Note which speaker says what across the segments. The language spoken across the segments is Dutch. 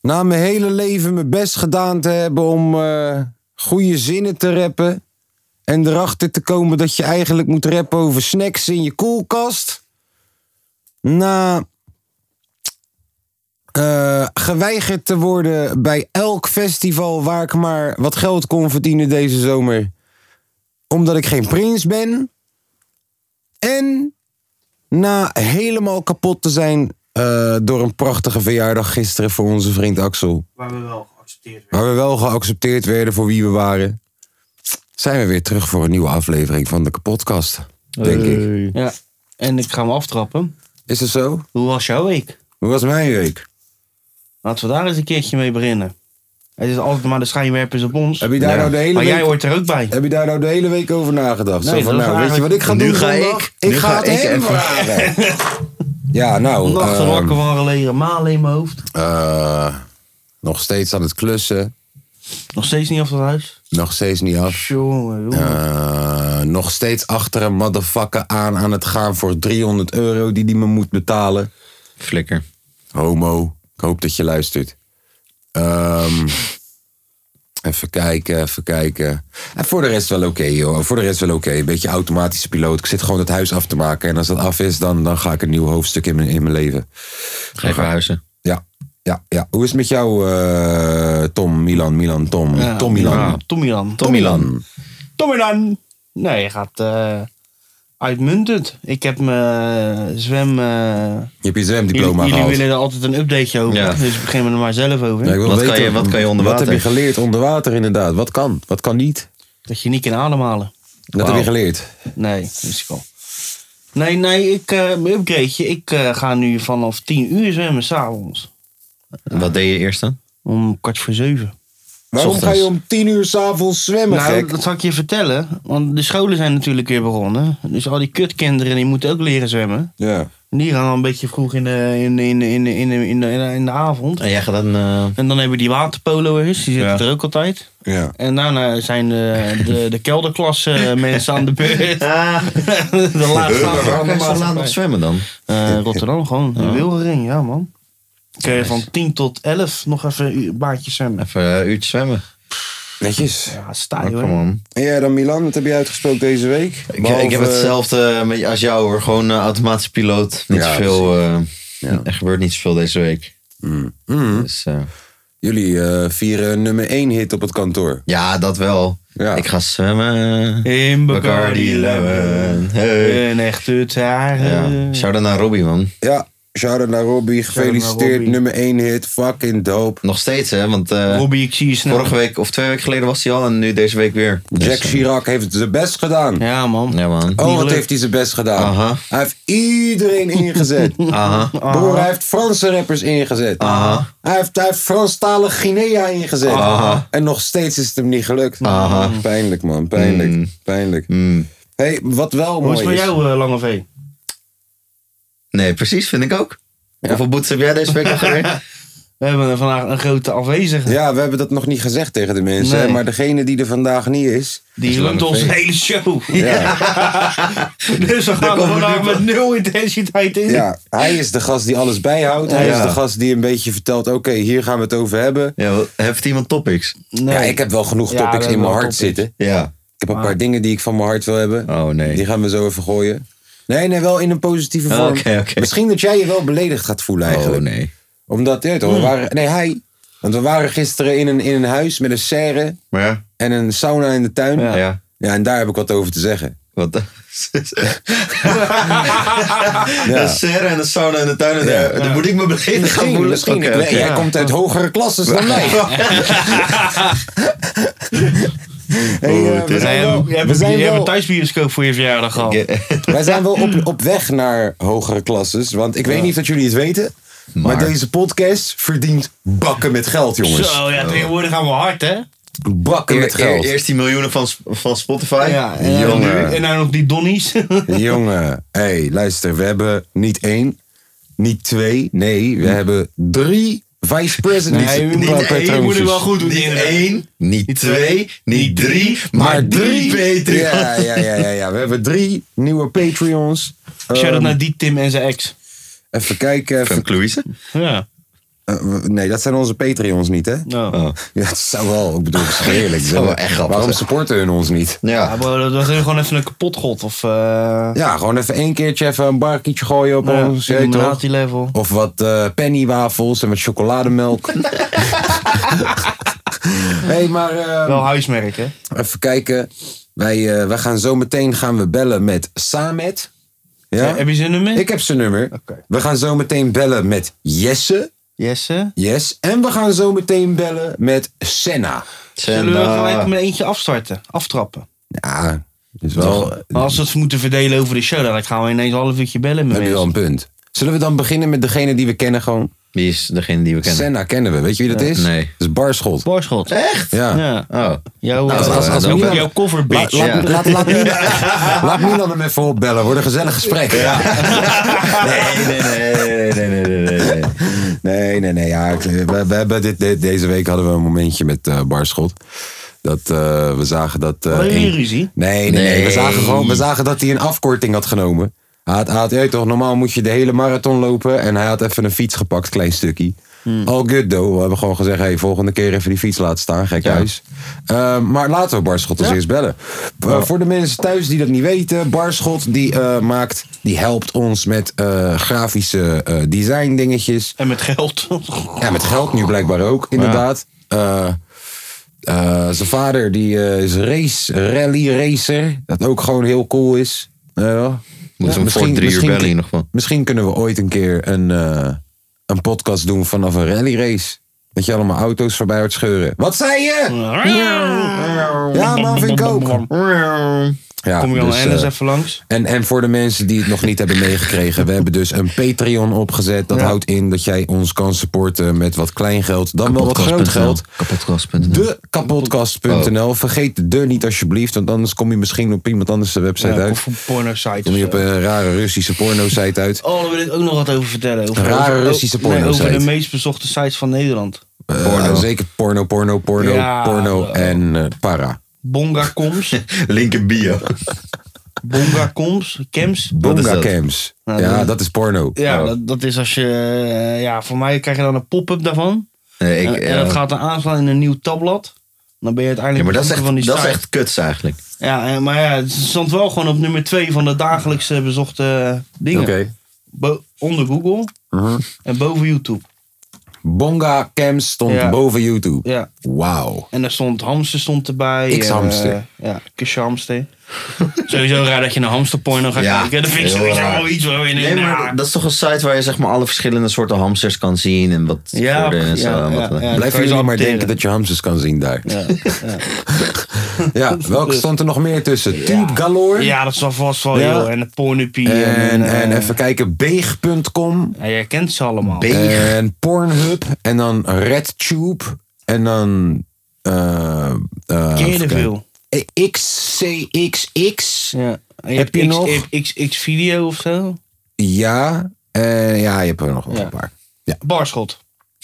Speaker 1: Na mijn hele leven mijn best gedaan te hebben om eh, goede zinnen te rappen. En erachter te komen dat je eigenlijk moet rappen over snacks in je koelkast. Na eh, geweigerd te worden bij elk festival waar ik maar wat geld kon verdienen deze zomer. Omdat ik geen prins ben. En na helemaal kapot te zijn eh, door een prachtige verjaardag gisteren voor onze vriend Axel.
Speaker 2: Waar we wel geaccepteerd
Speaker 1: Waar we wel geaccepteerd werden voor wie we waren. Zijn we weer terug voor een nieuwe aflevering van de kapotkast. Denk ik.
Speaker 3: Ja, en ik ga hem aftrappen.
Speaker 1: Is dat zo?
Speaker 3: Hoe was jouw week?
Speaker 1: Hoe was mijn week?
Speaker 3: Laten we daar eens een keertje mee beginnen. Het is altijd maar de schijnwerpers op ons.
Speaker 1: Heb je daar
Speaker 4: Ja.
Speaker 1: nou de hele
Speaker 3: Maar jij
Speaker 1: week...
Speaker 3: hoort er ook bij.
Speaker 1: Heb je daar nou de hele week over nagedacht?
Speaker 3: Nee,
Speaker 1: Zo van,
Speaker 3: dat
Speaker 1: nou,
Speaker 3: is
Speaker 1: weet je wat ik ga
Speaker 4: Nu
Speaker 1: doen
Speaker 4: ga
Speaker 1: vandaag?
Speaker 4: ik.
Speaker 1: Ik
Speaker 4: Nu
Speaker 1: ga
Speaker 4: ga
Speaker 1: het
Speaker 4: ik
Speaker 1: hem
Speaker 4: even.
Speaker 1: vragen. Ja, nou...
Speaker 3: Nachten
Speaker 1: ehm,
Speaker 3: wakker van geleden, malen in mijn hoofd.
Speaker 1: eh, nog steeds aan het klussen.
Speaker 3: Nog steeds niet af het huis.
Speaker 1: Nog steeds niet af.
Speaker 3: Jongen, jongen.
Speaker 1: Eh, nog steeds achter een motherfucker aan aan het gaan voor 300 euro die die me moet betalen.
Speaker 4: Flikker.
Speaker 1: Homo, ik hoop dat je luistert. Ehm, even kijken, even kijken. En voor de rest wel oké, joh. Voor de rest wel oké. Een beetje automatische piloot. Ik zit gewoon het huis af te maken. En als dat af is, dan, dan ga ik een nieuw hoofdstuk in mijn, in mijn leven.
Speaker 4: Ga je verhuizen?
Speaker 1: Ja, ja, ja. Hoe is het met jou, eh, Tom, Milan, Milan, Tom?
Speaker 3: Ja,
Speaker 1: Tom, Milan.
Speaker 3: ja, Tommylan.
Speaker 1: Tommylan.
Speaker 3: Tommylan. Nee, je gaat eh, uitmuntend. Ik zwem... eh, zwem eh,
Speaker 1: Je hebt je
Speaker 3: jullie,
Speaker 1: zwemdiploma
Speaker 3: jullie
Speaker 1: gehaald.
Speaker 3: willen er altijd een updateje over.
Speaker 4: Ja.
Speaker 3: Dus ik begin me er maar zelf over.
Speaker 1: Ja, ik wil
Speaker 4: Wat kan je- wat kan je onder
Speaker 1: Wat
Speaker 4: water?
Speaker 1: heb je geleerd onder water inderdaad? Wat kan? Wat kan niet?
Speaker 3: Dat je niet kan ademhalen.
Speaker 1: Dat heb
Speaker 4: Wauw.
Speaker 1: je geleerd.
Speaker 3: Nee, wist ik al. Nee, nee, ik, eh mijn upgradeje. Ik eh, ga nu vanaf 10 uur zwemmen s'avonds.
Speaker 4: Wat deed je eerst dan?
Speaker 3: Om kwart voor zeven.
Speaker 1: Waarom
Speaker 4: Ochtends.
Speaker 1: ga je om tien uur s'avonds zwemmen,
Speaker 3: Nou,
Speaker 1: gek?
Speaker 3: dat zal ik je vertellen. Want de scholen zijn natuurlijk weer begonnen. Dus al die kutkinderen die moeten ook leren zwemmen.
Speaker 1: Ja.
Speaker 3: En die gaan dan een beetje vroeg in de, in, in, in, in, in, de, in de avond.
Speaker 4: En jij gaat dan... eh,
Speaker 3: En dan hebben we die waterpoloers, die zitten
Speaker 4: Ja.
Speaker 3: er ook altijd.
Speaker 1: ja.
Speaker 3: En daarna zijn de, de, de kelderklasse mensen aan de beurt.
Speaker 4: Ah.
Speaker 3: de laatste
Speaker 4: Waarom
Speaker 3: avond.
Speaker 4: zo laat nog zwemmen dan?
Speaker 3: Eh, Rotterdam gewoon. De Wilgering, ja man. Kun je van 10 tot 11 nog even een baantje zwemmen.
Speaker 4: Even eh, een uurtje zwemmen.
Speaker 1: Netjes.
Speaker 3: Ja, sta
Speaker 4: Oh,
Speaker 3: je
Speaker 4: come
Speaker 3: hoor.
Speaker 4: on.
Speaker 1: En jij dan, Milan? Wat heb je uitgesproken deze week?
Speaker 4: Ik, ik heb hetzelfde eh, met- als jou hoor. Gewoon eh, automatische piloot. Niet
Speaker 1: Ja,
Speaker 4: veel, eh,
Speaker 1: Ja.
Speaker 4: Er gebeurt niet zoveel deze week. Dus, eh,
Speaker 1: Mm. Jullie eh, vieren nummer één hit op het kantoor.
Speaker 4: ja, dat wel.
Speaker 1: Ja.
Speaker 4: Ik ga zwemmen.
Speaker 3: In
Speaker 4: Bacardi Lemon. Hey.
Speaker 3: Een echte taar.
Speaker 4: Ja. Shout-out naar Robbie, man.
Speaker 1: Ja, shout-out naar Robbie. Gefeliciteerd,
Speaker 3: Robbie.
Speaker 1: nummer één hit. Fucking dope.
Speaker 4: Nog steeds, hè? Want eh,
Speaker 3: Robbie, ik zie je snel.
Speaker 4: vorige week of twee weken geleden was hij al en nu deze week weer. Dus,
Speaker 1: Jack
Speaker 4: eh,
Speaker 1: Chirac heeft zijn best gedaan.
Speaker 3: Ja man.
Speaker 4: Ja, man.
Speaker 1: Oh, wat
Speaker 3: gelukt.
Speaker 1: heeft hij zijn best gedaan.
Speaker 4: Aha.
Speaker 1: Hij heeft iedereen ingezet.
Speaker 4: Aha.
Speaker 1: Broer, hij heeft Franse rappers ingezet.
Speaker 4: Aha.
Speaker 1: Hij heeft, hij heeft Franstalig Guinea ingezet.
Speaker 4: Aha.
Speaker 1: En nog steeds is het hem niet gelukt.
Speaker 4: Aha.
Speaker 1: Pijnlijk, man. Pijnlijk.
Speaker 4: Mm.
Speaker 1: Pijnlijk.
Speaker 4: Mm.
Speaker 1: hey, wat wel
Speaker 3: Hoe is
Speaker 1: mooi
Speaker 3: het met
Speaker 1: is...
Speaker 3: jou, eh, Lange V?
Speaker 4: Nee, precies, vind ik ook. Hoeveel boetes heb jij deze week alweer?
Speaker 3: We hebben er vandaag een grote afwezige.
Speaker 1: Ja, we hebben dat nog niet gezegd tegen de mensen.
Speaker 3: Nee.
Speaker 1: hè, Maar degene die er vandaag niet is...
Speaker 3: Die runt onze hele show.
Speaker 1: Ja,
Speaker 3: Dus we gaan er
Speaker 4: komen we
Speaker 3: vandaag
Speaker 4: nu
Speaker 3: met nul intensiteit in.
Speaker 1: ja, hij is de gast die alles bijhoudt. Hij
Speaker 4: Ja.
Speaker 1: is de gast die een beetje vertelt... Oké, hier gaan we het over hebben.
Speaker 4: Ja, wat- heeft iemand topics?
Speaker 3: Nee.
Speaker 1: Ja, ik heb wel genoeg
Speaker 3: Ja,
Speaker 1: topics
Speaker 3: we
Speaker 1: in
Speaker 3: hebben
Speaker 1: mijn
Speaker 3: wel
Speaker 1: hart
Speaker 3: topics.
Speaker 1: zitten.
Speaker 4: Ja.
Speaker 1: Ik heb een paar dingen die ik van mijn hart wil hebben.
Speaker 4: Oh, nee.
Speaker 1: Die gaan we zo even gooien. Nee, nee, wel in een positieve
Speaker 4: Oh,
Speaker 1: vorm.
Speaker 4: oké, oké.
Speaker 1: Misschien dat jij je wel beledigd gaat voelen eigenlijk.
Speaker 4: Oh, nee.
Speaker 1: Omdat, ja,
Speaker 3: Hmm.
Speaker 1: toch, we waren, nee, hij. Want we waren gisteren in een, in een huis met een serre
Speaker 4: Maar ja.
Speaker 1: en een sauna in de tuin.
Speaker 4: Ja.
Speaker 1: Ja, en daar heb ik wat over te zeggen.
Speaker 4: Wat? Een serre en een sauna in de tuin. en daar- Dan moet ik me beledigd gaan
Speaker 1: Misschien,
Speaker 4: voelen.
Speaker 1: misschien.
Speaker 4: Oké,
Speaker 1: Ik
Speaker 4: oké.
Speaker 1: weet- Jij komt uit hogere klasses dan mij. Hey, eh,
Speaker 4: Oh, het
Speaker 1: we
Speaker 4: is-
Speaker 3: Nee,
Speaker 1: zijn
Speaker 3: je
Speaker 1: wel-
Speaker 3: hebt- je
Speaker 1: we
Speaker 3: hebt-
Speaker 1: zijn
Speaker 3: je hebt een
Speaker 1: wel-
Speaker 3: thuisbioscoop voor je verjaardag gehad.
Speaker 4: Ja.
Speaker 1: Wij zijn wel op, op weg naar hogere klasses. Want ik weet niet of jullie het weten. Maar,
Speaker 4: Maar-
Speaker 1: deze podcast verdient bakken met geld, jongens.
Speaker 3: Zo,
Speaker 4: Oh,
Speaker 3: ja, tegenwoordig gaan we hard, hè?
Speaker 1: Bakken
Speaker 4: Eer-
Speaker 1: met
Speaker 4: eer-
Speaker 1: geld.
Speaker 4: eerst die miljoenen van, Sp- van Spotify.
Speaker 3: Ja, en, dan
Speaker 1: Jongen.
Speaker 3: nu, en dan nog die Donnies.
Speaker 1: Jongen, hey, luister, we hebben niet één, niet twee, nee, we hebben drie vice presidents.
Speaker 3: Hm. Nee, we moeten-
Speaker 1: Pla-
Speaker 3: één, we
Speaker 1: patroontjes.
Speaker 3: moeten wel goed doen,
Speaker 4: Niet
Speaker 3: inderdaad.
Speaker 4: één, niet twee, niet drie,
Speaker 1: Maar
Speaker 4: maar
Speaker 1: drie
Speaker 4: drie Patreons.
Speaker 1: Ja, ja, ja, ja, ja, we hebben drie nieuwe Patreons.
Speaker 3: Shout out
Speaker 1: Ehm,
Speaker 3: naar die Tim en zijn ex.
Speaker 1: Even kijken. even-
Speaker 4: Van Louise.
Speaker 3: Ja.
Speaker 1: eh, we- nee, dat zijn onze Patreons niet, hè?
Speaker 3: Nou.
Speaker 1: Ja, het zou wel, ik bedoel, het is heerlijk.
Speaker 4: Oh. zou wel echt grappig
Speaker 1: Waarom
Speaker 4: zijn.
Speaker 1: supporten hun ons niet?
Speaker 3: Ja,
Speaker 4: Ja.
Speaker 3: bro, dat was gewoon even een kapotgod. Of eh
Speaker 1: Ja, gewoon even één keertje even een barkietje gooien op
Speaker 3: ja,
Speaker 1: ons. je weet toch?
Speaker 3: Illuminati level.
Speaker 1: Of wat eh, pennywafels en wat chocolademelk. hey, maar eh,
Speaker 3: Wel huismerk, hè?
Speaker 1: even kijken. Wij, eh, wij gaan zo meteen gaan we bellen met Samet. Ja?
Speaker 3: Heb je zin in me?
Speaker 1: Ik heb zijn nummer.
Speaker 3: Oké.
Speaker 1: We gaan zo meteen bellen met Jesse.
Speaker 3: Jesse.
Speaker 1: Yes. En we gaan zo meteen bellen met Senna.
Speaker 3: Zullen we gelijk
Speaker 4: Senna.
Speaker 3: met eentje afstarten? Aftrappen.
Speaker 1: Ja, is wel, heb
Speaker 3: Maar als we het moeten verdelen over de show, dan gaan we ineens een half uurtje bellen met
Speaker 1: je wel
Speaker 3: mensen.
Speaker 1: een punt. Zullen we dan beginnen met degene die we kennen gewoon?
Speaker 4: Wie is degene die we kennen? Eh,
Speaker 1: Senna kennen we. Weet je wie dat is?
Speaker 4: Nee.
Speaker 1: Dat is Barschot.
Speaker 3: Borschot.
Speaker 4: Echt?
Speaker 1: Ja.
Speaker 3: Ja.
Speaker 4: Oh.
Speaker 3: Jouw,
Speaker 4: als-
Speaker 3: eh,
Speaker 4: als- als
Speaker 3: jouw-
Speaker 4: Milan-
Speaker 3: jouw cover
Speaker 1: Laat,
Speaker 3: bitch.
Speaker 1: laat, laat,
Speaker 4: ja.
Speaker 1: laat, Milan, laat Milan hem even opbellen. Wordt een gezellig gesprek.
Speaker 4: Nee, nee, nee, nee, nee, nee, nee, nee.
Speaker 1: Nee, nee, nee. Ja, ik- we, we hebben dit, dit- deze week hadden we een momentje met eh Barschot. Dat eh, we zagen dat... eh,
Speaker 3: Hadden jullie
Speaker 1: een-
Speaker 3: ruzie?
Speaker 1: Nee, nee, nee. We,
Speaker 4: Nee.
Speaker 1: zagen gewoon, we zagen dat hij een afkorting had genomen. Hij had, hij had- je weet toch, normaal moet je de hele marathon lopen. En hij had even een fiets gepakt, klein stukje. All good, though. We hebben gewoon gezegd, hey, volgende keer even die fiets laten staan. Gek huis. Eh, maar laten we Barschot als eerst bellen. Eh, voor de mensen thuis die dat niet weten. Barschot, die eh, maakt, die helpt ons met eh, grafische eh, design dingetjes.
Speaker 3: En met geld.
Speaker 1: Ja, met geld nu blijkbaar ook, inderdaad. Eh, eh, zijn vader die, eh, is race, rally racer. Dat ook gewoon heel cool is. Eh, ja,
Speaker 4: Moeten we hem voor drie uur
Speaker 1: misschien-
Speaker 4: bellen in ieder geval.
Speaker 1: Misschien kunnen we ooit een keer een, eh, een podcast doen vanaf een rally race. Dat je allemaal auto's voorbij hoort scheuren. Wat zei je? Ja, maar vind ik ook. Ja,
Speaker 3: Kom je al
Speaker 1: dus,
Speaker 3: eens
Speaker 1: eh,
Speaker 3: even langs?
Speaker 1: en, en voor de mensen die het nog niet hebben meegekregen, we hebben dus een Patreon opgezet. Dat
Speaker 3: Ja.
Speaker 1: houdt in dat jij ons kan supporten met wat klein geld, dan wel wat groot geld.
Speaker 4: Kapotkast.nl.
Speaker 1: De
Speaker 3: Oh.
Speaker 1: kapotkast.nl. Vergeet de de niet alsjeblieft, want anders kom je misschien op iemand anders de website
Speaker 3: Ja,
Speaker 1: uit.
Speaker 3: of een porno site.
Speaker 1: Kom je op een rare Russische porno-site uit.
Speaker 3: Oh, daar wil ik ook nog wat over vertellen. Over,
Speaker 1: Rare
Speaker 3: over-
Speaker 1: Russische
Speaker 3: nee, Over de
Speaker 1: porno-site.
Speaker 3: meest bezochte sites van Nederland.
Speaker 1: Eh, zeker porno, porno, porno,
Speaker 3: Ja,
Speaker 1: porno
Speaker 3: eh.
Speaker 1: en eh, para.
Speaker 3: Bonga-coms.
Speaker 4: Linker bio.
Speaker 3: Bonga-coms. Camps.
Speaker 4: is
Speaker 1: Bonga Oh.
Speaker 4: dat? Oh.
Speaker 1: cams.
Speaker 3: Nou,
Speaker 1: Ja,
Speaker 3: dat-
Speaker 1: dat is porno.
Speaker 3: Ja, dat, dat is als je... eh, Ja, voor mij krijg je dan een pop-up daarvan.
Speaker 4: Nee, ik,
Speaker 3: en, en dat
Speaker 4: eh,
Speaker 3: gaat dan aanslaan in een nieuw tabblad. Dan ben je
Speaker 4: ja,
Speaker 3: uiteindelijk
Speaker 4: maar dat is
Speaker 3: bezoeker
Speaker 4: echt,
Speaker 3: van die
Speaker 4: dat is
Speaker 3: site.
Speaker 4: echt kuts eigenlijk.
Speaker 3: Ja, en- maar ja, het stond wel gewoon op nummer 2 van de dagelijkse bezochte eh, dingen. Bo- onder Google
Speaker 1: Mhm.
Speaker 3: en boven YouTube.
Speaker 1: Bonga cams stond
Speaker 3: Ja.
Speaker 1: boven YouTube.
Speaker 3: Ja.
Speaker 1: Wauw.
Speaker 3: En daar stond hamster stond erbij.
Speaker 1: X-hamster.
Speaker 3: en, eh, ja, kusje hamster. sowieso raar dat je naar hamsterporno gaat
Speaker 4: Ja.
Speaker 3: kijken. Dat vind ik
Speaker 4: Heel
Speaker 3: sowieso
Speaker 4: raar.
Speaker 3: al iets waar we in Nou,
Speaker 4: Nee, maar dat is toch een site waar je zeg maar alle verschillende soorten hamsters kan zien en wat
Speaker 3: Ja,
Speaker 4: voor de- en zo.
Speaker 3: ja,
Speaker 4: en
Speaker 3: ja,
Speaker 4: wat,
Speaker 3: ja.
Speaker 1: Blijf
Speaker 3: kan je
Speaker 1: jullie
Speaker 3: zo
Speaker 1: maar
Speaker 3: adopteren.
Speaker 1: denken dat je hamsters kan zien daar.
Speaker 3: Ja,
Speaker 1: Ja, welke stond er nog meer tussen? Tube Galore.
Speaker 3: Dus- ja, dat zal vast wel,
Speaker 1: Ja.
Speaker 3: joh. En de pornupie. En,
Speaker 1: En,
Speaker 3: eh,
Speaker 1: en even kijken, beeg.com.
Speaker 3: ja, jij kent ze allemaal.
Speaker 4: Beeg.
Speaker 1: En Pornhub. En dan RedTube. En dan... eh eh,
Speaker 3: Ken je
Speaker 1: even
Speaker 3: er
Speaker 1: kijken.
Speaker 3: veel?
Speaker 1: Eh, XCXX.
Speaker 3: Ja. En je
Speaker 1: Heb
Speaker 3: hebt
Speaker 1: je
Speaker 3: X-
Speaker 1: nog?
Speaker 3: je hebt XX-video of zo.
Speaker 1: Ja. eh, ja, je hebt er nog wel
Speaker 3: Ja.
Speaker 1: een paar.
Speaker 3: Barschot.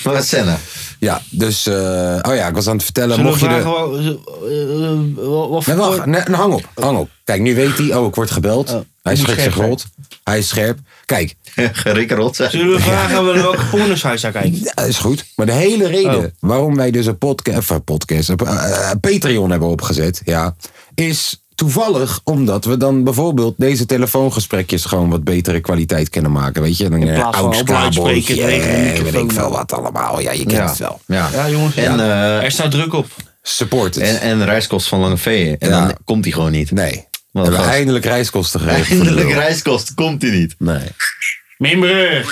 Speaker 4: Maar wat Senna?
Speaker 1: Ja, dus... eh, oh ja, ik was aan het vertellen.
Speaker 3: Zullen we
Speaker 1: mocht je
Speaker 3: vragen
Speaker 1: de...
Speaker 3: wel- eh, eh, wat- wat
Speaker 1: Nee,
Speaker 3: voor
Speaker 1: wacht. Nee, nou, hang op. Hang op. Kijk, nu weet hij. Oh, ik word gebeld.
Speaker 3: Oh,
Speaker 1: hij is
Speaker 3: je moet
Speaker 1: gek
Speaker 3: scherp
Speaker 1: gerold. Hij is scherp. Kijk,
Speaker 4: Gerikke rot zijn.
Speaker 3: Zullen we vragen wel welke pornoshuis hij kijkt?
Speaker 1: Ja, Eh, is goed. Maar de hele reden
Speaker 3: Oh.
Speaker 1: waarom wij dus een podca of, eh, podcast, een, eh, Patreon hebben opgezet, ja, is toevallig omdat we dan bijvoorbeeld deze telefoongesprekjes gewoon wat betere kwaliteit kunnen maken. Weet je, eh, een
Speaker 3: plaats van op
Speaker 1: AUX-kabeltje,
Speaker 3: luidspreker tegen een
Speaker 1: weet
Speaker 3: microfoon.
Speaker 1: ik veel wat allemaal. Ja, je kent
Speaker 4: Ja.
Speaker 1: het wel.
Speaker 4: Ja.
Speaker 3: Ja, jongens.
Speaker 4: En, eh,
Speaker 3: er staat druk op.
Speaker 1: Support het.
Speaker 4: en, en reiskost van Lange Vee. En
Speaker 1: Ja.
Speaker 4: dan komt hij gewoon niet.
Speaker 1: nee. We
Speaker 4: Wat
Speaker 1: hebben
Speaker 4: gast.
Speaker 1: eindelijk reiskosten geregeld. voor de
Speaker 4: Eindelijk
Speaker 1: lul.
Speaker 4: reiskost, komt hij niet.
Speaker 1: Nee.
Speaker 3: Mimbrug.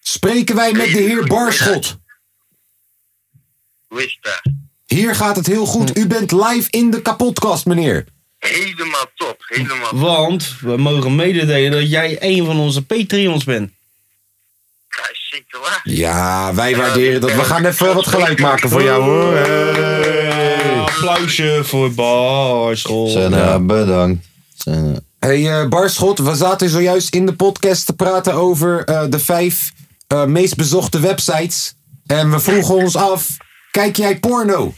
Speaker 1: Spreken wij met de heer Barschot.
Speaker 5: Hoe is het daar?
Speaker 1: Hier gaat het heel
Speaker 3: Hm.
Speaker 1: goed. U bent live in de kapotkast, meneer.
Speaker 5: Helemaal top, helemaal top.
Speaker 3: Want we mogen mededelen dat jij een van onze Patreons bent.
Speaker 5: hoor.
Speaker 1: Ja,
Speaker 3: Eh,
Speaker 1: wij waarderen dat. We gaan even wat geluid maken voor jou hoor. Hey,
Speaker 3: Oh, Applausje voor Barschel.
Speaker 4: Sanne, eh, bedankt. Sanne.
Speaker 1: hey eh, Barschot, we zaten zojuist in de podcast te praten over eh, de vijf eh, meest bezochte websites. En we vroegen ons af, kijk jij porno?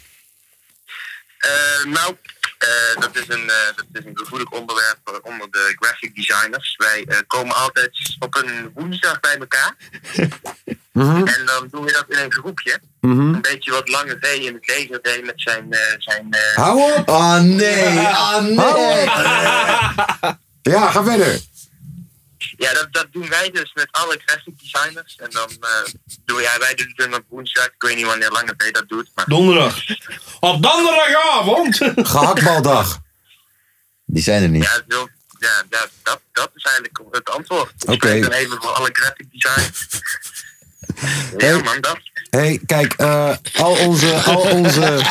Speaker 5: Eh, nou, eh, dat, is een, eh, dat is een gevoelig onderwerp eh, onder de graphic designers. Wij eh, komen altijd op een woensdag bij elkaar.
Speaker 1: Mhm.
Speaker 5: En dan doen we dat in een groepje. Een beetje wat lange V in het leger deed met zijn... eh, zijn eh,
Speaker 1: Hou op!
Speaker 4: Ah nee, ah
Speaker 3: Oh,
Speaker 4: nee.
Speaker 1: Ja, ga verder.
Speaker 5: Ja, dat, dat doen wij dus met alle graphic designers. En dan eh, doen we, ja, wij doen het dan op woensdag. Ik weet niet wanneer Lange V dat doet, maar...
Speaker 3: Donderdag. Op donderdagavond.
Speaker 1: Gehaktbaldag.
Speaker 4: Die zijn er niet.
Speaker 5: Ja, zo- ja, ja dat, dat is eigenlijk het antwoord. Oké.
Speaker 1: Oké.
Speaker 5: Ik ben even voor alle graphic design. ja, man, dat.
Speaker 1: hey, kijk, eh, al onze, al onze,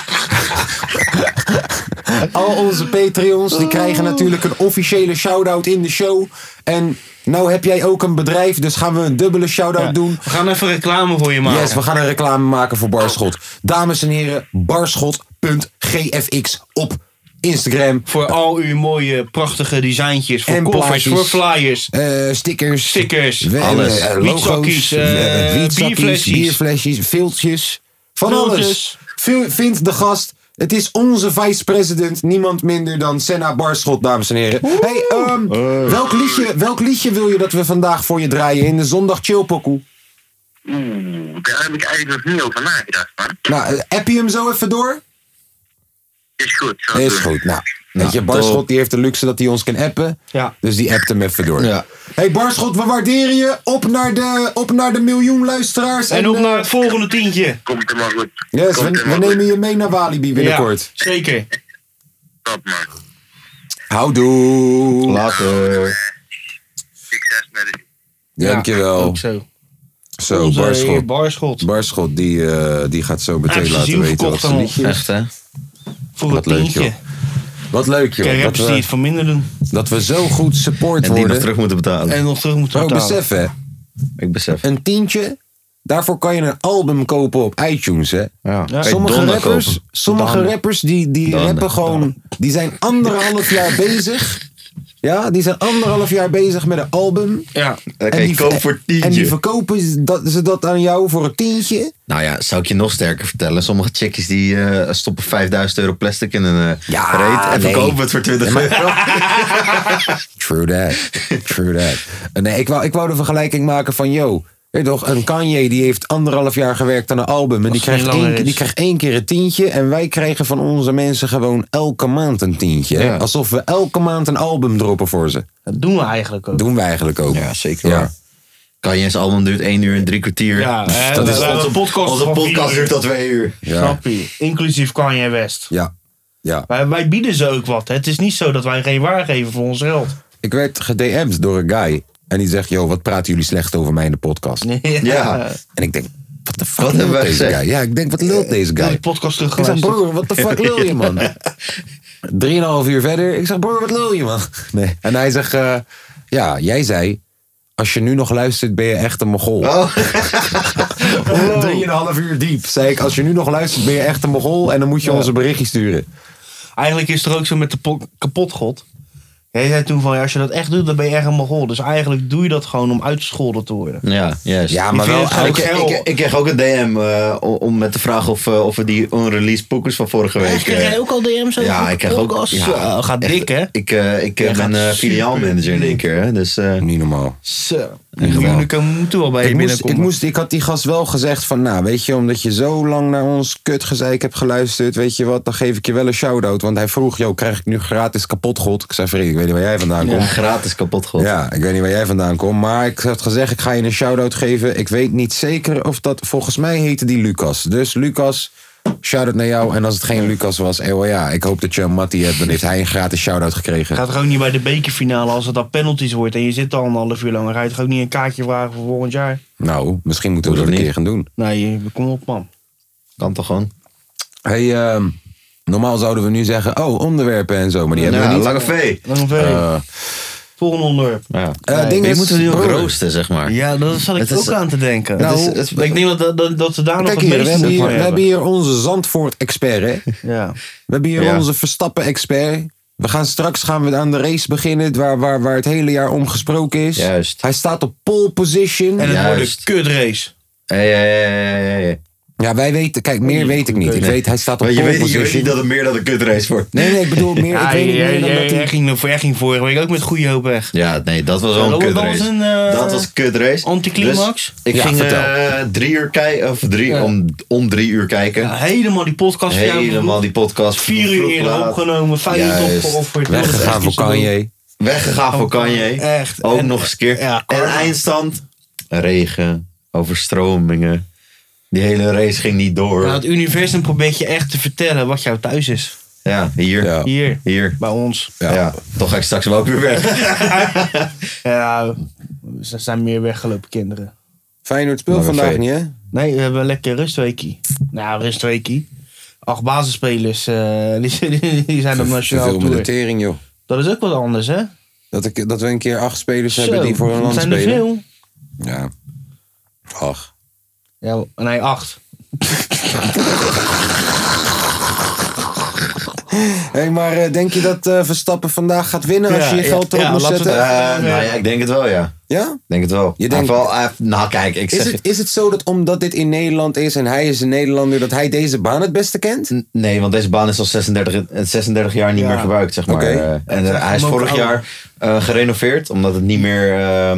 Speaker 1: al onze Patreons, die krijgen natuurlijk een officiële shout-out in de show. En nou heb jij ook een bedrijf, dus gaan we een dubbele shout-out doen.
Speaker 3: We gaan even reclame voor je maken.
Speaker 1: Yes, we gaan een reclame maken
Speaker 5: Oh.
Speaker 1: voor Barschot. Dames en heren, barschot.gfx op Instagram.
Speaker 3: Voor al uw mooie, prachtige designtjes. Voor
Speaker 1: En
Speaker 3: koffers,
Speaker 1: plaatjes.
Speaker 3: voor flyers.
Speaker 1: Eh, stickers.
Speaker 3: Stickers,
Speaker 1: we-
Speaker 4: alles.
Speaker 1: eh,
Speaker 3: Wietzakkies,
Speaker 1: logo's.
Speaker 3: eh,
Speaker 1: eh, wietzakkies,
Speaker 3: bierflesjes.
Speaker 1: Bierflesjes. Viltjes. Van alles.
Speaker 3: Viltjes.
Speaker 1: Vul- Vind de gast. Het is onze vice-president. Niemand minder dan Senna Barschot, dames en heren. Hey, ehm,
Speaker 3: Eh.
Speaker 1: welk, liedje, welk liedje wil je dat we vandaag voor je draaien in de zondag chillpokoe?
Speaker 5: Oeh, Hmm, daar heb ik eigenlijk nog niet over nagedacht, man.
Speaker 1: Nou, eh, app je hem zo even door?
Speaker 5: Is goed. zal ik
Speaker 1: Is
Speaker 5: doen.
Speaker 1: goed. Nou, weet je, Barschot die heeft de luxe dat hij ons kan appen.
Speaker 3: Ja.
Speaker 1: Dus die appt hem even door.
Speaker 4: Ja.
Speaker 1: hey Barschot, we waarderen je. Op naar de, op naar de miljoen luisteraars.
Speaker 3: En op
Speaker 1: eh,
Speaker 3: naar het volgende tientje.
Speaker 5: Komt helemaal goed.
Speaker 1: Yes,
Speaker 5: Komt
Speaker 1: we, we
Speaker 5: helemaal
Speaker 1: nemen je mee naar Walibi binnenkort.
Speaker 3: Ja, zeker.
Speaker 5: goed. Top, man.
Speaker 1: Houdoe.
Speaker 4: Later.
Speaker 5: Succes met het.
Speaker 3: Ja,
Speaker 1: Dankjewel.
Speaker 3: ook zo.
Speaker 1: Zo,
Speaker 3: Onze heer
Speaker 1: Barschot.
Speaker 3: Barschot.
Speaker 1: Barschot, die, eh, die gaat zo
Speaker 3: Hij
Speaker 1: meteen
Speaker 3: heeft zijn
Speaker 1: laten
Speaker 3: ziel
Speaker 1: weten wat
Speaker 3: verkocht
Speaker 1: zijn
Speaker 3: aan
Speaker 1: liedje is.
Speaker 4: Echt hè?
Speaker 3: Voor het
Speaker 4: Wat leuk,
Speaker 3: tientje.
Speaker 4: joh.
Speaker 1: Wat leuk,
Speaker 3: Kijk,
Speaker 1: joh. Dat
Speaker 3: rappers die
Speaker 1: we,
Speaker 3: het voor minder doen.
Speaker 1: dat we zo goed support
Speaker 4: En die nog
Speaker 1: worden.
Speaker 4: terug moeten betalen.
Speaker 3: En nog terug moeten
Speaker 1: Ook
Speaker 3: betalen.
Speaker 1: Oh, besef, hè.
Speaker 4: Ik besef.
Speaker 1: Een tientje, daarvoor kan je een album kopen op iTunes, hè.
Speaker 4: Ja. Kan je
Speaker 1: Sommige
Speaker 4: donder
Speaker 1: rappers,
Speaker 4: kopen.
Speaker 1: sommige rappers die, die
Speaker 4: Dan-
Speaker 1: rappen gewoon. Die zijn anderhalf jaar bezig. Ja, die zijn anderhalf jaar bezig met een album.
Speaker 3: Ja.
Speaker 4: Dan kan
Speaker 1: en,
Speaker 4: je
Speaker 1: die,
Speaker 4: kopen Eh, voor
Speaker 1: en die
Speaker 4: tientje.
Speaker 1: verkopen ze dat, ze dat aan jou voor een tientje.
Speaker 4: Nou ja, zou ik je nog sterker vertellen. Sommige chickies die eh, stoppen 5000 euro plastic in een eh
Speaker 1: Ja,
Speaker 4: reet. En
Speaker 1: nee.
Speaker 4: verkopen het voor 20 euro.
Speaker 1: True that. True that. Nee, ik wou, ik wou de vergelijking maken van, yo, weet je toch, een Kanye die heeft anderhalf jaar gewerkt aan een album. En die
Speaker 3: het
Speaker 1: krijgt,
Speaker 3: niet langer
Speaker 1: één,
Speaker 3: is.
Speaker 1: die krijgt één keer een tientje. En wij krijgen van onze mensen gewoon elke maand een tientje. hè.
Speaker 4: Ja.
Speaker 1: Alsof we elke maand een album droppen voor ze.
Speaker 3: Dat doen we eigenlijk ook.
Speaker 1: Doen we eigenlijk ook.
Speaker 4: Ja, zeker
Speaker 1: Ja.
Speaker 4: waar. Kan je eens album duurt 1 uur en drie kwartier.
Speaker 3: Ja,
Speaker 4: Pff,
Speaker 3: eh,
Speaker 4: dat
Speaker 3: we
Speaker 4: is
Speaker 3: hebben
Speaker 4: onze
Speaker 3: een podcast
Speaker 4: Onze
Speaker 3: van vier
Speaker 4: podcast
Speaker 3: uur.
Speaker 4: duurt al twee uur.
Speaker 1: Ja.
Speaker 3: Snap je? Inclusief Kanye West.
Speaker 1: Ja. Ja.
Speaker 3: Wij, wij bieden ze ook wat. hè. Het is niet zo dat wij geen waar geven voor ons geld.
Speaker 1: Ik werd gedm'd door een guy. En die zegt, joh, wat praten jullie slecht over mij in de podcast?
Speaker 4: Ja.
Speaker 1: En ik denk, wat de fuck
Speaker 4: Wat
Speaker 1: lult
Speaker 4: hebben wij
Speaker 1: deze
Speaker 4: gezegd?
Speaker 1: guy? Ja, ik denk, wat lult deze
Speaker 3: Ik heb
Speaker 1: guy?
Speaker 3: de podcast
Speaker 1: Ik zeg,
Speaker 3: teruggeluisterd.
Speaker 1: broer, wat de fuck lul je, man? Drieënhalf uur verder. Ik zeg, broer, wat lul je, man? Nee. En hij zegt, eh, ja, jij zei... Als je nu nog luistert, ben je echt een mogol.
Speaker 4: Oh.
Speaker 1: Drieënhalf uur diep, zei ik. Als je nu nog luistert, ben je echt een mogol. En dan moet je ons een berichtje sturen.
Speaker 3: Eigenlijk is het er ook zo met de po- kapotgod. Jij zei toen van, ja, als je dat echt doet, dan ben je echt een mogol. Dus eigenlijk doe je dat gewoon om uitgescholden te worden.
Speaker 4: Ja, juist.
Speaker 1: Ja, maar
Speaker 3: vind
Speaker 1: wel
Speaker 3: het gewoon
Speaker 4: Ik,
Speaker 1: elke...
Speaker 3: gek.
Speaker 4: ik, ik kreeg ook een DM eh, om- om met de vraag of, eh, of we die unreleased poekers van vorige week...
Speaker 3: Echt, krijg
Speaker 4: eh,
Speaker 3: jij ook al DM's over
Speaker 4: ja,
Speaker 3: de
Speaker 4: ik krijg ook...
Speaker 3: podcast?
Speaker 4: ja,
Speaker 3: Zo, gaat
Speaker 4: echt,
Speaker 3: dik, hè?
Speaker 4: Ik, eh, ik eh,
Speaker 3: Jij
Speaker 4: ben
Speaker 3: gaat
Speaker 4: eh filiaal
Speaker 3: super
Speaker 4: manager in één keer, hè? Dus eh,
Speaker 1: Niet normaal.
Speaker 3: Zo. Jullie moeten wel bij je
Speaker 1: Ik moest, ik,
Speaker 3: binnenkomen.
Speaker 1: moest, ik had die gast wel gezegd van, nou, weet je, omdat je zo lang naar ons kutgezeik hebt geluisterd, weet je wat, dan geef ik je wel een shout-out. Want hij vroeg, joh, krijg ik nu gratis kapot, God? Ik zei, vriend, ik weet niet waar jij vandaan komt.
Speaker 4: om gratis kapot gehad.
Speaker 1: Ja, ik weet niet waar jij vandaan komt. Maar ik had gezegd, ik ga je een shout-out geven. Ik weet niet zeker of dat... Volgens mij heette die Lucas. Dus Lucas, shout-out naar jou. En als het geen Lucas was, eh, wel ja, ik hoop dat je een Mattie hebt. Dan heeft hij een gratis shout-out gekregen.
Speaker 3: Gaat er ook niet bij de bekerfinale als het dan penalties wordt en je zit al een half uur lang. Dan ga je toch ook niet een kaartje vragen voor volgend jaar?
Speaker 1: Nou, misschien moeten we
Speaker 4: Hoeft
Speaker 1: dat een
Speaker 4: niet.
Speaker 1: keer gaan doen.
Speaker 3: Nee, kom op man.
Speaker 4: Kan toch gewoon?
Speaker 1: Hey, ehm, normaal zouden we nu zeggen, oh, onderwerpen en zo. Maar die hebben
Speaker 4: Ja,
Speaker 1: we niet.
Speaker 4: Lange V.
Speaker 3: Lange V.
Speaker 1: Eh,
Speaker 3: Volgende onderwerp.
Speaker 4: Ja.
Speaker 1: Eh,
Speaker 3: Nee,
Speaker 1: ding
Speaker 4: Die
Speaker 1: is-
Speaker 4: moeten we nu ook
Speaker 1: broer,
Speaker 4: roosten, zeg maar.
Speaker 3: Ja, daar zat ik
Speaker 4: Het
Speaker 3: ook
Speaker 4: is-
Speaker 3: aan te denken.
Speaker 1: Nou,
Speaker 4: het is- het-
Speaker 3: ik denk dat, dat- dat, dat ze daar nog
Speaker 1: Kijk
Speaker 3: het
Speaker 1: hier, we
Speaker 3: meeste
Speaker 1: hebben
Speaker 3: van
Speaker 1: hier,
Speaker 3: hebben.
Speaker 1: we hebben hier onze Zandvoort-expert, hè?
Speaker 3: Ja.
Speaker 1: We hebben hier
Speaker 4: Ja.
Speaker 1: onze Verstappen-expert. We gaan straks gaan we aan de race beginnen waar, waar, waar het hele jaar om gesproken is.
Speaker 4: Juist.
Speaker 1: Hij staat op pole position.
Speaker 3: En het wordt een
Speaker 4: Juist.
Speaker 3: kutrace.
Speaker 4: Hey, hey, hey, hey, hey.
Speaker 1: Ja, wij weten, kijk, meer weet ik niet. Ik
Speaker 4: Nee.
Speaker 1: weet, hij staat op
Speaker 4: Maar je
Speaker 1: pole
Speaker 4: weet, je
Speaker 1: position.
Speaker 4: weet niet dat het meer dan een kutrace wordt.
Speaker 1: Nee, nee, ik bedoel meer, ik weet niet meer dan dat
Speaker 3: hij
Speaker 1: hij...
Speaker 3: ging, hij ging vorige week ook met goede hoop weg.
Speaker 4: Ja, nee, dat was wel
Speaker 3: Ja,
Speaker 4: een
Speaker 3: dat was
Speaker 4: kutrace.
Speaker 3: een, eh,
Speaker 4: dat was een kutrace.
Speaker 3: anticlimax.
Speaker 4: Dus ik
Speaker 1: Ja,
Speaker 4: ging
Speaker 1: vertel.
Speaker 4: eh, drie uur kijken, of drie, om, om drie uur kijken.
Speaker 3: Ja, helemaal die podcast van jou
Speaker 4: Helemaal
Speaker 3: bedoeld.
Speaker 4: die podcast.
Speaker 3: Vier uur
Speaker 4: vroeg
Speaker 3: eerder
Speaker 4: laat.
Speaker 3: opgenomen, vijf uur
Speaker 4: Juist.
Speaker 3: opgeofferd.
Speaker 1: Weggegaan voor Kanye.
Speaker 4: Weggegaan voor Kanye.
Speaker 3: eh, Echt.
Speaker 4: Ook
Speaker 3: En-
Speaker 4: nog eens een keer.
Speaker 3: Ja,
Speaker 4: en
Speaker 3: Kanye.
Speaker 4: eindstand. Regen, overstromingen. Die hele race ging niet door.
Speaker 3: Nou,
Speaker 4: Ja,
Speaker 3: het universum probeert je echt te vertellen wat jouw thuis is.
Speaker 4: hier.
Speaker 1: Ja.
Speaker 3: Hier,
Speaker 4: Hier.
Speaker 3: bij ons.
Speaker 4: Ja. toch ga ik straks wel ook weer weg.
Speaker 3: Ja, er zijn meer weggelopen kinderen.
Speaker 1: Feyenoord speelt
Speaker 4: Maar we
Speaker 1: vandaag
Speaker 4: feit.
Speaker 1: niet, hè?
Speaker 3: Nee, we hebben een lekker rustweekie. Nou, rustweekie. Acht basisspelers, eh, die, die zijn op nationaal
Speaker 1: Veel met de
Speaker 3: tour.
Speaker 1: tering, joh.
Speaker 3: Dat is ook wat anders, hè?
Speaker 1: Dat, ik, dat we een keer acht spelers
Speaker 3: Zo,
Speaker 1: hebben die voor een
Speaker 3: dat
Speaker 1: land
Speaker 3: zijn er
Speaker 1: spelen.
Speaker 3: veel.
Speaker 1: Ja. Ach.
Speaker 3: Ja, nee, acht.
Speaker 1: Hé, hey, maar eh, denk je dat eh, Verstappen vandaag gaat winnen Nou, als je je geld erop
Speaker 3: ja,
Speaker 1: moet
Speaker 3: laten we
Speaker 1: zetten?
Speaker 4: Eh, nou ja, ik denk het wel, ja. Ik
Speaker 1: Ja?
Speaker 4: denk het wel.
Speaker 1: Je
Speaker 4: Je
Speaker 1: denkt-
Speaker 4: nou, kijk, ik
Speaker 1: Is
Speaker 4: zeg...
Speaker 1: het, is het zo dat omdat dit in Nederland is en hij is een Nederlander, dat hij deze baan het beste kent?
Speaker 4: N- Nee, want deze baan is al 36, en 36 jaar niet
Speaker 3: Ja.
Speaker 4: meer gebruikt, zeg maar.
Speaker 1: Oké.
Speaker 4: Eh, en eh,
Speaker 3: zeg,
Speaker 4: hij is
Speaker 3: hem ook
Speaker 4: vorig
Speaker 3: ouder.
Speaker 4: jaar eh, gerenoveerd, omdat het niet meer eh,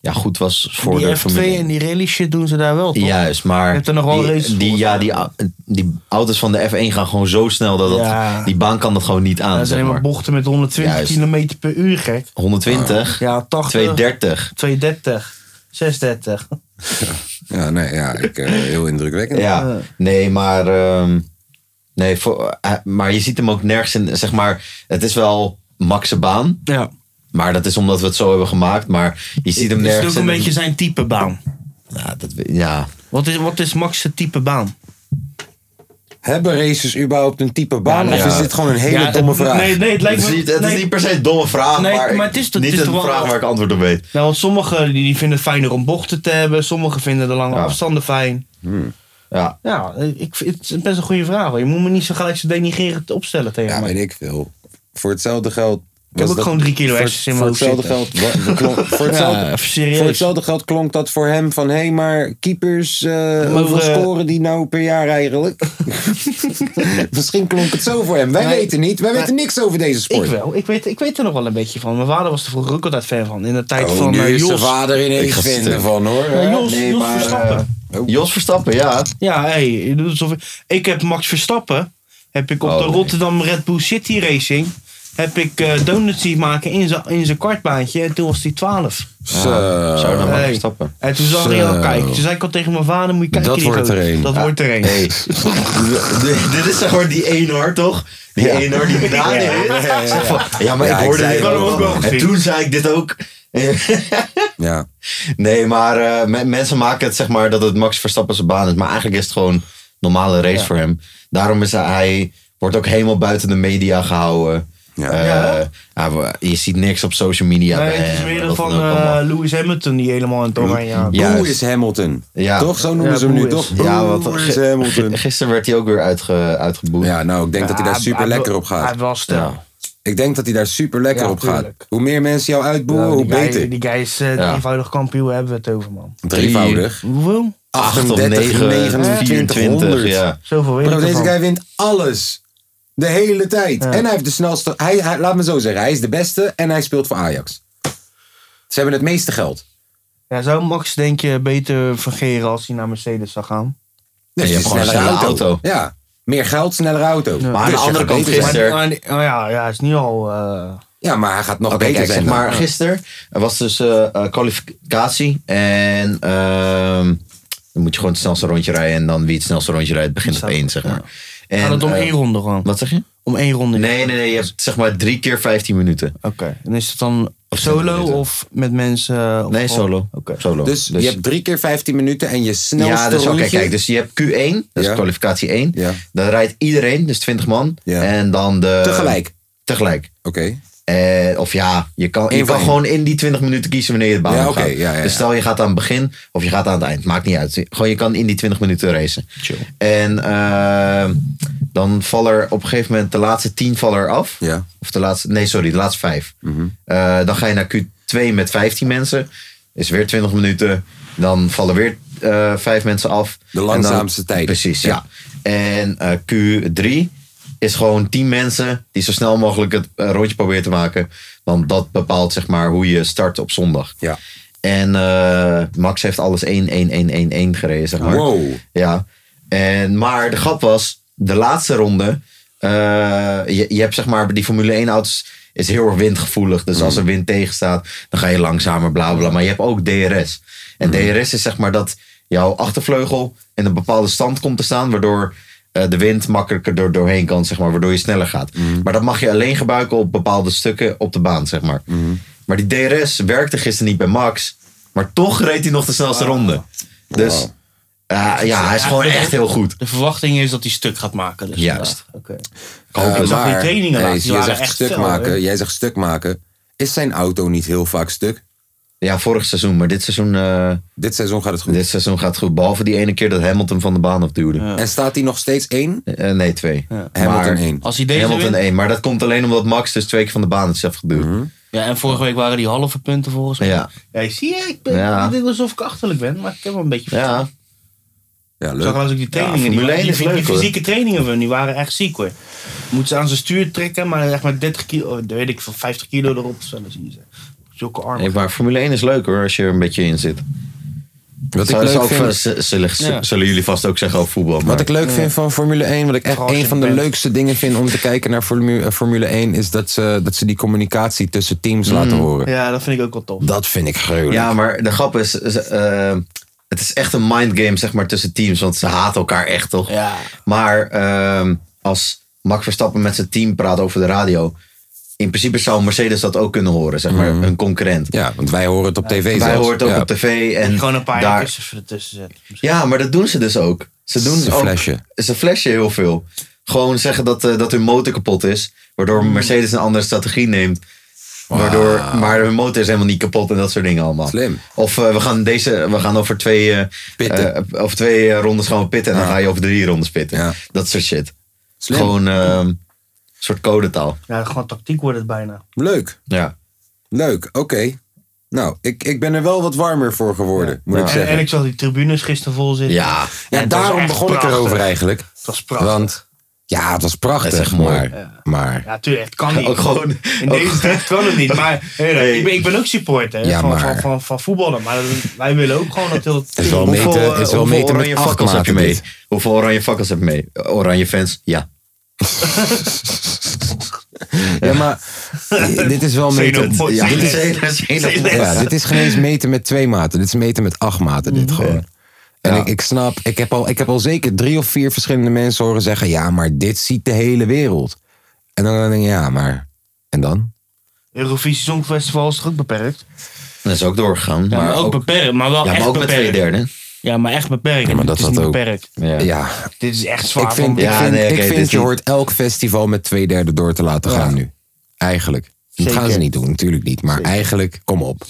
Speaker 4: ja, goed was voor
Speaker 3: die
Speaker 4: de
Speaker 3: F2
Speaker 4: familie.
Speaker 3: en die rally shit doen ze daar wel, toch?
Speaker 4: Juist, maar
Speaker 3: Je hebt er nog wel races
Speaker 4: die, die,
Speaker 3: voor.
Speaker 4: ja, die, au- die auto's van de F1 gaan gewoon zo snel dat, dat
Speaker 3: Ja.
Speaker 4: die baan kan dat gewoon niet aan.
Speaker 3: dat zijn
Speaker 4: zeg
Speaker 3: helemaal
Speaker 4: maar.
Speaker 3: bochten met 120
Speaker 4: Juist.
Speaker 3: km per uur, gek.
Speaker 4: 120,
Speaker 3: Ja, 80,
Speaker 4: 230.
Speaker 3: 230, 630.
Speaker 1: Ja, nee, ja, ik, eh, heel indrukwekkend.
Speaker 4: Ja, nee, maar, ehm, nee, voor, eh, maar je ziet hem ook nergens in. Zeg maar, het is wel maxe baan,
Speaker 3: Ja.
Speaker 4: maar dat is omdat we het zo hebben gemaakt. Maar je ziet hem
Speaker 3: Het is
Speaker 4: nergens
Speaker 3: ook een
Speaker 4: in-
Speaker 3: beetje zijn type baan.
Speaker 4: Ja, dat, we- ja,
Speaker 3: Wat is, wat is Max zijn type baan?
Speaker 1: Hebben racers überhaupt een type baan?
Speaker 3: Ja, nee,
Speaker 1: of is
Speaker 4: ja.
Speaker 1: dit gewoon een hele
Speaker 3: Ja,
Speaker 1: domme
Speaker 3: het-
Speaker 1: vraag?
Speaker 3: Nee, nee, het lijkt
Speaker 4: het,
Speaker 3: me...
Speaker 4: is niet, het
Speaker 3: nee.
Speaker 4: is niet per se een domme vraag,
Speaker 3: Nee,
Speaker 4: maar,
Speaker 3: maar het is toch-
Speaker 4: niet
Speaker 3: het is
Speaker 4: een
Speaker 3: toch wel-
Speaker 4: vraag waar ik antwoord op weet.
Speaker 3: Nou, want sommigen die, die vinden het fijner om bochten te hebben. Sommigen vinden de lange
Speaker 4: Ja.
Speaker 3: afstanden fijn.
Speaker 1: Hmm.
Speaker 4: Ja,
Speaker 3: Ja, ik, het is best een goede vraag. hoor. Je moet me niet zo gelijk zo denigrerend opstellen tegen
Speaker 1: Ja,
Speaker 3: mij.
Speaker 1: weet ik veel. Voor hetzelfde geld. Ik
Speaker 3: ook gewoon drie kilo hersens in
Speaker 1: voor,
Speaker 3: mijn
Speaker 1: voor
Speaker 3: hoofd
Speaker 1: hetzelfde geld. wa- wa- klonk- voor, hetzelfde,
Speaker 3: Ja, even serieus.
Speaker 1: voor hetzelfde geld klonk dat voor hem van: hé, hey, maar keepers, eh, hoeveel
Speaker 3: eh,
Speaker 1: scoren die nou per jaar eigenlijk? Misschien klonk het zo voor hem. Wij
Speaker 3: Nee.
Speaker 1: weten niet. Wij weten niks over deze
Speaker 3: Ik
Speaker 1: sport.
Speaker 3: wel. Ik weet, ik weet er nog wel een beetje van. Mijn vader was er vroeger ook altijd fan van. In de tijd
Speaker 1: Oh,
Speaker 3: van
Speaker 1: nu
Speaker 3: eh,
Speaker 1: is de
Speaker 3: Jos.
Speaker 1: vader
Speaker 4: Ik
Speaker 1: ineens
Speaker 4: ga
Speaker 1: vinden
Speaker 4: stuk.
Speaker 1: van hoor. eh,
Speaker 3: Ja, Jos,
Speaker 4: Nee,
Speaker 3: Jos
Speaker 4: maar,
Speaker 3: Verstappen.
Speaker 1: oh.
Speaker 4: Jos Verstappen, ja.
Speaker 3: Ja, hey, je doet alsof- ik heb Max Verstappen. Heb ik op
Speaker 4: Oh,
Speaker 3: de
Speaker 4: nee.
Speaker 3: Rotterdam Red Bull City Racing. Heb ik eh, donuts zien maken in zijn in zijn kartbaantje. En toen was hij 12.
Speaker 1: Zo.
Speaker 4: Zou dan maar
Speaker 3: Hey.
Speaker 4: Verstappen.
Speaker 3: En toen zag
Speaker 1: Zo.
Speaker 3: hij al kijken. Toen zei ik al tegen mijn vader: Moet je kijken,
Speaker 1: Dat
Speaker 3: die
Speaker 1: wordt
Speaker 3: gozer.
Speaker 1: er een.
Speaker 3: Dat wordt er een.
Speaker 4: Hey, d- dit is zeg maar die eenhoor, toch? Die eenhoor die na de hit zegt van, Ja, maar
Speaker 1: Ja,
Speaker 4: ik
Speaker 1: ik
Speaker 4: hoorde
Speaker 1: zei
Speaker 4: dit
Speaker 1: het
Speaker 3: ook
Speaker 4: ook.
Speaker 3: wel.
Speaker 4: En toen zei ik dit ook.
Speaker 1: Ja.
Speaker 4: Nee, maar eh, me- mensen maken het zeg maar dat het Max Verstappen zijn baan is. Maar eigenlijk is het gewoon een normale race voor hem. Daarom is hij, hij wordt ook helemaal buiten de media gehouden.
Speaker 1: Ja.
Speaker 4: Eh,
Speaker 3: Ja.
Speaker 4: hij wo- je ziet niks op social media.
Speaker 3: Nee,
Speaker 4: bij
Speaker 3: het is
Speaker 4: hem,
Speaker 3: weer
Speaker 4: wat
Speaker 3: van
Speaker 4: dan ook
Speaker 3: eh,
Speaker 4: allemaal.
Speaker 3: Lewis Hamilton die helemaal aan het oranje aan.
Speaker 4: Ja.
Speaker 1: Boe
Speaker 4: Juist.
Speaker 1: is Hamilton.
Speaker 4: Ja.
Speaker 1: Toch? Zo noemen
Speaker 3: Ja,
Speaker 1: ze hem nu
Speaker 3: Boe is-
Speaker 1: toch?
Speaker 4: ja, wat
Speaker 1: Boe is
Speaker 4: ge-
Speaker 1: Hamilton.
Speaker 4: ge- gisteren werd hij ook weer uitge, uitgeboet.
Speaker 1: Ja, nou, ik denk dat hij daar
Speaker 3: Ja,
Speaker 1: super lekker op gaat.
Speaker 3: Hij was er.
Speaker 4: Ja.
Speaker 1: Ik denk dat hij daar super lekker
Speaker 3: Ja,
Speaker 1: op gaat.
Speaker 3: tuurlijk.
Speaker 1: Hoe meer mensen jou uitboeren,
Speaker 3: Nou,
Speaker 1: hoe
Speaker 3: die guy-
Speaker 1: beter.
Speaker 3: Die guy is eh,
Speaker 4: Ja.
Speaker 3: drievoudig kampioen, hebben we het over, man.
Speaker 1: Drievoudig.
Speaker 3: Hoeveel?
Speaker 4: 8 of
Speaker 1: 38,
Speaker 4: 9, 24.
Speaker 1: 100.
Speaker 4: Ja.
Speaker 3: Zoveel weet
Speaker 1: Bro,
Speaker 3: ik
Speaker 1: deze
Speaker 3: ervan.
Speaker 1: guy wint alles. De hele tijd. En hij heeft de snelste... Hij, hij- laat me zo zeggen. Hij is de beste en hij speelt voor Ajax. Ze hebben het meeste geld.
Speaker 3: Ja, zou Max, denk je, beter vergeren als hij naar Mercedes zou gaan?
Speaker 4: En je
Speaker 1: een
Speaker 4: hebt gewoon een snelle auto.
Speaker 1: Ja. Meer geld, snellere auto.
Speaker 4: Maar aan de
Speaker 1: Dus je
Speaker 4: andere
Speaker 1: gaat
Speaker 4: kant
Speaker 1: beter zijn.
Speaker 4: gisteren.
Speaker 3: Maar, maar- oh ja, ja, hij is nu al... eh,
Speaker 1: Ja, maar hij gaat nog
Speaker 4: Oké,
Speaker 1: beter
Speaker 4: kijk,
Speaker 1: zijn.
Speaker 4: zeg
Speaker 1: dan.
Speaker 4: maar, gisteren was dus eh, eh, kwalificatie. En ehm, dan moet je gewoon het snelste rondje rijden. En dan wie het snelste rondje rijdt, begint op
Speaker 3: Snap ik,
Speaker 4: één, zeg maar. En,
Speaker 3: gaat het om
Speaker 4: eh,
Speaker 3: één ronde gewoon?
Speaker 4: Wat zeg je?
Speaker 3: Om één ronde?
Speaker 4: Nee, nee, nee. Je hebt zeg maar drie keer 15 minuten.
Speaker 3: Oké. En is het dan
Speaker 4: Of twintig
Speaker 3: solo
Speaker 4: minuten.
Speaker 3: of met mensen? eh, of
Speaker 4: Nee,
Speaker 3: gewoon-
Speaker 4: solo.
Speaker 3: Oké.
Speaker 4: solo.
Speaker 1: Dus, je hebt drie keer 15 minuten en je snelste
Speaker 4: ja, dus oké,
Speaker 1: rondje-
Speaker 4: kijk. Dus je hebt Q1, dat is
Speaker 1: Ja.
Speaker 4: kwalificatie 1.
Speaker 1: Ja.
Speaker 4: Dan rijdt iedereen, dus 20 man.
Speaker 1: Ja.
Speaker 4: En dan de...
Speaker 1: Tegelijk.
Speaker 4: Tegelijk.
Speaker 1: Oké.
Speaker 4: Eh, of ja, je kan,
Speaker 1: Eén
Speaker 4: je
Speaker 1: van
Speaker 4: kan
Speaker 1: één.
Speaker 4: gewoon in die 20 minuten kiezen wanneer je het baan
Speaker 1: Ja,
Speaker 4: op
Speaker 1: oké,
Speaker 4: gaat.
Speaker 1: ja, ja, ja.
Speaker 4: Dus stel je gaat aan het begin of je gaat aan het eind. Maakt niet uit. Gewoon je kan in die 20 minuten racen.
Speaker 3: Chill.
Speaker 4: En eh, dan vallen er op een gegeven moment de laatste 10 vallen er af.
Speaker 1: Ja.
Speaker 4: Of de laatste, nee, sorry, de laatste vijf. Eh, dan ga je naar Q2 met 15 mensen. Is weer 20 minuten. Dan vallen weer eh, vijf mensen af.
Speaker 1: De
Speaker 4: En dan-
Speaker 1: langzaamste tijden.
Speaker 4: Precies,
Speaker 1: Ja.
Speaker 4: ja. En eh, Q3 is gewoon 10 mensen die zo snel mogelijk het eh, rondje proberen te maken. Want dat bepaalt zeg maar hoe je start op zondag.
Speaker 1: Ja.
Speaker 4: En eh, Max heeft alles 1-1-1-1-1 gereden, zeg maar.
Speaker 1: Wow.
Speaker 4: Ja. En, maar de grap was, de laatste ronde, eh, je, je hebt zeg maar, die Formule 1 auto's is heel erg windgevoelig. Dus als er wind tegenstaat, dan ga je langzamer, bla bla. Maar je hebt ook DRS. En DRS is zeg maar dat jouw achtervleugel in een bepaalde stand komt te staan, waardoor eh, de wind makkelijker door, doorheen kan, zeg maar, waardoor je sneller gaat. Maar dat mag je alleen gebruiken op bepaalde stukken op de baan, zeg maar. Maar die DRS werkte gisteren niet bij Max, maar toch reed hij nog de snelste ronde. Dus eh, ja, hij is gewoon echt heel goed.
Speaker 3: De verwachting is dat hij stuk gaat maken. Dus
Speaker 4: Juist.
Speaker 3: ja, oké. Ik hoop dat
Speaker 1: Eh,
Speaker 3: ze ook die
Speaker 1: maar-
Speaker 3: trainingen
Speaker 1: nee,
Speaker 3: laten. Die
Speaker 1: jij
Speaker 3: waren
Speaker 1: zegt
Speaker 3: echt
Speaker 1: stuk
Speaker 3: fel,
Speaker 1: maken.
Speaker 3: hoor.
Speaker 1: Jij zegt stuk maken. Is zijn auto niet heel vaak stuk?
Speaker 4: Ja, vorig seizoen, maar dit seizoen, eh,
Speaker 1: Dit seizoen gaat het goed.
Speaker 4: dit seizoen gaat het goed. Behalve die ene keer dat Hamilton van de baan afduwde.
Speaker 1: En staat hij nog steeds één?
Speaker 4: Eh, nee, twee.
Speaker 1: Hamilton
Speaker 4: Maar-
Speaker 1: één.
Speaker 3: Als hij deze
Speaker 4: Hamilton
Speaker 3: wint-
Speaker 4: één. Maar dat komt alleen omdat Max dus twee keer van de baan is afgeduwd.
Speaker 1: Mhm.
Speaker 3: Ja, en vorige week waren die halve punten volgens mij.
Speaker 4: Ja.
Speaker 3: Ja, zie je, ik ben,
Speaker 4: Ja.
Speaker 3: het is alsof ik achterlijk ben, maar ik heb wel een beetje verstand.
Speaker 4: Ja,
Speaker 1: Ja,
Speaker 3: Ik zag
Speaker 1: leuk.
Speaker 3: laatst ook die trainingen.
Speaker 4: Ja,
Speaker 3: die,
Speaker 4: Formule
Speaker 3: waren- die,
Speaker 4: 1 is
Speaker 3: die
Speaker 4: leuk, hoor.
Speaker 3: fysieke trainingen van hun, die waren echt ziek hoor. Moeten ze aan zijn stuur trekken, maar echt maar 30 kilo, oh, weet ik veel, 50 kilo erop. Zo, dan zien ze. Zulke armen.
Speaker 4: Nee, maar Formule 1 is leuk hoor, als je er een beetje in zit.
Speaker 1: Wat ik
Speaker 4: Zou-
Speaker 1: leuk
Speaker 4: zou ook-
Speaker 1: vind...
Speaker 4: z- zullen, z-
Speaker 3: Ja.
Speaker 4: zullen jullie vast ook zeggen over voetbal. Maar
Speaker 1: Wat ik leuk vind van Formule 1, wat ik echt
Speaker 3: Vooral als
Speaker 1: een
Speaker 3: je
Speaker 1: van de
Speaker 3: bent.
Speaker 1: leukste dingen vind om te kijken naar Formu- eh, Formule 1, is dat ze, dat ze die communicatie tussen
Speaker 4: Mm.
Speaker 1: teams laten horen.
Speaker 3: Ja, dat vind ik ook wel tof.
Speaker 1: Dat vind ik gruwelijk.
Speaker 4: Ja, maar de grap is, is, eh, het is echt een mindgame zeg maar, tussen teams, want ze haten elkaar echt toch?
Speaker 3: Ja.
Speaker 4: Maar ehm, als Max Verstappen met zijn team praat over de radio, in principe zou Mercedes dat ook kunnen horen, zeg maar, een concurrent.
Speaker 1: Mm. Ja, want wij horen het op tv zelfs.
Speaker 4: Wij horen het ook
Speaker 1: Ja.
Speaker 4: op tv en
Speaker 3: Gewoon een paar
Speaker 4: daar-
Speaker 3: jaar kussens ertussen zetten. Misschien.
Speaker 4: Ja, maar dat doen ze dus ook. Ze doen
Speaker 1: Ze
Speaker 4: ook,
Speaker 1: flashen.
Speaker 4: Ze flashen heel veel. Gewoon zeggen dat, eh, dat hun motor kapot is.
Speaker 1: Hmm.
Speaker 4: Waardoor Mercedes een andere strategie neemt. Waardoor, maar hun motor is helemaal niet kapot en dat soort dingen allemaal.
Speaker 1: Slim.
Speaker 4: Of eh, we, gaan deze, we gaan over twee, eh,
Speaker 1: Pitten.
Speaker 4: eh, over twee eh, rondes gaan we pitten. En dan ga je over drie rondes pitten.
Speaker 1: Ja.
Speaker 4: Dat soort shit.
Speaker 1: Slim.
Speaker 4: Gewoon eh, een soort codetaal.
Speaker 3: Ja, gewoon tactiek wordt het bijna.
Speaker 1: Leuk,
Speaker 4: Ja.
Speaker 1: leuk, oké. Nou, ik, ik ben er wel wat warmer voor geworden, moet ik
Speaker 3: En,
Speaker 1: zeggen.
Speaker 3: en ik zag die tribunes gisteren vol zitten.
Speaker 4: Ja.
Speaker 1: ja,
Speaker 3: en dat is
Speaker 1: daarom
Speaker 3: echt
Speaker 1: begon ik
Speaker 3: prachtig.
Speaker 1: erover eigenlijk.
Speaker 3: Het was prachtig.
Speaker 1: Want ja, het was
Speaker 4: Dat is
Speaker 1: prachtig,
Speaker 4: echt mooi.
Speaker 1: maar, maar
Speaker 3: Ja, tuurlijk, het kan niet.
Speaker 4: Ook gewoon-
Speaker 3: In deze tijd kan het niet. Maar hé,
Speaker 4: Hey.
Speaker 3: ik, ben, ik ben ook supporter hè,
Speaker 1: Ja,
Speaker 3: van,
Speaker 1: maar-
Speaker 3: van, van, van voetballen. Maar dat- wij willen ook gewoon dat heel het
Speaker 1: is wel
Speaker 4: Hoeveel,
Speaker 1: meten-
Speaker 4: eh,
Speaker 1: is wel
Speaker 4: hoeveel
Speaker 1: meten met
Speaker 4: oranje
Speaker 1: acht
Speaker 4: fakkels heb je
Speaker 1: maten
Speaker 4: mee?
Speaker 1: dit.
Speaker 4: Hoeveel oranje fakkels heb je mee? Oranje fans? Ja.
Speaker 1: Ja, maar dit is wel meten.
Speaker 3: Xenofob.
Speaker 1: Ja, dit is, ja, dit is geen eens meten met twee maten. Dit is meten met acht maten. Dit gewoon. En ik, ik snap, ik heb, al, ik heb al zeker drie of vier verschillende mensen horen zeggen: ja, maar dit ziet de hele wereld. En dan denk ik: ja, maar. En dan?
Speaker 3: Eurovisie Songfestival is toch ook beperkt?
Speaker 4: Dat is ook doorgegaan.
Speaker 3: Ja, maar,
Speaker 4: maar
Speaker 3: ook, beperkt, maar wel
Speaker 4: Ja,
Speaker 3: echt
Speaker 4: maar ook met
Speaker 3: beperkt.
Speaker 4: twee derde.
Speaker 3: Ja, maar echt beperkt.
Speaker 1: Ja, maar
Speaker 3: het
Speaker 1: dat
Speaker 3: is
Speaker 1: had
Speaker 3: niet
Speaker 1: ook.
Speaker 3: beperkt.
Speaker 4: Ja.
Speaker 1: Ja,
Speaker 3: Dit is echt zwaar.
Speaker 1: ik vind, ik
Speaker 4: Ja,
Speaker 1: vind,
Speaker 4: nee, oké,
Speaker 1: ik
Speaker 4: dit
Speaker 1: vind
Speaker 4: is
Speaker 1: je
Speaker 4: niet-
Speaker 1: hoort elk festival met twee derde door te laten gaan nu. Eigenlijk. Dat gaan
Speaker 3: Zeker.
Speaker 1: ze niet doen, natuurlijk niet. Maar eigenlijk, kom op.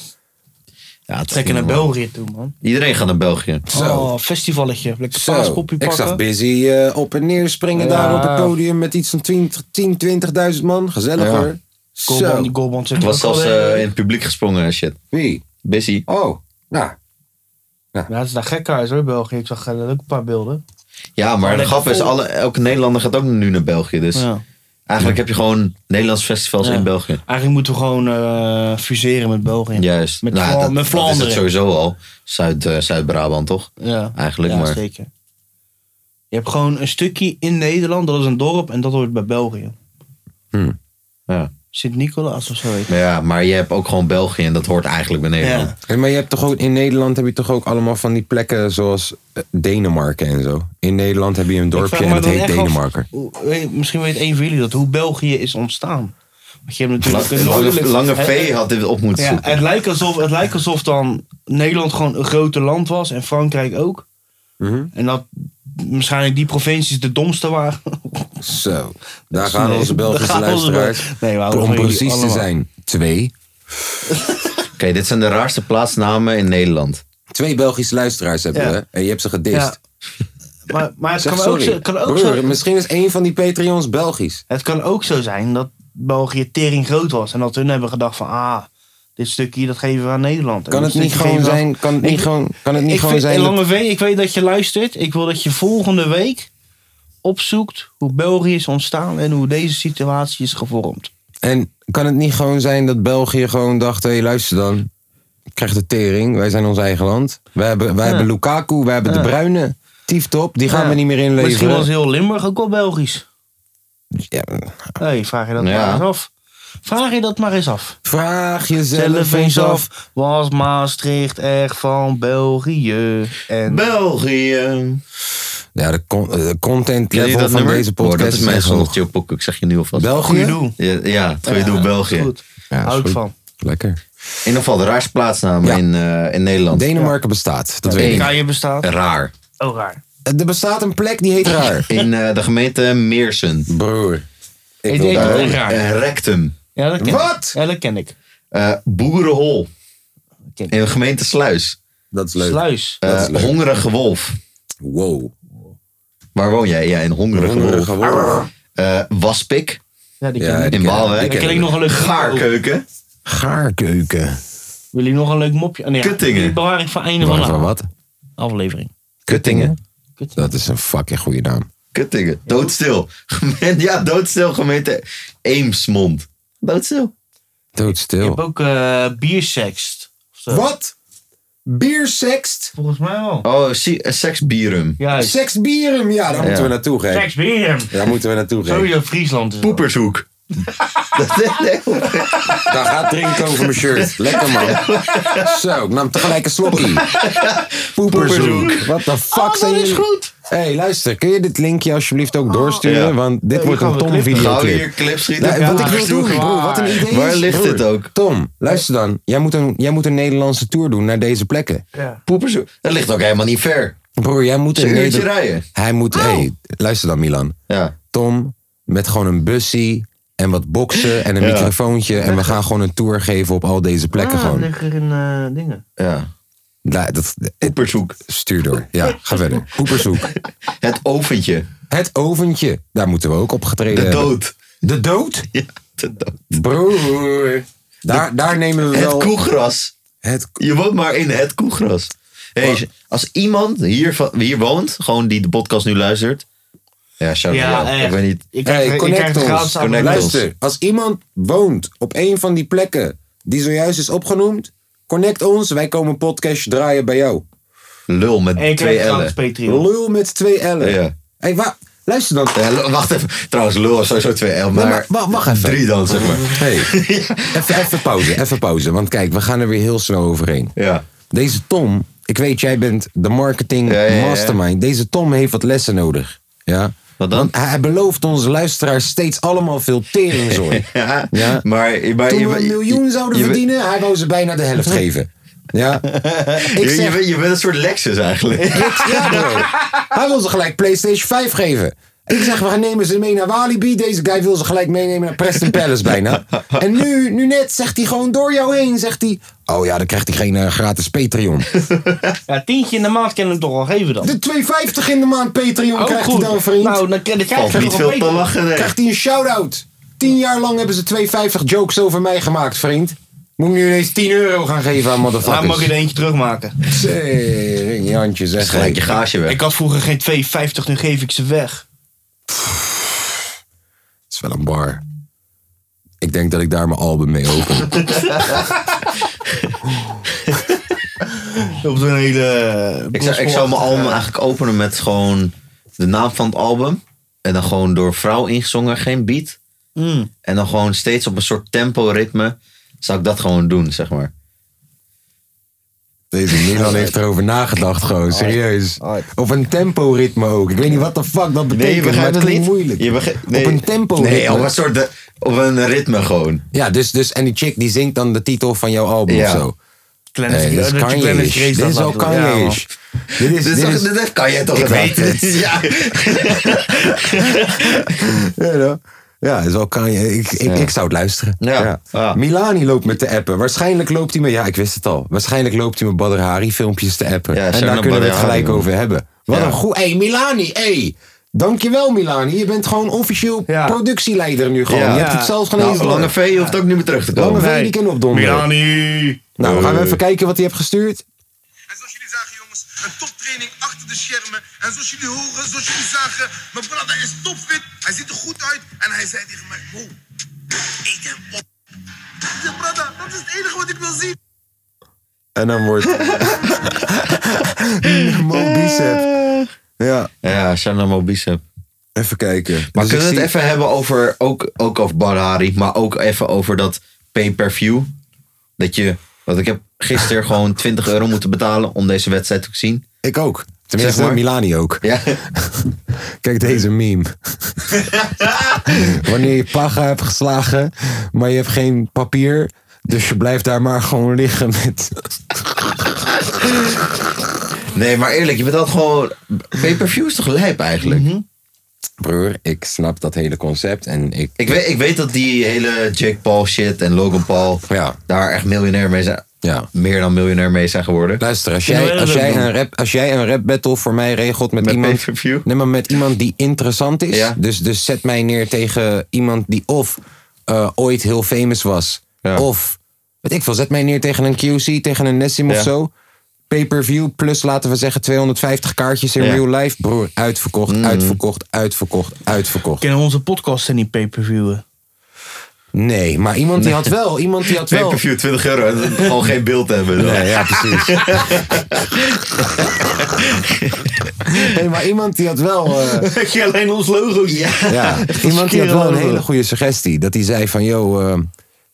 Speaker 4: Ja, het is
Speaker 3: Trekken
Speaker 4: niet
Speaker 3: naar
Speaker 4: normaal.
Speaker 3: België toe, man.
Speaker 4: Iedereen gaat naar België.
Speaker 1: Zo.
Speaker 3: Oh, festivalletje. Lekker
Speaker 1: Zo,
Speaker 3: paaspoppie
Speaker 1: ik
Speaker 3: pakken.
Speaker 1: zag Busy eh, op en neer springen
Speaker 3: Ja.
Speaker 1: daar op het podium met iets van 20, 10, 20.000 man. Gezellig
Speaker 4: Ja.
Speaker 1: hoor.
Speaker 3: Goalband,
Speaker 1: Zo.
Speaker 3: die goalband zit
Speaker 4: Het was
Speaker 3: ook al,
Speaker 4: zelfs
Speaker 3: eh,
Speaker 4: eh, in het publiek gesprongen en shit.
Speaker 1: Wie?
Speaker 4: Busy.
Speaker 1: Oh, nou.
Speaker 3: Ja, het is daar gekhuis hoor, België. Ik zag eh, ook een paar beelden.
Speaker 4: Ja, maar de
Speaker 3: lekker
Speaker 4: grap is,
Speaker 3: vol.
Speaker 4: alle, elke Nederlander gaat ook nu naar België. Dus
Speaker 3: Ja.
Speaker 4: eigenlijk heb je gewoon Nederlandse festivals
Speaker 3: Ja.
Speaker 4: in België.
Speaker 3: Eigenlijk moeten we gewoon eh, fuseren met België.
Speaker 4: Juist.
Speaker 3: Met,
Speaker 4: Nou,
Speaker 3: Vla-
Speaker 4: dat,
Speaker 3: met
Speaker 4: dat is
Speaker 3: Vlaanderen.
Speaker 4: het sowieso al. Zuid, eh, Zuid-Brabant, toch?
Speaker 3: Ja,
Speaker 4: Eigenlijk,
Speaker 3: ja,
Speaker 4: maar-
Speaker 3: zeker. Je hebt gewoon een stukje in Nederland, dat is een dorp, en dat hoort bij België.
Speaker 4: Ja.
Speaker 3: Sint-Nicolaas of zo heet het.
Speaker 4: Maar ja, maar je hebt ook gewoon België en dat hoort eigenlijk bij Nederland.
Speaker 3: Ja.
Speaker 1: Hey, maar je hebt toch ook in Nederland heb je toch ook allemaal van die plekken zoals eh, Denemarken en zo. In Nederland heb je een
Speaker 3: Ik vraag
Speaker 1: dorpje
Speaker 3: me
Speaker 1: en het
Speaker 3: dan
Speaker 1: heet
Speaker 3: echt af-
Speaker 1: Denemarken.
Speaker 3: hoe- weet- misschien weet een van jullie dat, hoe België is ontstaan. Want je hebt natuurlijk een
Speaker 4: Lange,
Speaker 3: noordelijk-
Speaker 4: Lange
Speaker 3: het-
Speaker 4: V had dit op moeten
Speaker 3: Ja,
Speaker 4: zoeken.
Speaker 3: het lijkt, alsof, het lijkt alsof dan Nederland gewoon een grote land was en
Speaker 1: Mhm.
Speaker 3: Frankrijk ook. En dat waarschijnlijk die provincies de domste waren.
Speaker 1: Zo, daar
Speaker 3: Dus
Speaker 1: gaan
Speaker 3: nee,
Speaker 1: onze Belgische
Speaker 3: daar gaan onze
Speaker 1: luisteraars.
Speaker 3: Bel- Nee, we houden
Speaker 1: om
Speaker 3: van jullie
Speaker 1: precies te
Speaker 3: allemaal.
Speaker 1: zijn, twee.
Speaker 4: dit zijn de raarste plaatsnamen in Nederland.
Speaker 1: Twee Belgische luisteraars hebben
Speaker 3: Ja.
Speaker 1: we. En je hebt ze gedist.
Speaker 3: Ja. Maar, maar het,
Speaker 1: Zeg,
Speaker 3: kan ook
Speaker 1: sorry.
Speaker 3: zo, kan ook
Speaker 1: Broer,
Speaker 3: zo,
Speaker 1: Misschien is één van die Patreons Belgisch.
Speaker 3: het kan ook zo zijn dat België tering groot was. En dat hun hebben gedacht van, ah, dit stukje dat geven we aan Nederland. En
Speaker 1: Kan
Speaker 3: dit
Speaker 1: het niet
Speaker 3: stukje geven
Speaker 1: gewoon
Speaker 3: we aan-
Speaker 1: zijn? Kan het niet
Speaker 3: Ik-
Speaker 1: gewoon, kan het niet
Speaker 3: ik
Speaker 1: gewoon
Speaker 3: vind,
Speaker 1: zijn?
Speaker 3: en
Speaker 1: dat-
Speaker 3: Lange V, ik weet dat je luistert. Ik wil dat je volgende week opzoekt hoe België is ontstaan en hoe deze situatie is gevormd.
Speaker 1: En kan het niet gewoon zijn dat België gewoon dacht: hé, hey, luister dan. Ik krijg de tering, wij zijn ons eigen land. Wij hebben, wij
Speaker 3: Ja.
Speaker 1: hebben Lukaku, wij hebben de Bruine. Tieftop, die gaan
Speaker 3: Ja.
Speaker 1: we niet meer
Speaker 3: Misschien
Speaker 1: inleveren.
Speaker 3: was heel Limburg ook wel Belgisch.
Speaker 1: Ja,
Speaker 3: Nee, vraag je dat
Speaker 4: Ja.
Speaker 3: maar eens af. Vraag je dat maar eens af.
Speaker 1: Vraag jezelf eens af.
Speaker 3: was Maastricht echt van België? En
Speaker 4: België.
Speaker 1: Ja, de, con- eh, de content
Speaker 4: Ken je
Speaker 1: level
Speaker 4: dat
Speaker 1: van
Speaker 4: nummer?
Speaker 1: deze
Speaker 4: Oh,
Speaker 1: podcast
Speaker 4: dat is
Speaker 1: is
Speaker 4: mijn
Speaker 1: echt
Speaker 4: zonder
Speaker 1: hoog.
Speaker 4: Chillpoek. Ik zeg je nu alvast.
Speaker 3: goede
Speaker 1: België?
Speaker 3: doel.
Speaker 4: Ja, ja, het goede
Speaker 3: Ja,
Speaker 4: doel België.
Speaker 3: Goed.
Speaker 1: Ja, is
Speaker 3: Hou ik
Speaker 1: goed.
Speaker 3: van.
Speaker 1: Lekker.
Speaker 4: In ieder geval de raarste plaatsnamen
Speaker 1: Ja.
Speaker 4: in, eh, in Nederland.
Speaker 1: Denemarken bestaat, dat weet ik.
Speaker 4: Eén.
Speaker 3: Kan bestaat?
Speaker 4: Raar.
Speaker 3: Oh, raar.
Speaker 1: Er bestaat een plek die heet raar.
Speaker 4: In eh, de gemeente Meersen.
Speaker 1: Broer.
Speaker 3: Ik denk-
Speaker 1: Ik wil
Speaker 4: Eh,
Speaker 1: daar-
Speaker 3: ook raar.
Speaker 4: eh, Rectum.
Speaker 3: Ja, dat ken
Speaker 1: Wat?
Speaker 3: ik. Ja, dat ken ik.
Speaker 4: Eh, Boerenhol.
Speaker 3: Ken ik.
Speaker 4: In de gemeente Sluis.
Speaker 1: Dat is leuk.
Speaker 3: Sluis.
Speaker 4: Eh,
Speaker 1: Dat is leuk.
Speaker 4: Hongerige Wolf.
Speaker 1: Wow.
Speaker 4: Waar woon jij? Ja, in Hongerige, Wolf.
Speaker 1: Hongerige wolf.
Speaker 4: Eh, Waspik.
Speaker 3: Ja, die
Speaker 1: Ja,
Speaker 3: ken ik.
Speaker 1: die kennen
Speaker 4: In
Speaker 1: we, die
Speaker 3: Dan
Speaker 4: Waalwijk.
Speaker 1: kennen
Speaker 3: ken ik
Speaker 1: we.
Speaker 3: nog een leuk
Speaker 4: Gaarkeuken.
Speaker 1: Gaarkeuken.
Speaker 3: Wil je nog een leuk mopje? Ah, nee, ja.
Speaker 4: Kuttingen.
Speaker 3: Die bewaar ik voor einde van
Speaker 1: Wacht, van
Speaker 3: de
Speaker 1: wat?
Speaker 3: aflevering.
Speaker 4: Kuttingen.
Speaker 3: Kuttingen.
Speaker 1: Dat is een fucking goede naam.
Speaker 4: Kuttingen. Doodstil. Gemeente- ja, doodstil. Gemeente Eemsmond. Doodstil.
Speaker 3: Je hebt
Speaker 1: Doodstil.
Speaker 3: ook eh biersext. of zo.
Speaker 1: Wat? Biersext?
Speaker 3: Volgens mij wel.
Speaker 4: Oh, si- eh, seksbierum.
Speaker 3: Juist.
Speaker 1: Seksbieren? Ja, daar moeten we naartoe, gek.
Speaker 3: Seks weer.
Speaker 1: Daar moeten we naartoe, gek.
Speaker 3: Sowieso Friesland is dat.
Speaker 4: Poepershoek.
Speaker 1: Daar gaat drinken over mijn shirt. Lekker man. Zo, ik nam tegelijk een slokkie. Poeperzoek. Wat de fuck zijn
Speaker 3: dat is
Speaker 1: jullie-
Speaker 3: goed.
Speaker 1: hey, luister. Kun je dit linkje alsjeblieft ook doorsturen?
Speaker 4: Oh, Ja.
Speaker 1: Want dit
Speaker 3: Ja,
Speaker 1: wordt
Speaker 3: die
Speaker 1: een
Speaker 3: gaan we
Speaker 1: Tom
Speaker 3: knippen.
Speaker 4: Gauw
Speaker 1: videoclip.
Speaker 4: hier clips schieten.
Speaker 1: Nou,
Speaker 4: Ja,
Speaker 1: wat ik wil
Speaker 4: Poepershoek.
Speaker 1: doen, broer. Wat een idee
Speaker 4: Waar
Speaker 1: is,
Speaker 4: ligt
Speaker 1: broer.
Speaker 4: dit ook?
Speaker 1: Tom, luister dan. Jij moet, een, jij moet een Nederlandse tour doen naar deze plekken.
Speaker 3: Ja.
Speaker 4: Poepershoek. Dat ligt ook helemaal niet ver.
Speaker 1: Broer, jij moet...
Speaker 4: Ze een uurtje
Speaker 1: Neder-
Speaker 4: rijden.
Speaker 1: Hij moet... hey, luister dan Milan.
Speaker 4: Ja.
Speaker 1: Tom met gewoon een bussie en wat boksen en een
Speaker 4: Ja.
Speaker 1: microfoontje. En we gaan gewoon een tour geven op al deze plekken
Speaker 3: Ah,
Speaker 1: gewoon.
Speaker 3: liggen in eh, dingen.
Speaker 4: ja.
Speaker 1: Nou, dat,
Speaker 4: Poepershoek.
Speaker 1: Stuur door. Ja, ga verder. Poepershoek.
Speaker 4: Het oventje.
Speaker 1: Het oventje. Daar moeten we ook op getreden
Speaker 4: De
Speaker 1: hebben.
Speaker 4: dood.
Speaker 1: De dood?
Speaker 4: Ja, de dood.
Speaker 1: Broer. Daar, daar nemen we
Speaker 4: Het
Speaker 1: wel...
Speaker 4: koegras.
Speaker 1: Het ko-
Speaker 4: Je woont maar in het koegras. Hey, als iemand hier, van- hier woont, gewoon die de podcast nu luistert. Ja, shout
Speaker 3: Ja,
Speaker 4: out.
Speaker 3: echt.
Speaker 4: Ik weet niet.
Speaker 3: Ik krijg,
Speaker 1: Hey,
Speaker 3: ik krijg
Speaker 1: connect
Speaker 3: de
Speaker 1: ons.
Speaker 3: gratis aan-
Speaker 4: Connect.
Speaker 1: Luister, als iemand woont op een van die plekken die zojuist is opgenoemd, connect ons. Wij komen podcast draaien bij jou.
Speaker 4: Lul met
Speaker 3: En ik
Speaker 4: twee
Speaker 3: krijg gratis
Speaker 4: L'en.
Speaker 3: Patreon.
Speaker 1: Lul met twee L'en.
Speaker 4: Ja.
Speaker 1: Hey, wa- luister dan.
Speaker 4: Ja, lul- wacht even. Trouwens, lul is sowieso twee L,
Speaker 1: Nee,
Speaker 4: maar,
Speaker 1: maar wa- wacht even.
Speaker 4: drie dan, zeg maar.
Speaker 1: Hey, even, even pauze, even pauze. Want kijk, we gaan er weer heel snel overheen.
Speaker 4: Ja.
Speaker 1: Deze Tom, ik weet, jij bent de marketing
Speaker 4: Ja, ja, ja.
Speaker 1: mastermind. Deze Tom heeft wat lessen nodig. Ja?
Speaker 4: Wat dan?
Speaker 1: Want hij belooft onze luisteraars steeds allemaal veel teringzooi.
Speaker 4: Ja,
Speaker 1: Ja.
Speaker 4: maar... maar
Speaker 1: Toen
Speaker 4: je-
Speaker 1: we een
Speaker 4: je-
Speaker 1: miljoen
Speaker 4: je-
Speaker 1: zouden
Speaker 4: je-
Speaker 1: verdienen, hij wou ze bijna de helft geven. Ja? Ik
Speaker 4: Je, je,
Speaker 1: zeg,
Speaker 4: bent- je bent een soort Lexus eigenlijk.
Speaker 1: ja bro. Hij wil ze gelijk PlayStation 5 geven. Ik zeg, we gaan nemen ze mee naar Walibi. Deze guy wil ze gelijk meenemen naar Preston Palace bijna. En nu, nu net zegt hij gewoon door jou heen, zegt hij... Oh ja, dan krijgt hij geen eh, gratis Patreon.
Speaker 3: Ja, tientje in de maand kunnen we hem toch al geven dan.
Speaker 1: De 2,50 in de maand Patreon
Speaker 3: Ook
Speaker 1: krijgt
Speaker 3: Oh, goed.
Speaker 1: hij dan, vriend.
Speaker 3: Nou, dan krijg dan krijg
Speaker 4: Valt
Speaker 3: je
Speaker 4: niet
Speaker 3: nog
Speaker 4: veel
Speaker 3: een
Speaker 4: te
Speaker 3: Patreon.
Speaker 4: lachen, nee.
Speaker 1: krijgt hij een shout-out. Tien jaar lang hebben ze 2,50 jokes over mij gemaakt, vriend. Moet ik nu ineens 10 euro gaan geven aan
Speaker 4: Nou,
Speaker 3: Ja, mag ik
Speaker 1: motherfuckers?
Speaker 3: er eentje terugmaken.
Speaker 1: Zering, Jantje,
Speaker 4: Dus
Speaker 1: zeg.
Speaker 4: gelijk je
Speaker 1: hey.
Speaker 4: gaasje weg.
Speaker 3: Ik had vroeger geen 2,50, nu geef ik ze weg.
Speaker 1: Het is wel een bar. Ik denk dat ik daar mijn album mee open.
Speaker 3: Op zo'n hele...
Speaker 4: Ik zou, ik zou mijn album eigenlijk openen met gewoon de naam van het album. En dan gewoon door vrouw ingezongen, geen beat.
Speaker 3: Mm.
Speaker 4: En dan gewoon steeds op een soort tempo-ritme. Zou ik dat gewoon doen, zeg maar.
Speaker 1: Deze Milan heeft erover nagedacht, gewoon serieus. Op een temporitme ook. Ik weet niet wat de fuck dat betekent, maar het klinkt moeilijk.
Speaker 4: Je begrijpt- nee.
Speaker 1: Op een tempo.
Speaker 4: Nee, op een soort de- op een ritme gewoon.
Speaker 1: Ja, dus, dus en die chick die zingt dan de titel van jouw album
Speaker 4: Ja.
Speaker 1: of zo.
Speaker 3: Glennis
Speaker 1: Nee, dit is
Speaker 3: dat je
Speaker 1: Kanye.
Speaker 3: Glennis Grace
Speaker 1: Dit
Speaker 3: dat
Speaker 1: is al
Speaker 3: laat doen. Ja,
Speaker 1: Kanye.
Speaker 3: man.
Speaker 1: Dit is dit
Speaker 4: Dit, is
Speaker 1: is-
Speaker 4: toch- dit Dus kan jij toch
Speaker 1: Ik
Speaker 4: inderdaad?
Speaker 1: weet het.
Speaker 4: Ja.
Speaker 1: Ja, ja. Ja, dat is wel kan je. Ik, ik, ik zou het luisteren.
Speaker 4: Ja. Ja.
Speaker 1: Milani loopt met de appen. Waarschijnlijk loopt hij met. Ja, ik wist het al. Waarschijnlijk loopt hij met Badr Hari filmpjes te appen.
Speaker 4: Ja,
Speaker 1: en
Speaker 4: shout
Speaker 1: daar
Speaker 4: out
Speaker 1: kunnen we het
Speaker 4: Badr Hari,
Speaker 1: gelijk
Speaker 4: man.
Speaker 1: over hebben. Wat een goed. hey, Milani, hey. Dankjewel, Milani. Je bent gewoon officieel
Speaker 3: Ja.
Speaker 1: productieleider nu gewoon.
Speaker 4: Ja.
Speaker 1: Je hebt het zelfs gewoon eens
Speaker 4: Nou,
Speaker 1: door.
Speaker 4: Lange V je hoeft ook niet meer terug te
Speaker 1: Lange
Speaker 4: komen.
Speaker 1: V, die kunnen opdonderen.
Speaker 3: Milani.
Speaker 1: Nou,
Speaker 4: Eh.
Speaker 1: gaan we even kijken wat hij heeft gestuurd.
Speaker 6: En zoals jullie zagen, jongens, een toptraining achter de schermen. En zoals jullie horen, zoals jullie zagen, mijn brother is topfit. Hij ziet er goed uit. En hij zei tegen mij: Mo, eet hem op. Ik zei, brother, dat is het enige wat ik wil zien.
Speaker 1: En dan wordt. Mo Bicep. Ja,
Speaker 4: Ja, Shannon Mo Bicep.
Speaker 1: even kijken.
Speaker 4: Maar
Speaker 1: Dus
Speaker 4: kunnen
Speaker 1: ik
Speaker 4: we het
Speaker 1: zie-
Speaker 4: even hebben over, ook, ook over Barari, maar ook even over dat pay-per-view? Dat je, want ik heb gisteren gewoon 20 euro moeten betalen om deze wedstrijd te zien.
Speaker 1: Ik ook. Tenminste,
Speaker 4: Zeg maar.
Speaker 1: Milani ook.
Speaker 4: Ja,
Speaker 1: Kijk deze meme. Wanneer je paga hebt geslagen, maar je hebt geen papier. Dus je blijft daar maar gewoon liggen met...
Speaker 4: nee, maar eerlijk, je betaalt gewoon, pay-per-view is toch lijp eigenlijk?
Speaker 1: Broer, ik snap dat hele concept en ik...
Speaker 4: ik, weet, ik weet dat die hele Jake Paul shit en Logan Paul
Speaker 1: Ja.
Speaker 4: daar echt miljonair mee zijn,
Speaker 1: Ja.
Speaker 4: meer dan miljonair mee zijn geworden.
Speaker 1: Luister, als
Speaker 3: Kunnen
Speaker 1: jij,
Speaker 3: we
Speaker 1: als,
Speaker 3: dat
Speaker 1: jij
Speaker 3: doen?
Speaker 1: een rap, als jij een rap battle voor mij regelt met,
Speaker 4: Met
Speaker 1: iemand...
Speaker 4: pay-per-view?
Speaker 1: Nee, maar met iemand die interessant is.
Speaker 4: Ja.
Speaker 1: Dus, dus zet mij neer tegen iemand die of eh, ooit heel famous was...
Speaker 4: Ja.
Speaker 1: of, weet ik veel, zet mij neer tegen een QC, tegen een Nessim of
Speaker 4: Ja.
Speaker 1: zo... Pay-per-view plus, laten we zeggen, 250 kaartjes in
Speaker 4: Ja.
Speaker 1: real life. Broer, uitverkocht, uitverkocht, uitverkocht, uitverkocht.
Speaker 3: Kunnen onze podcasten niet pay-per-viewen?
Speaker 1: Nee, maar iemand die had wel, iemand die had wel...
Speaker 4: Pay-per-view 20 euro en gewoon geen beeld hebben. dan.
Speaker 1: Nee, ja, precies. nee, maar iemand die had wel... eh,
Speaker 3: Heb je alleen ons logo? Ja.
Speaker 1: Ja, iemand die had wel een
Speaker 3: Kerel.
Speaker 1: hele goede suggestie. Dat hij zei van, yo, eh,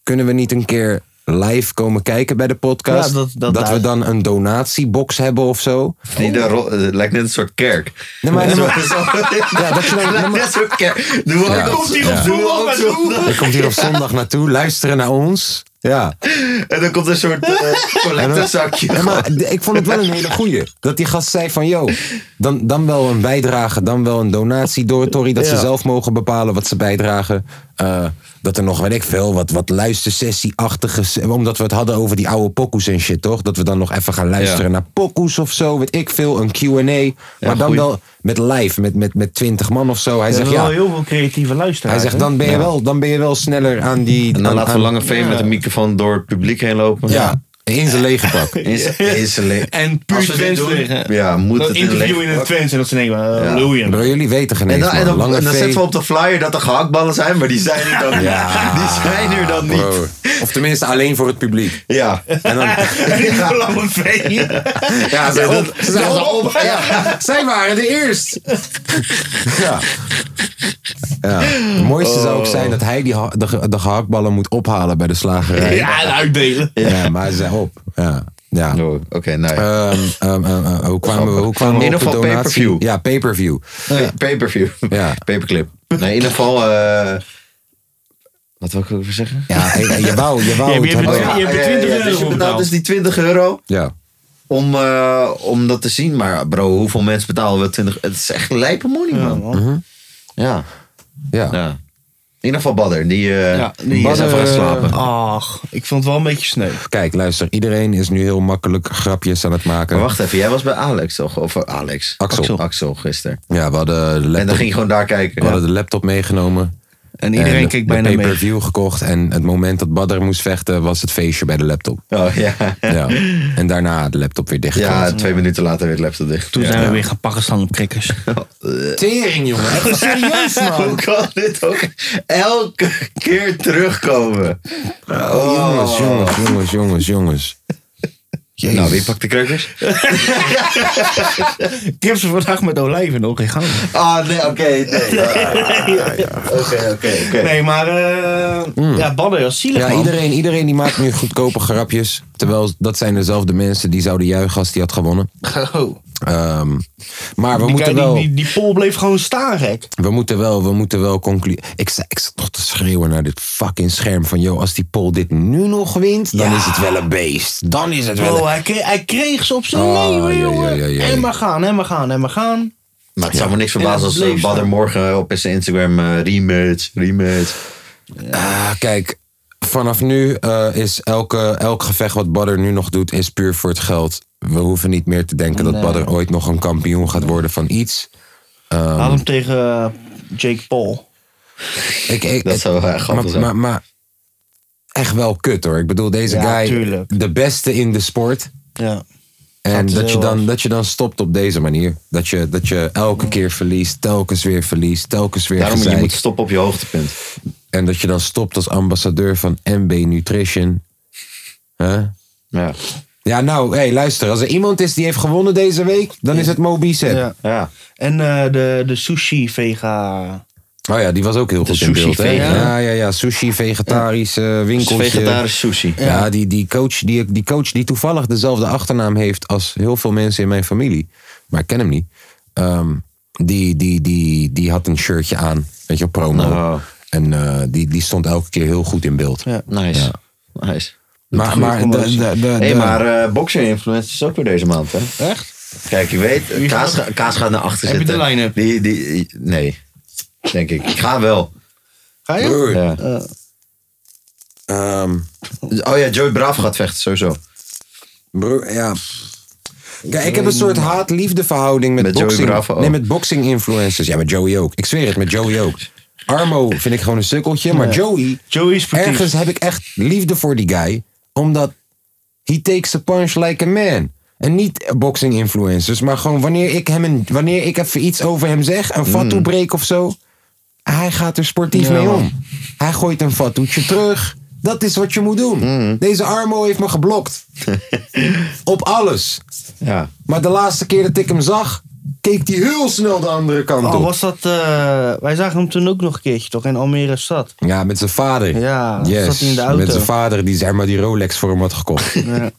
Speaker 1: kunnen we niet een keer live komen kijken bij de podcast?
Speaker 3: Ja, dat- dat daar-
Speaker 1: we dan een donatiebox hebben of zo.
Speaker 4: Die daar ro- het lijkt net een soort kerk.
Speaker 1: Nee, maar-
Speaker 4: Zo-
Speaker 1: nee, maar-
Speaker 4: zo-
Speaker 1: Ja, dat je dan-
Speaker 4: lijkt net een soort kerk. Doe ook
Speaker 1: Ja.
Speaker 4: dat-
Speaker 1: Komt hier op
Speaker 4: ja.
Speaker 3: zondag
Speaker 4: Doe ook
Speaker 3: naartoe?
Speaker 4: zondag.
Speaker 1: Je komt hier op zondag naartoe, luisteren naar ons. Ja.
Speaker 4: En dan komt een soort eh, collectezakje.
Speaker 1: Ja, maar d- ik vond het wel een hele goeie. Dat die gast zei van, yo, dan, dan wel een bijdrage, dan wel een donatie door Tori. Dat ze
Speaker 3: Ja.
Speaker 1: zelf mogen bepalen wat ze bijdragen. Eh, dat er nog, weet ik veel, wat, wat luistersessie-achtige... s- Omdat we het hadden over die oude pokoes en shit, toch? Dat we dan nog even gaan luisteren
Speaker 4: Ja.
Speaker 1: naar pokoes of zo, weet ik veel. Een Q&A. maar dan
Speaker 4: goeie.
Speaker 1: wel met live, met, met, met 20 man of zo. Hij
Speaker 3: Hij
Speaker 1: zegt,
Speaker 3: zegt wel
Speaker 1: ja...
Speaker 3: heel veel creatieve luisteraars.
Speaker 1: Hij zegt,
Speaker 3: hè?
Speaker 1: dan ben, je wel, dan ben je wel sneller aan die...
Speaker 4: En dan
Speaker 1: aan-
Speaker 4: laten we
Speaker 1: aan-
Speaker 4: Lange Veen met een microfoon door het publiek heen lopen.
Speaker 1: Ja, in zijn lege pak.
Speaker 4: Is, is le-
Speaker 3: En puur
Speaker 4: Als we dit
Speaker 3: Twents
Speaker 4: doen,
Speaker 3: tegen.
Speaker 4: ja, moet
Speaker 3: Dat
Speaker 4: het in de
Speaker 3: interview in
Speaker 4: le-
Speaker 3: het Twents en dat ze denken, eh,
Speaker 4: Ja.
Speaker 3: William.
Speaker 1: Bro, jullie weten geen
Speaker 4: en
Speaker 1: eens,
Speaker 4: dan, en
Speaker 1: man.
Speaker 4: dan,
Speaker 1: Lange
Speaker 4: en dan
Speaker 1: V-
Speaker 4: zetten we op de flyer dat er gehaktballen zijn, maar die zijn er dan,
Speaker 1: Ja.
Speaker 4: die zijn er dan
Speaker 1: Bro.
Speaker 4: niet.
Speaker 1: Of tenminste alleen voor het publiek.
Speaker 4: Ja.
Speaker 1: En dan,
Speaker 3: Ja. Lange vee.
Speaker 1: ja, ze,
Speaker 4: dat-
Speaker 1: op, ze zijn
Speaker 4: dat-
Speaker 1: op. Ja, zij waren de eerst. Ja. ja. Het mooiste zou ook zijn dat hij die ha- de, ge- de gehaktballen moet ophalen bij de slagerij. Ja,
Speaker 3: Ja, en uitdelen.
Speaker 1: maar ze zijn op. Ja. ja.
Speaker 4: Oh, Oké, nou ja.
Speaker 1: Ehm, ehm, ehm, ehm, hoe kwamen we, hoe kwamen we
Speaker 4: In
Speaker 1: op de
Speaker 4: ieder geval
Speaker 1: donatie?
Speaker 4: pay-per-view.
Speaker 1: Ja, pay-per-view.
Speaker 4: Pa- Pay-per-view.
Speaker 1: Ja.
Speaker 4: Paperclip. Nee, in ieder geval... eh, wat wil ik over zeggen?
Speaker 1: Ja, hey, hey, je wou, je wou
Speaker 3: Ja, maar
Speaker 1: het
Speaker 3: je
Speaker 1: hebben.
Speaker 3: hebt het-
Speaker 1: Ja.
Speaker 3: je hebt er 20
Speaker 4: dus
Speaker 3: euro
Speaker 4: je
Speaker 3: voor
Speaker 4: betaalt
Speaker 3: betaald.
Speaker 4: dus die 20 euro
Speaker 1: ja.
Speaker 4: om, eh, om dat te zien. Maar bro, hoeveel mensen betalen wel 20 Het is echt lijpe money, man.
Speaker 1: Mhm.
Speaker 4: Ja. ja. In ieder geval Badder. Die, eh,
Speaker 3: Ja, die
Speaker 4: die is
Speaker 1: Badder,
Speaker 4: even gaan slapen.
Speaker 3: Ach, ik vond het wel een beetje sneu.
Speaker 1: Kijk, luister. Iedereen is nu heel makkelijk grapjes aan het maken.
Speaker 4: Maar wacht even, jij was bij Alex toch? Of eh, Alex?
Speaker 1: Axel.
Speaker 4: Axel gisteren.
Speaker 1: Ja, we hadden de laptop,
Speaker 4: En dan ging je gewoon daar
Speaker 1: we
Speaker 4: kijken.
Speaker 1: hadden de laptop meegenomen.
Speaker 3: En iedereen
Speaker 1: en
Speaker 3: keek
Speaker 1: de
Speaker 3: bijna mee.
Speaker 1: pay-per-view gekocht. En het moment dat Badder moest vechten, was het feestje bij de laptop.
Speaker 4: Oh ja.
Speaker 1: Ja. En daarna de laptop weer dicht.
Speaker 4: Ja, twee minuten later weer de laptop dicht.
Speaker 3: Toen
Speaker 4: ja. Oh, eh.
Speaker 3: zijn we weer gaan pakken staan op krikkers.
Speaker 1: Tering, jongen. Echt serieus,
Speaker 4: Hoe kan dit ook elke keer terugkomen?
Speaker 1: Oh,
Speaker 4: Oh.
Speaker 1: Jongens, jongens, jongens, jongens, jongens. Jezus.
Speaker 4: Nou, wie pakt de crackers?
Speaker 3: Ik heb ze vandaag met olijven nog in gang.
Speaker 4: Ah, nee, oké. nee. Oké, oké, oké.
Speaker 3: Nee, maar eh, ja, Badder was zielig,
Speaker 1: Mm. ja,
Speaker 3: man.
Speaker 1: iedereen, iedereen die maakt nu goedkope grapjes. Terwijl dat zijn dezelfde mensen die zouden juichen als die had gewonnen.
Speaker 3: Oh.
Speaker 1: Ehm, maar we
Speaker 3: Die, kei-
Speaker 1: moeten wel...
Speaker 3: die, die, die pol bleef gewoon staan, gek.
Speaker 1: We moeten wel, we moeten wel concluderen. Ik, sta- ik zat nog te schreeuwen naar dit fucking scherm van... joh, als die Pol dit nu nog wint, dan
Speaker 3: Ja.
Speaker 1: is het wel een beest. Dan is het wel
Speaker 3: Bro,
Speaker 1: een...
Speaker 3: hij kreeg, hij kreeg ze op zijn
Speaker 1: Oh,
Speaker 3: leven,
Speaker 1: ja,
Speaker 3: jongen.
Speaker 1: ja, ja, ja.
Speaker 3: En maar gaan, en maar gaan, en maar gaan.
Speaker 4: Maar het zou me niks
Speaker 3: En
Speaker 4: verbazen
Speaker 3: dat
Speaker 4: als
Speaker 3: bleef
Speaker 4: eh, Badr
Speaker 3: staan.
Speaker 4: morgen op zijn Instagram eh, rematch, rematch.
Speaker 1: Ah, kijk, vanaf nu eh, is elke, elk gevecht wat Badder nu nog doet... is puur voor het geld. We hoeven niet meer te denken dat
Speaker 3: Nee.
Speaker 1: Badder ooit nog een kampioen gaat worden van iets. Ehm, Ah.
Speaker 3: Had hem tegen eh, Jake Paul.
Speaker 1: Ik, ik,
Speaker 4: Dat
Speaker 1: ik-
Speaker 4: zou wel grappig
Speaker 1: maar,
Speaker 4: zijn.
Speaker 1: maar, maar echt wel kut hoor. Ik bedoel, deze
Speaker 3: Ja,
Speaker 1: guy,
Speaker 3: tuurlijk.
Speaker 1: de beste in de sport...
Speaker 3: Ja.
Speaker 1: En
Speaker 3: Gaat
Speaker 1: dat je,
Speaker 3: heel
Speaker 1: dan,
Speaker 3: hard.
Speaker 1: dat je dan stopt op deze manier. Dat je, dat je elke keer verliest, telkens weer verliest, telkens weer
Speaker 4: Daarom je
Speaker 1: gezeik.
Speaker 4: moet stoppen op je hoogtepunt.
Speaker 1: En dat je dan stopt als ambassadeur van MB Nutrition. Huh?
Speaker 4: Ja.
Speaker 1: Ja, nou, hey, luister. Als er iemand is die heeft gewonnen deze week, dan is het Mobicep.
Speaker 3: ja.
Speaker 4: ja.
Speaker 3: En eh, de, de sushi vega.
Speaker 1: Oh ja, die was ook heel goed in
Speaker 4: sushi
Speaker 1: beeld. Hè?
Speaker 4: vegan.
Speaker 1: Ja, ja, ja. Sushi, vegetarisch eh, winkeltje.
Speaker 4: Vegetarisch sushi.
Speaker 1: Ja, die, die, coach, die, die coach die toevallig dezelfde achternaam heeft als heel veel mensen in mijn familie. Maar ik ken hem niet. Ehm, die, die, die, die had een shirtje aan. Weet je, promo.
Speaker 4: Oh.
Speaker 1: En eh, die, die stond elke keer heel goed in beeld.
Speaker 3: Ja.
Speaker 4: Nice. Nice.
Speaker 1: Maar, maar de, de, de,
Speaker 4: Hé,
Speaker 1: de-
Speaker 4: maar eh boxer influencer is ook weer deze maand, hè?
Speaker 3: Echt?
Speaker 4: Kijk, je weet, Kaas, ga- Kaas gaat naar achter
Speaker 3: Heb je
Speaker 4: zitten.
Speaker 3: de line-up?
Speaker 4: Die, die, nee, denk ik. Ik ga wel.
Speaker 3: Ga je?
Speaker 1: Broer,
Speaker 4: Ja.
Speaker 1: Eh. ehm,
Speaker 4: Oh ja, Joey Braaf gaat vechten, sowieso.
Speaker 1: broer, ja. Kijk, ik heb een soort haat-liefde verhouding met,
Speaker 4: eh, Met Joey
Speaker 1: boxing.
Speaker 4: Bravo ook.
Speaker 1: nee, met boxing influencers. Ja, met Joey ook. Ik zweer het, met Joey ook. Armo vind ik gewoon een sukkeltje. Maar Joey,
Speaker 3: Joey is sportief.
Speaker 1: ergens heb ik echt liefde voor die guy. Omdat he takes a punch like a man. En niet boxing influencers, maar gewoon wanneer ik, hem een, wanneer ik even iets over hem zeg, een fatu breek of zo. Hij gaat er sportief mee om. Hij gooit een fatoetje terug. Dat is wat je moet doen. Deze Armo heeft me geblokt. Op alles.
Speaker 4: Ja.
Speaker 1: Maar de laatste keer dat ik hem zag, keek hij heel snel de andere kant
Speaker 3: Oh,
Speaker 1: op.
Speaker 3: was dat... eh, wij zagen hem toen ook nog een keertje, toch? In Almere stad.
Speaker 1: Ja, met zijn vader.
Speaker 3: Ja,
Speaker 1: Yes,
Speaker 3: zat hij in de auto.
Speaker 1: Met zijn vader die zeg maar die Rolex voor hem had gekocht.
Speaker 3: Ja.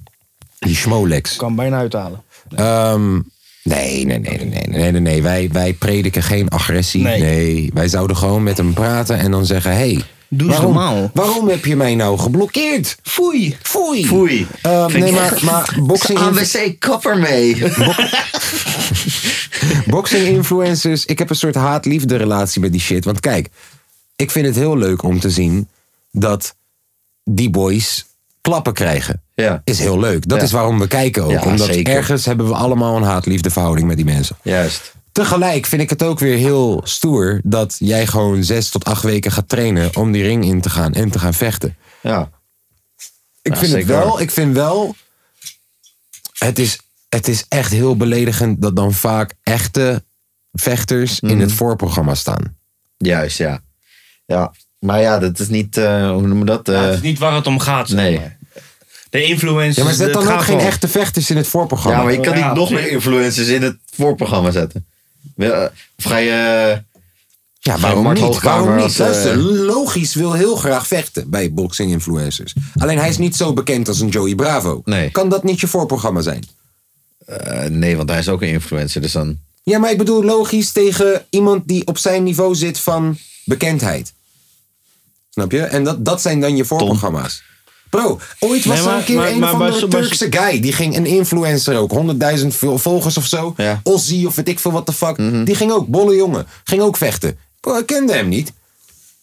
Speaker 1: Die Schmolex.
Speaker 3: Kan bijna uithalen.
Speaker 1: Ehm, nee, nee, nee, nee, nee, nee, nee, nee. Wij, wij prediken geen agressie. Nee.
Speaker 3: Nee.
Speaker 1: wij zouden gewoon met hem praten en dan zeggen: hey,
Speaker 3: Doe eens normaal.
Speaker 1: waarom heb je mij nou geblokkeerd?
Speaker 3: Foei!
Speaker 1: Foei.
Speaker 4: Foei.
Speaker 1: Ehm,
Speaker 4: Vind
Speaker 1: nee,
Speaker 4: ik
Speaker 1: maar,
Speaker 4: echt-
Speaker 1: maar boxing,
Speaker 4: AWC, kapper mee.
Speaker 1: boxing influencers, ik heb een soort haat-liefde relatie met die shit. Want kijk, ik vind het heel leuk om te zien dat die boys klappen krijgen.
Speaker 4: Ja.
Speaker 1: Is heel leuk. Dat
Speaker 4: Ja.
Speaker 1: is waarom we kijken ook.
Speaker 4: Ja,
Speaker 1: omdat
Speaker 4: zeker.
Speaker 1: ergens hebben we allemaal een haat-liefde verhouding met die mensen.
Speaker 4: Juist.
Speaker 1: Tegelijk vind ik het ook weer heel stoer dat jij gewoon zes tot acht weken gaat trainen om die ring in te gaan en te gaan vechten.
Speaker 4: Ja.
Speaker 1: Ik
Speaker 4: Ja,
Speaker 1: vind het
Speaker 4: zeker.
Speaker 1: wel, ik vind wel, het is, het is echt heel beledigend dat dan vaak echte vechters in
Speaker 4: Mhm.
Speaker 1: het voorprogramma staan.
Speaker 4: Juist, ja. Ja. Maar ja, dat is niet, eh, hoe noemen we dat? Eh,
Speaker 3: dat is niet waar het om gaat, zeg
Speaker 4: nee.
Speaker 3: maar. De influencers...
Speaker 1: Ja, maar zet
Speaker 3: het
Speaker 1: dan ook
Speaker 3: gaat
Speaker 1: geen
Speaker 3: wel.
Speaker 1: echte vechters in het voorprogramma.
Speaker 4: Ja, maar je kan niet
Speaker 3: Ja,
Speaker 4: nog
Speaker 3: tuurlijk.
Speaker 4: meer influencers in het voorprogramma zetten. Wel, eh, Of ga je... eh,
Speaker 1: Ja, waarom
Speaker 4: Mart
Speaker 1: niet?
Speaker 4: Hoogkamer
Speaker 1: Waarom niet?
Speaker 4: als, eh,
Speaker 1: Luister, logisch wil heel graag vechten bij boxing influencers. Alleen hij is niet zo bekend als een Joey Bravo.
Speaker 4: Nee.
Speaker 1: Kan dat niet je voorprogramma zijn?
Speaker 4: eh, nee, want hij is ook een influencer, dus dan...
Speaker 1: Ja, maar ik bedoel logisch tegen iemand die op zijn niveau zit van bekendheid. Snap je? En dat, dat zijn dan je voorprogramma's. Bro, ooit was
Speaker 3: Nee,
Speaker 1: er
Speaker 3: maar-
Speaker 1: een keer
Speaker 3: maar-
Speaker 1: een
Speaker 3: maar-
Speaker 1: van
Speaker 3: maar-
Speaker 1: de
Speaker 3: maar-
Speaker 1: Turkse guy. Die ging een influencer ook. 100.000 vol- volgers of zo.
Speaker 4: Ja. Mhm.
Speaker 1: Ozzy of weet ik veel wat de fuck. Die ging ook, bolle jongen. Ging ook vechten. Bro, ik kende hem niet.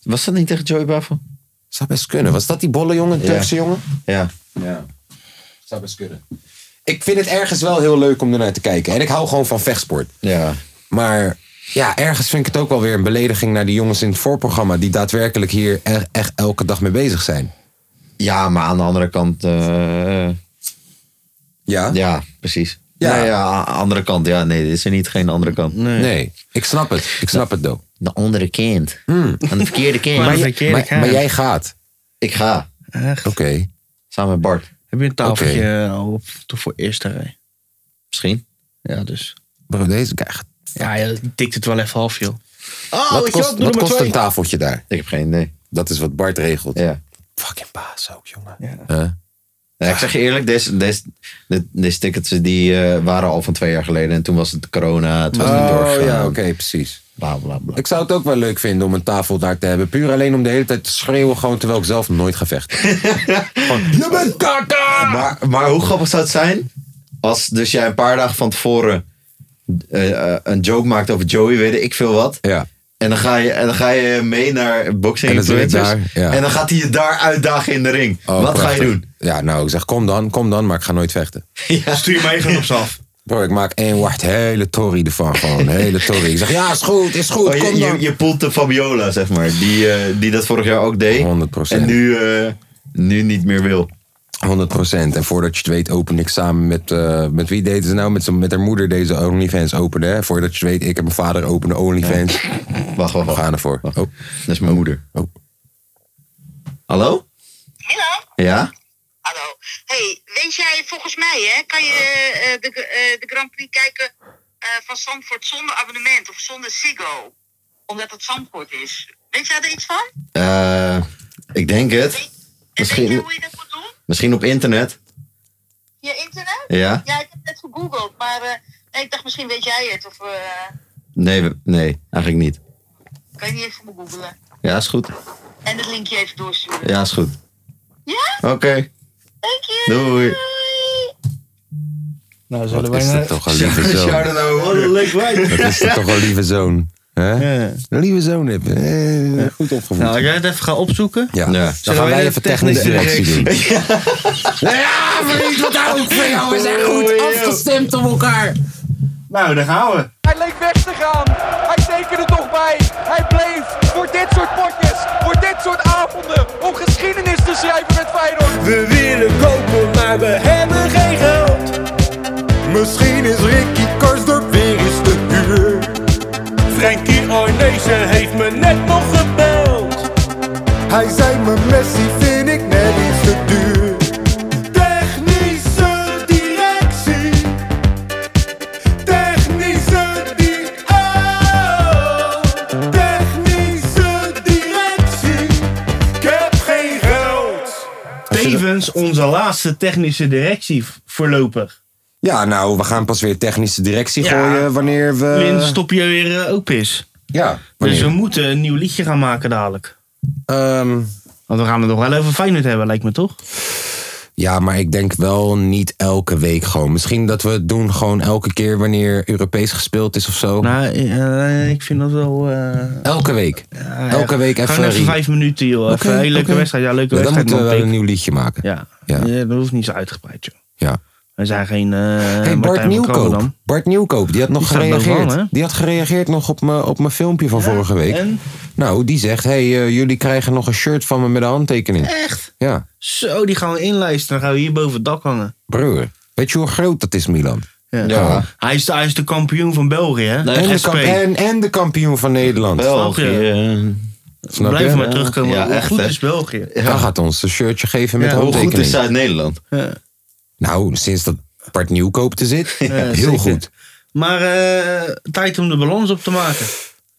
Speaker 4: Was dat niet tegen Joey Buffel?
Speaker 1: Zou best kunnen. Was dat die bolle jongen, Turkse jongen?
Speaker 4: Ja.
Speaker 1: Ja. Zou best kunnen. Ik vind het ergens wel heel leuk om ernaar te kijken. En ik hou gewoon van vechtsport.
Speaker 4: Ja.
Speaker 1: Maar ja, ergens vind ik het ook wel weer een belediging naar die jongens in het voorprogramma. die daadwerkelijk hier e- echt elke dag mee bezig zijn.
Speaker 4: Ja, maar aan de andere kant... eh,
Speaker 1: Ja?
Speaker 4: ja, precies.
Speaker 1: Ja.
Speaker 4: Ja. Nee, ja, a- andere kant. Ja, nee, dit is er niet geen andere kant.
Speaker 1: Nee. ik snap het. Ik snap het, doe. Hmm.
Speaker 4: De andere kind. Aan de verkeerde kind.
Speaker 3: Maar
Speaker 4: Maar
Speaker 3: je-
Speaker 4: je-
Speaker 1: Maar,
Speaker 3: Verkeerde
Speaker 1: maar
Speaker 3: kaart.
Speaker 1: jij gaat.
Speaker 4: ik ga.
Speaker 3: Echt?
Speaker 1: Oké.
Speaker 4: Samen met Bart.
Speaker 3: Heb je een tafeltje eh, op toch voor eerste rij?
Speaker 4: Misschien.
Speaker 3: Ja, dus.
Speaker 1: Bro, deze guy gaat-
Speaker 3: Ja, ja tikt het wel even af, joh. Oh,
Speaker 1: wat kost, wat kost een tafeltje daar?
Speaker 4: Ik heb geen idee.
Speaker 1: Dat is wat Bart regelt.
Speaker 4: Ja.
Speaker 1: Fucking baas ook, jongen.
Speaker 3: Ja.
Speaker 1: Huh?
Speaker 4: Nou, ik zeg je eerlijk, deze, deze, de- deze tickets die, eh, waren al van twee jaar geleden. En toen was het corona, het was niet
Speaker 1: Oh
Speaker 4: doorgegaan.
Speaker 1: ja, oké, precies.
Speaker 4: Bla, bla, bla.
Speaker 1: Ik zou het ook wel leuk vinden om een tafel daar te hebben. Puur alleen om de hele tijd te schreeuwen, gewoon terwijl ik zelf nooit ga vechten. Gewoon, je bent kaka!
Speaker 4: Maar, maar hoe grappig zou het zijn als dus jij een paar dagen van tevoren eh, eh, een joke maakt over Joey, weet ik veel wat.
Speaker 1: Ja.
Speaker 4: En dan, ga je, en dan ga je mee naar boxing
Speaker 1: En dan zit ik
Speaker 4: influencers.
Speaker 1: daar, ja.
Speaker 4: En dan gaat hij je daar uitdagen in de ring.
Speaker 1: Oh,
Speaker 4: wat ga
Speaker 1: prachtig.
Speaker 4: je doen?
Speaker 1: Ja, nou, ik zeg kom dan, kom dan, maar ik ga nooit vechten.
Speaker 3: Stuur mij even op ze af.
Speaker 1: Bro, ik maak één wacht, hele tory ervan gewoon, hele tory. Ik zeg ja, is goed, is goed,
Speaker 4: Oh, je,
Speaker 1: kom
Speaker 4: je,
Speaker 1: dan.
Speaker 4: je poelt de Fabiola, zeg maar. Die, eh, die dat vorig jaar ook deed.
Speaker 1: 100%.
Speaker 4: En nu, eh, nu niet meer wil.
Speaker 1: 100%. En voordat je het weet, open ik samen met. eh, met wie deden ze nou? Met, z'n- met haar moeder deze OnlyFans openen. Hè? Voordat je het weet, ik en mijn vader openen OnlyFans.
Speaker 4: Wacht, wacht,
Speaker 1: We
Speaker 4: wacht.
Speaker 1: gaan ervoor. Oh,
Speaker 4: Dat is mijn moeder.
Speaker 1: oh.
Speaker 4: Hallo?
Speaker 7: Hallo?
Speaker 4: Ja?
Speaker 7: Hallo. hey, weet jij volgens mij, hè, kan je eh, eh, de, eh, de Grand Prix kijken eh, van Zandvoort zonder abonnement of zonder Ziggo? Omdat het Zandvoort is. Weet jij er iets van?
Speaker 4: Eh, ik denk het.
Speaker 7: En weet
Speaker 4: Misschien-
Speaker 7: je hoe je dat moet doen?
Speaker 4: Misschien op internet.
Speaker 7: Je internet?
Speaker 4: Ja?
Speaker 7: Ja, ik heb net gegoogeld, maar eh, nee, ik dacht misschien weet jij het. Of eh,
Speaker 4: Nee, we- nee, eigenlijk niet.
Speaker 7: kan je niet even me googelen?
Speaker 4: Ja, is goed.
Speaker 7: En het linkje even doorsturen.
Speaker 4: Ja, is goed.
Speaker 7: Ja?
Speaker 4: Oké.
Speaker 7: Thank you.
Speaker 4: Doei.
Speaker 7: Doei.
Speaker 3: Nou, zullen
Speaker 1: Wat
Speaker 3: wij
Speaker 1: is
Speaker 3: naar...
Speaker 1: dat toch een lieve zoon?
Speaker 3: Wat een leuk wijf.
Speaker 1: Wat is nou dat toch een lieve zoon? hè? Een lieve zoon heb je. Eh, goed opgevoed.
Speaker 3: Nou, als jij het even gaat opzoeken.
Speaker 1: ja.
Speaker 4: Ja.
Speaker 1: dan
Speaker 3: Zullen
Speaker 1: gaan
Speaker 3: wij
Speaker 1: wij
Speaker 3: de
Speaker 1: even technische
Speaker 3: technische
Speaker 1: directie doen.
Speaker 3: Nou
Speaker 4: Ja, vriend, wat hou ik van jou? We zijn
Speaker 1: Oh,
Speaker 4: goed afgestemd op elkaar.
Speaker 3: Nou, daar gaan we.
Speaker 8: Hij leek weg te gaan. Hij tekende toch bij. Hij bleef voor dit soort potjes, voor dit soort avonden, om geschiedenis te schrijven met Feyenoord.
Speaker 9: We willen kopen, maar we hebben geen geld. Misschien is Ricky Karsdorp weer eens te duur. Frankie Arnezen heeft me net nog gebeld.
Speaker 10: Hij zei me Messi vind ik net iets te duur.
Speaker 9: Technische directie. Technische di- oh. Technische directie. Ik heb geen geld.
Speaker 3: Tevens onze laatste technische directie v- voorlopig.
Speaker 1: Ja, nou, we gaan pas weer technische directie
Speaker 3: Ja.
Speaker 1: gooien wanneer we.
Speaker 3: Lin, stop je weer eh, ook pis.
Speaker 1: Eh. Ja,
Speaker 3: Dus
Speaker 1: wanneer?
Speaker 3: we moeten een nieuw liedje gaan maken dadelijk.
Speaker 1: Ehm,
Speaker 3: Want we gaan het nog wel even Feyenoord hebben, lijkt me toch?
Speaker 1: Ja, maar ik denk wel niet elke week gewoon. Misschien dat we het doen gewoon elke keer wanneer Europees gespeeld is of zo.
Speaker 3: Nou, eh, ik vind dat wel... eh,
Speaker 1: elke week.
Speaker 3: ja,
Speaker 1: elke week even.
Speaker 3: Gewoon even
Speaker 1: re-
Speaker 3: vijf minuten, joh. Even
Speaker 1: Oké,
Speaker 3: een hele leuke
Speaker 1: oké.
Speaker 3: wedstrijd. Ja, leuke
Speaker 1: Ja, dan
Speaker 3: wedstrijd.
Speaker 1: moeten we
Speaker 3: man,
Speaker 1: wel een
Speaker 3: pik.
Speaker 1: nieuw liedje maken. Ja.
Speaker 3: Ja.
Speaker 1: Ja.
Speaker 3: Ja. dat hoeft niet zo uitgebreid, joh. We zijn geen eh
Speaker 1: Hey, Bart
Speaker 3: Martijn van
Speaker 1: Nieuwkoop.
Speaker 3: Krabbendam.
Speaker 1: Bart Nieuwkoop, die had nog
Speaker 3: Die staat
Speaker 1: gereageerd.
Speaker 3: bovenaan, hè?
Speaker 1: die had gereageerd nog op mijn op mijn filmpje van vorige week.
Speaker 3: En?
Speaker 1: Nou, die zegt: hey, eh, jullie krijgen nog een shirt van me met een handtekening.
Speaker 3: Echt?
Speaker 1: Ja,
Speaker 3: Zo, die gaan we inlijsten. Dan gaan we hier boven het dak hangen.
Speaker 1: broer. Weet je hoe groot dat is, Milan?
Speaker 3: Ja.
Speaker 4: Ja.
Speaker 3: Hij, is de, hij is de kampioen van België, hè?
Speaker 4: Nee,
Speaker 1: En de,
Speaker 3: SP.
Speaker 1: kamp- en, en de kampioen van Nederland.
Speaker 4: België.
Speaker 1: Snap
Speaker 3: Blijf
Speaker 1: je?
Speaker 3: maar terugkomen.
Speaker 4: Ja,
Speaker 3: Hoe
Speaker 4: echt,
Speaker 3: goed
Speaker 4: hè?
Speaker 3: is België?
Speaker 4: Ja.
Speaker 1: Dan gaat ons een shirtje geven met
Speaker 3: Ja,
Speaker 4: Hoe
Speaker 1: handtekening.
Speaker 4: goed is Zuid-Nederland?
Speaker 1: Nou, sinds dat Bart Nieuwkoop te zit, heel
Speaker 3: zeker.
Speaker 1: goed.
Speaker 3: Maar eh, tijd om de balans op te maken.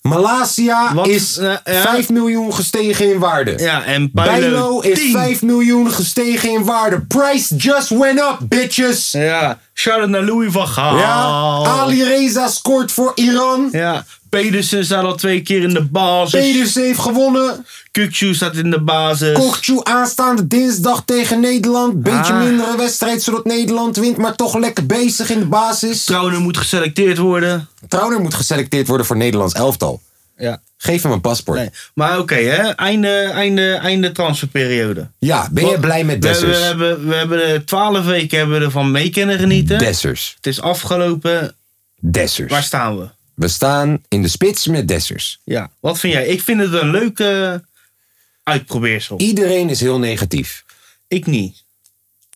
Speaker 1: Malasia
Speaker 3: Wat?
Speaker 1: is
Speaker 3: Eh, ja.
Speaker 1: 5 miljoen gestegen in waarde.
Speaker 3: Ja, en
Speaker 1: Bijlo
Speaker 3: Bijlo
Speaker 1: is
Speaker 3: 10.
Speaker 1: 5 miljoen gestegen in waarde. Price just went up, bitches.
Speaker 3: Ja, shout-out naar Louis van Gaal.
Speaker 1: Ja, Ali Reza scoort voor Iran.
Speaker 3: Oh. Ja, Pedersen staat al twee keer in de basis.
Speaker 1: Pedersen heeft gewonnen.
Speaker 3: Kukçu staat in de basis.
Speaker 1: Kokchu aanstaande dinsdag tegen Nederland. Beetje
Speaker 3: Ah.
Speaker 1: mindere wedstrijd zodat Nederland wint, maar toch lekker bezig in de basis.
Speaker 3: Trouwner moet geselecteerd worden.
Speaker 1: Trouwner moet geselecteerd worden voor Nederlands elftal.
Speaker 3: Ja.
Speaker 1: Geef hem een paspoort.
Speaker 3: Nee. Maar oké, hè. Einde, einde, einde transferperiode.
Speaker 1: Ja, ben je
Speaker 3: Wat-
Speaker 1: blij met
Speaker 3: we, we
Speaker 1: Dessers?
Speaker 3: hebben, we hebben eh, 12 weken hebben we ervan mee kunnen genieten.
Speaker 1: Dessers.
Speaker 3: Het is afgelopen.
Speaker 1: Dessers.
Speaker 3: Waar staan we?
Speaker 1: We staan in de spits met Dessers.
Speaker 3: Ja. Wat vind jij? Ik vind het een leuke uitprobeersel.
Speaker 1: Iedereen is heel negatief.
Speaker 3: Ik niet.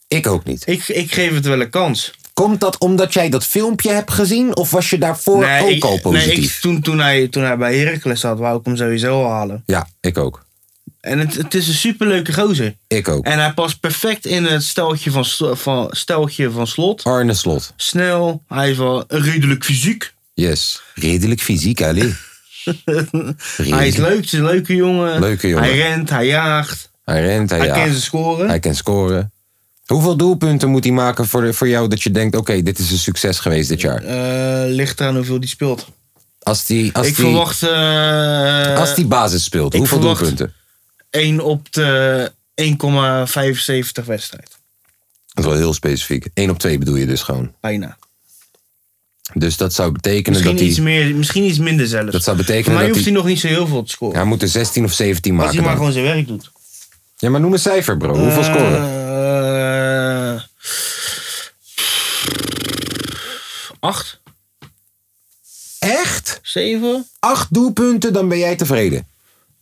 Speaker 1: Ik ook niet.
Speaker 3: Ik, ik geef het wel een kans.
Speaker 1: Komt dat omdat jij dat filmpje hebt gezien? Of was je daarvoor ook
Speaker 3: ik-
Speaker 1: al positief?
Speaker 3: Nee, ik, toen, toen, hij, toen hij bij Heracles zat, wou ik hem sowieso al halen.
Speaker 1: Ja, ik ook.
Speaker 3: En het, het is een superleuke gozer.
Speaker 1: Ik ook.
Speaker 3: En hij past perfect in het steltje van, Sl- van, steltje van slot.
Speaker 1: Arne Slot.
Speaker 3: Snel, hij is wel redelijk fysiek.
Speaker 1: Yes. Redelijk fysiek, Ali.
Speaker 3: Hij is
Speaker 1: Redelijk.
Speaker 3: leuk, het is een leuke jongen.
Speaker 1: Leuke jongen.
Speaker 3: Hij rent, hij jaagt,
Speaker 1: Hij rent, hij,
Speaker 3: hij
Speaker 1: jaagt.
Speaker 3: kent zijn scoren.
Speaker 1: Hij kan scoren. Hoeveel doelpunten moet hij maken voor, de- voor jou dat je denkt: oké, dit is een succes geweest dit jaar?
Speaker 3: Eh, ligt eraan hoeveel die speelt.
Speaker 1: Als die, als
Speaker 3: ik
Speaker 1: die,
Speaker 3: verwacht eh,
Speaker 1: als die basis speelt,
Speaker 3: ik
Speaker 1: hoeveel
Speaker 3: verwacht-
Speaker 1: doelpunten?
Speaker 3: 1 op de 1,75 wedstrijd.
Speaker 1: Dat is wel heel specifiek. 1 op 2 bedoel je dus gewoon.
Speaker 3: Bijna.
Speaker 1: Dus dat zou betekenen
Speaker 3: Misschien
Speaker 1: dat
Speaker 3: iets,
Speaker 1: hij.
Speaker 3: meer, misschien iets minder zelfs.
Speaker 1: Dat zou
Speaker 3: Voor
Speaker 1: betekenen
Speaker 3: mij
Speaker 1: dat
Speaker 3: hoeft
Speaker 1: hij.
Speaker 3: hij nog niet zo heel veel te scoren.
Speaker 1: Hij moet er 16 of 17
Speaker 3: als
Speaker 1: maken.
Speaker 3: hij maar
Speaker 1: dan.
Speaker 3: gewoon zijn werk doet.
Speaker 1: Ja, maar noem een cijfer, bro. Hoeveel
Speaker 3: Eh,
Speaker 1: scoren?
Speaker 3: eh, acht,
Speaker 1: Echt?
Speaker 3: zeven.
Speaker 1: 8 doelpunten, dan ben jij tevreden.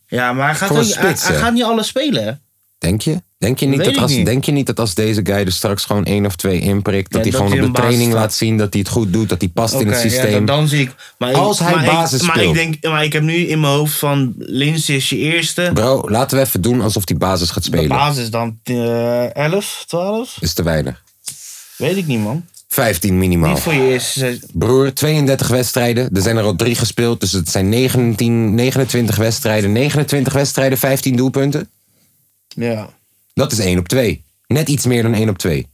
Speaker 3: Ja, maar hij gaat,
Speaker 1: Voor een
Speaker 3: ook- hij-
Speaker 1: spits,
Speaker 3: hij,
Speaker 1: hè?
Speaker 3: gaat niet alles spelen. Hè?
Speaker 1: Denk je? Denk je, niet
Speaker 3: Weet
Speaker 1: dat
Speaker 3: ik
Speaker 1: als,
Speaker 3: niet.
Speaker 1: denk je niet dat als deze guy er straks gewoon één of twee inprikt, dat
Speaker 3: Ja,
Speaker 1: hij
Speaker 3: dat
Speaker 1: gewoon
Speaker 3: hij
Speaker 1: op de
Speaker 3: een basis
Speaker 1: training
Speaker 3: staat.
Speaker 1: laat zien dat hij het goed doet, dat hij past in het
Speaker 3: Oké, ja,
Speaker 1: systeem?
Speaker 3: dan, dan zie ik. Maar ik-
Speaker 1: Als hij
Speaker 3: maar
Speaker 1: basis
Speaker 3: ik, maar
Speaker 1: speelt.
Speaker 3: Ik denk, maar ik heb nu in mijn hoofd van Lins is je eerste.
Speaker 1: Bro, laten we even doen alsof hij basis gaat
Speaker 3: De
Speaker 1: spelen.
Speaker 3: basis dan eh 11, 12?
Speaker 1: is te weinig.
Speaker 3: Weet ik niet, man.
Speaker 1: 15 minimaal.
Speaker 3: Niet voor je eerste seizoen.
Speaker 1: Broer, 32 wedstrijden. Er zijn er al drie gespeeld. Dus het zijn 19, 29 wedstrijden. 29 wedstrijden, 15 doelpunten.
Speaker 3: Ja.
Speaker 1: Dat is 1 op 2. Net iets meer dan 1 op 2.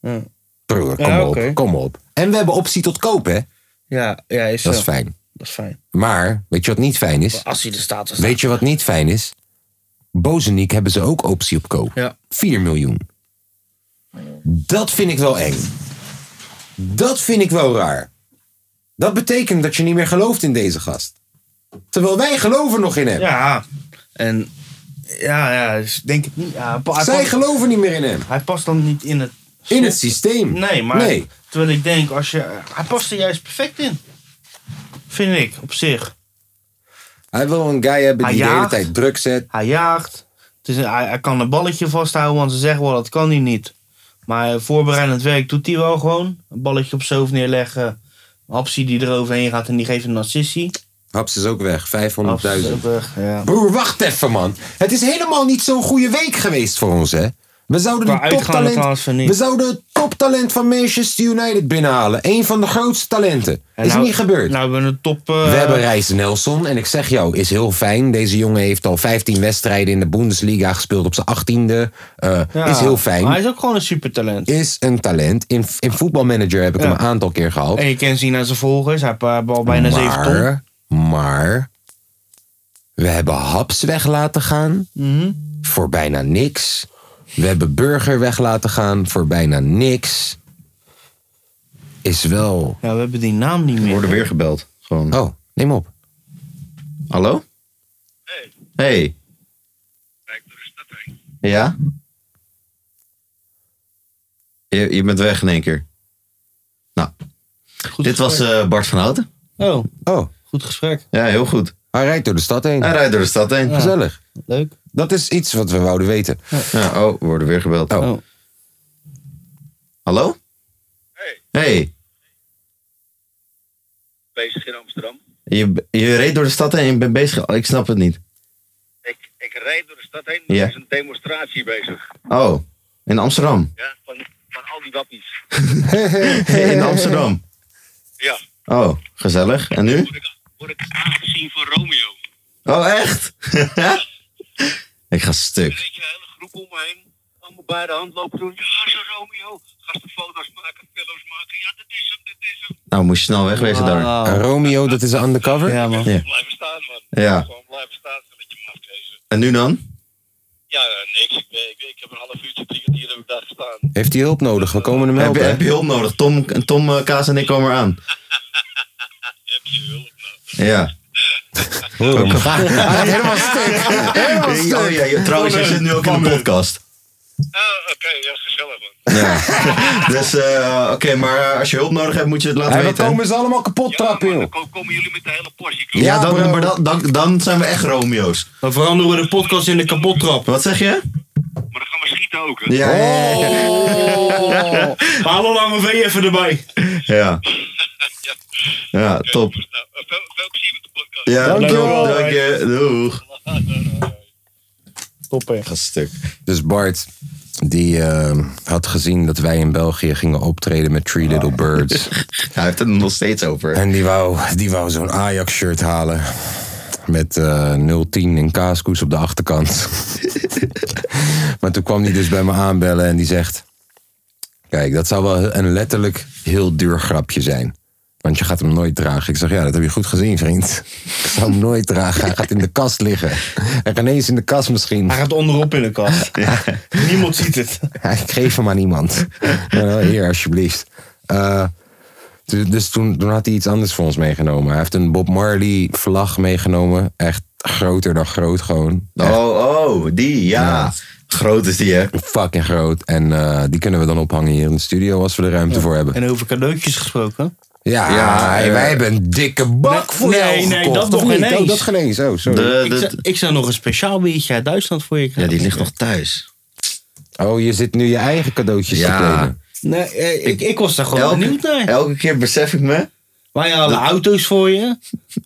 Speaker 3: Ja.
Speaker 1: Broer, kom
Speaker 3: Ja,
Speaker 1: op.
Speaker 3: oké.
Speaker 1: Kom op. En we hebben optie tot kopen, hè?
Speaker 3: Ja, ja is zo.
Speaker 1: Dat is fijn.
Speaker 3: Dat is fijn.
Speaker 1: Maar, weet je wat niet fijn is?
Speaker 3: Als hij er staat, dan staat
Speaker 1: Weet je wat niet fijn is? Bozeniek hebben ze ook optie op koop.
Speaker 3: Ja.
Speaker 1: 4 miljoen. Dat vind ik wel eng. Dat vind ik wel raar. Dat betekent dat je niet meer gelooft in deze gast. Terwijl wij geloven nog in hem.
Speaker 3: Ja. En ja, ja, dus denk ik niet. Ja, pa- hij,
Speaker 1: Zij
Speaker 3: past,
Speaker 1: geloven niet meer in hem.
Speaker 3: hij past dan niet in het.
Speaker 1: In het systeem.
Speaker 3: Nee, maar
Speaker 1: Nee.
Speaker 3: terwijl ik denk, als je, hij past er juist perfect in. Vind ik, op zich.
Speaker 1: Hij wil een guy hebben
Speaker 3: Hij
Speaker 1: die de hele
Speaker 3: jaagt.
Speaker 1: tijd druk zet.
Speaker 3: Hij jaagt. Het is, een- hij, hij kan een balletje vasthouden, want ze zeggen wel, dat kan hij niet. Maar voorbereidend werk doet hij wel gewoon. Een balletje op zoof neerleggen. Hapsie die eroverheen gaat en die geeft een assistie.
Speaker 1: Haps is ook weg. 500.000.
Speaker 3: Ja.
Speaker 1: Broer, wacht even, man. Het is helemaal niet zo'n goede week geweest voor ons, hè? We zouden,
Speaker 3: Qua
Speaker 1: die
Speaker 3: uitgaande
Speaker 1: toptalent,
Speaker 3: transfer niet.
Speaker 1: we zouden het toptalent van Manchester United binnenhalen. Eén van de grootste talenten.
Speaker 3: En
Speaker 1: is
Speaker 3: nou-
Speaker 1: niet gebeurd.
Speaker 3: Nou, we hebben een top. eh,
Speaker 1: we hebben Reis Nelson. En ik zeg jou, is heel fijn. Deze jongen heeft al 15 wedstrijden in de Bundesliga gespeeld op zijn 18e. Eh,
Speaker 3: ja,
Speaker 1: Is heel
Speaker 3: maar hij
Speaker 1: fijn.
Speaker 3: is ook gewoon een supertalent.
Speaker 1: Is een talent. In, in voetbalmanager heb ik
Speaker 3: Ja.
Speaker 1: hem een aantal keer gehaald.
Speaker 3: En je kan zien aan zijn volgers. Hij heeft eh, al bijna 7 ton.
Speaker 1: maar, maar we hebben Haps weg laten gaan
Speaker 4: Mhm.
Speaker 1: voor bijna niks. We hebben Burger weg laten gaan voor bijna niks. Is wel.
Speaker 3: Ja, we hebben die naam niet
Speaker 4: We
Speaker 3: meer.
Speaker 4: worden weer gebeld. Gewoon.
Speaker 1: Oh, neem op.
Speaker 4: Hallo? Hey. Hey. Ja? Je, je bent weg in één keer. Nou,
Speaker 3: Goed
Speaker 4: dit was
Speaker 3: gesprek.
Speaker 4: eh, Bart van Houten.
Speaker 3: Oh,
Speaker 1: Oh,
Speaker 3: goed gesprek.
Speaker 4: Ja, heel goed.
Speaker 1: hij rijdt door de stad heen.
Speaker 4: Hij rijdt door de stad heen. Ja.
Speaker 1: Gezellig.
Speaker 3: Leuk.
Speaker 1: Dat is iets wat we wouden weten.
Speaker 4: Ja, oh, we worden weer gebeld.
Speaker 1: Oh.
Speaker 3: Oh.
Speaker 4: Hallo? Hey. Hey.
Speaker 5: Bezig in Amsterdam.
Speaker 4: Je, je reed door de stad heen en je bent bezig. Oh, Ik snap het niet.
Speaker 5: Ik, ik rijd door de stad heen.
Speaker 4: Ja.
Speaker 5: Er is een demonstratie bezig.
Speaker 4: Oh, in Amsterdam.
Speaker 5: Ja, van, van al die wappies.
Speaker 4: In Amsterdam.
Speaker 5: Ja.
Speaker 4: Oh, gezellig. En nu?
Speaker 5: Word ik, word ik aangezien voor Romeo.
Speaker 4: Oh, echt? ik ga
Speaker 5: Dan
Speaker 4: stuk.
Speaker 5: reed je een hele groep om me heen. Allemaal bij de hand lopen doen. Ja, zo Romeo. Gasten foto's maken, films maken. Ja, dit is hem, dit is hem.
Speaker 4: Nou, moest je snel wegwezen daar.
Speaker 1: En Romeo, dat is een undercover.
Speaker 3: Oh. Ja, man.
Speaker 4: Ja.
Speaker 5: Blijven staan, man.
Speaker 4: Ja.
Speaker 5: Gewoon blijven staan, zodat je mag geven.
Speaker 4: En nu dan?
Speaker 5: Ja, eh, niks. Ik, ben- ik, ik heb een half uurtje, drie kwartier heb ik daar gestaan.
Speaker 1: Heeft hij hulp nodig? We komen hem
Speaker 4: Heb je,
Speaker 1: helpen.
Speaker 4: heb je hulp nodig? Tom, Tom eh, Kaas en ik komen eraan.
Speaker 5: Heb je hulp?
Speaker 4: Ja.
Speaker 1: Hoor hem.
Speaker 4: Helemaal stuk. Helemaal stuk. Oh, ja, je- trouwens, je zit nu ook in de podcast.
Speaker 5: Ah, oké. ja, gezellig, man.
Speaker 4: Ja. Dus, eh, oké, maar eh, als je hulp nodig hebt, moet je het laten
Speaker 1: Hey, we
Speaker 4: weten.
Speaker 1: komen ze allemaal kapot trappen,
Speaker 5: maar
Speaker 1: joh.
Speaker 5: dan ko- komen jullie met de hele portie.
Speaker 4: Ja,
Speaker 5: komen.
Speaker 4: dan,
Speaker 1: bro.
Speaker 4: maar dan, dan, dan zijn we echt Romeo's.
Speaker 3: Dan veranderen we de podcast in de kapottrap.
Speaker 4: Wat zeg je?
Speaker 5: Maar dan gaan we schieten ook, hè.
Speaker 4: Ja, ja, ja, ja.
Speaker 5: Oh.
Speaker 3: Haal een lange V even erbij.
Speaker 4: ja. Ja, top.
Speaker 5: Nou, eh, veel, veel plezier met de podcast.
Speaker 4: Ja,
Speaker 3: Dankjewel.
Speaker 4: Dank je. Doeg.
Speaker 3: Top, hè.
Speaker 4: Ga stuk.
Speaker 1: Dus Bart, die eh, had gezien dat wij in België gingen optreden met Three Little Birds.
Speaker 4: Hij heeft het er nog steeds over.
Speaker 1: En die wou, die wou zo'n Ajax-shirt halen. Met eh 010 en kaaskoes op de achterkant. maar toen kwam hij dus bij me aanbellen en die zegt... Kijk, dat zou wel een letterlijk heel duur grapje zijn. Want je gaat hem nooit dragen. Ik zeg, ja, dat heb je goed gezien, vriend. Ik zou hem nooit dragen. Hij gaat in de kast liggen. Hij gaat ineens in de kast misschien.
Speaker 3: Hij gaat onderop in de kast. Niemand ziet het.
Speaker 1: Ik geef hem aan iemand. Nou, nou, Hier, alsjeblieft. Eh, tu- dus toen, toen had hij iets anders voor ons meegenomen. Hij heeft een Bob Marley vlag meegenomen. Echt groter dan groot gewoon.
Speaker 4: Oh, oh, die, ja. Groot is die, hè?
Speaker 1: Fucking groot. En eh, die kunnen we dan ophangen hier in de studio als we er ruimte voor hebben.
Speaker 3: En over cadeautjes gesproken.
Speaker 1: Ja,
Speaker 4: Ja,
Speaker 1: hey,
Speaker 4: eh,
Speaker 1: wij hebben een dikke bak voor
Speaker 3: nee,
Speaker 1: jou
Speaker 3: nee,
Speaker 1: gekocht.
Speaker 3: dat nog
Speaker 1: of niet?
Speaker 3: ineens.
Speaker 1: Oh, dat geen eens. Oh, sorry.
Speaker 4: De-
Speaker 3: Ik zou, ik zou nog een speciaal biertje uit Duitsland voor je
Speaker 4: Ja,
Speaker 3: krijgen.
Speaker 4: die ligt nog thuis.
Speaker 1: Oh, je zit nu je eigen cadeautjes
Speaker 4: Ja.
Speaker 1: te kleden.
Speaker 3: Nee, eh, ik, ik was daar gewoon benieuwd naar.
Speaker 4: elke keer besef ik me.
Speaker 3: Wij halen auto's voor je.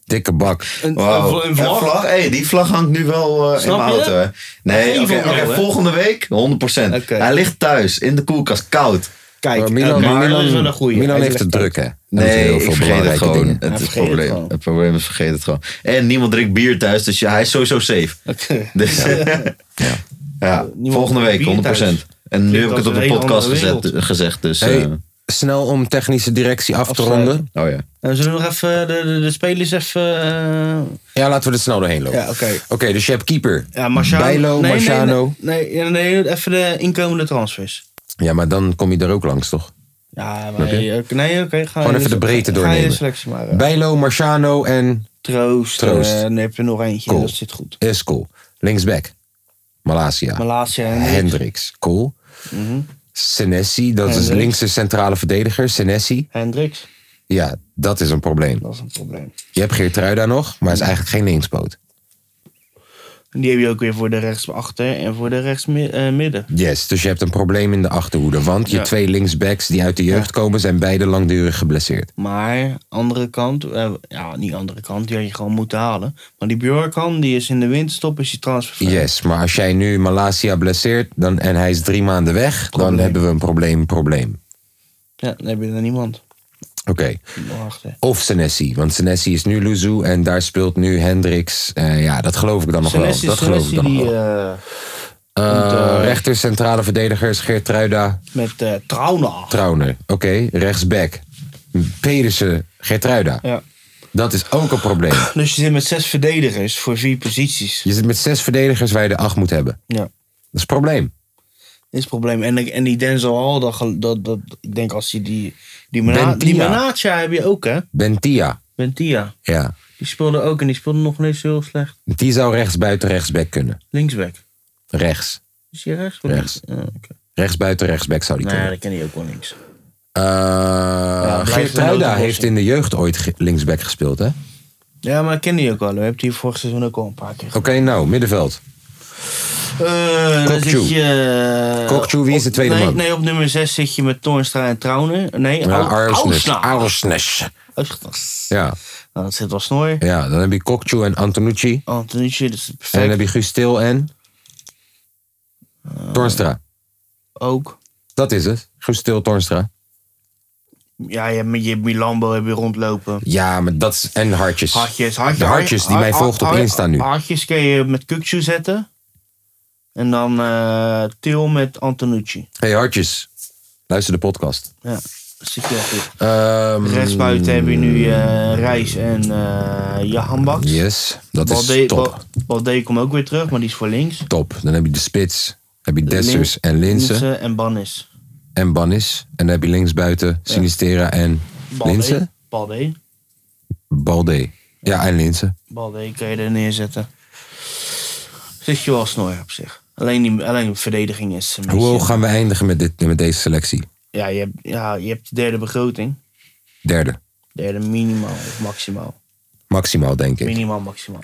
Speaker 1: Dikke bak.
Speaker 3: Een,
Speaker 4: Wow.
Speaker 3: een, vlag.
Speaker 4: Een Oh. vlag? Hey, die vlag hangt nu wel eh, in
Speaker 3: Snap
Speaker 4: mijn
Speaker 3: je?
Speaker 4: auto. Hè? Nee,
Speaker 3: Geen
Speaker 4: oké,
Speaker 3: van
Speaker 4: oké,
Speaker 3: jou, hè?
Speaker 4: volgende week 100%.
Speaker 3: Oké.
Speaker 4: Hij ligt thuis in de koelkast, koud.
Speaker 3: Kijk,
Speaker 1: Maar Milan,
Speaker 3: eh, maar
Speaker 1: Milan,
Speaker 3: dat is wel een goeie.
Speaker 1: Milan
Speaker 3: Hij
Speaker 1: heeft het
Speaker 3: legt
Speaker 1: druk, hè? Hij moet
Speaker 4: Nee,
Speaker 1: heel
Speaker 4: ik
Speaker 1: veel
Speaker 4: vergeet het
Speaker 1: belangrijke
Speaker 4: gewoon.
Speaker 1: dingen.
Speaker 4: Het, is het
Speaker 3: vergeet het
Speaker 4: probleem.
Speaker 3: gewoon.
Speaker 4: Het, probleem is vergeet het gewoon. En niemand drinkt bier thuis, dus ja, hij is sowieso safe.
Speaker 3: Oké.
Speaker 4: Dus, ja.
Speaker 3: Niemand
Speaker 4: volgende
Speaker 3: drinkt
Speaker 4: week
Speaker 3: bier
Speaker 4: 100%.
Speaker 3: thuis.
Speaker 4: En nu
Speaker 3: Klinkt als
Speaker 4: heb ik het op
Speaker 3: een
Speaker 4: de
Speaker 3: hele
Speaker 4: podcast
Speaker 3: andere
Speaker 4: gezet,
Speaker 3: wereld.
Speaker 4: gezegd, dus...
Speaker 1: Hey,
Speaker 4: eh,
Speaker 1: snel om technische directie af te
Speaker 3: Afsluiten.
Speaker 1: ronden.
Speaker 4: oh ja.
Speaker 3: Eh, zullen we nog even de, de, de spelers even... eh,
Speaker 1: Ja, laten we er snel doorheen lopen.
Speaker 3: Ja, oké.
Speaker 1: Oké, dus je hebt keeper.
Speaker 3: ja, Marciano.
Speaker 1: Bijlo,
Speaker 3: nee,
Speaker 1: Marciano.
Speaker 3: Nee, nee, nee, nee, even de inkomende transfers.
Speaker 1: Ja, maar dan kom je er ook langs, toch?
Speaker 3: Ja, maar eh, nee, oké. Nee, oké, ga
Speaker 1: Gewoon
Speaker 3: je-
Speaker 1: even de breedte
Speaker 3: Ga je
Speaker 1: doornemen.
Speaker 3: de selectie maar. eh,
Speaker 1: Bijlo, Marciano en
Speaker 3: Troost.
Speaker 1: Troost.
Speaker 3: Troost. en dan heb je nog eentje.
Speaker 1: Cool.
Speaker 3: Dat zit goed.
Speaker 1: Escol. Linksback.
Speaker 3: Maar
Speaker 1: Malasia.
Speaker 3: laatste jaar.
Speaker 1: Hendricks. Cool.
Speaker 3: Mhm.
Speaker 1: Senesi, dat is
Speaker 3: Hendricks.
Speaker 1: linkse centrale verdediger. Senesi.
Speaker 3: Hendricks.
Speaker 1: Ja, dat is een probleem.
Speaker 3: Dat is een probleem.
Speaker 1: Je hebt Geertruida nog, maar is eigenlijk geen linkspoot.
Speaker 3: En die heb je ook weer voor de rechtsachter en voor de eh, rechtsmidden.
Speaker 1: Yes, dus je hebt een probleem in de achterhoede. Want je
Speaker 3: Ja.
Speaker 1: twee linksbacks die uit de jeugd komen, zijn beide langdurig geblesseerd.
Speaker 3: Maar andere kant, eh, ja, niet andere kant, die had je gewoon moeten halen. Maar die Bjorkan, die is in de winterstop, is die transfervrij.
Speaker 1: Yes, maar als jij nu Malasia blesseert dan, en hij is drie maanden weg, dan
Speaker 3: Probleem.
Speaker 1: hebben we een probleem, probleem.
Speaker 3: Ja, dan heb je er niemand.
Speaker 1: Oké.
Speaker 3: Wacht, hè.
Speaker 1: Of Senesi, want Senesi is nu Luzu en daar speelt nu Hendricks. Eh, ja, dat geloof ik dan nog
Speaker 3: Senesi,
Speaker 1: wel. Dat geloof
Speaker 3: Senesi
Speaker 1: ik dan nog
Speaker 3: die
Speaker 1: wel.
Speaker 3: eh,
Speaker 1: Eh,
Speaker 3: moet, eh,
Speaker 1: rechter centrale verdediger is Geertruida
Speaker 3: met eh Trauna.
Speaker 1: Trauner. Oké, rechtsback. Pedersen, Geertruida.
Speaker 3: Ja.
Speaker 1: Dat is ook een probleem.
Speaker 3: Dus je zit met zes verdedigers voor vier posities.
Speaker 1: Je zit met zes verdedigers waar je er acht moet hebben.
Speaker 3: Ja.
Speaker 1: Dat is een probleem.
Speaker 3: Is het probleem. En, en die Denzel Hall, dat, ge- dat, dat, ik denk als die... Die, die, Mena
Speaker 1: Bentia.
Speaker 3: die Menatia heb je ook, hè?
Speaker 1: Bentia.
Speaker 3: Bentia.
Speaker 1: Ja.
Speaker 3: Die speelde ook en die speelde nog niet zo heel slecht.
Speaker 1: Die zou rechts buiten rechtsback kunnen.
Speaker 3: Linksback.
Speaker 1: Rechts.
Speaker 3: Is hij rechts?
Speaker 1: Rechts.
Speaker 3: Ja, oké.
Speaker 1: Rechts buiten rechtsback zou die
Speaker 3: Nou ja,
Speaker 1: kunnen.
Speaker 3: dat ken hij ook wel links.
Speaker 1: Eh
Speaker 3: blijft een
Speaker 1: Geertruida
Speaker 3: notenbos
Speaker 1: heeft
Speaker 3: in.
Speaker 1: in de jeugd ooit ge- linksback gespeeld, hè?
Speaker 3: Ja, maar dat ken hij ook wel. We hebben die vorig seizoen ook al een paar keer.
Speaker 1: Oké, nou, middenveld.
Speaker 3: Eh, dan
Speaker 1: Kokju.
Speaker 3: zit je...
Speaker 1: Kokju, wie is de
Speaker 3: op-
Speaker 1: tweede
Speaker 3: nee,
Speaker 1: man?
Speaker 3: Nee, op nummer 6 zit je met Toornstra en Trauner. Nee,
Speaker 1: Ja,
Speaker 3: Al-
Speaker 1: Arsnes.
Speaker 3: Ausna.
Speaker 1: Arsnes.
Speaker 3: Ausna.
Speaker 1: Ja,
Speaker 3: Nou, dat zit wel snoer.
Speaker 1: ja, dan heb je Kokchu en Antonucci.
Speaker 3: Antonucci, dat is
Speaker 1: En dan
Speaker 3: perfect.
Speaker 1: heb je Guus Til en...
Speaker 3: Eh.
Speaker 1: Tornstra.
Speaker 3: Ook.
Speaker 1: Dat is het. Guus Til, Tornstra.
Speaker 3: Ja, je hebt, je hebt Milambo heb je rondlopen.
Speaker 1: Ja, maar dat is... En Hartjes.
Speaker 3: Hartjes. hartjes
Speaker 1: De hartjes die mij volgt op Insta nu.
Speaker 3: Hartjes kun je met Kukju zetten. En dan eh Til met Antonucci.
Speaker 1: Hey, Hartjes. Luister de podcast.
Speaker 3: Ja, dat zit je wel goed.
Speaker 1: Ehm,
Speaker 3: Rechtsbuiten heb je nu eh Reis en eh Jahambak.
Speaker 1: Yes, dat
Speaker 3: Balde,
Speaker 1: is top.
Speaker 3: Bal- Balde komt ook weer terug, maar die is voor links.
Speaker 1: Top. Dan heb je de spits. Heb je Dessers en Linsen.
Speaker 3: Linse en Bannis.
Speaker 1: en Bannis. En dan heb je linksbuiten Sinistera en
Speaker 3: Balde.
Speaker 1: Linse.
Speaker 3: Balde.
Speaker 1: Balde. Ja, en Linse.
Speaker 3: Balde kan je er neerzetten. Zit je wel snor op zich. Alleen, die, alleen de verdediging is een
Speaker 1: Hoe
Speaker 3: beetje-
Speaker 1: hoog gaan we eindigen met, dit, met deze selectie?
Speaker 3: ja, je hebt, ja, je hebt de derde begroting.
Speaker 1: Derde.
Speaker 3: Derde minimaal of maximaal.
Speaker 1: Maximaal, denk ik.
Speaker 3: Minimaal, maximaal.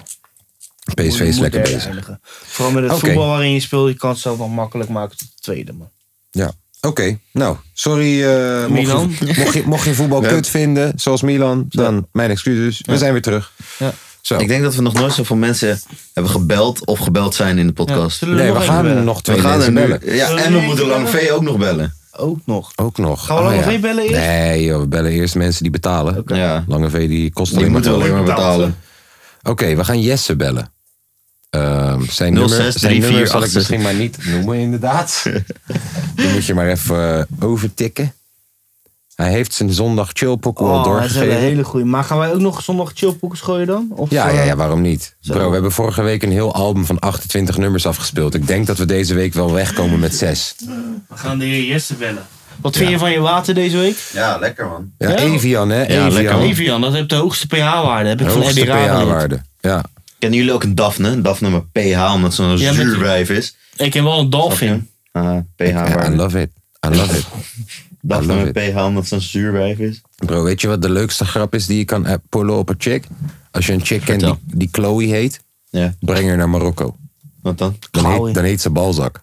Speaker 1: PSV
Speaker 3: Moet-
Speaker 1: is
Speaker 3: moet
Speaker 1: lekker
Speaker 3: derde
Speaker 1: bezig.
Speaker 3: eindigen. Vooral met het
Speaker 1: Oké.
Speaker 3: voetbal waarin je speelt, je kan het zelf wel makkelijk maken tot de tweede. Man.
Speaker 1: Ja. Oké, nou, sorry eh,
Speaker 3: Milan.
Speaker 1: Mocht je, mocht, je, mocht je voetbal kut vinden, zoals Milan, dan mijn excuses. We zijn weer terug.
Speaker 3: Ja.
Speaker 1: Zo.
Speaker 4: Ik denk dat we nog nooit zoveel mensen hebben gebeld of gebeld zijn in de podcast.
Speaker 3: Zullen
Speaker 1: nee,
Speaker 3: nog
Speaker 1: we
Speaker 3: even
Speaker 1: gaan er
Speaker 3: bellen?
Speaker 1: nog twee
Speaker 4: we gaan er
Speaker 1: mensen
Speaker 4: nu.
Speaker 1: bellen.
Speaker 4: Ja, en we moeten Lang V ook nog bellen.
Speaker 3: Ook nog.
Speaker 1: Ook nog. Ah,
Speaker 3: Gaan we Lange V bellen eerst?
Speaker 1: Nee, joh, we bellen eerst mensen die betalen.
Speaker 4: Ja.
Speaker 1: Lange V die kost
Speaker 4: Die
Speaker 1: alleen maar
Speaker 4: moeten we alleen maar
Speaker 3: betaald,
Speaker 4: betalen.
Speaker 1: Oké, we gaan Jesse bellen. Ehm, zijn
Speaker 4: 06
Speaker 1: nummer, zijn
Speaker 4: 34
Speaker 1: nummer zal ik misschien maar niet noemen, inderdaad. Dan moet je maar even eh, overtikken. Hij heeft zijn zondag chillpokken al
Speaker 3: Oh, dat is een
Speaker 1: doorgegeven.
Speaker 3: hele goeie. Maar gaan wij ook nog zondag chillpoekers gooien dan? Of,
Speaker 1: Ja,
Speaker 3: eh,
Speaker 1: ja, ja, waarom niet?
Speaker 3: Zo.
Speaker 1: Bro, we hebben vorige week een heel album van 28 nummers afgespeeld. Ik denk dat we deze week wel wegkomen met zes.
Speaker 3: We gaan de heer Jesse bellen. Wat vind je van je water deze week?
Speaker 4: Ja, lekker man.
Speaker 1: Ja,
Speaker 3: Ja.
Speaker 1: Evian, hè? Evian.
Speaker 3: Evian, dat heeft de hoogste pH-waarde. Heb ik van
Speaker 1: Hoogste
Speaker 3: Eddie Raven.
Speaker 1: pH-waarde. Ja.
Speaker 4: Kennen jullie ook een Daphne? Een Daphne met pH, omdat ze een
Speaker 3: Ja, met-
Speaker 4: zuurwijf is.
Speaker 3: Ik ken wel een dolfin.
Speaker 4: Ah, pH
Speaker 1: Ja, I
Speaker 4: waarde.
Speaker 1: love it. I love it.
Speaker 4: Daphne
Speaker 1: love
Speaker 4: met pH, omdat ze een zuurwijf is.
Speaker 1: Bro, weet je wat de leukste grap is die je kan eh, pullen op een chick? Als je een chick kent die, die Chloe heet,
Speaker 4: Ja,
Speaker 1: breng haar naar Marokko.
Speaker 4: wat dan?
Speaker 1: Dan
Speaker 3: Chloe.
Speaker 1: heet, dan heet ze balzak.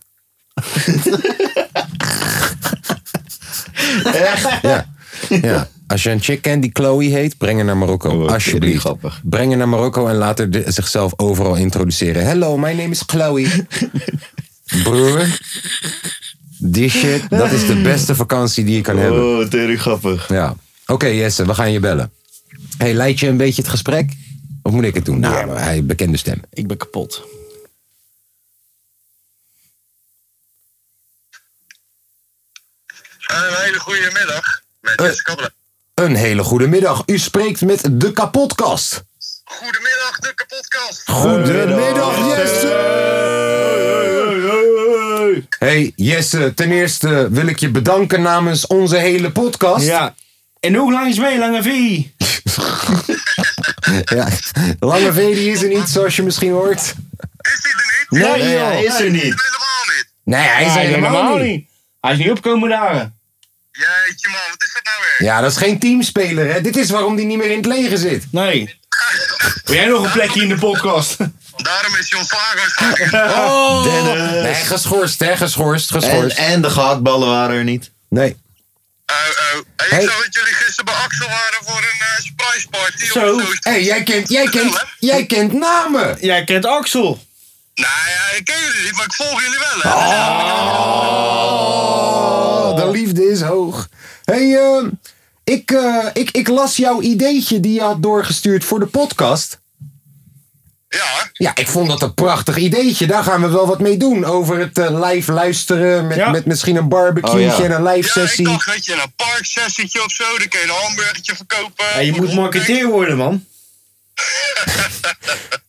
Speaker 4: Echt?
Speaker 1: Ja. ja. Als je een chick kent die Chloe heet, breng haar naar Marokko.
Speaker 4: Oh, tering
Speaker 1: Alsjeblieft.
Speaker 4: grappig.
Speaker 1: Breng haar naar Marokko en laat haar de- zichzelf overal introduceren. Hello, my name is Chloe. Broer. Die shit, dat is de beste vakantie die je kan hebben.
Speaker 4: Oh, tering grappig.
Speaker 1: Ja. Oké, Jesse, we gaan je bellen. Hey, leid je een beetje het gesprek? Of moet ik het doen? Nou, hij bekende stem.
Speaker 3: Ik ben kapot.
Speaker 5: Een hele goede middag met
Speaker 1: Eh.
Speaker 5: Jesse Kabbelen.
Speaker 1: Een hele goede middag. U spreekt met de kapotkast.
Speaker 5: Goedemiddag, de kapotkast.
Speaker 1: Goedemiddag, Jesse. Hey, Jesse, ten eerste wil ik je bedanken namens onze hele podcast.
Speaker 3: Ja. En hoe lang is mee, lange V?
Speaker 1: Ja. Lange V die is er niet, zoals je misschien hoort.
Speaker 5: Is dit er niet?
Speaker 1: Nee,
Speaker 4: Nee, hij is er niet.
Speaker 5: Helemaal niet.
Speaker 1: Nee, hij is er helemaal niet.
Speaker 3: Hij is niet opkomen dagen.
Speaker 5: Jeetje man, wat is dat nou weer?
Speaker 1: Ja, dat is geen teamspeler, hè. Dit is waarom die niet meer in het leger zit.
Speaker 3: Nee. Wil jij nog een plekje in de podcast?
Speaker 5: Daarom is John Slager ontslagen.
Speaker 1: Oh!
Speaker 4: Dennis.
Speaker 1: Nee, geschorst, hè. Geschorst,
Speaker 4: En,
Speaker 1: geschorst.
Speaker 4: en de gehaktballen waren er niet.
Speaker 1: Nee.
Speaker 5: Oh, oh. Hey,
Speaker 1: Hey.
Speaker 5: Ik zag dat jullie gisteren bij Axel waren voor een eh, surprise party. op
Speaker 3: Zo.
Speaker 5: de toast.
Speaker 1: Hé, hey, jij, kent, jij, kent, jij kent namen.
Speaker 3: Jij kent Axel.
Speaker 5: Nou ja, ik ken jullie niet, maar ik volg jullie wel. Hè.
Speaker 1: Oh, de liefde is hoog. hey, eh, ik, eh, ik, ik las jouw ideetje die je had doorgestuurd voor de podcast.
Speaker 5: Ja,
Speaker 1: Ja, ik vond dat een prachtig ideetje. Daar gaan we wel wat mee doen. Over het eh, live luisteren met,
Speaker 3: Ja.
Speaker 1: met misschien een barbecue
Speaker 4: Oh, ja.
Speaker 1: en een live
Speaker 5: ja ik
Speaker 1: sessie.
Speaker 5: dacht, weet je, een parksessietje of zo, dan kun je een hamburgertje verkopen.
Speaker 3: Ja, je
Speaker 5: Voor
Speaker 3: moet
Speaker 5: de honderd.
Speaker 3: marketeer worden, man.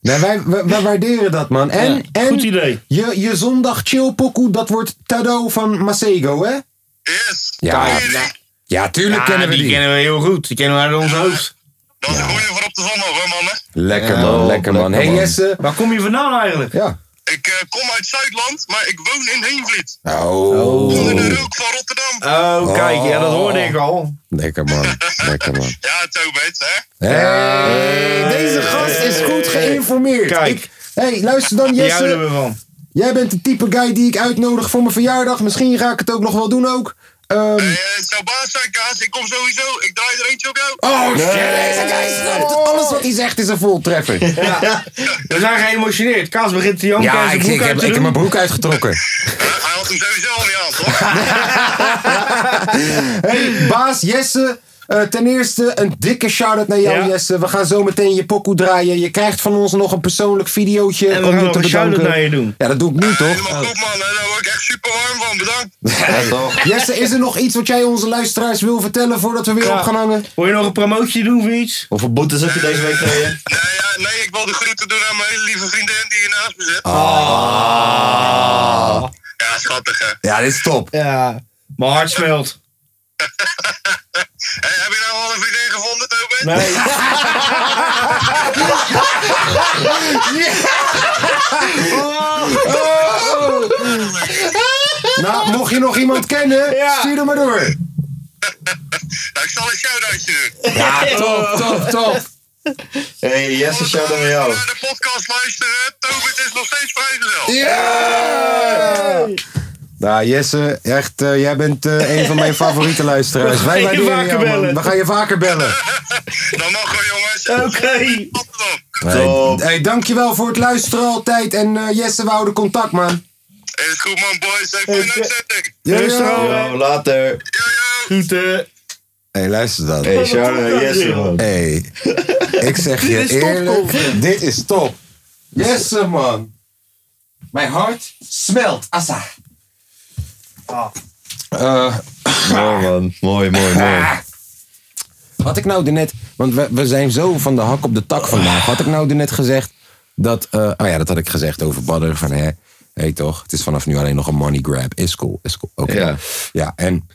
Speaker 1: Nee, wij, wij, wij waarderen dat, man. En,
Speaker 3: Ja,
Speaker 1: en
Speaker 3: goed idee.
Speaker 1: Je, je zondag chillpokoe, dat wordt Tado van Masego, hè?
Speaker 5: Yes.
Speaker 1: Ja.
Speaker 5: Ken je die?
Speaker 1: Ja, tuurlijk
Speaker 3: Ja,
Speaker 1: kennen we die.
Speaker 3: kennen we heel goed. Die kennen we uit ons hoofd.
Speaker 5: Dat is een goeie voor op de zondag hoor, mannen.
Speaker 1: Lekker,
Speaker 4: Ja,
Speaker 1: man.
Speaker 4: man.
Speaker 1: Lekker, man.
Speaker 4: Lekker,
Speaker 1: hey,
Speaker 4: man.
Speaker 1: Jesse.
Speaker 3: Waar kom je vandaan eigenlijk?
Speaker 1: Ja.
Speaker 5: Ik eh, kom uit Zuidland, maar ik woon in Heenvliet. Onder de
Speaker 1: oh.
Speaker 5: rook van Rotterdam.
Speaker 3: Oh, kijk, ja, dat hoorde ik al.
Speaker 1: Lekker, man. Lekker, man.
Speaker 5: Ja, Tobit, hè?
Speaker 1: Hey, deze gast is goed geïnformeerd.
Speaker 3: Eh, Kijk.
Speaker 1: Ik- hey, luister dan,
Speaker 3: Daar houden
Speaker 1: Jesse.
Speaker 3: we van.
Speaker 1: Jij bent de type guy die ik uitnodig voor mijn verjaardag. Misschien ga ik het ook nog wel doen ook. Ehm,
Speaker 5: Eh, het zou baas zijn, Kaas. Ik kom sowieso. Ik draai er eentje op jou.
Speaker 1: oh, shit. Deze guy snapt het. Alles wat hij zegt is een voltreffer.
Speaker 3: We zijn geëmotioneerd. Kaas begint te janken en zijn broek uit te doen.
Speaker 1: broek uitgetrokken.
Speaker 5: Hij had hem sowieso al niet aan, toch?
Speaker 1: Hey, baas Jesse. eh, ten eerste een dikke shout-out naar jou,
Speaker 3: Ja.
Speaker 1: Jesse. We gaan zo meteen je pokoe draaien. Je krijgt van ons nog een persoonlijk videootje
Speaker 3: En we
Speaker 1: om
Speaker 3: gaan
Speaker 1: je
Speaker 3: nog
Speaker 1: te
Speaker 3: een shout-out
Speaker 1: bedanken.
Speaker 3: naar je doen.
Speaker 1: Ja, dat doe ik nu toch?
Speaker 5: Helemaal goed, man. hè. Daar word ik echt super warm van. Bedankt.
Speaker 4: Ja, toch?
Speaker 1: Jesse, is er nog iets wat jij onze luisteraars wil vertellen voordat we weer
Speaker 3: Ja.
Speaker 1: op gaan hangen?
Speaker 3: Wil je nog een promotie doen voor iets?
Speaker 4: Hoeveel boetes heb je deze week gekregen?
Speaker 5: Nee, ja, nee, ik wil de groeten doen aan mijn hele lieve vriendin die hier naast me zit.
Speaker 1: Ah.
Speaker 4: Ah.
Speaker 5: Ja, schattig, hè.
Speaker 1: Ja, dit is top.
Speaker 3: Ja. Mijn hart smelt.
Speaker 5: Hé, heb je nou al een vriendin gevonden, Tobit?
Speaker 3: Nee.
Speaker 1: Oh.
Speaker 3: Oh.
Speaker 1: Nou, mocht je nog iemand kennen,
Speaker 3: Ja.
Speaker 1: stuur er maar door.
Speaker 5: Nou, ik zal een shout-outje doen.
Speaker 1: Ja, top, top, top.
Speaker 4: Hey, Jesse, shout-out naar jou.
Speaker 5: Naar de podcast luisteren. Tobit is nog steeds vrijgezel.
Speaker 1: Nou, Jesse, echt, eh, jij bent eh, een van mijn favoriete luisteraars.
Speaker 3: We gaan
Speaker 1: Wij
Speaker 3: je
Speaker 1: waarderen
Speaker 3: vaker
Speaker 1: jou, man.
Speaker 3: bellen.
Speaker 1: We gaan je vaker bellen.
Speaker 5: Dan mag wel, jongens.
Speaker 3: Oké.
Speaker 5: Tot dan.
Speaker 1: Hey, hey, dankjewel voor het luisteren altijd. En eh, Jesse, we houden contact, man.
Speaker 5: Is goed, man, boys. Hey, fijne uitzending.
Speaker 3: Rustig aan.
Speaker 4: Yo, later.
Speaker 5: Yo, yo.
Speaker 3: Groeten.
Speaker 1: hey, luister dan.
Speaker 4: Hey, shout-out Jesse, man.
Speaker 1: Hey, ik zeg je
Speaker 4: Dit is top,
Speaker 1: eerlijk, dit is top. Yes, sir, man. Mijn hart smelt, assa.
Speaker 4: Ah.
Speaker 1: Eh,
Speaker 4: Mooi, man. Mooi, mooi, mooi.
Speaker 1: had ik nou net, want we, we zijn zo van de hak op de tak vandaag. Had ik nou net gezegd dat, eh, oh ja, dat had ik gezegd over Badder. Van hè, hé toch, het is vanaf nu alleen nog een money grab. Is cool, is cool. Oké.
Speaker 4: Ja.
Speaker 1: ja, en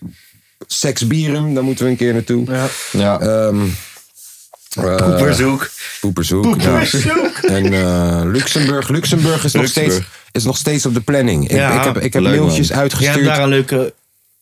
Speaker 1: seksbierum, daar moeten we een keer naartoe. Ja.
Speaker 4: Ja.
Speaker 1: Ehm, eh,
Speaker 4: Poeperzoek.
Speaker 1: Poeperzoek. ja. En eh, Luxemburg. Luxemburg, is, Nog
Speaker 4: Luxemburg.
Speaker 1: steeds, is nog steeds op de planning. Ik,
Speaker 3: Ja,
Speaker 1: ik heb, ik heb
Speaker 4: leuk,
Speaker 1: mailtjes
Speaker 4: man.
Speaker 3: Jij
Speaker 1: uitgestuurd.
Speaker 3: hebt daar een leuke,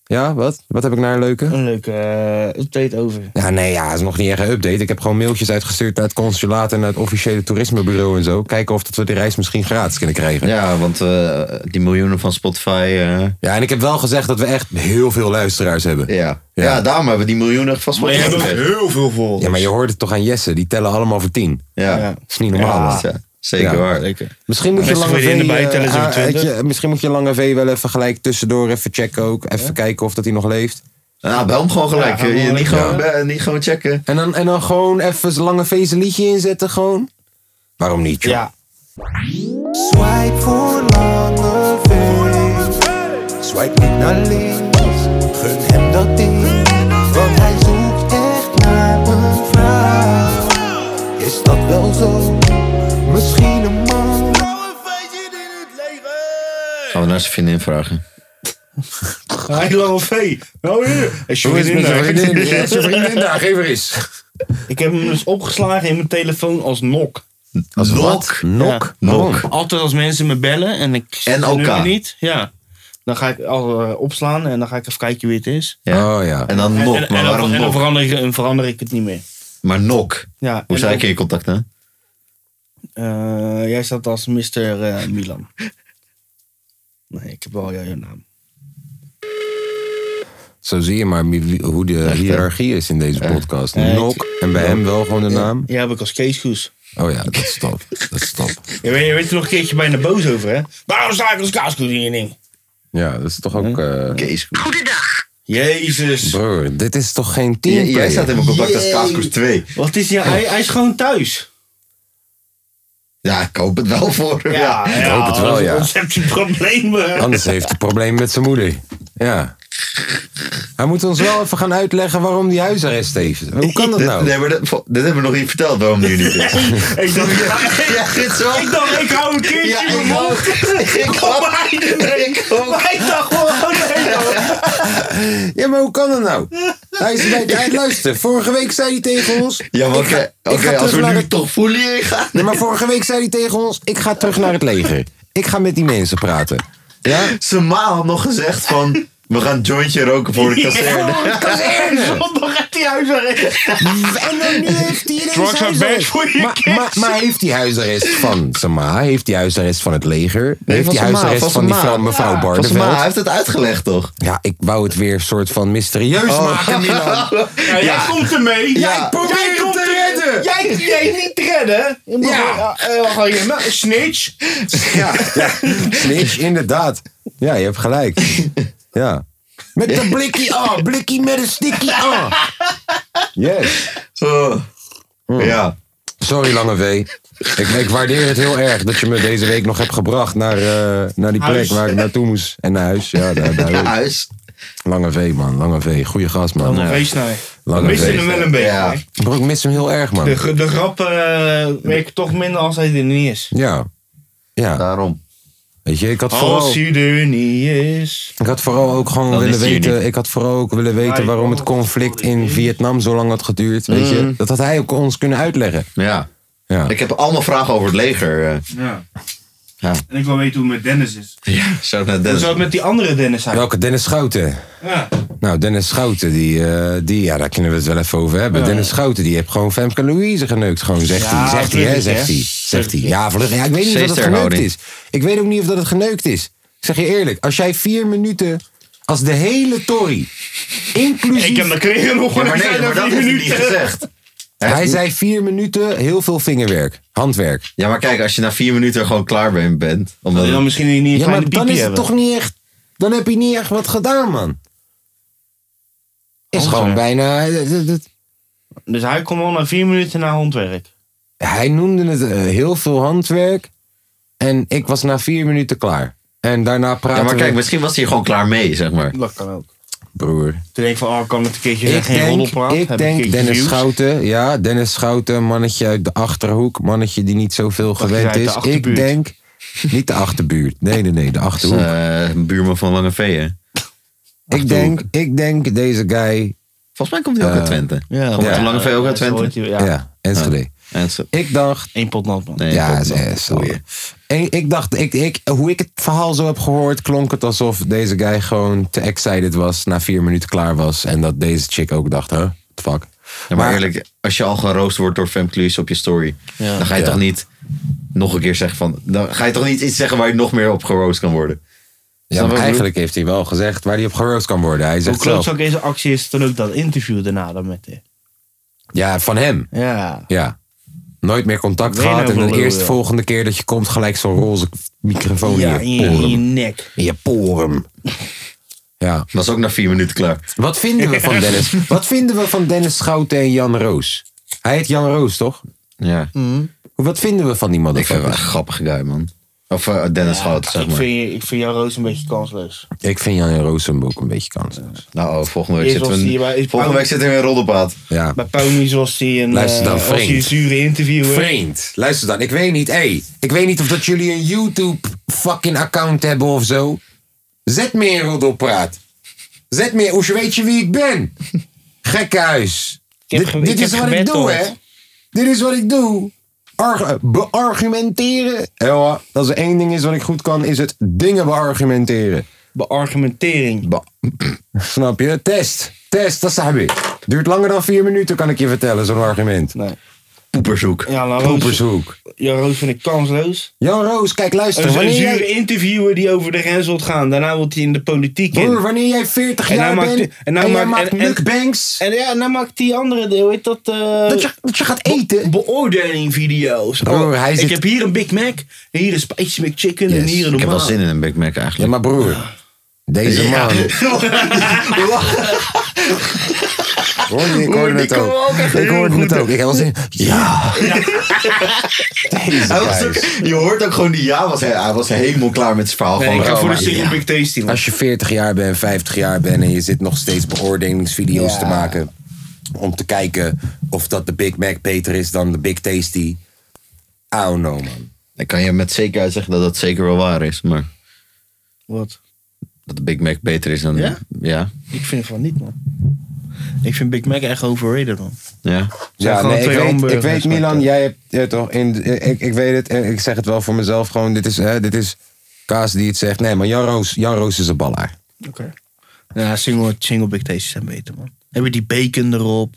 Speaker 1: Ja, wat? Wat heb ik naar een leuke?
Speaker 3: een leuke eh, update over.
Speaker 1: Ja, nee, ja, is nog niet echt een update. Ik heb gewoon mailtjes uitgestuurd naar het consulaat en naar het officiële toerismebureau en zo. Kijken of dat we de reis misschien gratis kunnen krijgen.
Speaker 4: Ja, want eh, die miljoenen van Spotify. eh,
Speaker 1: Ja, en ik heb wel gezegd dat we echt heel veel luisteraars hebben.
Speaker 4: ja. ja, daarom hebben we die miljoenen van Spotify. gekregen.
Speaker 3: heel veel vol.
Speaker 1: Ja, maar je hoort het toch aan Jesse, die tellen allemaal voor tien.
Speaker 4: Ja,
Speaker 3: Ja.
Speaker 1: Dat is niet normaal.
Speaker 4: Ja,
Speaker 1: man.
Speaker 4: ja, zeker
Speaker 1: Ja.
Speaker 4: waar.
Speaker 1: Misschien moet je
Speaker 3: Beste
Speaker 1: lange V.
Speaker 3: vriendin erbij,
Speaker 1: eh,
Speaker 3: tellen ze weer
Speaker 1: ah,
Speaker 3: 20.
Speaker 1: weet je, misschien moet je lange V wel even gelijk tussendoor even checken ook. Even kijken of dat hij nog leeft.
Speaker 4: Nou, bel hem gewoon gelijk.
Speaker 3: Ja,
Speaker 4: Je- niet,
Speaker 3: ja.
Speaker 4: gewoon, be- niet gewoon checken.
Speaker 1: En dan, en dan gewoon even zijn lange V zijn liedje inzetten gewoon. Waarom niet, joh?
Speaker 3: Ja,
Speaker 10: Swipe voor lange feest. Swipe niet naar links. Gun hem dat ding. Want hij zoekt echt naar een vrouw. Is dat wel zo? Misschien een man.
Speaker 4: Gaan we Oh, naar zijn vriendin vragen.
Speaker 3: Hij lange V. Nou, hier. Is je
Speaker 1: Hoe is het met
Speaker 3: vriendin
Speaker 1: je
Speaker 3: daar?
Speaker 1: vriendin? Ja, is je vriendin daar? Geef er eens.
Speaker 3: Ik heb hem dus opgeslagen in mijn telefoon als nok.
Speaker 1: Als
Speaker 4: Nok.
Speaker 1: Nok.
Speaker 4: Ja.
Speaker 1: Waarom?
Speaker 4: Nok.
Speaker 3: Altijd als mensen me bellen en ik zie
Speaker 4: En
Speaker 3: de
Speaker 4: OK.
Speaker 3: nummer niet. Ja. Dan ga ik al eh, opslaan en dan ga ik even kijken wie het is.
Speaker 4: Ja.
Speaker 1: Oh ja.
Speaker 4: En dan
Speaker 3: En-
Speaker 4: Nok.
Speaker 3: en,
Speaker 4: maar
Speaker 3: en, dan-
Speaker 4: waarom
Speaker 3: en dan
Speaker 4: Nok?
Speaker 3: verander ik, en verander ik het niet meer.
Speaker 4: Maar Nok.
Speaker 3: Ja,
Speaker 4: Hoe
Speaker 3: en
Speaker 4: zei
Speaker 3: dan-
Speaker 4: ik in je contact, hè?
Speaker 3: Eh, jij staat als Mr. eh, Milan. Nee, ik heb wel jouw naam.
Speaker 1: Zo zie je maar wie- wie- hoe de
Speaker 4: hè?
Speaker 1: hiërarchie is in deze podcast.
Speaker 3: Ja, ik-
Speaker 1: Nok. En bij hem wel gewoon de naam.
Speaker 3: Ja, heb ik als Keesgoes.
Speaker 1: Oh ja, dat is top. Dat is top.
Speaker 3: Je weet, je weet er nog een keertje bijna boos over, hè? Waarom sta ik als Keesgoes in je ding?
Speaker 1: Ja, dat is toch ook... eh,
Speaker 4: Kees.
Speaker 7: Goedendag.
Speaker 3: Jezus.
Speaker 1: Broer, dit is toch geen team?
Speaker 4: Jij- Jij staat in mijn contact als
Speaker 3: Jee.
Speaker 4: Kaaskoers 2.
Speaker 3: Wat is die? Hij, hij is gewoon thuis.
Speaker 4: Ja, ik hoop het wel voor hem. Ja.
Speaker 1: ik hoop het wel,
Speaker 3: anders-
Speaker 1: ja.
Speaker 3: Anders heb je problemen.
Speaker 1: Anders heeft hij problemen met zijn moeder. Ja. Hij moet ons wel even gaan uitleggen waarom die huisarrest heeft. Hoe kan dat
Speaker 4: Dit-
Speaker 1: nou?
Speaker 4: Nee, maar dat, dit hebben we nog niet verteld waarom die er niet is.
Speaker 3: Ik dacht, ja,
Speaker 4: Ja, dit is wel...
Speaker 3: ik dacht, ik hou een keertje
Speaker 4: Ja,
Speaker 3: in mijn
Speaker 4: ik
Speaker 3: mond.
Speaker 4: ook. Ik ook.
Speaker 3: Maar hij-
Speaker 4: Ik ook.
Speaker 3: Maar ik dacht gewoon, nee, joh.
Speaker 1: Ja, maar hoe kan dat nou? Hij is bij tijd luisteren. Vorige week zei hij tegen ons.
Speaker 4: Ja, maar
Speaker 1: ik ga-
Speaker 4: oké,
Speaker 1: ik
Speaker 4: oké,
Speaker 1: ga
Speaker 4: als
Speaker 1: terug
Speaker 4: we
Speaker 1: naar
Speaker 4: nu
Speaker 1: het-
Speaker 4: toch folie gaan.
Speaker 1: Nee, maar vorige week zei hij tegen ons: ik ga terug naar het leger. Ik ga met die mensen praten. Ja?
Speaker 4: Zijn ma had nog gezegd van, we gaan een jointje roken voor de kazerne.
Speaker 3: Zondag heeft hij huisarrest.
Speaker 1: En dan nu heeft hij ineens
Speaker 3: Drugs are bad
Speaker 1: huisarrest.
Speaker 3: for your
Speaker 1: Maar,
Speaker 3: kids.
Speaker 1: maar, maar heeft hij huisarrest van zijn ma? Heeft hij huisarrest van het leger? heeft
Speaker 4: van
Speaker 1: hij
Speaker 4: zijn ma,
Speaker 1: huisarrest van,
Speaker 4: van zijn
Speaker 1: die
Speaker 4: ma.
Speaker 1: vrouw, mevrouw
Speaker 4: Van zijn ma,
Speaker 1: Barneveld?
Speaker 4: hij heeft het uitgelegd toch? Oh.
Speaker 1: Ja, ik wou het weer soort van mysterieus maken, Milan.
Speaker 3: Ja, jij komt ermee.
Speaker 4: Ja.
Speaker 3: Jij probeert
Speaker 1: Jij
Speaker 3: hem
Speaker 1: komt
Speaker 3: te
Speaker 1: er-
Speaker 3: redden. Jij, jij niet redden. Je moet
Speaker 1: Ja.
Speaker 3: wel- eh, wacht even, nou, Snitch.
Speaker 1: Ja, ja. Snitch, inderdaad. Ja, je hebt gelijk. Ja. Met de blikkie oh, aan, blikkie met een stikkie aan. Yes. Hmm.
Speaker 4: Oh. Ja.
Speaker 1: Sorry, Lange V. Ik, ik waardeer het heel erg dat je me deze week nog hebt gebracht naar, eh, naar die plek
Speaker 3: Huis.
Speaker 1: waar ik naartoe moest. En naar huis. Ja, daar, daar.
Speaker 4: Huis.
Speaker 1: Lange V, man. Lange V. Goeie gast, man.
Speaker 3: Lange
Speaker 1: Ja.
Speaker 3: Weesnaar.
Speaker 1: Lange
Speaker 3: Miste
Speaker 1: V.
Speaker 3: Nou. hem wel een beetje.
Speaker 4: Ja.
Speaker 3: hè?
Speaker 1: Bro, ik mis hem heel erg, man.
Speaker 3: De, de grappen eh, werken toch minder als hij er niet is.
Speaker 1: Ja. Ja.
Speaker 4: Daarom.
Speaker 1: Weet je, ik had vooral...
Speaker 3: Als hij er niet is.
Speaker 1: Ik had vooral ook gewoon willen
Speaker 4: is hij er
Speaker 1: weten. Ik had vooral ook willen weten waarom het conflict in Vietnam zo lang had geduurd. Weet je, dat had hij ook ons kunnen uitleggen.
Speaker 4: Ja.
Speaker 1: Ja.
Speaker 4: Mm. Ik heb allemaal vragen over het leger. eh.
Speaker 3: Ja.
Speaker 4: Ja.
Speaker 3: En ik wil weten hoe het met Dennis is.
Speaker 4: Ja, zo naar
Speaker 3: Hoe zou
Speaker 4: Dennis.
Speaker 3: het met die andere Dennis zijn?
Speaker 1: Welke Dennis Schouten?
Speaker 3: Nou. Ja.
Speaker 1: Nou, Dennis Schouten, die, eh, die, ja, daar kunnen we het wel even over hebben. Dennis Schouten, die heeft gewoon Femke Louise geneukt. Gewoon, zegt
Speaker 3: Ja,
Speaker 1: hij. Zegt hij, hè?
Speaker 3: vlugjes,
Speaker 1: Zegt
Speaker 3: hè?
Speaker 1: hij. Zegt hij. Ja, vlug. Ja, ik weet niet of dat het geneukt
Speaker 4: Zeesterhouding.
Speaker 1: is. Ik weet ook niet of dat het geneukt is. Ik zeg je eerlijk, als jij vier minuten, als de hele Tory, inclusief
Speaker 3: Ik heb mijn kleren nog
Speaker 4: Ja,
Speaker 3: maar
Speaker 4: maar nee,
Speaker 3: zijn
Speaker 4: maar
Speaker 3: er
Speaker 4: dat
Speaker 3: vier
Speaker 4: heeft hij niet
Speaker 3: minuten.
Speaker 4: gezegd.
Speaker 1: Hij zei vier minuten, heel veel vingerwerk, handwerk.
Speaker 4: Ja, maar kijk, als je na vier minuten gewoon klaar bent, bent omdat
Speaker 3: Wil je dan misschien niet een
Speaker 1: Ja,
Speaker 3: kleine
Speaker 1: maar dan
Speaker 3: piepje
Speaker 1: is het
Speaker 3: hebben?
Speaker 1: toch niet echt. Dan heb je niet echt wat gedaan, man. Is gewoon bijna. dat- dat- dat-
Speaker 3: Dus hij kwam al na vier minuten naar handwerk.
Speaker 1: Hij noemde het eh, heel veel handwerk. En ik was na vier minuten klaar. En daarna praten
Speaker 4: Ja, maar kijk,
Speaker 1: we-
Speaker 4: misschien was hij er gewoon klaar mee, zeg maar.
Speaker 3: Dat kan ook.
Speaker 1: Broer.
Speaker 3: Toen denk ik van, oh, kan het een keertje
Speaker 1: Ik
Speaker 3: geen
Speaker 1: denk,
Speaker 3: roddelpraat? Heb
Speaker 1: ik
Speaker 3: een
Speaker 1: denk
Speaker 3: keertje
Speaker 1: Dennis
Speaker 3: views?
Speaker 1: Schouten. Ja, Dennis Schouten, mannetje uit de Achterhoek. Mannetje die niet zoveel
Speaker 3: je
Speaker 1: gewend
Speaker 3: zei de
Speaker 1: is. Ik
Speaker 3: Achterbuurt.
Speaker 1: denk... Niet de Achterbuurt. Nee, nee, nee. De
Speaker 4: Dat is,
Speaker 1: Achterhoek.
Speaker 4: eh, een buurman van Lange Vee, hè?
Speaker 1: ik, denk, ik denk deze guy... eh,
Speaker 4: Volgens mij komt hij ook uit Twente.
Speaker 3: Ja,
Speaker 4: Komt
Speaker 1: ja.
Speaker 4: Lange Vee ook uit Twente?
Speaker 1: Ja,
Speaker 3: Ja,
Speaker 1: Enschede.
Speaker 4: En zo-
Speaker 1: Ik dacht...
Speaker 3: één pot nat, man.
Speaker 4: Nee,
Speaker 1: Ja,
Speaker 4: klopt
Speaker 1: ze
Speaker 4: wel.
Speaker 1: is
Speaker 4: Goeie.
Speaker 1: en ik dacht, ik, ik, hoe ik het verhaal zo heb gehoord, klonk het alsof deze guy gewoon te excited was, na vier minuten klaar was. En dat deze chick ook dacht, huh, what the fuck.
Speaker 4: Ja, maar eerlijk, als je al geroost wordt door Femke Louise op je story,
Speaker 3: Ja.
Speaker 4: dan ga je
Speaker 1: Ja.
Speaker 4: toch niet nog een keer zeggen van. Dan ga je toch niet iets zeggen waar je nog meer op geroost kan worden.
Speaker 1: Ja,
Speaker 4: Snap
Speaker 1: maar
Speaker 4: wat ik
Speaker 1: eigenlijk heeft hij wel gezegd waar hij op geroost kan worden. Hij
Speaker 3: Hoe
Speaker 1: zegt zelf,
Speaker 3: klootzak deze actie is dan ook dat interview daarna dan met haar.
Speaker 1: ja, van hem.
Speaker 3: Ja.
Speaker 1: Ja. Nooit meer contact
Speaker 3: Weer
Speaker 1: gehad.
Speaker 3: nou
Speaker 1: En de
Speaker 3: van lul,
Speaker 1: eerste
Speaker 3: ja.
Speaker 1: volgende keer dat je komt, gelijk zo'n roze microfoon
Speaker 3: Ja, in
Speaker 1: in
Speaker 3: je,
Speaker 1: je
Speaker 3: in je
Speaker 1: porum.
Speaker 3: nek.
Speaker 1: In je porum. Ja.
Speaker 4: Was ook na vier minuten klaar.
Speaker 1: Wat vinden we van Dennis? Wat vinden we van Dennis Schouten en Jan Roos? Hij heet Jan Roos, toch?
Speaker 4: Ja.
Speaker 3: Mhm.
Speaker 1: Wat vinden we van die
Speaker 4: Ik vind
Speaker 1: motherfucker?
Speaker 4: hem echt een grappige guy, man. Of eh, Dennis Schouten, zeg
Speaker 3: ik,
Speaker 4: maar.
Speaker 3: vind, ik vind jouw roos een beetje kansloos.
Speaker 1: Ik vind Jan Roos hem ook een beetje kansloos.
Speaker 4: Nou, oh, volgende week
Speaker 3: Eerst
Speaker 4: zitten we,
Speaker 3: was hij bij- is Paul-
Speaker 4: volgende week zitten we in een roddelpaad.
Speaker 1: Ja.
Speaker 3: Bij Ponies was hij een,
Speaker 1: Luister
Speaker 3: eh,
Speaker 1: dan,
Speaker 3: was hij een
Speaker 1: vriend.
Speaker 3: zure interviewer.
Speaker 1: Vreemd. Luister dan, ik weet niet. Hey, ik weet niet of dat jullie een YouTube fucking account hebben of zo. Zet meer roddelpraat. Zet meer, hoe weet je wie ik ben? Gekhuis.
Speaker 3: heb
Speaker 1: Dit,
Speaker 3: ge-
Speaker 1: dit
Speaker 3: ik
Speaker 1: is
Speaker 3: heb
Speaker 1: wat ik doe,
Speaker 3: gebetteld.
Speaker 1: hè? Dit is wat ik doe. Arg- eh, beargumenteren. Ja, als er één ding is wat ik goed kan, is het dingen beargumenteren.
Speaker 3: Beargumentering.
Speaker 1: Snap je? Test. Test, dat snap ik. Duurt langer dan vier minuten, kan ik je vertellen, zo'n argument.
Speaker 3: Nee.
Speaker 4: Poeperzoek.
Speaker 3: Ja, nou, roos,
Speaker 1: Poepershoek.
Speaker 3: jouw roos vind ik kansloos.
Speaker 1: Jan Roos, kijk,
Speaker 3: Een
Speaker 1: luister.
Speaker 3: een
Speaker 1: Wanneer
Speaker 3: zure
Speaker 1: jij,
Speaker 3: interviewer die over de grens wilt gaan. Daarna wil hij in de politiek
Speaker 1: broer,
Speaker 3: in.
Speaker 1: wanneer jij 40
Speaker 3: En nou
Speaker 1: jaar
Speaker 3: maakt-
Speaker 1: bent
Speaker 3: en
Speaker 1: en,
Speaker 3: nou
Speaker 1: jij
Speaker 3: maakt-
Speaker 1: maakt
Speaker 3: en- en-
Speaker 1: mukbangs,
Speaker 3: En ja, dan maakt die andere deel, heet dat... eh,
Speaker 1: dat, je, dat je gaat eten.
Speaker 3: beoordeling video's.
Speaker 1: Broer, hij
Speaker 3: Oh, ik
Speaker 1: zit-
Speaker 3: heb hier een Big Mac, hier een Spicy McChicken en
Speaker 4: Yes.
Speaker 3: hier een
Speaker 4: Ik heb wel
Speaker 3: normaal.
Speaker 4: zin in een Big Mac
Speaker 1: Ja,
Speaker 4: eigenlijk.
Speaker 1: maar broer, deze man. Hoor je, ik hoorde het
Speaker 4: kwam
Speaker 1: ook.
Speaker 4: ook echt
Speaker 1: Ik
Speaker 4: heel
Speaker 1: hoorde
Speaker 4: goed
Speaker 1: het ook. Ik had wel zin. Ja. Deze
Speaker 4: Hij was ook-
Speaker 1: guys.
Speaker 4: je hoort ook gewoon die ja, was, hij, hij was helemaal klaar met zijn verhaal.
Speaker 3: Nee,
Speaker 4: gewoon,
Speaker 3: ik ga
Speaker 4: oh,
Speaker 3: voor de
Speaker 4: maar-
Speaker 3: Single Big Tasty. man.
Speaker 1: Als je 40 jaar bent, 50 jaar bent en je zit nog steeds beoordelingsvideo's te maken. Om te kijken of dat de Big Mac beter is dan de Big Tasty. I don't know, man.
Speaker 4: Dan kan je met zekerheid zeggen dat dat zeker wel waar is. Maar
Speaker 3: Wat?
Speaker 4: dat de Big Mac beter is dan...
Speaker 3: Ja?
Speaker 4: Ja.
Speaker 3: Ik vind van niet, man. Ik vind Big Mac echt overrated, man.
Speaker 4: ja.
Speaker 3: zijn
Speaker 1: Ja,
Speaker 3: gewoon
Speaker 1: nee, ik
Speaker 3: twee
Speaker 1: weet, ik
Speaker 3: hamburgers
Speaker 1: weet
Speaker 3: met,
Speaker 1: Milan,
Speaker 3: eh,
Speaker 1: jij hebt ja, toch in. Ik, ik weet het, en ik zeg het wel voor mezelf gewoon. Dit is, hè, dit is Kaas die het zegt. Nee, maar Jan Roos, Jan Roos is een ballaar.
Speaker 3: Oké. Ja, single, single Big Tasty zijn beter, man. Heb je die bacon erop?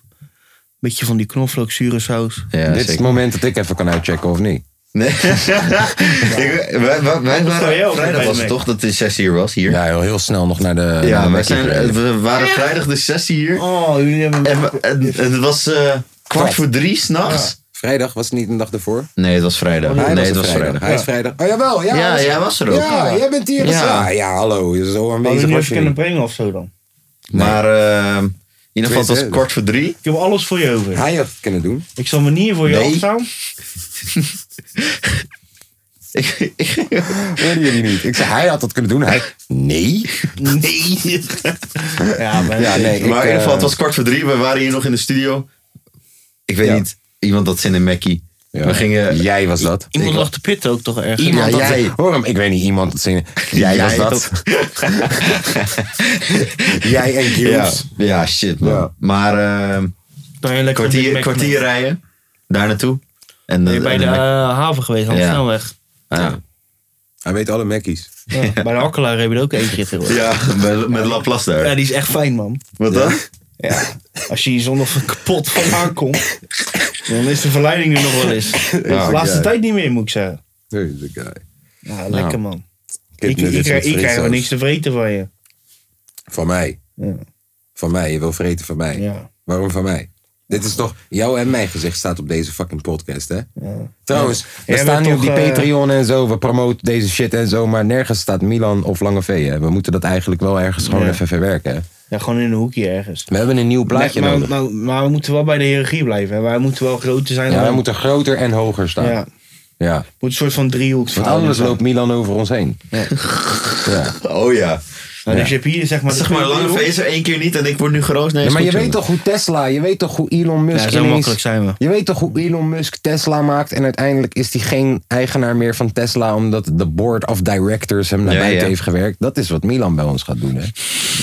Speaker 3: Beetje van die knoflook, zure saus.
Speaker 4: ja
Speaker 1: dit is
Speaker 4: zeker.
Speaker 1: het moment dat ik even kan uitchecken of niet.
Speaker 4: Nee. Ik- wij, wij, wij
Speaker 3: sta jij
Speaker 4: waren,
Speaker 3: ook
Speaker 4: vrijdag
Speaker 3: bij
Speaker 4: was het
Speaker 3: Mac?
Speaker 4: toch dat de sessie hier was, hier?
Speaker 1: Ja, heel, heel snel nog naar de. Eh, naar de
Speaker 4: Ja, wij
Speaker 1: Mackie
Speaker 4: zijn,
Speaker 1: gereden.
Speaker 4: we waren
Speaker 1: Oh,
Speaker 4: vrijdag de sessie hier.
Speaker 3: Oh, jullie hebben...
Speaker 4: En, we- en, en het was eh, kwart voor drie s'nachts.
Speaker 1: Vrijdag was het niet een dag ervoor.
Speaker 4: Nee, het was vrijdag.
Speaker 1: Hij
Speaker 4: nee,
Speaker 1: was
Speaker 4: het
Speaker 1: er
Speaker 4: was vrijdag.
Speaker 1: Oh, Hij is vrijdag. Oh jawel, ja.
Speaker 4: Ja,
Speaker 1: hij is-
Speaker 4: jij was er ook.
Speaker 1: Ja, jij bent hier.
Speaker 4: Ja.
Speaker 1: Ja, ja, hallo. Je zo
Speaker 3: Hadden
Speaker 1: aanwezig
Speaker 3: jullie
Speaker 1: was
Speaker 3: even
Speaker 1: je
Speaker 3: kunnen
Speaker 1: niet.
Speaker 3: brengen of zo dan?
Speaker 4: Maar eh, in ieder geval, het was
Speaker 1: Weet je-
Speaker 4: kwart voor drie.
Speaker 3: Ik heb alles voor je over.
Speaker 1: Hij had het kunnen doen.
Speaker 3: Ik zal me niet voor je
Speaker 4: Nee.
Speaker 3: afstaan.
Speaker 4: Ik- ik-
Speaker 1: Hoorden jullie niet? Ik zei, hij had dat kunnen doen. Hij, nee.
Speaker 3: Nee. ja, maar...
Speaker 1: Ja, nee.
Speaker 4: maar in
Speaker 1: ik,
Speaker 4: ieder geval, het
Speaker 1: eh,
Speaker 4: was kwart voor drie. We waren hier nog in de studio. Ik weet
Speaker 1: Ja.
Speaker 4: niet, iemand had zin in Mackie.
Speaker 1: ja.
Speaker 4: We gingen...
Speaker 1: Jij was dat.
Speaker 3: Iemand lag te pitten ook toch ergens.
Speaker 1: Iemand
Speaker 4: Ja,
Speaker 1: had-
Speaker 4: jij.
Speaker 1: Hoor hem, ik weet niet, iemand dat zingen. Jij, was dat. jij en
Speaker 4: Ja,
Speaker 1: Gilles.
Speaker 4: ja, shit man.
Speaker 1: Ja.
Speaker 4: Maar eh,
Speaker 3: Dan heel lekker een Big
Speaker 4: kwartier,
Speaker 3: Mac
Speaker 4: kwartier
Speaker 3: nemen.
Speaker 4: rijden, daar naartoe. En
Speaker 3: Ben je bij
Speaker 4: en
Speaker 3: de
Speaker 4: Mac- Ah.
Speaker 3: eh, haven geweest, aan de
Speaker 4: Ja.
Speaker 3: snelweg.
Speaker 4: ja.
Speaker 1: Hij weet alle Mackies.
Speaker 3: Ja, Bij de Akkelaar heb je er ook eentje gehoord.
Speaker 4: Ja, met, met Laplace daar.
Speaker 3: Ja, die is echt fijn, man.
Speaker 4: Wat dan?
Speaker 3: Als je hier zondag kapot vandaan komt, dan is de verleiding er nog wel eens. de laatste tijd niet meer, moet ik zeggen.
Speaker 1: Deze guy.
Speaker 3: Ja, Nou, lekker, man.
Speaker 1: heb
Speaker 3: Ik,
Speaker 1: net
Speaker 3: ik,
Speaker 1: iets
Speaker 3: krijg,
Speaker 1: met
Speaker 3: ik krijg
Speaker 1: frietsaus.
Speaker 3: er niks te vreten van je.
Speaker 1: Van mij.
Speaker 3: Ja.
Speaker 1: Van mij. Je wil vreten van mij.
Speaker 3: Ja.
Speaker 1: Waarom van mij? Dit is toch, jouw en mijn gezicht staat op deze fucking podcast, hè? Trouwens, we
Speaker 3: Jij
Speaker 1: staan
Speaker 3: bent
Speaker 1: nu op die
Speaker 3: toch, eh,
Speaker 1: Patreon en zo, we promoten deze shit en zo, maar nergens staat Milan of Lange V, hè? We moeten dat eigenlijk wel ergens gewoon
Speaker 3: Ja.
Speaker 1: even verwerken, hè?
Speaker 3: Ja, gewoon in een hoekje ergens.
Speaker 1: We hebben een nieuw plaatje
Speaker 3: Nee, maar,
Speaker 1: nodig.
Speaker 3: maar, maar we moeten wel bij de hiërarchie blijven. Hè. Wij moeten wel groter zijn.
Speaker 1: ja,
Speaker 3: dan-
Speaker 1: wij moeten groter en hoger staan.
Speaker 3: Ja,
Speaker 1: Ja.
Speaker 3: moet een soort van driehoek
Speaker 1: Want anders loopt Milan over ons heen. Ja.
Speaker 4: Oh ja.
Speaker 3: Nou, Dus je hebt hier zeg maar...
Speaker 4: Zeg maar, lange feest er één keer niet en ik word nu geroost. Nee,
Speaker 1: Ja,
Speaker 4: is
Speaker 1: maar je
Speaker 4: goed,
Speaker 1: weet
Speaker 4: jongen.
Speaker 1: toch hoe Tesla, je weet toch hoe Elon Musk
Speaker 3: Ja, zo
Speaker 1: ineens-
Speaker 3: makkelijk zijn we.
Speaker 1: Je weet toch hoe Elon Musk Tesla maakt en uiteindelijk is hij geen eigenaar meer van Tesla omdat de board of directors hem naar
Speaker 4: Ja,
Speaker 1: buiten
Speaker 4: ja.
Speaker 1: heeft gewerkt. Dat is wat Milan bij ons gaat doen hè.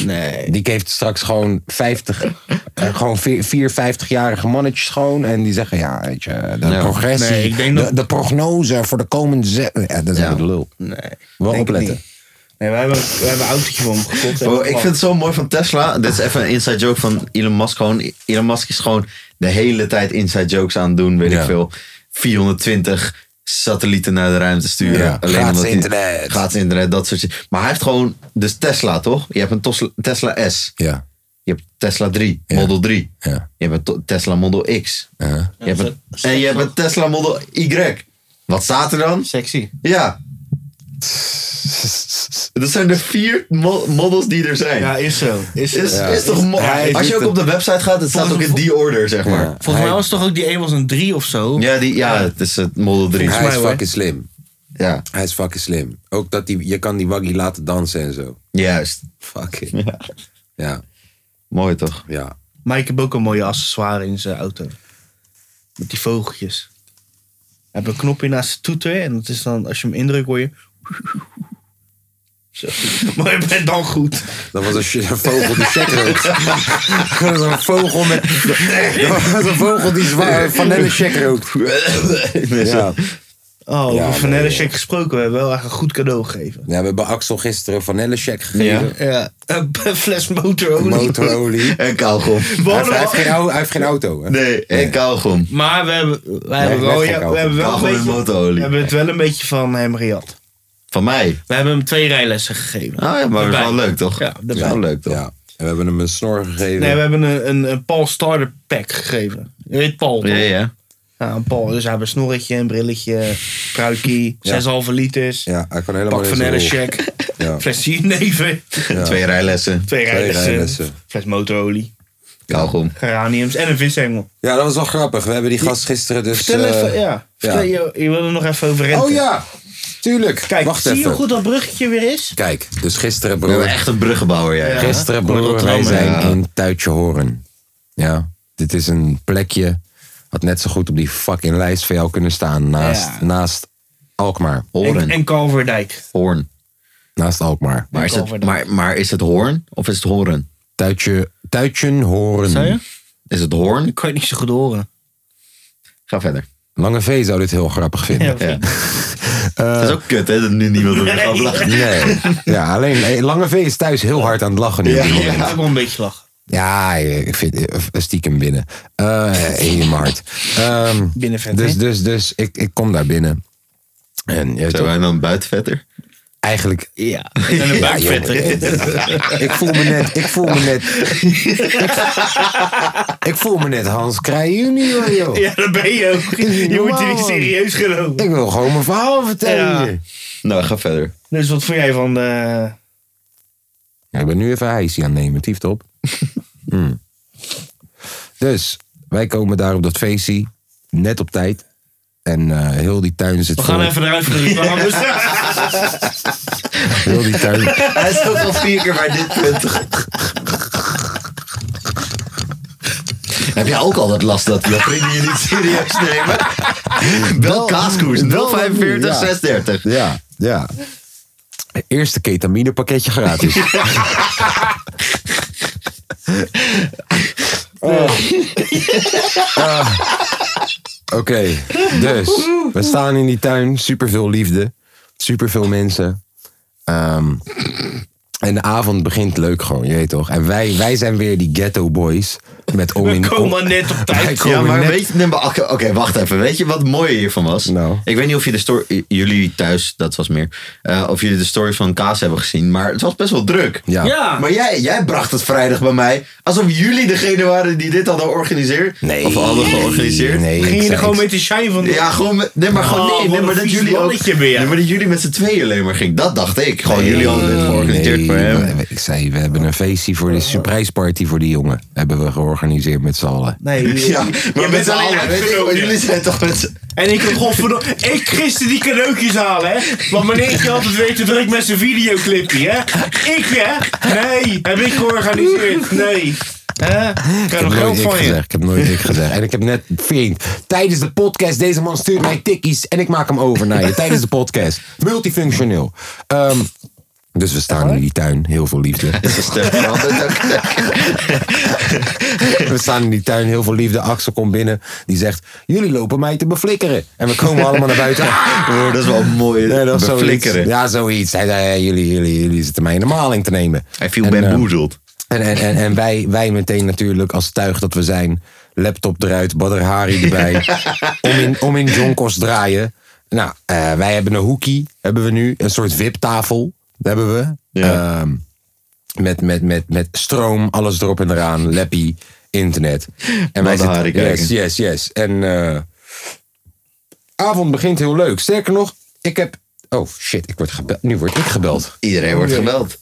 Speaker 3: Nee.
Speaker 1: Die heeft straks gewoon 50, eh, gewoon 4, 50-jarige mannetjes schoon. En die zeggen, ja, weet je,
Speaker 3: Nou,
Speaker 1: de progressie,
Speaker 3: Nee, ik denk dat-
Speaker 1: de, de prognose voor de komende... ze- eh, dat is
Speaker 4: Ja.
Speaker 1: ja. de lul.
Speaker 3: Nee.
Speaker 1: Wel
Speaker 3: denk ik
Speaker 1: opletten.
Speaker 3: niet. Nee, wij hebben, wij hebben een autootje voor hem gekocht. hè.
Speaker 4: Oh, ik vind het zo mooi van Tesla. Dit is even een inside joke van Elon Musk. Gewoon, Elon Musk is gewoon de hele tijd inside jokes aan het doen. Weet
Speaker 1: Ja.
Speaker 4: ik veel. 420 satellieten naar de ruimte sturen.
Speaker 1: Ja, gratis
Speaker 4: omdat hij-
Speaker 1: internet.
Speaker 4: Gratis internet, dat soort dingen. Maar hij heeft gewoon... Dus Tesla, toch? Je hebt een Tos- Tesla S.
Speaker 1: Ja,
Speaker 4: Je hebt Tesla 3, Model 3.
Speaker 1: ja.
Speaker 4: Je hebt een to- Tesla Model X.
Speaker 1: ja.
Speaker 4: Je hebt een- en je hebt een Tesla Model Y. Wat staat er dan?
Speaker 3: Sexy.
Speaker 4: Ja. Dat zijn de vier mo- models die er zijn.
Speaker 3: Ja, is zo. Is,
Speaker 4: Is,
Speaker 3: zo.
Speaker 4: is toch mooi?
Speaker 1: Hij
Speaker 4: Als je
Speaker 1: doet
Speaker 4: ook op de website gaat, het staat ook in die order, zeg maar.
Speaker 3: Volgens mij was toch ook die een was een 3 of zo?
Speaker 4: Ja, die, ja het is het Model 3.
Speaker 1: Hij is
Speaker 3: mij wel,
Speaker 1: fucking slim.
Speaker 4: Ja,
Speaker 1: Hij is fucking slim. Ook dat die, je kan die waggy laten dansen en zo.
Speaker 4: juist.
Speaker 1: Fucking. Ja. Ja,
Speaker 4: Mooi toch?
Speaker 1: ja.
Speaker 3: Maar ik heb ook een mooie accessoire in zijn auto. Met die vogeltjes. Hij heeft een knopje naast zijn toeter. En dat is dan, als je hem indrukt, hoor je... Zo. Maar je bent dan goed.
Speaker 1: Dat was een, sh- een vogel die check rookt. Dat was een vogel met... Dat was een vogel die zwaar vanille check rookt. Ja.
Speaker 3: Oh,
Speaker 1: Ja,
Speaker 3: over
Speaker 1: nee,
Speaker 3: Vanelle Check gesproken. We hebben wel echt een goed cadeau gegeven.
Speaker 1: Ja, we hebben Axel gisteren vanille check gegeven.
Speaker 3: Ja, een fles motorolie.
Speaker 1: Motorolie.
Speaker 4: En kauwgom.
Speaker 3: We
Speaker 1: Hij heeft,
Speaker 3: hadden
Speaker 1: hij
Speaker 3: wel
Speaker 1: heeft geen, au- Oh, hij heeft geen auto, hè?
Speaker 4: Nee, en kauwgom.
Speaker 3: Maar we hebben, we hebben,
Speaker 1: net
Speaker 3: wel,
Speaker 1: geen
Speaker 3: ja, we
Speaker 1: kauwgom.
Speaker 3: hebben wel een
Speaker 4: Kauwgom en
Speaker 3: beetje, we
Speaker 4: motorolie.
Speaker 3: hebben het wel een beetje van hem gejat.
Speaker 4: Van mij.
Speaker 3: We hebben hem twee rijlessen gegeven.
Speaker 4: Ah ja, maar dat is wel
Speaker 3: Daarbij.
Speaker 4: leuk toch?
Speaker 3: Ja,
Speaker 4: dat is wel leuk toch?
Speaker 1: Ja. En we hebben hem een snor gegeven.
Speaker 3: Nee, we hebben een, een, een Paul Starter Pack gegeven. Je weet Paul, toch?
Speaker 4: Ja, ja.
Speaker 3: Ja, een Paul. Dus hij heeft een snorretje, een brilletje, pruikie, 6,5 liters,
Speaker 1: Ja, hij kan helemaal
Speaker 3: pak
Speaker 1: in zijn
Speaker 3: Vanelle
Speaker 1: rol.
Speaker 3: Check,
Speaker 1: Ja.
Speaker 3: fles neven,
Speaker 4: Twee rijlessen,
Speaker 3: twee rijlessen,
Speaker 1: rijlessen.
Speaker 3: fles motorolie,
Speaker 4: kauwgom.
Speaker 3: geraniums en een vishengel.
Speaker 1: Ja, dat was wel grappig. We hebben die gast gisteren dus...
Speaker 3: Vertel
Speaker 1: eh,
Speaker 3: even, ja. Vertel, Je, je wil er nog even over renten.
Speaker 1: Oh ja, tuurlijk.
Speaker 3: Kijk,
Speaker 1: Wacht
Speaker 3: zie
Speaker 1: even.
Speaker 3: je hoe goed dat bruggetje weer is?
Speaker 1: Kijk, dus gisteren
Speaker 4: We hebben
Speaker 1: broer,
Speaker 4: echt een bruggenbouwer, jij. Ja.
Speaker 1: gisteren
Speaker 3: Mooi
Speaker 1: broer, wij
Speaker 3: Rotterdam,
Speaker 1: zijn
Speaker 4: ja.
Speaker 1: in Tuitje Horen. Ja, dit is een plekje. Had net zo goed op die fucking lijst van jou kunnen staan. Naast,
Speaker 3: Ja.
Speaker 1: naast Alkmaar.
Speaker 3: En,
Speaker 4: Hoorn.
Speaker 3: en Calverdijk.
Speaker 4: Hoorn.
Speaker 1: Naast Alkmaar.
Speaker 4: Maar is, het,
Speaker 3: Kalverdijk.
Speaker 4: maar, maar is het hoorn of is het horen?
Speaker 1: Tuitje, Tuitjen Horen.
Speaker 3: Zei je?
Speaker 4: Is het hoorn?
Speaker 3: kan je niet zo goed horen.
Speaker 4: Ga verder.
Speaker 1: Lange V zou dit heel grappig vinden. Eh,
Speaker 4: Ja. dat is ook kut, hè? Dat nu niemand op de grap lacht.
Speaker 1: Nee. Ja, alleen eh, Lange V is thuis heel hard aan het lachen nu.
Speaker 3: Ik moet ook wel een beetje lachen.
Speaker 1: Ja, ik vind eh, stiekem binnen. Eh in je hart. Ehm,
Speaker 3: Binnen vet,
Speaker 1: dus
Speaker 3: hè?
Speaker 1: dus, dus ik, ik kom daar binnen. En je weet
Speaker 4: Zijn
Speaker 1: toch,
Speaker 4: wij dan buitenvetter?
Speaker 1: eigenlijk,
Speaker 3: Ja. En een
Speaker 1: Ja, jongen.
Speaker 3: buikvetter.
Speaker 1: ik voel me net, ik voel me net, ik, ik voel me net Hans Krij junior, joh.
Speaker 3: Ja, dat ben je ook.
Speaker 1: is niet
Speaker 3: Je wordt er
Speaker 1: normaal,
Speaker 3: niet
Speaker 1: man.
Speaker 3: serieus genomen.
Speaker 1: Ik wil gewoon mijn verhaal vertellen.
Speaker 3: Ja.
Speaker 1: hier.
Speaker 4: Nou, ga verder.
Speaker 3: Dus wat vond jij van de...
Speaker 1: Ja, ik ben nu even ijsje aan het nemen, tieft op. Hmm. Dus, wij komen daar op dat feestje, net op tijd. En eh, heel die tuin zit
Speaker 3: We gaan
Speaker 1: vol.
Speaker 3: even eruit voor de reclames.
Speaker 1: Heel die tuin.
Speaker 4: Hij is ook al vier keer bij dit punt. Heb jij ook altijd last dat we vrienden je niet serieus nemen? Bel kaaskoers
Speaker 1: bel
Speaker 4: 045
Speaker 1: dan nu, ja.
Speaker 4: 630.
Speaker 1: Ja, ja. Eerste ketaminepakketje gratis. Oh. Ah. Oké, dus we staan in die tuin, superveel liefde, superveel mensen. Ehm, en de avond begint leuk gewoon, je weet toch. En wij, wij zijn weer die ghetto boys Met om in
Speaker 3: We komen net op tijd.
Speaker 4: Ja, maar
Speaker 1: net-
Speaker 4: weet je, nee, maar oké, oké, wacht even. Weet je wat het mooie hiervan was?
Speaker 1: Nou.
Speaker 4: Ik weet niet of je de story, jullie thuis, dat was meer, eh, of jullie de story van Kaas hebben gezien, maar het was best wel druk.
Speaker 1: Ja.
Speaker 3: Ja.
Speaker 4: Maar jij, jij bracht het vrijdag bij mij, alsof jullie degene waren die dit hadden georganiseerd.
Speaker 1: Nee.
Speaker 4: Of hadden georganiseerd.
Speaker 1: Nee, ik
Speaker 3: Ging je
Speaker 1: zei-
Speaker 3: er gewoon
Speaker 1: ik-
Speaker 3: met die shine van?
Speaker 4: Ja, gewoon, met- nee, maar gewoon,
Speaker 3: Oh,
Speaker 4: nee, nee,
Speaker 3: wat
Speaker 4: maar
Speaker 3: een
Speaker 4: dat
Speaker 3: vies
Speaker 4: jullie ook,
Speaker 3: mannetje ben jij.
Speaker 4: nee, maar dat jullie met z'n tweeën alleen maar ging. Dat dacht ik. Gewoon,
Speaker 1: Nee,
Speaker 4: jullie hadden dit georganiseerd
Speaker 1: nee,
Speaker 4: voor hem.
Speaker 1: we- we- Ik zei, we hebben een feestje voor de surpriseparty voor die jongen. Hebben we georganiseerd met z'n allen.
Speaker 3: Nee,
Speaker 4: Ja, maar met
Speaker 3: bent
Speaker 4: z'n
Speaker 3: alleen
Speaker 4: allen, weet je,
Speaker 3: uitgenodigd.
Speaker 4: maar jullie zijn toch met z'n...
Speaker 3: En ik kon godverdomme... Ik gisteren die cadeautjes halen, hè. Want meneertje had het weten druk met zijn videoclipje, hè. Ik, hè. Nee, heb ik georganiseerd. Nee. Hè? Ik
Speaker 1: Ik
Speaker 3: krijg
Speaker 1: heb
Speaker 3: nog
Speaker 1: nooit
Speaker 3: geld
Speaker 1: ik
Speaker 3: van je.
Speaker 1: gezegd. Ik heb nooit ik gezegd. En ik heb net vriend. Tijdens de podcast, deze man stuurt mij tikkies en ik maak hem over naar je. Tijdens de podcast. Multifunctioneel. Ehm, dus we staan in die tuin. Heel veel liefde.
Speaker 4: Is de stem veranderd ook?
Speaker 1: We staan in die tuin. Heel veel liefde. Axel komt binnen. Die zegt, jullie lopen mij te beflikkeren. En we komen allemaal naar buiten.
Speaker 4: Oh, dat is wel mooi.
Speaker 1: Nee, dat was zoiets.
Speaker 4: Beflikkeren.
Speaker 1: Ja, zoiets. Hij zei, ja, jullie, jullie, jullie zitten mij in de maling te nemen.
Speaker 4: Hij viel
Speaker 1: En, eh,
Speaker 4: bamboezeld.
Speaker 1: En, en, en, en wij, wij meteen natuurlijk als tuig dat we zijn. Laptop eruit, Badr Hari erbij. om, in, om in Jonkos draaien. Nou, eh, wij hebben een hoekie. Hebben we nu een soort wiptafel. Hebben we.
Speaker 4: Ja.
Speaker 1: Ehm, met, met, met, met stroom, alles erop en eraan. Lappie, internet. En
Speaker 4: Badr Hari kijken.
Speaker 1: Yes, yes, yes. En eh, avond begint heel leuk. Sterker nog, ik heb... Oh shit, ik word gebeld. nu word ik gebeld.
Speaker 4: Iedereen wordt gebeld.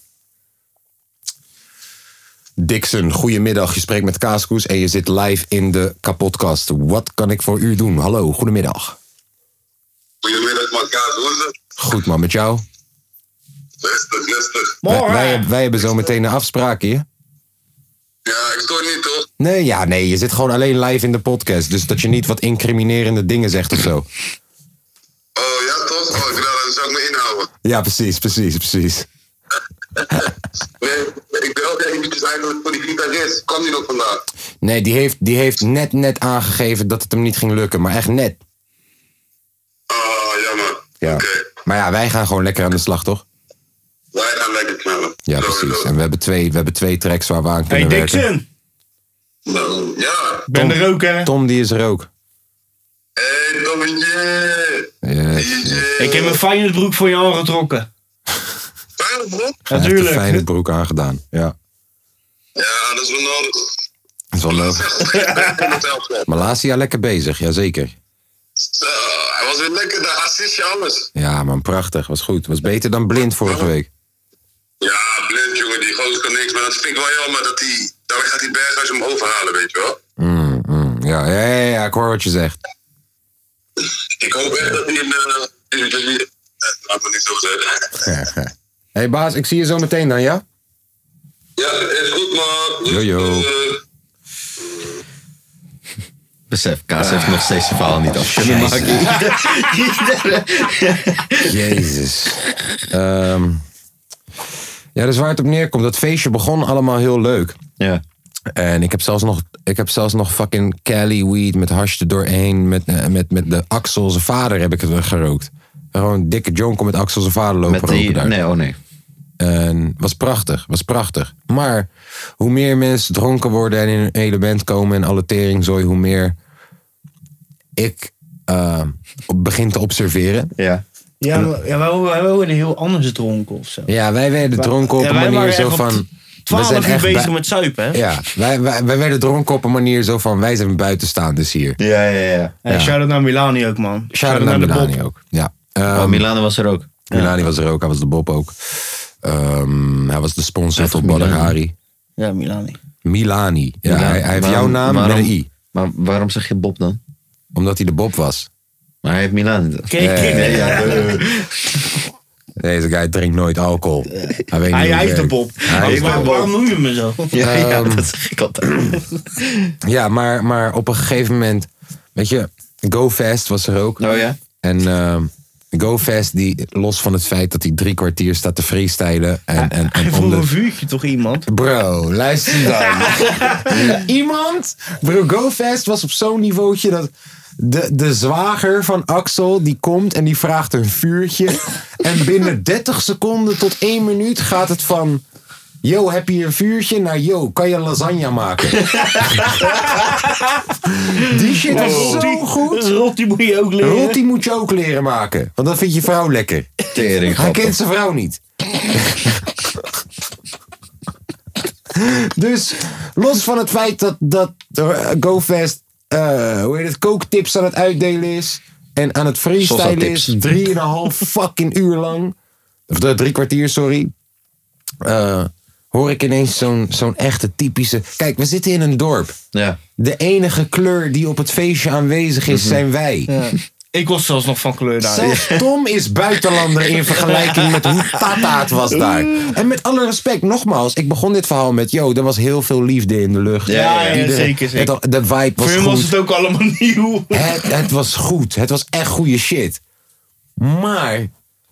Speaker 1: Dixon, goedemiddag. Je spreekt met Kaaskoes en je zit live in de kapotcast. Wat kan ik voor u doen? Hallo, goedemiddag.
Speaker 6: Goedemiddag, man. Kaas, hoe is het?
Speaker 1: Goed man, met jou?
Speaker 6: Rustig, rustig.
Speaker 1: Wij,
Speaker 3: Morgen.
Speaker 1: wij, wij hebben zo meteen een afspraak hier.
Speaker 6: Ja, ik stoor niet, toch?
Speaker 1: Nee, ja, nee, je zit gewoon alleen live in de podcast. Dus dat je niet wat incriminerende dingen zegt of zo.
Speaker 6: Oh, ja, toch? Oh, ik dacht, dan zou ik me inhouden.
Speaker 1: Ja, precies, precies, precies.
Speaker 6: Nee, ik ben ook eventjes eigenlijk voor die gitarist. Kwam die nog vandaag?
Speaker 1: Nee, die heeft, die heeft net, net aangegeven dat het hem niet ging lukken. Maar echt net.
Speaker 6: Oh, jammer.
Speaker 1: Ja.
Speaker 6: Oké.
Speaker 1: Maar ja, wij gaan gewoon lekker aan de slag, toch?
Speaker 6: Wij gaan lekker knallen.
Speaker 1: Ja, precies. En we hebben twee, we hebben twee tracks waar we aan
Speaker 3: Hey
Speaker 1: kunnen werken.
Speaker 3: Dixon,
Speaker 6: Nou, ja.
Speaker 3: ben er ook hè?
Speaker 1: Tom, die is er ook.
Speaker 6: Hé, hey, Dommetje.
Speaker 1: Yes.
Speaker 3: Ik heb een fijne broek voor je aangetrokken.
Speaker 6: Veilig, bro?
Speaker 1: Hij heeft een fijne
Speaker 3: Natuurlijk.
Speaker 1: broek aangedaan. Ja,
Speaker 6: Ja, dat is wel nodig.
Speaker 1: dat is wel leuk.
Speaker 6: Ik ben het helpen.
Speaker 1: Malasia lekker bezig, jazeker.
Speaker 6: Zo, hij was weer lekker, de assistje alles.
Speaker 1: Ja, man, prachtig. Was goed. Was beter dan blind vorige week.
Speaker 6: Ja, blind jongen, die gozer kan niks. Maar dat vind ik wel jammer dat hij. Daar gaat die berghuis hem overhalen, weet je wel.
Speaker 1: Mm, mm. ja, ja, ja, ja, ik hoor wat je zegt.
Speaker 6: Ik hoop echt dat hij een. eh, dat hij- eh, Laat me niet zo zeggen.
Speaker 1: Hé hey, baas, ik zie je zo meteen dan, ja?
Speaker 6: Ja, is goed, man.
Speaker 1: Yo, yo.
Speaker 6: Eh,
Speaker 4: Besef, Kaas heeft nog steeds zijn verhaal niet af.
Speaker 1: Jezus. Ehm, ja, dus waar het op neerkomt, dat feestje begon allemaal heel leuk.
Speaker 4: Ja.
Speaker 1: En ik heb zelfs nog, ik heb zelfs nog fucking Cali weed met hash er doorheen. Met, eh, met, met de Axel, zijn vader, heb ik het gerookt. Gewoon dikke jonko met Axel, zijn vader lopen
Speaker 4: Met die,
Speaker 1: roken daar.
Speaker 4: nee, oh nee.
Speaker 1: En was prachtig, was prachtig. Maar hoe meer mensen dronken worden en in hun element komen en alle teringzooi, hoe meer ik eh, begin te observeren.
Speaker 4: Ja.
Speaker 3: Ja, maar- ja, wij, wij worden heel anders dronken of zo.
Speaker 1: Ja, wij werden dronken op
Speaker 3: Ja,
Speaker 1: een
Speaker 3: wij
Speaker 1: manier
Speaker 3: waren
Speaker 1: zo
Speaker 3: echt op
Speaker 1: van. We
Speaker 3: 12
Speaker 1: zijn
Speaker 3: uur
Speaker 1: echt
Speaker 3: bezig
Speaker 1: bij-
Speaker 3: met zuipen hè?
Speaker 1: Ja, wij, wij, wij werden dronken op een manier zo van wij zijn buitenstaanders hier.
Speaker 4: Ja, ja, ja.
Speaker 3: Hey, Shout-out naar Milani ook man.
Speaker 1: Shout-out naar Milani ook. Ja. Ehm,
Speaker 4: Oh, Milano was er ook.
Speaker 1: Milani was er ook, hij was de Bob ook. Ehm, hij was de sponsor van
Speaker 4: Milani.
Speaker 1: Badagari.
Speaker 3: Ja, Milani.
Speaker 1: Milani. Ja,
Speaker 4: Milano.
Speaker 1: Hij, hij heeft
Speaker 4: Waarom-
Speaker 1: jouw naam
Speaker 4: waarom-
Speaker 1: met een i.
Speaker 4: Maar waarom zeg je Bob dan?
Speaker 1: Omdat hij de Bob was.
Speaker 4: Maar hij heeft Milan niet.
Speaker 3: Kijk, kijk.
Speaker 4: Nee, ja, eh,
Speaker 1: Deze guy drinkt nooit alcohol. Hij, weet niet hoe
Speaker 3: Hij
Speaker 1: het
Speaker 3: heeft de
Speaker 1: werkt.
Speaker 3: Bob.
Speaker 1: Hij
Speaker 3: Maar
Speaker 1: heeft de
Speaker 3: Waarom
Speaker 1: Bob.
Speaker 3: waarom noem je me zo?
Speaker 4: ja, ja, dat zeg ik altijd.
Speaker 1: Ehm, Ja, maar, maar op een gegeven moment... Weet je, GoFest was er ook.
Speaker 4: Oh ja?
Speaker 1: En ehm, GoFest, die, los van het feit dat hij drie kwartier staat te freestylen... En, en,
Speaker 3: Hij
Speaker 1: en om
Speaker 3: vroeg
Speaker 1: de-
Speaker 3: een vuurtje toch iemand?
Speaker 1: Bro, luister dan. Iemand? Bro, GoFest was op zo'n niveautje dat... De, de zwager van Axel, die komt en die vraagt een vuurtje. en binnen 30 seconden tot 1 minuut gaat het van... Yo, heb je een vuurtje? Nou, yo, kan je lasagne maken? die shit is
Speaker 3: Wow.
Speaker 1: zo goed.
Speaker 3: Rotti moet je ook leren.
Speaker 1: Rotti moet je ook leren maken. Want dat vindt je vrouw lekker.
Speaker 4: Tering,
Speaker 1: Hij
Speaker 4: grappig.
Speaker 1: kent zijn vrouw niet. dus los van het feit dat, dat eh, GoFest, eh hoe heet het, kooktips aan het uitdelen is. En aan het freestylen
Speaker 4: Salsa-tips.
Speaker 1: is. Drieënhalf fucking uur lang. Of eh, drie kwartier, sorry. Eh, hoor ik ineens zo'n zo'n echte typische... Kijk, we zitten in een dorp.
Speaker 4: Ja.
Speaker 1: De enige kleur die op het feestje aanwezig
Speaker 4: Mhm.
Speaker 1: is, zijn wij.
Speaker 3: Ik was zelfs nog van kleur daar.
Speaker 1: Zelfs Tom is buitenlander in vergelijking met hoe Tata het was daar. En met alle respect, nogmaals, ik begon dit verhaal met: yo, er was heel veel liefde in de lucht.
Speaker 4: Ja, ja,
Speaker 1: Iedereen-
Speaker 3: zeker, zeker.
Speaker 1: Het, de vibe
Speaker 3: Voor
Speaker 1: was
Speaker 3: hem
Speaker 1: goed.
Speaker 3: was het ook allemaal nieuw.
Speaker 1: Het, het was goed. Het was echt goede shit. Maar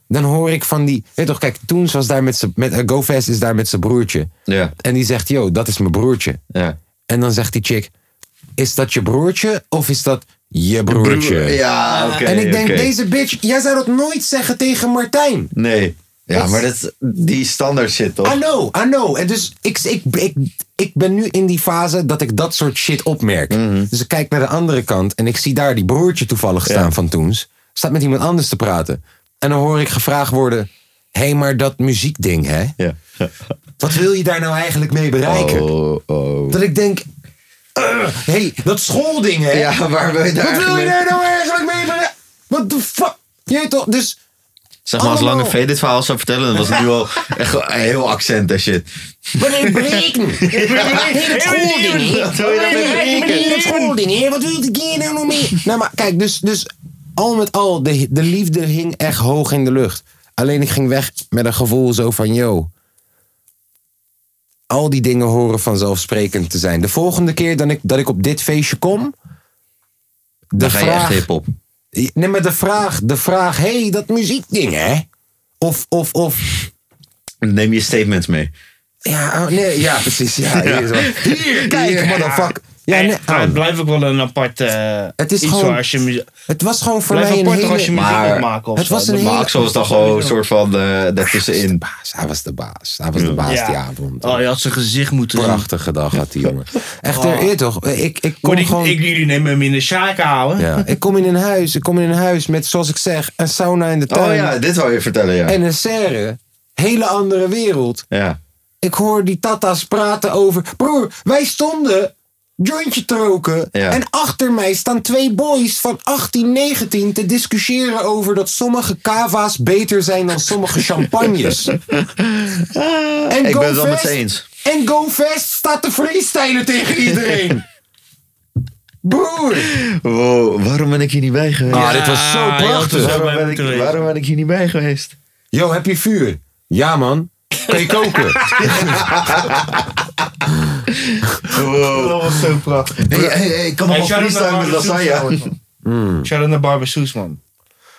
Speaker 1: dan hoor ik van die. Weet je toch, kijk, Toens was daar met zijn. Met, eh, GoFest is daar met zijn broertje.
Speaker 4: Ja.
Speaker 1: En die zegt: yo, dat is mijn broertje.
Speaker 4: Ja.
Speaker 1: En dan zegt die chick: is dat je broertje of is dat je broertje?
Speaker 4: Ja, oké.
Speaker 1: en ik denk,
Speaker 4: oké.
Speaker 1: deze bitch, jij zou dat nooit zeggen tegen Martijn.
Speaker 4: Nee. Ja, maar dat is die standaard shit, toch?
Speaker 1: I know, I know. En dus ik, ik, ik, ik ben nu in die fase dat ik dat soort shit opmerk.
Speaker 4: Mhm.
Speaker 1: Dus ik kijk naar de andere kant en ik zie daar die broertje toevallig staan van Toens. Staat met iemand anders te praten. En dan hoor ik gevraagd worden, hé, hey, maar dat muziekding, hè?
Speaker 4: Ja.
Speaker 1: Wat wil je daar nou eigenlijk mee bereiken?
Speaker 4: Oh, oh.
Speaker 1: Dat ik denk, "Ugh, hé, hey, dat schoolding, hè?
Speaker 4: Ja, waar wil je daar
Speaker 1: Wat wil je
Speaker 4: eigenlijk-
Speaker 1: daar nou eigenlijk mee bereiken? What the fuck? Je weet toch, dus...
Speaker 4: Zeg maar, als
Speaker 1: Allemaal.
Speaker 4: Lange V dit verhaal zou vertellen, dan was het nu al echt wel een heel accent en shit.
Speaker 1: Wanneer breken? Wanneer het schoolding, hè?
Speaker 4: Wat wil je daarmee
Speaker 1: Wanneer het schoolding, hè? Wat wil ik hier nou nog meer? Nou, maar kijk, dus, dus al met al, de, de liefde hing echt hoog in de lucht. Alleen ik ging weg met een gevoel zo van, yo... Al die dingen horen vanzelfsprekend te zijn. De volgende keer dat ik, dat ik op dit feestje kom... De
Speaker 4: Dan ga je echt
Speaker 1: vraag-
Speaker 4: hip-hop.
Speaker 1: Nee, maar de vraag, de vraag, hé, hey, dat muziekding, hè? Of, of, of,
Speaker 4: Neem je statements mee.
Speaker 1: ja, oh, nee, ja, precies, ja. Hier, is wat. Hier, kijk, motherfucker. Ja,
Speaker 3: Ja,
Speaker 1: nee,
Speaker 3: maar
Speaker 1: oh.
Speaker 3: het blijft ook wel een apart eh,
Speaker 1: Het is
Speaker 3: iets
Speaker 1: gewoon-
Speaker 3: waar als je muzie-
Speaker 1: Het was gewoon voor
Speaker 3: Blijf
Speaker 1: mij een
Speaker 3: apart als je
Speaker 1: hele...
Speaker 3: muziek
Speaker 4: Maar
Speaker 3: moet maken of
Speaker 1: het
Speaker 3: zo.
Speaker 1: was een
Speaker 3: Dat
Speaker 1: hele-
Speaker 4: Maar
Speaker 3: maakt-
Speaker 4: Axel was dan gewoon een soort van eh daartussenin.
Speaker 1: Baas, hij was de baas. Hij was de baas die avond.
Speaker 3: Oh, je had zijn gezicht moeten zien.
Speaker 1: Prachtige dag had die jongen. Echt, er eer toch? Ik, ik
Speaker 3: Maar
Speaker 1: kom
Speaker 3: die-
Speaker 1: gewoon...
Speaker 3: ik, jullie nemen hem in de sjaak houden.
Speaker 1: Ja, ik kom in een huis. Ik kom in een huis met, zoals ik zeg, een sauna in de tuin.
Speaker 4: Oh ja, dit wou je vertellen, ja.
Speaker 1: En een serre. Hele andere wereld.
Speaker 4: Ja.
Speaker 1: Ik hoor die tata's praten over... Broer, wij stonden jointje te roken.
Speaker 4: Ja.
Speaker 1: En achter mij staan twee boys van 18, 19 te discussiëren over dat sommige cava's beter zijn dan sommige champagnes. en Ah,
Speaker 4: Ik ben het wel met
Speaker 1: GoFest-
Speaker 4: ze eens.
Speaker 1: En GoFest staat te freestylen tegen iedereen. Broer.
Speaker 4: Wow, waarom ben ik hier niet bij geweest?
Speaker 1: Ah, dit was zo prachtig.
Speaker 4: waarom, ben ik, waarom ben ik hier niet bij geweest?
Speaker 1: Yo, heb je vuur? Ja, man. Kan je koken?
Speaker 3: Dat was zo prachtig.
Speaker 4: Hey, hey, hey, ik kan nog
Speaker 3: Hey,
Speaker 4: wel
Speaker 3: shout-out
Speaker 4: freestyle
Speaker 3: naar
Speaker 4: met
Speaker 3: Barbe
Speaker 4: lasagne.
Speaker 3: Soes,
Speaker 1: Hmm.
Speaker 3: man. Shout-out naar Barbe Soes, man.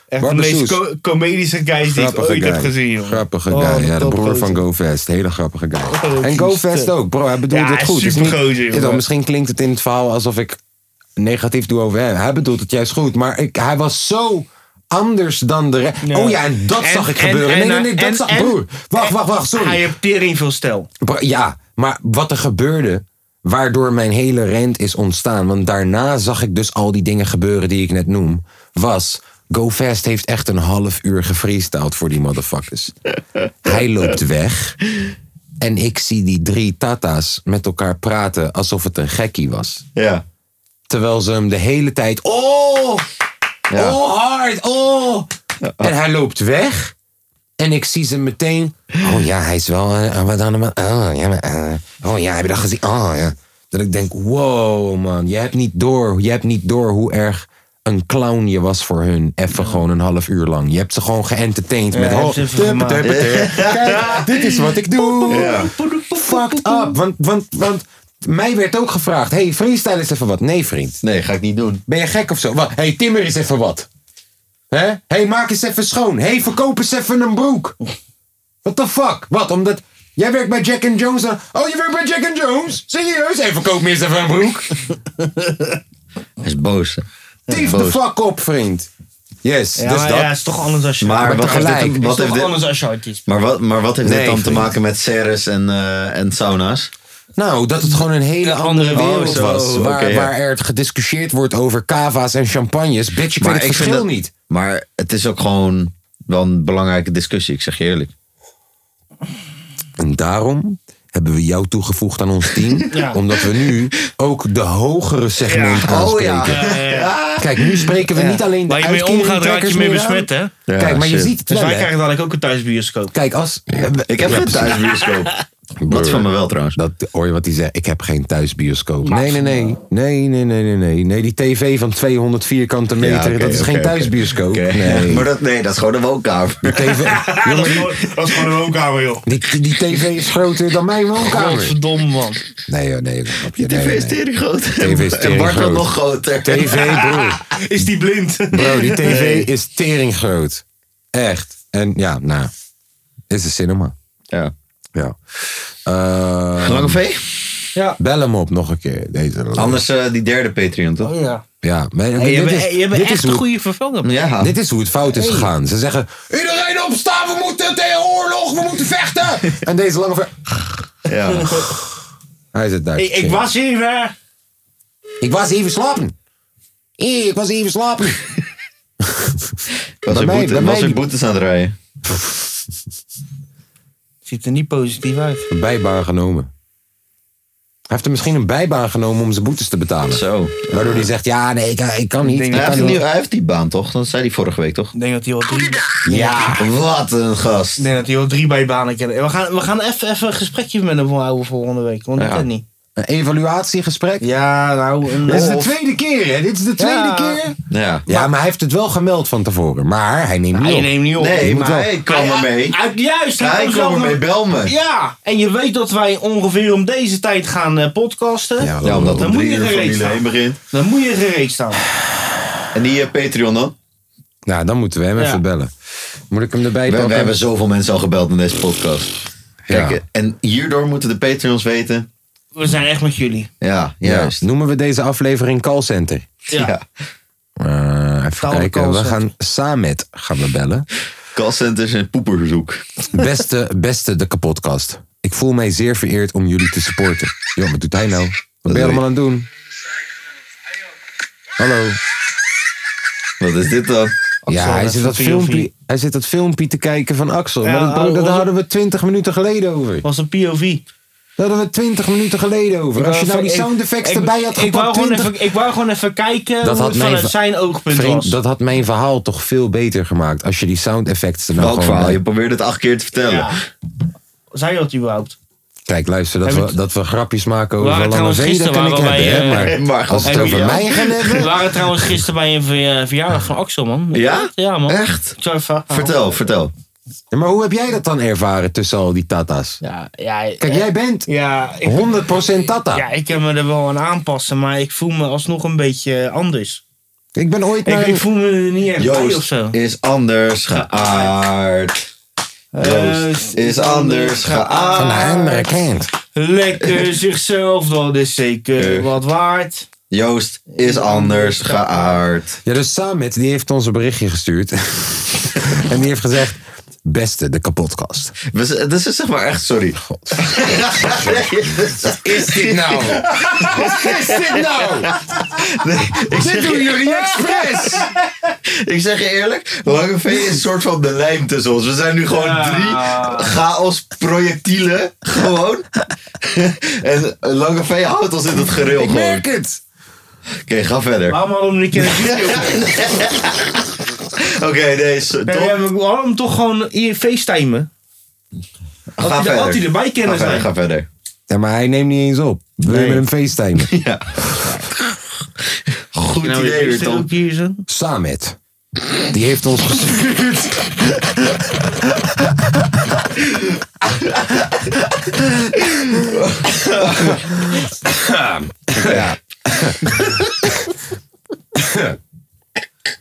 Speaker 3: Echt
Speaker 1: Barbe
Speaker 3: de meest
Speaker 1: Soes.
Speaker 3: co- comedische guys die ik
Speaker 1: Grappige
Speaker 3: ooit
Speaker 1: guy.
Speaker 3: heb gezien, joh.
Speaker 1: Grappige
Speaker 3: Oh,
Speaker 1: guy. Ja, de
Speaker 3: top
Speaker 1: broer
Speaker 3: gozer.
Speaker 1: van GoFest. Hele grappige guy.
Speaker 3: Oh,
Speaker 1: en
Speaker 3: die
Speaker 1: GoFest
Speaker 3: shit.
Speaker 1: ook, bro. Hij bedoelt
Speaker 3: Ja,
Speaker 1: het goed. Het is
Speaker 3: supergozer,
Speaker 1: niet-
Speaker 3: jongen.
Speaker 1: Ja, dan misschien klinkt het in het verhaal alsof ik negatief doe over hem. Hij bedoelt het juist goed. Maar ik, hij was zo anders dan de rest. Oh ja, en dat
Speaker 3: En-
Speaker 1: zag ik
Speaker 3: en-
Speaker 1: gebeuren.
Speaker 3: en-
Speaker 1: nee, nee, nee. Dat
Speaker 3: en-
Speaker 1: zag...
Speaker 3: en-
Speaker 1: broer, wacht,
Speaker 3: en-
Speaker 1: wacht, wacht.
Speaker 3: Hij
Speaker 1: Sorry.
Speaker 3: heeft tering veel stijl.
Speaker 1: Bro, Ja, maar wat er gebeurde... Waardoor mijn hele rent is ontstaan. Want daarna zag ik dus al die dingen gebeuren die ik net noem. Was... GoFest heeft echt een half uur gefreestyled voor die motherfuckers. Hij loopt weg. En ik zie die drie tata's met elkaar praten alsof het een gekkie was.
Speaker 4: Ja.
Speaker 1: Terwijl ze hem de hele tijd. Oh!
Speaker 4: Ja.
Speaker 1: Oh, hard! Oh! En hij loopt weg. En ik zie ze meteen. Oh ja, hij is wel. eh, wat dan? Oh ja, maar, eh, oh ja, heb je dat gezien? Oh ja. Dat ik denk: wow, man. Je hebt niet door, je hebt niet door hoe erg een clown je was voor hun. Even gewoon een half uur lang. Je hebt ze gewoon geëntertained met.
Speaker 3: je hebt
Speaker 1: Oh,
Speaker 3: ze even
Speaker 1: tup,
Speaker 3: gemaakt.
Speaker 1: tup, tup. Kijk, dit is wat ik doe. Fucked up. Want, want, want mij werd ook gevraagd: hey, freestyle is even wat. Nee, vriend.
Speaker 4: Nee, ga ik niet doen.
Speaker 1: Ben je gek of zo? Wat? Hé, hey, timmer eens even wat. Hé, hey, maak eens even schoon. Hé, hey, verkoop eens even een broek. What the fuck? Wat, omdat... Jij werkt bij Jack and Jones. dan- Oh, je werkt bij Jack and Jones? Serieus? Hé, hey, verkoop me eens even een broek.
Speaker 4: Hij is boos. hè.
Speaker 1: Tief de
Speaker 4: boos.
Speaker 1: fuck op, vriend. Yes,
Speaker 3: Ja,
Speaker 1: dus
Speaker 3: maar
Speaker 1: dat.
Speaker 3: ja, het is toch anders als je...
Speaker 4: Maar wat heeft
Speaker 3: tegelijk,
Speaker 4: dit-
Speaker 3: het is
Speaker 4: wat
Speaker 3: toch
Speaker 4: heeft dit-
Speaker 3: anders als je artiest.
Speaker 4: Maar wat, maar wat heeft
Speaker 1: Nee,
Speaker 4: dit dan
Speaker 1: ik
Speaker 4: te
Speaker 1: weet
Speaker 4: maken met serres en, eh, en sauna's?
Speaker 1: Nou, dat het gewoon een hele andere
Speaker 4: andere
Speaker 1: wereld
Speaker 4: wereld
Speaker 1: was.
Speaker 4: was.
Speaker 1: waar,
Speaker 4: Oké, ja.
Speaker 1: waar er gediscussieerd wordt over cava's en champagnes. Bitch, ik
Speaker 4: Maar
Speaker 1: weet het verschil
Speaker 4: dat-
Speaker 1: niet.
Speaker 4: Maar het is ook gewoon wel een belangrijke discussie, ik zeg je eerlijk.
Speaker 1: En daarom hebben we jou toegevoegd aan ons team.
Speaker 3: Ja.
Speaker 1: Omdat we nu ook de hogere segment
Speaker 4: Ja.
Speaker 1: gaan
Speaker 4: Oh,
Speaker 1: spreken.
Speaker 3: Ja,
Speaker 4: ja.
Speaker 3: ja, ja.
Speaker 1: Kijk, nu spreken we niet alleen de
Speaker 3: Waar je mee omgaat, raak je
Speaker 1: uitkeringtrekkers
Speaker 3: mee
Speaker 1: meer aan.
Speaker 3: besmet, hè?
Speaker 4: Ja,
Speaker 1: Kijk, maar je
Speaker 4: shit.
Speaker 1: ziet het
Speaker 3: Dus
Speaker 1: wel,
Speaker 3: wij
Speaker 1: hè?
Speaker 3: krijgen dadelijk ook een thuisbioscoop.
Speaker 1: Kijk, als...
Speaker 4: Ik heb
Speaker 1: Ja,
Speaker 4: geen
Speaker 1: precies.
Speaker 4: thuisbioscoop. Dat van me wel trouwens.
Speaker 1: Dat hoor je wat hij zei. Ik heb geen thuisbioscoop. Nee, nee, nee. Nee, nee, nee, nee, nee. Nee, die tv van 200 vierkante meter,
Speaker 4: Ja, oké,
Speaker 1: dat is
Speaker 4: oké,
Speaker 1: geen
Speaker 4: oké.
Speaker 1: thuisbioscoop.
Speaker 4: Oké.
Speaker 1: Nee.
Speaker 4: Maar dat, nee, dat is gewoon een woonkamer.
Speaker 1: TV,
Speaker 3: dat, is gewoon, een woonkamer, joh.
Speaker 1: die, die tv is groter dan mijn woonkamer.
Speaker 3: Godverdomme, man.
Speaker 1: Nee, joh, nee. joh, grapje.
Speaker 4: TV
Speaker 1: Nee,
Speaker 4: is
Speaker 1: nee.
Speaker 4: tering groot.
Speaker 1: is
Speaker 4: en
Speaker 1: tering
Speaker 4: Bart
Speaker 1: groot.
Speaker 4: wordt nog groter.
Speaker 1: TV, broer.
Speaker 3: Is die blind?
Speaker 1: Bro, die tv is tering groot. Echt. En ja, nou. Is de cinema.
Speaker 4: Ja.
Speaker 1: Ja. Eh,
Speaker 4: Lange V?
Speaker 1: bel hem op nog een keer. Deze
Speaker 4: Anders eh, die derde Patreon, toch?
Speaker 3: Ja.
Speaker 1: Ja, maar
Speaker 3: je
Speaker 1: dit
Speaker 3: hebt,
Speaker 1: is,
Speaker 3: je hebt
Speaker 1: dit is
Speaker 3: echt een
Speaker 1: hoe
Speaker 3: goede vervanger.
Speaker 4: Ja.
Speaker 1: Dit is hoe het fout is gegaan. Ze zeggen: Iedereen opstaan, we moeten tegen oorlog, we moeten vechten. en deze lange ver.
Speaker 4: ja.
Speaker 1: Hij zit daar.
Speaker 3: Ik, ik was even.
Speaker 1: ik was even slapen. Ik was even slapen.
Speaker 4: Was
Speaker 1: Bij
Speaker 4: er
Speaker 1: mij- bij
Speaker 4: boete- was
Speaker 1: mij-
Speaker 4: er boetes aan het rijden?
Speaker 3: Ziet er niet positief uit.
Speaker 1: Een bijbaan genomen. Hij heeft er misschien een bijbaan genomen om zijn boetes te betalen.
Speaker 4: Zo.
Speaker 1: Waardoor hij zegt: Ja, nee, ik, ik kan niet.
Speaker 3: denk
Speaker 1: ik
Speaker 4: Hij
Speaker 1: kan
Speaker 4: heeft,
Speaker 1: niet.
Speaker 4: die, hij heeft die baan toch? Dat zei hij vorige week toch?
Speaker 3: Ik denk dat hij wel drie, ik
Speaker 4: Ja, wat een gast.
Speaker 3: denk dat hij wel drie bijbanen kent. We gaan, we gaan even, even een gesprekje met hem houden volgende week. Want
Speaker 4: Ja.
Speaker 3: dat kan niet.
Speaker 1: Een evaluatiegesprek.
Speaker 3: Ja, nou. Een,
Speaker 1: Dit is de
Speaker 3: of-
Speaker 1: tweede keer, hè? Dit is de tweede
Speaker 3: Ja.
Speaker 1: keer.
Speaker 4: Ja.
Speaker 1: Ja, maar hij heeft het wel gemeld van tevoren. Maar hij neemt niet
Speaker 3: Hij
Speaker 1: op.
Speaker 3: neemt niet op.
Speaker 4: Nee,
Speaker 1: Je moet
Speaker 4: maar
Speaker 1: wel-
Speaker 4: hij kwam
Speaker 3: Hij-
Speaker 4: ermee.
Speaker 3: hij- hij- Juist, hij,
Speaker 4: Hij
Speaker 3: kwam
Speaker 4: kwam
Speaker 3: zelf
Speaker 4: ermee,
Speaker 3: met-
Speaker 4: bel me.
Speaker 3: Ja, en je weet dat wij ongeveer om deze tijd gaan eh, podcasten.
Speaker 1: Ja,
Speaker 4: Ja, omdat
Speaker 3: Dan
Speaker 4: om
Speaker 3: moet
Speaker 4: drie
Speaker 3: je
Speaker 4: uur
Speaker 3: gereed
Speaker 4: Formule
Speaker 3: staan.
Speaker 4: 1 begint.
Speaker 3: Dan moet je gereed staan.
Speaker 4: En die eh, Patreon dan?
Speaker 1: Nou, dan moeten we hem
Speaker 3: Ja.
Speaker 1: even bellen. Moet ik hem erbij
Speaker 4: We,
Speaker 1: pakken?
Speaker 4: we hebben zoveel mensen al gebeld in deze podcast. Kijk,
Speaker 1: Ja.
Speaker 4: en hierdoor moeten de Patreons weten.
Speaker 3: We zijn echt met jullie.
Speaker 4: Ja,
Speaker 1: Ja,
Speaker 4: juist.
Speaker 1: Noemen we deze aflevering callcenter?
Speaker 4: Ja.
Speaker 1: Eh, even
Speaker 3: Taal-
Speaker 1: kijken. We
Speaker 3: callcenter.
Speaker 1: gaan Samet gaan we bellen.
Speaker 4: Callcenters en poeperzoek.
Speaker 1: Beste, beste de kapotkast. Ik voel mij zeer vereerd om jullie te supporten. Joh, wat doet hij nou? Wat ben je
Speaker 4: doe
Speaker 1: allemaal aan het doen? Hallo.
Speaker 4: Wat is dit dan?
Speaker 1: ja, hij
Speaker 3: dat
Speaker 1: zit,
Speaker 3: is
Speaker 1: dat
Speaker 3: een POV.
Speaker 1: filmpje, hij zit dat filmpje te kijken van Axel.
Speaker 3: Ja,
Speaker 1: maar dat, bro,
Speaker 3: oh,
Speaker 1: dat
Speaker 3: oh.
Speaker 1: hadden we twintig minuten geleden over.
Speaker 3: was een POV.
Speaker 1: Dat hadden we twintig minuten geleden over. Als je nou die sound effects
Speaker 3: Eh, ik-
Speaker 1: erbij had
Speaker 3: ik, wou
Speaker 1: gepakt,
Speaker 3: gewoon
Speaker 1: 20
Speaker 3: even, ik wou gewoon even kijken
Speaker 1: Dat
Speaker 3: hoe
Speaker 1: had
Speaker 3: het
Speaker 1: mij
Speaker 3: vanuit
Speaker 1: ver-
Speaker 3: zijn oogpunt was.
Speaker 1: Vriend, dat had mijn verhaal toch veel beter gemaakt. Als je die sound effects er nou
Speaker 4: Welk
Speaker 1: gewoon
Speaker 4: verhaal?
Speaker 1: bij-
Speaker 4: Je probeert het acht keer te vertellen.
Speaker 3: ja. Zei dat überhaupt?
Speaker 1: Kijk, luister, dat
Speaker 3: Hebben
Speaker 1: we,
Speaker 3: we-
Speaker 1: dat we grapjes maken
Speaker 3: We
Speaker 1: over
Speaker 3: waren
Speaker 1: Lange
Speaker 3: trouwens
Speaker 1: Zee, dat kan
Speaker 3: gisteren
Speaker 1: ik
Speaker 3: waren
Speaker 1: hebben.
Speaker 3: wij,
Speaker 1: hè,
Speaker 3: eh,
Speaker 1: maar
Speaker 4: maar
Speaker 1: als het
Speaker 3: hebben
Speaker 1: over
Speaker 3: jullie
Speaker 1: mij gaat hebben...
Speaker 3: We waren trouwens gisteren bij een ver- eh, verjaardag van Axel, man.
Speaker 4: Ja?
Speaker 3: Ja, man.
Speaker 4: Echt?
Speaker 3: Ik zou even-
Speaker 4: Vertel, vertel.
Speaker 1: Ja, maar hoe heb jij dat dan ervaren tussen al die tata's?
Speaker 3: Ja, ja,
Speaker 1: Kijk,
Speaker 3: eh,
Speaker 1: jij bent
Speaker 3: Ja, ik,
Speaker 1: 100% tata.
Speaker 3: ja, ik kan me er wel aan aanpassen, maar ik voel me alsnog een beetje anders.
Speaker 1: Ik ben ooit naar...
Speaker 3: Ik, ik voel me er niet echt bij of
Speaker 4: Joost
Speaker 3: zo.
Speaker 4: is anders geaard. Joost is anders
Speaker 1: van
Speaker 4: geaard.
Speaker 1: een andere kant.
Speaker 3: Lekker zichzelf, dat is zeker
Speaker 4: Eh.
Speaker 3: wat waard.
Speaker 4: Joost is anders geaard.
Speaker 1: Ja, dus Samet, die heeft ons een berichtje gestuurd. en die heeft gezegd... Beste, de kapotkast.
Speaker 4: We z- Dat is zeg maar echt, sorry.
Speaker 1: Is dit nou? Wat is dit nou? dit doen jullie expres!
Speaker 4: Ik zeg je eerlijk, Lange V is een soort van de lijm tussen ons. We zijn nu gewoon drie chaos-projectielen. Gewoon. en Lange V houdt ons in het gereel
Speaker 1: Ik
Speaker 4: gewoon.
Speaker 1: merk
Speaker 4: Oké,
Speaker 1: het!
Speaker 4: ga verder.
Speaker 3: Waarom hadden we hem niet kunnen video?
Speaker 4: Oké, nee, so-
Speaker 3: Nee,
Speaker 4: toch?
Speaker 3: ja, maar waarom hem toch gewoon hier facetimen? hij-
Speaker 4: Ga verder.
Speaker 3: had hij erbij kunnen
Speaker 4: Ga
Speaker 3: zijn.
Speaker 4: verder, Ga verder.
Speaker 1: Ja, maar hij neemt niet eens op. We willen met hem facetimen.
Speaker 4: Goed
Speaker 3: Nou,
Speaker 4: idee weer,
Speaker 3: is dit
Speaker 4: Tom.
Speaker 3: ook hier zo?
Speaker 1: Samet. Die heeft ons gestuurd. ja.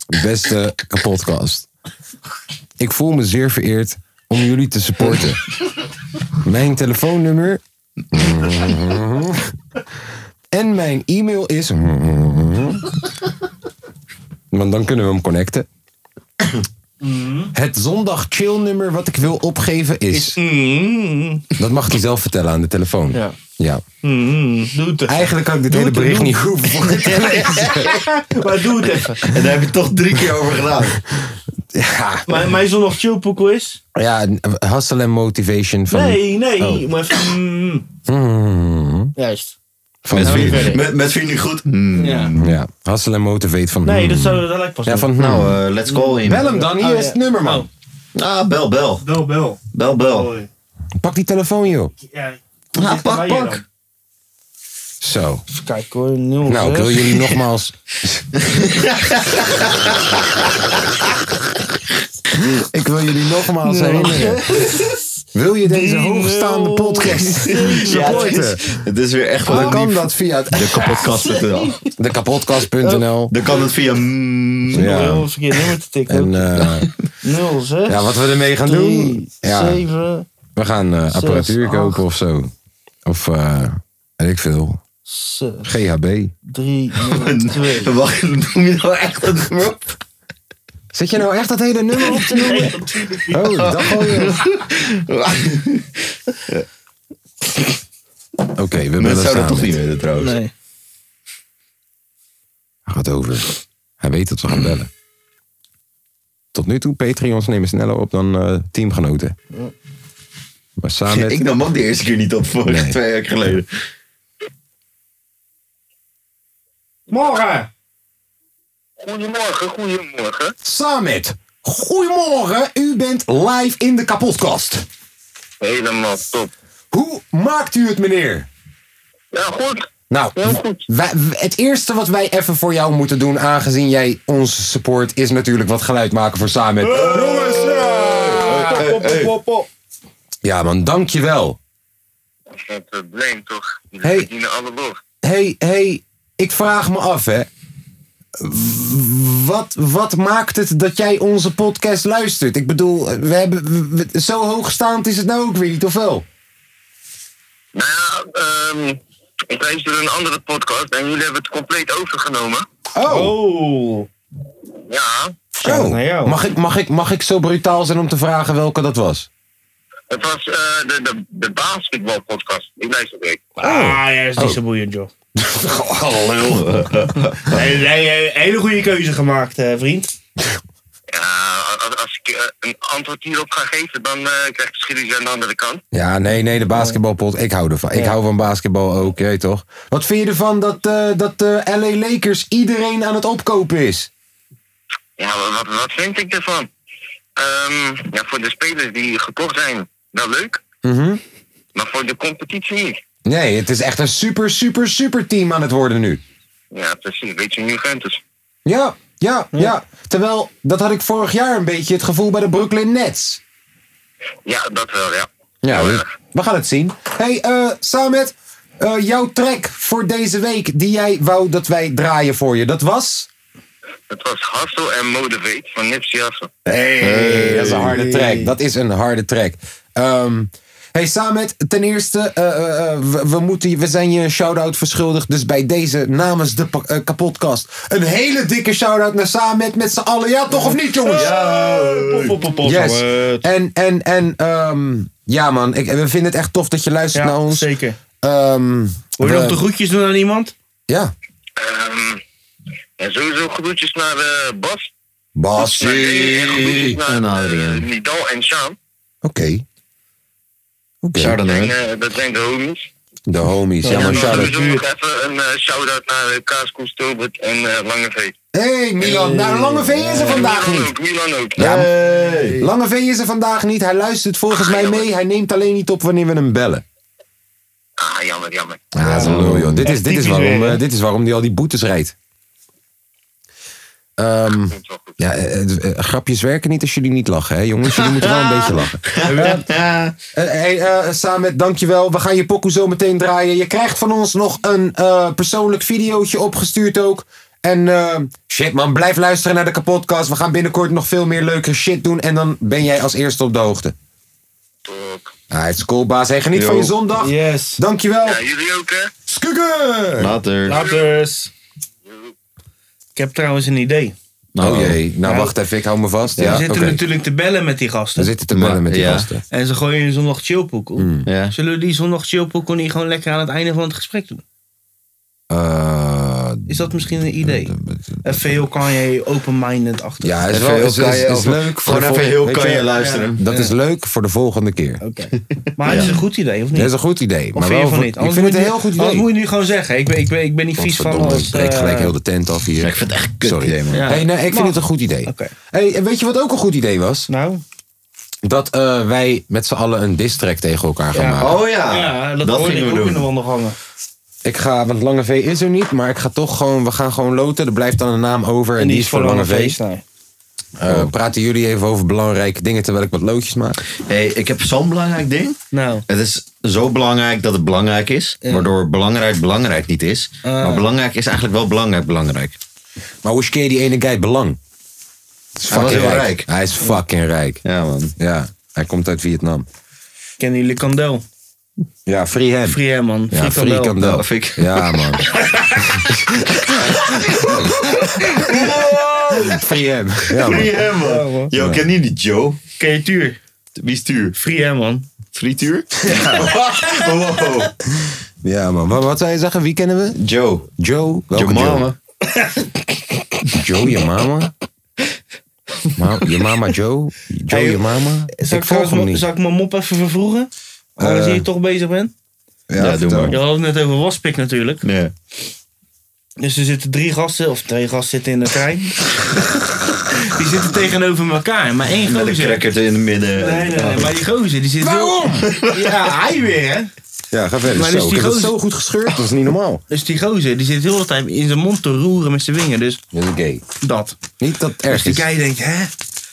Speaker 1: Beste podcast. Ik voel me zeer vereerd om jullie te supporten. Mijn telefoonnummer. En mijn e-mail is. Want dan kunnen we hem connecten. Het zondag chill nummer wat ik wil opgeven is. Dat mag hij zelf vertellen aan de telefoon. Ja. Eigenlijk had ik dit hele bericht niet hoeven voor te lezen.
Speaker 3: maar doe het even.
Speaker 4: En daar heb je toch drie keer over gedaan.
Speaker 1: Ja.
Speaker 3: Mijn, mijn zondag chillpoeko is?
Speaker 1: Ja, hustle en motivation van.
Speaker 3: Nee, nee.
Speaker 1: Oh.
Speaker 3: Maar even, mm,
Speaker 1: Hmm.
Speaker 3: juist.
Speaker 1: Van
Speaker 4: Met,
Speaker 1: nou,
Speaker 4: vind,
Speaker 3: verder.
Speaker 4: met, met vind je goed? Hmm.
Speaker 3: Ja.
Speaker 1: Ja, hustle en motivate van.
Speaker 3: Nee, dat zou dat lijkt pas
Speaker 1: Ja,
Speaker 3: niet.
Speaker 1: van nou.
Speaker 4: Nou, eh, let's call in.
Speaker 1: Bel hem dan, hier
Speaker 3: Oh,
Speaker 1: is
Speaker 3: ja. Oh.
Speaker 1: het nummer, man.
Speaker 4: Ah, bel, bel.
Speaker 3: Bel, bel.
Speaker 4: Bel, bel.
Speaker 3: Hoi.
Speaker 1: Pak die telefoon, joh.
Speaker 3: Ja,
Speaker 4: Ah, pak,
Speaker 3: waar jij
Speaker 4: pak.
Speaker 3: dan?
Speaker 1: Zo.
Speaker 3: Even kijken hoor. Nul,
Speaker 1: Nou, ik wil
Speaker 3: zes.
Speaker 1: jullie nogmaals. ik wil jullie nogmaals herinneren. Wil je deze hoogstaande podcast
Speaker 4: het,
Speaker 1: supporten?
Speaker 4: is, het is weer echt wel
Speaker 1: Dan
Speaker 4: een
Speaker 1: kan
Speaker 4: lief-
Speaker 1: dat via het-
Speaker 4: De kapotkast.nl.
Speaker 1: dekapotkast.nl.
Speaker 4: Dan kan het via... mm,
Speaker 3: Ik wil
Speaker 1: Ja.
Speaker 3: een verkeerd nummer te tikken.
Speaker 1: En eh,
Speaker 3: 0, 6,
Speaker 1: ja, wat we ermee gaan doen.
Speaker 3: 3,
Speaker 1: Ja,
Speaker 3: 7,
Speaker 1: we gaan eh, apparatuur
Speaker 3: Zes,
Speaker 1: kopen
Speaker 3: acht.
Speaker 1: of zo. Of eh weet ik veel.
Speaker 3: 6,
Speaker 1: GHB.
Speaker 3: 3, 2.
Speaker 4: Wacht, noem je nou echt een nummer op?
Speaker 1: Zit je nou echt dat hele nummer op te noemen? Oh, dat gooien. Oké, we
Speaker 4: Dat
Speaker 1: bellen
Speaker 4: zou dat
Speaker 1: samen.
Speaker 4: toch niet weten trouwens.
Speaker 3: Nee.
Speaker 1: Hij gaat over. Hij weet dat we gaan bellen. Tot nu toe, Patreons nemen sneller op dan eh, teamgenoten. Maar samen met...
Speaker 4: Ik nam hem ook de eerste keer niet op, voor
Speaker 1: Nee.
Speaker 4: twee jaar geleden.
Speaker 3: Morgen!
Speaker 5: Goedemorgen, goedemorgen.
Speaker 1: Samet, goedemorgen. U bent live in de kapotkast.
Speaker 5: Helemaal top.
Speaker 1: Hoe maakt u het, meneer?
Speaker 5: Ja, goed.
Speaker 1: Nou,
Speaker 5: Heel goed.
Speaker 1: wij- w- het eerste wat wij even voor jou moeten doen, aangezien jij ons support, is natuurlijk wat geluid maken voor Samet. Jongens, ja! Ja, man, dankjewel.
Speaker 5: Geen probleem toch? Jullie
Speaker 1: Hey.
Speaker 5: verdienen alle lof.
Speaker 1: hey, hey, ik vraag me af, hè. W- Wat, wat maakt het dat jij onze podcast luistert? Ik bedoel, we hebben, we- we- zo hoogstaand is het nou ook weer niet, of wel?
Speaker 5: Nou ja, ehm, ik luisterde een andere podcast en jullie hebben het compleet overgenomen.
Speaker 1: Oh,
Speaker 3: Oh!
Speaker 5: Ja,
Speaker 1: oh.
Speaker 3: naar jou.
Speaker 1: Mag, ik, mag, ik, mag ik zo brutaal zijn om te vragen welke dat was?
Speaker 5: het was eh, de, de, de basketbalpodcast. Ik luisterde ik.
Speaker 1: Oh.
Speaker 3: Ah, ja, is niet zo boeiend, joh. Hey, hey, hey, hele goede keuze gemaakt, eh, vriend.
Speaker 5: Ja, als, als ik eh, een antwoord hierop ga geven, dan eh, krijg ik geschiedenis aan de andere kant.
Speaker 1: Ja, nee, nee, de basketbalpot. Ik hou ervan. Ik hou van basketbal ook, je weet toch? Wat vind je ervan dat, eh, dat de LA Lakers iedereen aan het opkopen is?
Speaker 5: Ja, wa- wat, wat vind ik ervan? Ehm, ja, voor de spelers die gekocht zijn, wel leuk.
Speaker 1: Mhm.
Speaker 5: Maar voor de competitie niet.
Speaker 1: Nee, het is echt een super, super, super team aan het worden nu.
Speaker 5: Ja, precies. Weet je, Juventus.
Speaker 1: Ja, ja, ja, Terwijl, dat had ik vorig jaar een beetje het gevoel bij de Brooklyn Nets.
Speaker 5: Ja, dat wel, ja.
Speaker 1: Ja,
Speaker 5: we-
Speaker 1: we gaan het zien. hey, eh, Samet, eh, jouw track voor deze week die jij wou dat wij draaien voor je, dat was?
Speaker 5: Het was Hustle en Motivate van Nipsey Hussle.
Speaker 1: Hey, dat is een harde track. Dat is een harde track. Ehm, hey Samet, ten eerste, eh, eh, eh, we, we moeten, we zijn je een shout-out verschuldigd. Dus bij deze namens de pa- eh, kapotkast. Een hele dikke shout-out naar Samet met z'n allen. Ja, toch of niet, jongens?
Speaker 3: Pop, pop, pop, pop.
Speaker 1: Yes.
Speaker 3: Eh,
Speaker 1: En, en, en, ehm, ja man, ik, we vinden het echt tof dat je luistert naar
Speaker 3: Ja,
Speaker 1: ons.
Speaker 3: zeker.
Speaker 1: Ehm,
Speaker 3: Wil je
Speaker 1: we-
Speaker 3: nog de groetjes doen aan iemand?
Speaker 1: Ja.
Speaker 5: Ehm, ja, sowieso groetjes naar eh, Bas.
Speaker 1: Bas.
Speaker 5: Maar nee, en groetjes naar
Speaker 4: En Adriaan.
Speaker 5: eh, Nidal en Sean.
Speaker 1: Oké. Oké.
Speaker 4: Shout-out naar
Speaker 5: En,
Speaker 4: hem.
Speaker 5: eh, dat zijn de homies.
Speaker 1: De homies. Ja,
Speaker 5: En
Speaker 1: man,
Speaker 5: dan
Speaker 1: shout-out.
Speaker 5: sowieso nog even een eh, shout-out naar eh, Kaaskoes Tilbert en eh, Lange V.
Speaker 1: hey, Milan, nou, Lange V is er vandaag
Speaker 5: Milan
Speaker 1: niet.
Speaker 5: ook, Milan ook.
Speaker 1: Ja,
Speaker 4: Hey.
Speaker 1: Lange V is er vandaag niet. Hij luistert volgens mij mee. Hij neemt alleen niet op wanneer we hem bellen.
Speaker 5: Ah, jammer, jammer.
Speaker 1: Ja, dat is een lul, joh. Dit is, dit is,
Speaker 3: typisch
Speaker 1: waarom,
Speaker 3: weer, hè?
Speaker 1: eh, dit is waarom hij al die boetes rijdt. Ehm,
Speaker 5: Komt wel goed.
Speaker 1: ja, eh, eh, eh, grapjes werken niet als jullie niet lachen, hè, jongens. Jullie moeten wel een beetje lachen. Eh, hey, eh, Samet, dankjewel. We gaan je pokoe zo meteen draaien. Je krijgt van ons nog een eh, persoonlijk videootje opgestuurd ook. En eh, shit man, blijf luisteren naar de kapotkast. We gaan binnenkort nog veel meer leuke shit doen. En dan ben jij als eerste op de hoogte.
Speaker 5: Top.
Speaker 1: Hij is cool, baas. Hey, geniet
Speaker 4: Yo.
Speaker 1: van je zondag.
Speaker 3: Yes.
Speaker 1: Dankjewel.
Speaker 5: Ja, jullie ook, hè?
Speaker 1: Skukken!
Speaker 4: Later.
Speaker 3: Laters. Ik heb trouwens een idee.
Speaker 1: Oh jee, nou
Speaker 3: Ja.
Speaker 1: wacht even, ik hou me vast. Ja,
Speaker 3: we zitten
Speaker 1: oké.
Speaker 3: natuurlijk te bellen met die gasten.
Speaker 1: We zitten te bellen met die
Speaker 4: Ja. Mm.
Speaker 1: gasten.
Speaker 3: En ze gooien een zondag chillpoekel.
Speaker 4: Ja.
Speaker 3: Zullen we die zondag chillpoekel niet gewoon lekker aan het einde van het gesprek doen?
Speaker 1: Eh,
Speaker 3: Is dat misschien een idee? Even heel Kanye open-minded achter.
Speaker 1: ja, is,
Speaker 4: Even
Speaker 1: wel,
Speaker 4: heel
Speaker 1: is, is, is
Speaker 4: kan je-
Speaker 1: leuk. voor
Speaker 4: Gewoon
Speaker 1: de
Speaker 4: even
Speaker 1: volgende-
Speaker 4: heel
Speaker 1: weet
Speaker 4: kan
Speaker 1: je,
Speaker 4: je luisteren.
Speaker 1: Dat is leuk voor de volgende keer.
Speaker 3: Oké. Maar het is een goed idee, of niet?
Speaker 1: Dat is een goed idee.
Speaker 3: Of
Speaker 1: Maar
Speaker 3: vind je
Speaker 1: wel
Speaker 3: van
Speaker 1: voor-
Speaker 3: niet?
Speaker 1: Ik
Speaker 3: Anders
Speaker 1: vind het een
Speaker 3: moet je-
Speaker 1: heel goed
Speaker 3: anders
Speaker 1: idee.
Speaker 3: moet je nu gewoon zeggen. Ik ben, ik ben, ik ben niet vies van
Speaker 1: Godverdomme,
Speaker 3: als...
Speaker 1: Ik breek
Speaker 3: eh,
Speaker 1: gelijk heel de tent af hier.
Speaker 4: Ik vind het echt kut.
Speaker 1: Sorry.
Speaker 4: idee, man.
Speaker 3: Ja.
Speaker 1: Hey, nee, ik
Speaker 3: Mag.
Speaker 1: vind het een goed idee.
Speaker 3: Oké.
Speaker 1: Hey, en weet je wat ook een goed idee was?
Speaker 3: Nou,
Speaker 1: Dat eh, wij met z'n allen een diss track tegen elkaar gaan
Speaker 3: Ja.
Speaker 1: maken.
Speaker 4: Oh ja,
Speaker 3: ja, dat,
Speaker 4: dat,
Speaker 3: hoorde ik
Speaker 4: gingen
Speaker 3: ook
Speaker 4: we
Speaker 3: in de
Speaker 4: doen.
Speaker 3: wandelgangen.
Speaker 1: Ik ga, want Lange V is er niet, maar ik ga toch gewoon, we gaan gewoon loten. Er blijft dan een naam over en, die is voor Lange V.
Speaker 3: Nee.
Speaker 4: Oh.
Speaker 1: Eh, praten jullie even over belangrijke dingen terwijl ik wat loodjes maak?
Speaker 4: Hey, ik heb zo'n belangrijk ding.
Speaker 3: Nou,
Speaker 4: Het is zo belangrijk dat het belangrijk is. Waardoor belangrijk belangrijk niet is.
Speaker 3: Ah.
Speaker 4: Maar belangrijk is eigenlijk wel belangrijk belangrijk.
Speaker 1: Maar hoe skeer die ene guy belang? Hij is
Speaker 4: Hij was
Speaker 1: fucking
Speaker 4: heel
Speaker 1: rijk.
Speaker 4: rijk.
Speaker 1: Hij is fucking rijk.
Speaker 4: Ja man.
Speaker 1: Ja, hij komt uit Vietnam.
Speaker 3: kennen jullie Kandel?
Speaker 1: Ja, free hem.
Speaker 3: Free hem, man.
Speaker 1: ja, free
Speaker 3: Kandel.
Speaker 1: Kandel.
Speaker 4: Dat vind ik-
Speaker 1: Ja, man. free hem. Ja, man.
Speaker 4: hem man. Yo, ken je die Joe?
Speaker 3: Ken je Tuur?
Speaker 4: Wie is Tuur?
Speaker 3: Free hem, man.
Speaker 4: Frituur? wow.
Speaker 1: Ja, man. Wat, wat zou je zeggen? Wie kennen we?
Speaker 4: Joe.
Speaker 1: Joe? Welke
Speaker 4: Joe mama.
Speaker 1: Joe, je mama? Ma- je mama Joe? Joe,
Speaker 3: Hey,
Speaker 1: je mama?
Speaker 3: Zal ik,
Speaker 1: ik volg
Speaker 3: trouwens
Speaker 1: hem
Speaker 3: mijn-
Speaker 1: niet. Eh,
Speaker 3: zal ik mijn mop even vervroegen? Als je hier toch bezig bent.
Speaker 4: Ja, doe
Speaker 1: vertel.
Speaker 4: maar.
Speaker 3: Je had het net over waspik natuurlijk.
Speaker 4: Nee.
Speaker 3: Dus er zitten drie gasten, of twee gasten zitten in de trein. die zitten tegenover elkaar. Maar één
Speaker 4: Met een
Speaker 3: gozer...
Speaker 4: cracker in het midden.
Speaker 3: Nee, nee, nee, maar die gozer die zit Waarom? Ja, hij weer, hè?
Speaker 1: Ja, ga verder.
Speaker 3: Maar
Speaker 1: zo,
Speaker 3: dus die
Speaker 1: ik heb het
Speaker 3: gozer-
Speaker 1: zo goed gescheurd, dat is niet normaal.
Speaker 3: Dus die gozer die zit heel de tijd in zijn mond te roeren met zijn wingen. Dus
Speaker 1: Dat is gay.
Speaker 3: dat.
Speaker 1: Niet dat het
Speaker 3: Dus
Speaker 1: erg
Speaker 3: die
Speaker 1: is.
Speaker 3: guy denkt, hè?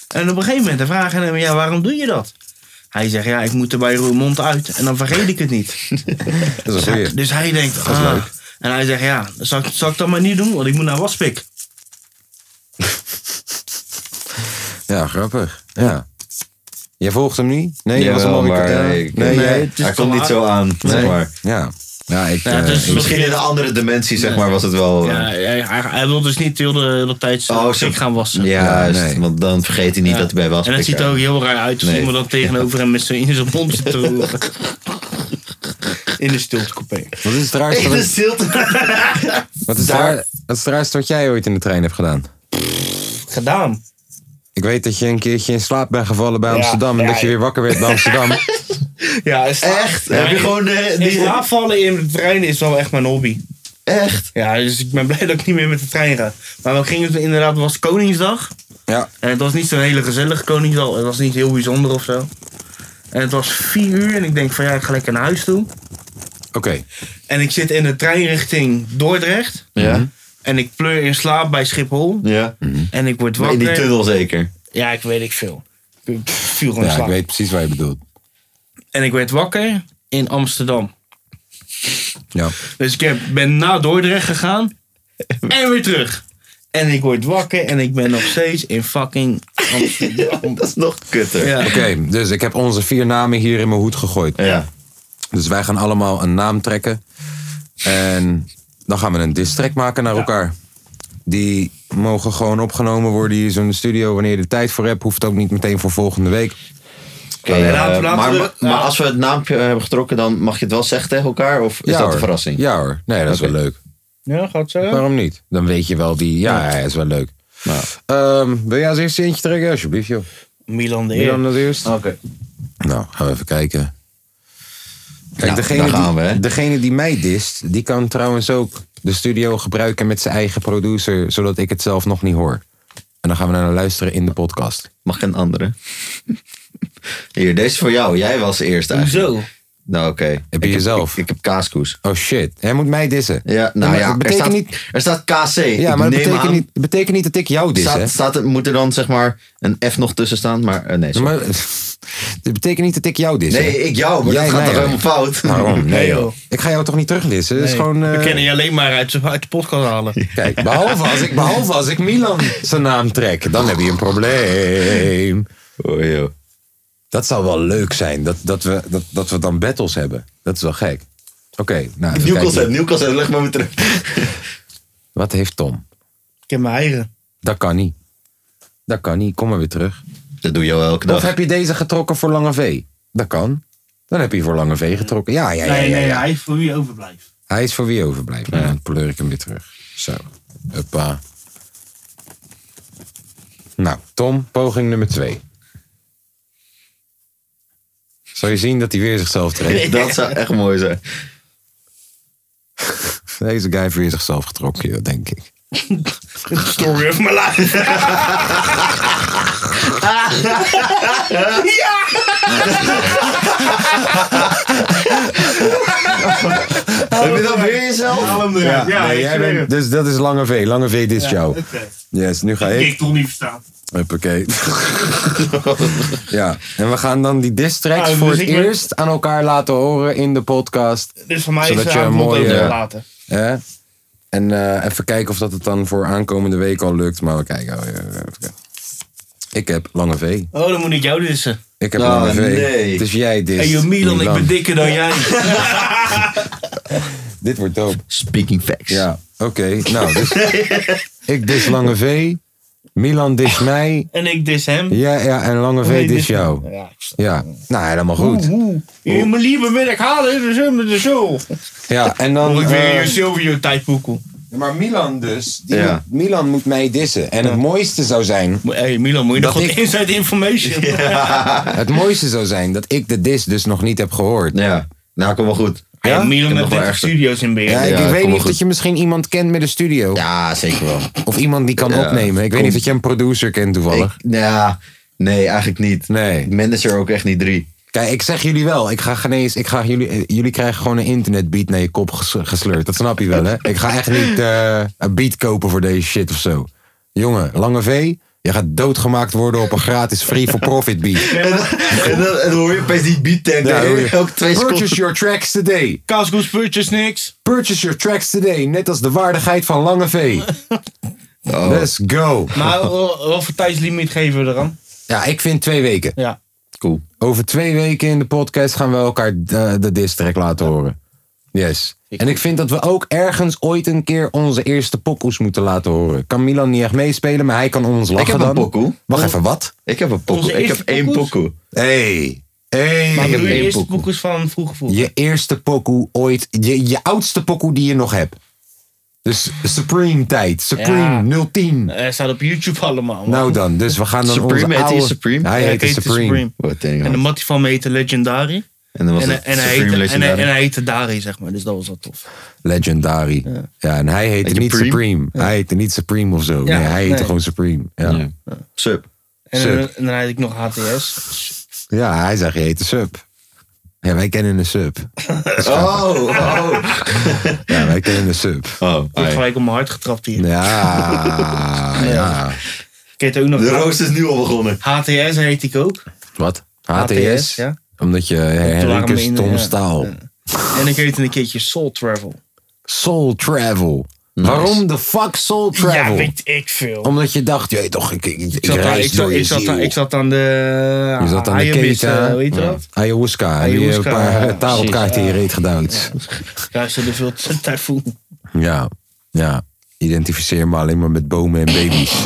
Speaker 3: En op een gegeven moment vragen hem, ja, waarom doe je dat? Hij zegt, ja, ik moet er bij mijn mond uit. En dan vergeet ik het niet.
Speaker 1: Dat is een
Speaker 3: Dus,
Speaker 1: goeie.
Speaker 3: dus hij denkt,
Speaker 1: is
Speaker 3: ah.
Speaker 1: leuk.
Speaker 3: En hij zegt, ja, zal, ik- zal ik dat maar niet doen? Want ik moet naar Waspik.
Speaker 1: Ja, grappig. Ja. Jij volgt hem niet? Nee, je was hem
Speaker 4: Jawel,
Speaker 1: al weer-
Speaker 4: maar
Speaker 1: ja.
Speaker 4: nee, ik-
Speaker 1: nee,
Speaker 4: nee,
Speaker 1: jij-
Speaker 3: het is
Speaker 4: Hij
Speaker 3: te
Speaker 4: komt niet
Speaker 3: laat.
Speaker 4: zo aan, zeg maar.
Speaker 1: Ja. Ja, ik...
Speaker 3: Ja,
Speaker 1: eh,
Speaker 3: het is
Speaker 1: ik-
Speaker 4: Misschien in een andere dimensie, zeg maar, was het
Speaker 1: Oh,
Speaker 4: wel... eh,
Speaker 3: Ja, hij, hij, hij wil dus niet heel de, hele tijd zijn
Speaker 4: Oh,
Speaker 3: oh,
Speaker 4: zo-
Speaker 3: gaan wassen.
Speaker 4: Ja, juist,
Speaker 1: nee.
Speaker 4: want dan vergeet hij niet dat hij bij was.
Speaker 3: En het ziet er ook heel raar uit als
Speaker 4: Nee.
Speaker 3: iemand dan tegenover hem met zijn, in zijn mond zit te roeren. In de stiltecoupé.
Speaker 1: Wat is het raarste, wat, wat is het raar- wat is het raarste wat jij ooit in de trein hebt gedaan?
Speaker 3: Gedaan.
Speaker 1: Ik weet dat je een keertje in slaap bent gevallen bij Amsterdam... en
Speaker 3: ja,
Speaker 1: dat je
Speaker 3: ja.
Speaker 1: weer wakker werd bij Amsterdam.
Speaker 3: Ja, is
Speaker 4: Echt? Heb je gewoon
Speaker 1: eh,
Speaker 4: de,
Speaker 3: In
Speaker 4: die...
Speaker 3: slaap vallen in de trein is wel echt mijn hobby.
Speaker 4: Echt?
Speaker 3: Ja, dus ik ben blij dat ik niet meer met de trein ga. Maar we gingen toen inderdaad, het was Koningsdag.
Speaker 1: ja.
Speaker 3: En het was niet zo'n hele gezellige Koningsdag. Het was niet heel bijzonder of zo. En het was vier uur en ik denk van ja, ik ga lekker naar huis toe.
Speaker 1: Oké.
Speaker 3: En ik zit in de trein richting Dordrecht.
Speaker 4: Ja.
Speaker 3: En ik pleur in slaap bij Schiphol.
Speaker 4: Ja.
Speaker 3: En ik word
Speaker 4: Mhm. In die
Speaker 3: wakker.
Speaker 4: tunnel zeker.
Speaker 3: Ja, ik weet ik veel. Ik viel gewoon in
Speaker 1: Ja, ik
Speaker 3: slaap.
Speaker 1: weet precies wat je bedoelt.
Speaker 3: En ik werd wakker in Amsterdam.
Speaker 1: Ja.
Speaker 3: Dus ik heb, ben naar Dordrecht gegaan en weer terug. En ik word wakker en ik ben nog steeds in fucking Amsterdam.
Speaker 4: Dat is nog kutter.
Speaker 3: Ja.
Speaker 1: Oké, dus ik heb onze vier namen hier in mijn hoed gegooid.
Speaker 4: Ja.
Speaker 1: Dus wij gaan allemaal een naam trekken. En dan gaan we een diss track maken naar elkaar. Die mogen gewoon opgenomen worden hier zo in de studio. Wanneer je er tijd voor hebt, hoeft ook niet meteen voor volgende week.
Speaker 4: Oké, eh,
Speaker 3: laten we- laten
Speaker 4: maar,
Speaker 3: we-
Speaker 4: maar, maar als we het naampje hebben getrokken, dan mag je het wel zeggen tegen elkaar? Of is
Speaker 1: Ja,
Speaker 4: dat
Speaker 1: hoor.
Speaker 4: een verrassing?
Speaker 1: Ja hoor. Nee, dat is
Speaker 4: Oké.
Speaker 1: wel leuk.
Speaker 3: Ja, gaat zo.
Speaker 1: Waarom niet? Dan weet je wel die... Ja, hij is wel leuk.
Speaker 4: Nou.
Speaker 1: Ehm, wil jij als eerste eentje trekken? Alsjeblieft, joh.
Speaker 3: Milan de
Speaker 1: Wie dan
Speaker 3: Eer.
Speaker 1: als eerst?
Speaker 4: Oké.
Speaker 1: Nou, gaan we even kijken. Kijk,
Speaker 4: Nou,
Speaker 1: degene,
Speaker 4: daar gaan
Speaker 1: die,
Speaker 4: we, hè?
Speaker 1: degene die mij dist, die kan trouwens ook de studio gebruiken met zijn eigen producer, zodat ik het zelf nog niet hoor. En dan gaan we naar nou luisteren in de podcast.
Speaker 4: Mag ik een andere? Hier, deze is voor jou. Jij was eerst eigenlijk.
Speaker 3: Hoezo?
Speaker 4: Nou, oké.
Speaker 1: Heb je
Speaker 4: Ik
Speaker 1: jezelf?
Speaker 4: Ik, ik heb kaaskoes.
Speaker 1: Oh shit, hij moet mij dissen.
Speaker 4: Ja, nou
Speaker 1: maar
Speaker 4: ja.
Speaker 1: dat betekent
Speaker 4: er, staat,
Speaker 1: niet-
Speaker 4: er staat KC.
Speaker 1: Ja,
Speaker 4: Ik
Speaker 1: maar dat
Speaker 4: neem
Speaker 1: betekent,
Speaker 4: aan-
Speaker 1: niet, dat betekent niet dat ik jou dis, hè?
Speaker 4: Staat, staat, er- moet er dan zeg maar een F nog tussen staan? Maar eh, nee, sorry.
Speaker 1: Maar, dat betekent niet dat ik jou dis,
Speaker 4: Nee,
Speaker 1: hè?
Speaker 4: ik jou, maar
Speaker 1: Jij
Speaker 4: dat gaat
Speaker 1: mij,
Speaker 4: toch
Speaker 1: hè?
Speaker 4: helemaal fout?
Speaker 1: Waarom? Nee,
Speaker 3: Nee,
Speaker 1: joh.
Speaker 3: joh.
Speaker 1: Ik ga jou toch niet terugdissen? Dat is gewoon... eh,
Speaker 3: We kennen je alleen maar uit, uit de podcast halen.
Speaker 1: Kijk, behalve als, ik, behalve als ik Milan zijn naam trek, dan heb je een probleem.
Speaker 4: Oh, joh.
Speaker 1: Dat zou wel leuk zijn, dat, dat, we, dat, dat we dan battles hebben. Dat is wel gek. Oké, nou even
Speaker 4: Nieuw
Speaker 1: kijken.
Speaker 4: concept, nieuw concept. Leg maar weer terug.
Speaker 1: Wat heeft Tom?
Speaker 3: Ik heb mijn eigen.
Speaker 1: Dat kan niet. Dat kan niet, kom maar weer terug.
Speaker 4: Dat doe je wel elke dag.
Speaker 1: Of heb je deze getrokken voor Lange V? Dat kan. Dan heb je voor Lange V getrokken. Ja, ja, ja.
Speaker 3: Nee,
Speaker 1: ja,
Speaker 3: nee,
Speaker 1: ja.
Speaker 3: hij is voor wie overblijft.
Speaker 1: Hij is voor wie overblijft. Nou, dan pleur ik hem weer terug. Zo. Huppa. Nou, Tom, poging nummer twee. Zou je zien dat hij weer zichzelf trekt?
Speaker 4: Dat zou echt mooi zijn.
Speaker 1: Deze guy heeft weer zichzelf getrokken, joh, denk ik.
Speaker 3: Story of my life.
Speaker 4: Heb je dat weer jezelf?
Speaker 3: Haal hem eruit. Ja,
Speaker 1: nee,
Speaker 3: ik
Speaker 1: jij
Speaker 3: zweer
Speaker 1: bent, dus dat is Lange V. Lange V, dit is jou.
Speaker 3: het. Oké.
Speaker 1: Yes, nu ga
Speaker 3: Ik
Speaker 1: ik.
Speaker 3: Ik toch niet verstaan.
Speaker 1: Huppakee. ja, en we gaan dan die diss tracks
Speaker 3: Nou,
Speaker 1: voor
Speaker 3: dus
Speaker 1: het
Speaker 3: ik ben-
Speaker 1: eerst aan elkaar laten horen in de podcast.
Speaker 3: Dus voor mij is
Speaker 1: Zodat
Speaker 3: het
Speaker 1: je
Speaker 3: aan
Speaker 1: een
Speaker 3: het mond
Speaker 1: mooie-
Speaker 3: overgelaten.
Speaker 1: Hè? En eh, even kijken of dat het dan voor aankomende week al lukt. Maar we kijken. Oh, ja, even kijken. Ik heb Lange V.
Speaker 3: Oh, dan moet ik jou dissen.
Speaker 1: Ik heb
Speaker 4: Oh,
Speaker 3: Ah,
Speaker 1: Lange V.
Speaker 4: nee.
Speaker 1: Het is jij, dit.
Speaker 3: Hey, joh, Milan, ik ben dikker dan jij.
Speaker 1: Dit wordt dope.
Speaker 4: Speaking facts.
Speaker 1: Ja, oké. Nou, dus ik dis Lange V. Milan dis mij.
Speaker 3: en ik dis hem.
Speaker 1: Ja, ja, en Lange V
Speaker 3: Nee,
Speaker 1: dis
Speaker 3: dis-
Speaker 1: jou.
Speaker 3: Ja, ik sta-
Speaker 1: Ja, nou, helemaal goed.
Speaker 3: Oeh, oeh. Mijn lieve ben ik halen, dus hem de show.
Speaker 1: Ja, en dan...
Speaker 3: Moet ik
Speaker 1: eh,
Speaker 3: weer je Silvio tijdpoekel.
Speaker 1: Maar Milan dus, die
Speaker 4: Ja.
Speaker 1: moet- Milan moet mij dissen. En het mooiste zou zijn,
Speaker 3: Hey Milan, moet je
Speaker 1: Dat
Speaker 3: nog wat
Speaker 1: ik-
Speaker 3: inside information?
Speaker 1: het mooiste zou zijn dat ik de dis dus nog niet heb gehoord.
Speaker 4: Ja. Nou, kom wel goed.
Speaker 3: Hey,
Speaker 1: Ja?
Speaker 4: Ik
Speaker 3: Milan
Speaker 4: heb
Speaker 3: met
Speaker 4: nog wel
Speaker 3: 30
Speaker 4: ergens-
Speaker 3: studio's in
Speaker 1: Ja,
Speaker 3: Beheer.
Speaker 1: ik,
Speaker 4: Ja,
Speaker 1: ik
Speaker 4: kom
Speaker 1: weet
Speaker 4: maar
Speaker 1: niet of
Speaker 4: goed.
Speaker 1: dat je misschien iemand kent met een studio.
Speaker 4: Ja, zeker wel.
Speaker 1: Of iemand die kan
Speaker 4: Ja,
Speaker 1: opnemen. Ik weet niet
Speaker 4: kom.
Speaker 1: of je een producer kent toevallig.
Speaker 4: Ik- ja, nee, eigenlijk niet.
Speaker 1: Nee.
Speaker 4: Ik manager ook echt niet drie.
Speaker 1: Kijk, ik zeg jullie wel. Ik ga genees. Ik ga jullie, eh, jullie krijgen gewoon een internetbeat naar je kop ges- gesleurd. Dat snap je wel, hè? Ik ga echt niet eh, een beat kopen voor deze shit of zo. Jongen, Lange V, je gaat doodgemaakt worden op een gratis free-for-profit beat.
Speaker 4: En, en dan, en dan hoor je opeens die beat tag.
Speaker 1: Ja, hoor je.
Speaker 4: elke twee
Speaker 1: Purchase
Speaker 4: seconden.
Speaker 1: your tracks today.
Speaker 3: Casco's Purchase niks.
Speaker 1: Purchase your tracks today. Net als de waardigheid van Lange V.
Speaker 4: Oh.
Speaker 1: Let's go.
Speaker 3: Maar eh, wat voor tijdslimiet geven we er aan?
Speaker 1: Ja, ik vind twee weken.
Speaker 3: Ja.
Speaker 4: Cool.
Speaker 1: Over twee weken in de podcast gaan we elkaar de, de diss track laten horen. Yes. En ik vind dat we ook ergens ooit een keer onze eerste pokoes moeten laten horen. Kan Milan niet echt meespelen, maar hij kan om ons lachen
Speaker 4: heb een
Speaker 1: dan.
Speaker 4: pokoe.
Speaker 1: Wacht even, wat?
Speaker 4: Ik heb een pokoe.
Speaker 3: Onze
Speaker 4: Ik heb
Speaker 3: eerste
Speaker 4: één
Speaker 3: pokoes?
Speaker 4: pokoe.
Speaker 1: Hey.
Speaker 3: Maar
Speaker 1: Hey.
Speaker 3: doe je
Speaker 4: één
Speaker 3: eerst
Speaker 4: pokoe.
Speaker 3: boekjes van vroeg vroeg.
Speaker 1: Je eerste pokoe ooit. Je, je oudste pokoe die je nog hebt. Dus Supreme tijd. Supreme 010.
Speaker 3: Eh, staat op YouTube allemaal. man.
Speaker 1: Nou dan, dus we gaan dan
Speaker 4: Supreme,
Speaker 1: onze
Speaker 4: heet hij
Speaker 1: oude...
Speaker 4: Supreme?
Speaker 1: Hij
Speaker 3: Ja,
Speaker 1: heet
Speaker 3: ik
Speaker 1: de
Speaker 3: heet de
Speaker 1: Supreme.
Speaker 3: Supreme.
Speaker 4: Wat denk je
Speaker 3: En de
Speaker 4: man?
Speaker 3: mattie van me heette Legendary.
Speaker 4: En dan was
Speaker 3: En,
Speaker 4: het
Speaker 3: en, hij
Speaker 4: Supreme
Speaker 3: heette, en, hij-
Speaker 4: Legendary.
Speaker 3: en hij heette Dari, zeg maar. Dus dat was wel tof.
Speaker 1: Legendary. Ja, en hij heette
Speaker 4: Heet
Speaker 1: niet
Speaker 4: Supreme?
Speaker 1: Supreme. Hij heette niet Supreme of zo.
Speaker 3: Ja,
Speaker 1: nee, hij heette
Speaker 3: nee.
Speaker 1: gewoon Supreme. Ja. Ja.
Speaker 4: Sup.
Speaker 3: En, eh,
Speaker 1: Sub.
Speaker 3: en, dan heette ik nog HTS.
Speaker 1: hij zegt je heette Sub. Ja, wij kennen een Sub.
Speaker 4: Oh, oh.
Speaker 1: Ja, wij kennen een Sub.
Speaker 4: oh
Speaker 3: Ik heb
Speaker 4: ai.
Speaker 3: gelijk op mijn hart getrapt hier.
Speaker 1: Ja, ja.
Speaker 3: Ik heet ook nog
Speaker 4: De rooster is nu al begonnen.
Speaker 3: HTS heet ik ook.
Speaker 1: Wat? HTS?
Speaker 3: HTS, ja.
Speaker 1: Omdat je
Speaker 3: waren we
Speaker 1: Henrikus
Speaker 3: in de-
Speaker 1: Tom
Speaker 3: ja.
Speaker 1: Staal.
Speaker 3: En ik heette een keertje Soul Travel.
Speaker 1: Soul Travel. Waarom de fuck Soul
Speaker 3: Ja,
Speaker 1: Travel?
Speaker 3: weet ik veel.
Speaker 1: Omdat je dacht, je toch, ik, ik, ik,
Speaker 3: Ik zat, aan-
Speaker 1: reis
Speaker 3: ik, zat,
Speaker 1: door je
Speaker 3: ik, zat,
Speaker 1: ziel.
Speaker 3: aan- ik zat aan de.
Speaker 1: Je zat aan de
Speaker 3: Ayabis,
Speaker 1: keten.
Speaker 3: eh, Weet je
Speaker 1: Ja.
Speaker 3: dat?
Speaker 1: Ayahuasca. Heb je een
Speaker 3: Ayahuasca,
Speaker 1: paar
Speaker 3: ja,
Speaker 1: tarotkaarten in je reet gedouwd.
Speaker 3: Ja, ze er veel tijd voor.
Speaker 1: Ja, ja. Identificeer me alleen maar met bomen en baby's.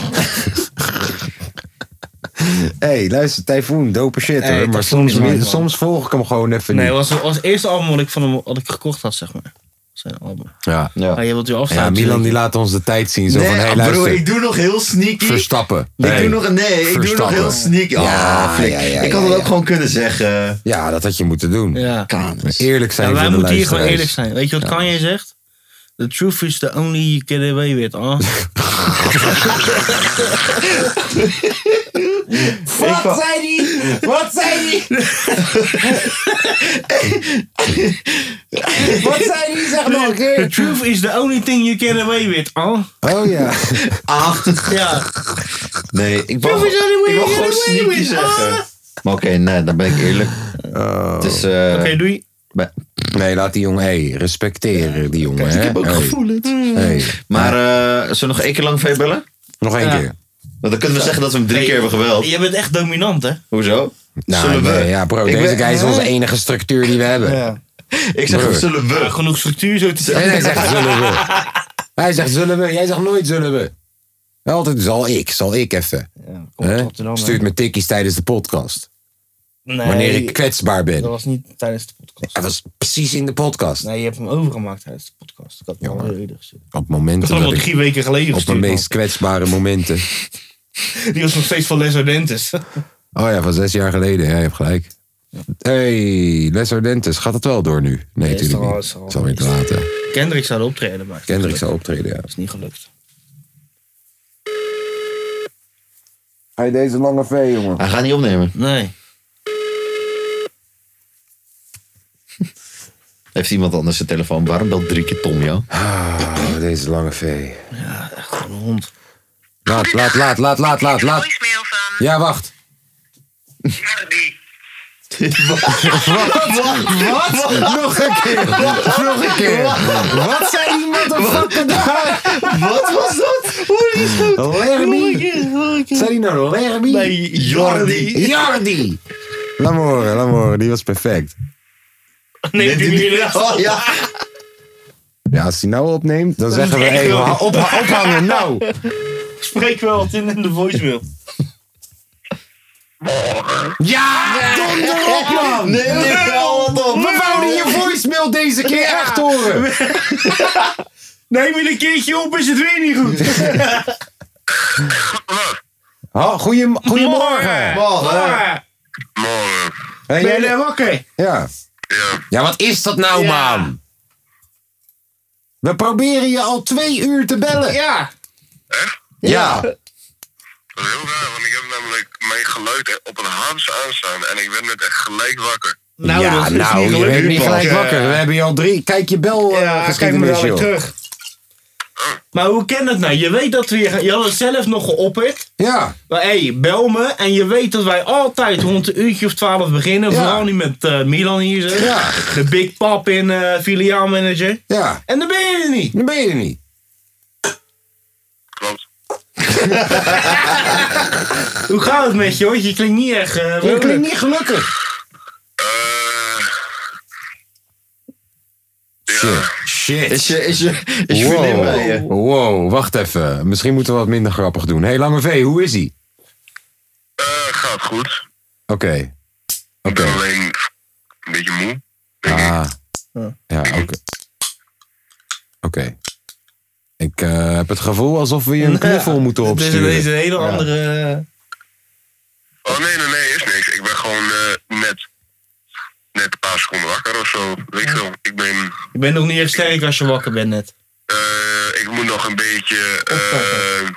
Speaker 1: hey, luister, Typhoon, dope shit
Speaker 3: Hey,
Speaker 1: hoor. Maar
Speaker 3: Typhoon
Speaker 1: soms,
Speaker 3: is nice, man.
Speaker 1: soms volg ik hem gewoon even
Speaker 3: Nee,
Speaker 1: niet.
Speaker 3: het was, was het eerste album wat ik van hem wat ik gekocht had, zeg maar. Zijn album.
Speaker 1: Ja.
Speaker 4: Ja.
Speaker 3: Maar Ah, je wilt u
Speaker 1: ja,
Speaker 3: afsluiten.
Speaker 1: Milan die laat ons de tijd zien. Zo van, hey, luister,
Speaker 4: bro, ik doe nog heel sneaky.
Speaker 1: Verstappen.
Speaker 4: Ik doe nog, nee, ik doe nog
Speaker 1: Verstappen.
Speaker 4: heel sneaky. Oh,
Speaker 1: Ja,
Speaker 4: flik.
Speaker 1: ja, ja,
Speaker 4: ik had
Speaker 1: ja,
Speaker 4: het
Speaker 1: ja.
Speaker 4: ook gewoon kunnen zeggen.
Speaker 1: Ja, dat had je moeten doen.
Speaker 3: Ja.
Speaker 4: Kanus.
Speaker 1: Eerlijk zijn
Speaker 3: Ja, wij
Speaker 1: voor de
Speaker 3: moeten hier gewoon
Speaker 1: luisteraars.
Speaker 3: eerlijk zijn. Weet je wat Kanye zegt? The truth is the only you get away with, ah.
Speaker 1: Wat zei die? Wat zei die? Wat zei die? Zeg nog een
Speaker 3: The
Speaker 1: keer.
Speaker 3: truth is the only thing you get away with, ah.
Speaker 1: Oh ja.
Speaker 3: Ja.
Speaker 4: Nee, ik wil,
Speaker 3: Proef is only
Speaker 4: ik wil
Speaker 3: way-
Speaker 4: gewoon
Speaker 3: way
Speaker 4: sneaky
Speaker 3: with-
Speaker 4: zeggen.
Speaker 1: Ah.
Speaker 4: Maar oké, nee, dan ben ik eerlijk. Het is, eh,
Speaker 3: Oké, doei.
Speaker 4: bij-
Speaker 1: Oh. Nee, laat die jongen. Hé, hey, respecteren die jongen. hè?
Speaker 4: ik heb ook
Speaker 1: Hey,
Speaker 4: gevoelens.
Speaker 1: hey.
Speaker 4: Maar eh zullen we nog één keer lang V bellen?
Speaker 1: Nog één
Speaker 3: Ja.
Speaker 1: keer.
Speaker 4: Want dan kunnen we zeggen dat we hem drie
Speaker 3: Hey.
Speaker 4: keer hebben geweld.
Speaker 3: Je bent echt dominant, hè?
Speaker 4: Hoezo?
Speaker 1: Nou,
Speaker 4: zullen we?
Speaker 1: nee, ja, bro,
Speaker 4: Ik
Speaker 1: deze
Speaker 4: ben-
Speaker 1: guy is onze enige structuur die we hebben.
Speaker 4: Ik zeg
Speaker 1: Broer.
Speaker 4: zullen
Speaker 3: Ja,
Speaker 4: we?
Speaker 3: genoeg Eh, structuur zo te
Speaker 1: En
Speaker 3: zeggen.
Speaker 1: hij zegt zullen we. Hij zegt zullen we. Jij zegt nooit zullen we. Altijd zal ik, zal ik even.
Speaker 3: komt
Speaker 1: Hè?
Speaker 3: Rotterdam, hè?
Speaker 1: Stuurt me tikkies tijdens de podcast.
Speaker 3: Nee,
Speaker 1: Wanneer ik kwetsbaar ben.
Speaker 3: Dat was niet tijdens de podcast.
Speaker 1: Dat was precies in de podcast.
Speaker 3: Nee, je hebt hem overgemaakt tijdens de podcast. Ik had hem al eerder gezien.
Speaker 1: Op momenten
Speaker 3: Dat was
Speaker 1: dat
Speaker 3: al
Speaker 1: ik-
Speaker 3: drie weken geleden
Speaker 1: Op mijn
Speaker 3: gestuurd.
Speaker 1: meest kwetsbare momenten.
Speaker 3: man. Die was nog steeds van Les Ardentes.
Speaker 1: Oh ja, van zes jaar geleden. Ja, je hebt gelijk. Hey, Les Ardentes. Gaat het wel door nu? Nee,
Speaker 3: is
Speaker 1: natuurlijk
Speaker 3: al-
Speaker 1: niet.
Speaker 3: is al-
Speaker 1: Het is alweer te laat, hè.
Speaker 3: Kendrick zou er optreden, maar...
Speaker 1: Kendrick zal optreden, ja.
Speaker 3: Dat is niet gelukt.
Speaker 1: Hey, deze lange V, jongen.
Speaker 4: Hij gaat niet opnemen.
Speaker 3: Nee.
Speaker 4: Heeft iemand anders zijn telefoon? Waarom belt drie keer Tom jou?
Speaker 1: Ah, deze lange V.
Speaker 3: Gewoon een hond.
Speaker 1: Laat, laat, laat, laat, laat, laat, laat.
Speaker 7: voicemail van
Speaker 1: Ja, wacht.
Speaker 7: Mardi.
Speaker 1: Nog een keer. Nog een keer. Wat zei die motherfucker daar?
Speaker 4: Wat was dat?
Speaker 1: Lerby. Zei die nou Lerby?
Speaker 4: Nee, Jordi.
Speaker 1: Jardi. Laat me horen, laat me horen. Die was perfect.
Speaker 3: Nee, die niet.
Speaker 4: Oh ja.
Speaker 1: Ja, als hij nou opneemt, dan zeggen we even opha- ophangen, nou.
Speaker 3: Spreek wel wat in in de voicemail.
Speaker 1: Ja, donder op, man.
Speaker 4: Nee, nee, wel wat op.
Speaker 1: We wouden je voicemail deze keer echt horen.
Speaker 3: Neem je een keertje op, is het weer niet goed.
Speaker 1: Ha, goeiem- goedemorgen.
Speaker 5: Morgen.
Speaker 3: Ben
Speaker 1: Hey,
Speaker 3: je
Speaker 1: jij-
Speaker 3: daar wakker?
Speaker 1: Ja.
Speaker 5: Ja.
Speaker 1: Ja, wat is dat nou,
Speaker 3: Ja.
Speaker 1: man? We proberen je al twee uur te bellen.
Speaker 3: Ja.
Speaker 1: Ja.
Speaker 5: Dat is heel raar, want ik heb namelijk mijn geluid op een haams aanstaan en ik werd net echt gelijk wakker.
Speaker 3: Nou,
Speaker 1: ja,
Speaker 3: dat is
Speaker 1: nou,
Speaker 3: niet
Speaker 1: je
Speaker 3: gelukt.
Speaker 1: bent niet gelijk
Speaker 3: Ja.
Speaker 1: wakker. We hebben je al drie. Kijk je bel
Speaker 3: Ja,
Speaker 1: eh,
Speaker 3: kijk maar
Speaker 1: geschiedenis,
Speaker 3: dadelijk
Speaker 1: joh.
Speaker 3: terug. Maar hoe kan het nou? Je weet dat we je, je had het zelf nog geopperd.
Speaker 1: Ja,
Speaker 3: Maar hé, hey, bel me. En je weet dat wij altijd rond een uurtje of twaalf beginnen.
Speaker 1: Ja.
Speaker 3: Vooral nu met eh, Milan hier zo.
Speaker 1: Ja.
Speaker 3: De Big Pap in eh filiaalmanager.
Speaker 1: ja.
Speaker 3: En dan ben je er niet.
Speaker 1: Dan ben je er niet.
Speaker 5: Klopt.
Speaker 3: Hoe gaat het met je hoor? Je klinkt niet echt... eh,
Speaker 1: Je
Speaker 3: vrolijk.
Speaker 1: klinkt niet gelukkig.
Speaker 5: Eh
Speaker 1: Shit. Shit.
Speaker 4: Is je, is je, is je vriendin bij je?
Speaker 1: Wow. wow, wacht even. Misschien moeten we wat minder grappig doen. Hé, hey, Lange V, hoe is ie?
Speaker 5: eh, gaat goed.
Speaker 1: Oké.
Speaker 5: Ik
Speaker 1: Oké.
Speaker 5: ben alleen een beetje moe.
Speaker 1: Ah.
Speaker 3: Ja.
Speaker 1: Ja, oké. Oké. Ik eh, heb het gevoel alsof we je een knuffel moeten
Speaker 3: Het Dus is
Speaker 1: opsturen.
Speaker 3: ineens een hele andere... eh,
Speaker 5: Oh nee, nee, nee, is niks. Ik ben gewoon eh, net, net een paar seconden wakker of zo. Weet ik veel. Ik ben,
Speaker 3: Je bent nog niet echt sterk als je wakker bent net.
Speaker 5: eh, ik moet nog een beetje eh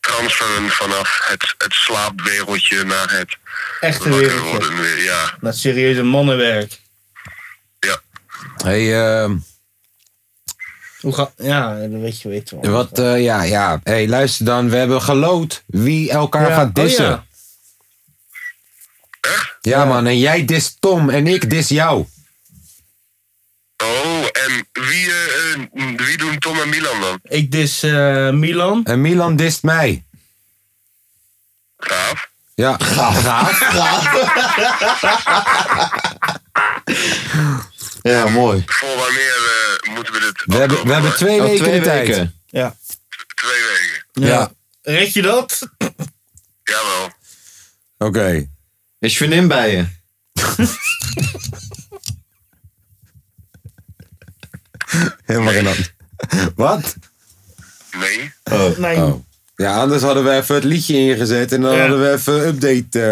Speaker 5: transferen vanaf het, het slaapwereldje naar het
Speaker 3: Echte
Speaker 5: wakker
Speaker 3: wereldje.
Speaker 5: worden weer. Ja,
Speaker 3: Dat serieuze mannenwerk.
Speaker 1: Hey, ehm,
Speaker 3: Hoe ga... Ja, dat weet je weten wel.
Speaker 1: wat, eh, ja, ja. Hey, luister dan, we hebben geloot wie elkaar
Speaker 3: Ja.
Speaker 1: gaat dissen.
Speaker 3: Oh,
Speaker 1: ja. man, en jij dist Tom en ik dis jou.
Speaker 5: Oh, en wie, eh, eh, wie doen Tom en Milan dan?
Speaker 3: Ik dis eh, Milan.
Speaker 1: En Milan dist mij.
Speaker 5: Graaf?
Speaker 1: Ja.
Speaker 4: Ja, mooi.
Speaker 5: Voor wanneer eh, moeten we dit
Speaker 1: We hebben, we hebben Oh, twee
Speaker 4: Al
Speaker 1: weken
Speaker 4: twee
Speaker 1: de tijd.
Speaker 4: weken.
Speaker 3: Ja.
Speaker 5: Twee weken.
Speaker 1: Ja.
Speaker 3: Red je dat?
Speaker 5: Jawel.
Speaker 1: Oké.
Speaker 4: Is je vriendin bij je?
Speaker 1: Helemaal geen hand. Wat?
Speaker 5: Nee.
Speaker 3: Nee.
Speaker 1: Oh. Ja, anders hadden we even het liedje ingezet en dan
Speaker 3: Ja.
Speaker 1: hadden we even een update. eh,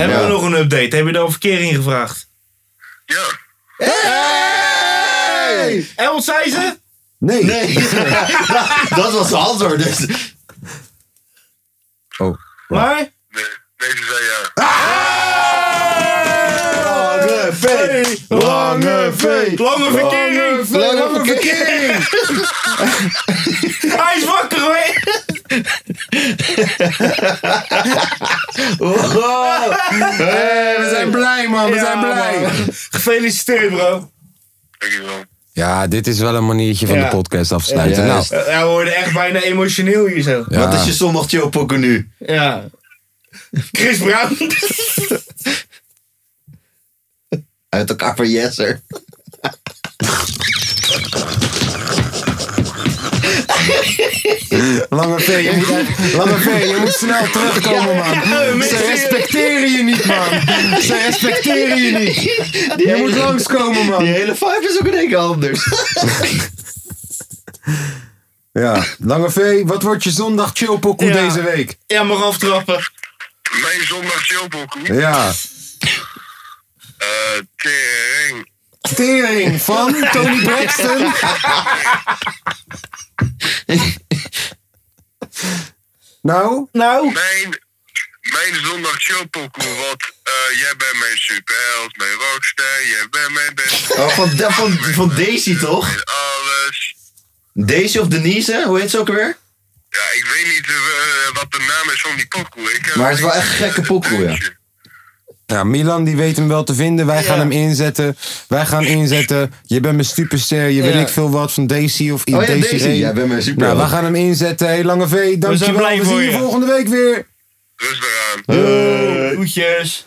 Speaker 3: Hebben
Speaker 1: ja.
Speaker 3: we nog een update? Heb je daar al verkeer in gevraagd?
Speaker 5: Ja.
Speaker 1: Hey!
Speaker 3: En wat zei ze?
Speaker 1: Nee.
Speaker 4: Nee. Nou, dat was de antwoord. Dus.
Speaker 1: Oh.
Speaker 3: Maar?
Speaker 5: Nee, nee ze zei ja.
Speaker 4: Ah! Lange V. Lange V.
Speaker 3: Lange verkering!
Speaker 4: Lange verkering.
Speaker 3: Hij is wakker hoor!
Speaker 4: Wow. Hey,
Speaker 1: We zijn blij, man. We
Speaker 3: Ja,
Speaker 1: zijn blij.
Speaker 3: man. Gefeliciteerd bro.
Speaker 5: Dankjewel.
Speaker 1: Ja, dit is wel een maniertje van
Speaker 3: Ja.
Speaker 1: de podcast afsluiten.
Speaker 4: Ja,
Speaker 1: nou,
Speaker 4: juist.
Speaker 3: Eh, Hij wordt echt bijna emotioneel hier zo.
Speaker 1: ja.
Speaker 4: Wat is je zondag chill pokken nu?
Speaker 3: Ja. Chris Brown.
Speaker 4: Uit elkaar van Jesser.
Speaker 1: Lange V, je moet, Lange V, je moet snel terugkomen, man. Ze respecteren je niet, man. Ze respecteren je niet.
Speaker 4: Die
Speaker 1: Je moet
Speaker 4: hele-
Speaker 1: langskomen,
Speaker 4: Die
Speaker 1: man.
Speaker 4: hele vibe is ook in één keer anders.
Speaker 1: Ja, Lange V, wat wordt je zondag chillpokoe
Speaker 3: Ja.
Speaker 1: deze week?
Speaker 3: Ja, mag aftrappen.
Speaker 5: Mijn zondag chillpokoe.
Speaker 1: Ja.
Speaker 5: Eh, tering.
Speaker 1: Tering van Tony Braxton. nou,
Speaker 3: Nou,
Speaker 5: Mijn, mijn zondag chillpokoe, want eh, jij bent mijn superheld, mijn rockster. Jij bent mijn beste
Speaker 4: Oh, van, de- van, van Daisy toch?
Speaker 5: in alles.
Speaker 4: Daisy of Denise, hoe heet ze ook weer?
Speaker 5: Ja, ik weet niet eh, wat de naam is van die pokoe. Ik heb
Speaker 4: Maar het is wel echt een gekke pokoe, ja.
Speaker 1: ja, Milan die weet hem wel te vinden. Wij gaan hem inzetten. Wij gaan inzetten. Je bent mijn superster. Je weet
Speaker 3: Ja.
Speaker 1: ik veel wat van Daisy of
Speaker 4: Oh ja,
Speaker 1: Daisy
Speaker 4: Daisy.
Speaker 1: één.
Speaker 4: Jij bent mijn superheld.
Speaker 1: Nou, wij gaan hem inzetten. Hey, Lange V, dankjewel.
Speaker 3: blij
Speaker 1: We
Speaker 3: voor
Speaker 1: zien je
Speaker 3: je.
Speaker 1: volgende week weer.
Speaker 5: Rustig aan.
Speaker 3: Eh, hoedjes.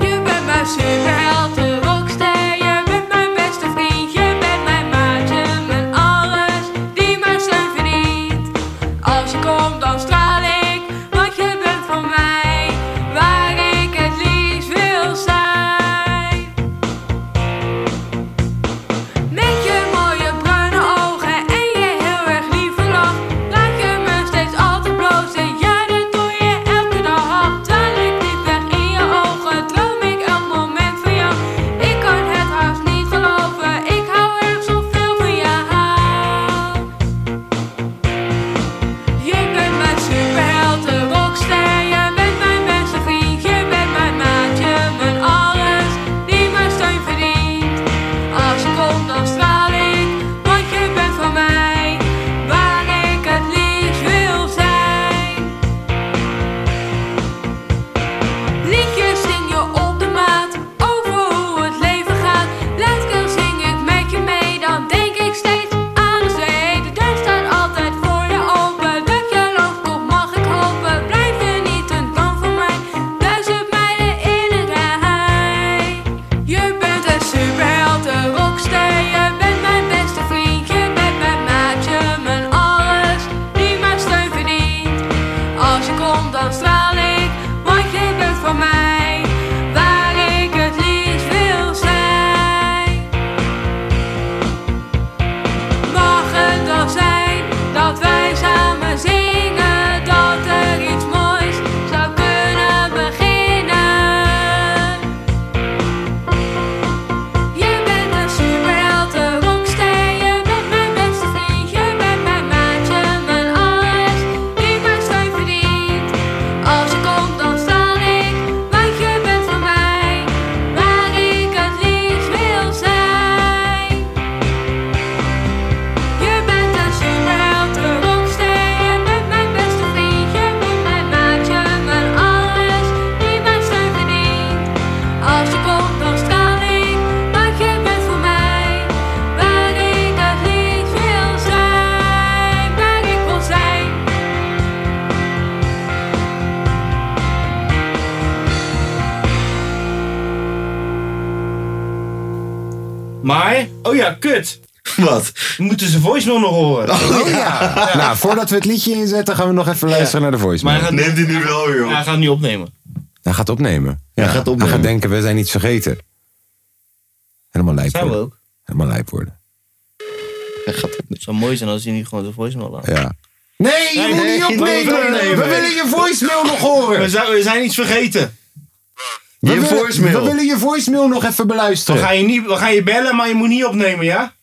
Speaker 11: Je bent mijn superheld, de rockster. Je bent mijn beste vriend. Je bent mijn maatje, mijn alles die mijn steun verdient. Als je komt, dan straal ik, want je bent van mij waar ik het liefst wil zijn. Met je mooie bruine ogen en je heel erg lieve lach Laat je me steeds altijd blozen, ja dat doe je elke dag Terwijl ik niet weg in je ogen, droom ik elk moment van jou Ik kan het haast niet geloven, ik hou erg zoveel van jou je bent mijn superheld, de rockster. Je bent mijn beste vriend. Je bent mijn maatje, mijn alles die mijn steun verdient. Als je komt, dan straal ik, want je bent van mij waar ik het liefst wil zijn. Liedjes zing je op de maat, over hoe het leven gaat. Letker zing ik met je mee, dan denk ik steeds aan de zee. De deur staat altijd voor je open, dat je loopt op mag ik hopen. Blijf je niet een droom van mij, duizend mijlen in een rij. Je bent een superheld, een rockster, je bent mijn beste vriend. Je bent mijn maatje, mijn alles, die mijn steun verdient. Als je komt, dan straal ik, want je bent van mij waar ik het liefst wil zijn. Mag het dan zijn dat wij samen zingen, dat er iets moois zou kunnen beginnen? Je bent een superheld, een rockster. Je bent mijn beste vriend. Je bent mijn maatje, mijn alles die mijn steun verdient. Als je komt, dan straal ik, want je bent van mij waar ik het liefst wil zijn. Je bent een superheld, een rockster. Je bent mijn beste vriend. Je bent mijn maatje, mijn alles die mijn steun verdient. Als je komt, dan straal ik, want je bent voor mij waar ik het liefst wil zijn, waar ik wil zijn.
Speaker 3: Maar, oh ja, kut.
Speaker 4: Wat?
Speaker 3: We moeten zijn voicemail nog horen.
Speaker 1: Oh ja. Nou, voordat we het liedje inzetten, gaan we nog even luisteren naar de
Speaker 3: Maar
Speaker 1: voicemail.
Speaker 3: hij gaat,
Speaker 4: Neemt hij nu wel, joh.
Speaker 3: hij gaat niet opnemen.
Speaker 1: Hij gaat opnemen. Ja,
Speaker 4: gaat opnemen.
Speaker 1: Hij gaat denken, we zijn iets vergeten. Helemaal lijp
Speaker 3: Zijn we
Speaker 1: worden.
Speaker 3: ook.
Speaker 1: Helemaal lijp worden.
Speaker 4: Hij gaat opnemen.
Speaker 3: Het zou mooi zijn als hij niet gewoon zijn voicemail laat.
Speaker 1: Ja. Nee, je
Speaker 3: Nee,
Speaker 1: moet
Speaker 3: nee,
Speaker 1: niet
Speaker 3: nee,
Speaker 1: opnemen.
Speaker 3: nee, nee,
Speaker 1: we
Speaker 3: nee.
Speaker 1: willen je voicemail nog horen.
Speaker 3: We zijn, we zijn iets vergeten.
Speaker 1: We
Speaker 4: Je
Speaker 1: willen-
Speaker 4: voicemail.
Speaker 1: We willen je voicemail nog even
Speaker 3: We
Speaker 1: beluisteren.
Speaker 3: gaan, je niet, we gaan je bellen, maar je moet niet opnemen, ja?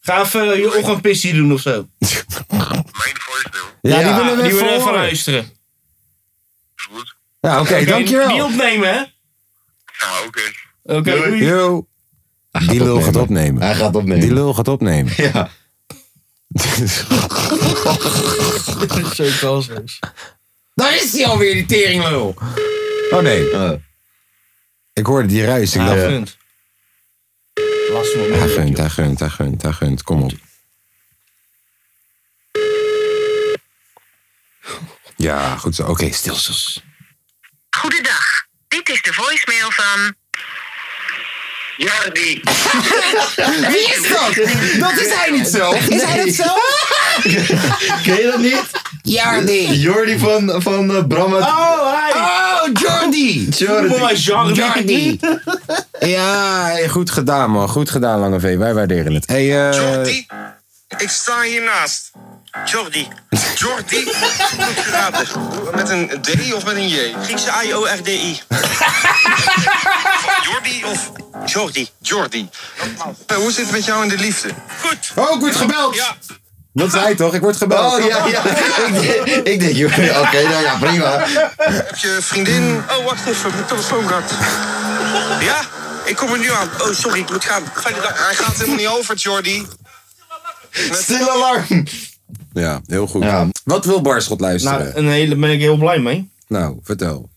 Speaker 3: Ga even eh, je ochtendpissie doen of zo.
Speaker 5: Mijn voicemail.
Speaker 1: ja, die willen
Speaker 3: die
Speaker 1: we even
Speaker 3: willen even
Speaker 1: horen.
Speaker 3: luisteren.
Speaker 5: Is goed.
Speaker 1: Ja, oké,
Speaker 3: Oké,
Speaker 1: dankjewel.
Speaker 3: Niet opnemen, hè?
Speaker 5: Ja, oké.
Speaker 3: Oké, doei.
Speaker 1: Yo. Die lul gaat opnemen.
Speaker 4: Hij gaat opnemen.
Speaker 1: Die lul gaat opnemen.
Speaker 4: Ja.
Speaker 3: Zo kansloos.
Speaker 1: Daar is hij alweer, die teringlul. Oh nee,
Speaker 4: Eh,
Speaker 1: ik hoorde die ruis. Ik
Speaker 3: Ja,
Speaker 1: dacht,
Speaker 3: gunt. Lastig
Speaker 1: hij
Speaker 3: moment.
Speaker 1: gunt, hij gunt, hij gunt, hij gunt. Kom op. Ja, goed zo. Oké, stil, stil.
Speaker 7: Goedendag, dit is de voicemail van... Jordi.
Speaker 4: Wie is dat? Dat is hij niet zelf.
Speaker 1: Is hij dat zelf?
Speaker 4: Ken je dat niet?
Speaker 1: Jordi.
Speaker 4: Jordi van, van eh, Bram uit-
Speaker 3: Oh, hi!
Speaker 1: Oh, Jordi.
Speaker 4: Jordi.
Speaker 3: Mooi, Jean.
Speaker 1: Jordi. Ja, hey, goed gedaan, man. Goed gedaan, Lange V. Wij waarderen het. Hey, eh,
Speaker 6: Jordi, ik sta hiernaast. Jordi. Jordi? met een D of met een J?
Speaker 2: Griekse I-O-R-D-I.
Speaker 6: Jordi of
Speaker 2: Jordi.
Speaker 6: Jordi? Eh, Hoe zit het met jou in de liefde?
Speaker 2: Goed.
Speaker 1: Oh, ik word gebeld.
Speaker 2: Ja.
Speaker 1: Dat zei hij toch? Ik word gebeld.
Speaker 4: Oh ja, ja. Ik denk- Ik denk, joh, oké, nou ja, prima.
Speaker 6: Heb je vriendin?
Speaker 2: Oh, wacht even. Mijn telefoon gaat. Ja? Ik kom er nu aan. Oh, sorry. Ik moet gaan. Fijne dag.
Speaker 6: Hij gaat helemaal niet over, Jordi.
Speaker 4: Stil alarm.
Speaker 1: Ja, heel goed.
Speaker 4: Ja.
Speaker 1: Wat wil Barschot luisteren?
Speaker 3: Nou,
Speaker 1: Nou,
Speaker 3: een hele, ben ik heel blij mee.
Speaker 1: vertel.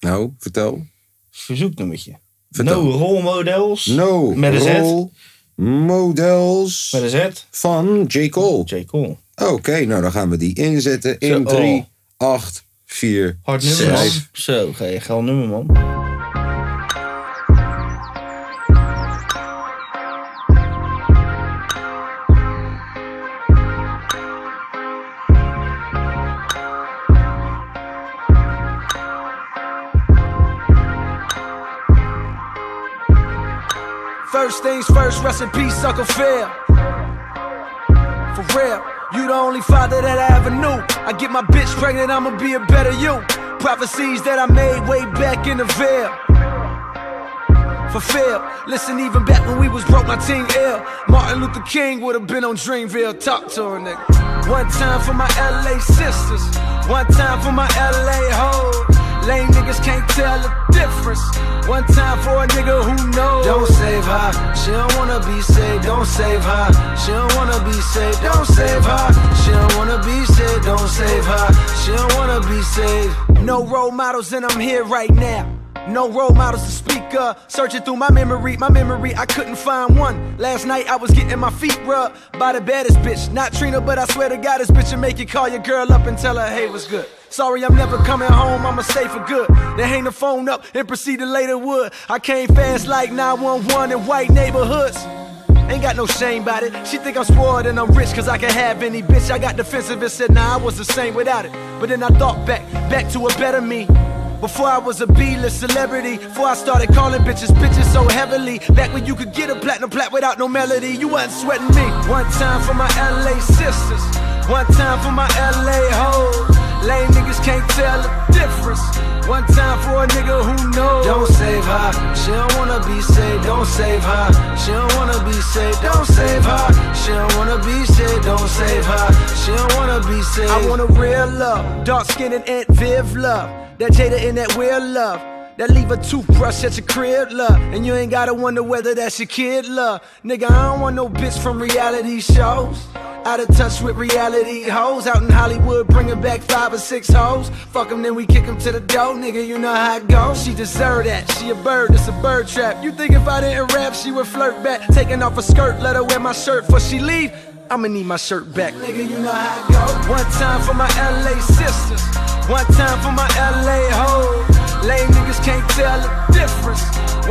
Speaker 1: Nou, vertel.
Speaker 3: Verzoeknummertje.
Speaker 1: Vertel.
Speaker 3: No role models.
Speaker 1: No
Speaker 3: Met een Z.
Speaker 1: role models
Speaker 3: Met een Z.
Speaker 1: van J. Cole.
Speaker 3: J. Cole.
Speaker 1: Oké, nou dan gaan we die inzetten in
Speaker 3: Zo, oh.
Speaker 1: 3, 8, 4,
Speaker 3: Hard nummer, man.
Speaker 1: Zes.
Speaker 3: Zo, ge- geil nummer, man.
Speaker 8: First things first, rest in peace, Uncle Phil. For real, you the only father that I ever knew. I get my bitch pregnant, I'ma be a better you. Prophecies that I made way back in the veil. Fulfilled. Listen, even back when we was broke, my team ill. Martin Luther King would have been on Dreamville. Talk to her, nigga. One time for my LA sisters. One time for my LA hoes. Lame niggas can't tell the difference. One time for a nigga who knows. Don't save her. She don't wanna be saved. Don't save her. She don't wanna be saved. Don't save her. She don't wanna be saved. Don't save her. She don't wanna be saved. No role models, and I'm here right now. No role models to speak of. Searching through my memory, my memory, I couldn't find one. Last night I was getting my feet rubbed by the baddest bitch. Not Trina, but I swear to God, this bitch will make you call your girl up and tell her, hey, what's good? Sorry, I'm never coming home, I'ma stay for good. Then hang the phone up and proceed to lay the wood. I came fast like 911 in white neighborhoods. Ain't got no shame about it. She think I'm spoiled and I'm rich cause I can have any bitch. I got defensive and said, nah, I was the same without it. But then I thought back, back to a better me. Before I was a B-list celebrity, before I started calling bitches bitches so heavily. Back when you could get a platinum plat without no melody, you wasn't sweating me. One time for my LA sisters, one time for my LA hoes. Lame niggas can't tell the difference. One time for a nigga who knows. Don't save her, she don't wanna be saved. Don't save her, she don't wanna be saved. Don't save her, she don't wanna be saved. Don't save her, she don't wanna be saved. I want a real love, dark skinned and Aunt Viv love. That Jada and that real love. That leave a toothbrush at your crib, love. And you ain't gotta wonder whether that's your kid, love. Nigga, I don't want no bitch from reality shows. Out of touch with reality hoes. Out in Hollywood, bringing back five or six hoes. Fuck 'em, then we kick 'em to the door, nigga. You know how it goes. She deserve that. She a bird, it's a bird trap. You think if I didn't rap, she would flirt back. Taking off her skirt, let her wear my shirt before she leave. I'ma need my shirt back. Nigga, you know how it goes. One time for my LA sisters. One time for my LA hoes. Lame niggas can't tell the difference.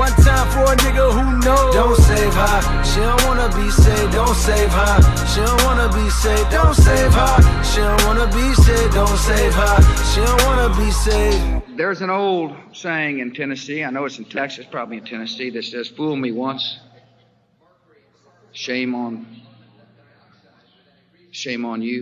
Speaker 8: One time for a nigga who knows. Don't save her. She don't wanna be saved. Don't save her. She don't wanna be saved. Don't save her. She don't wanna be saved. Don't save her. She don't wanna be saved.
Speaker 12: There's an old saying in Tennessee, I know it's in Texas, probably in Tennessee, that says, Fool me once, shame on, shame on you.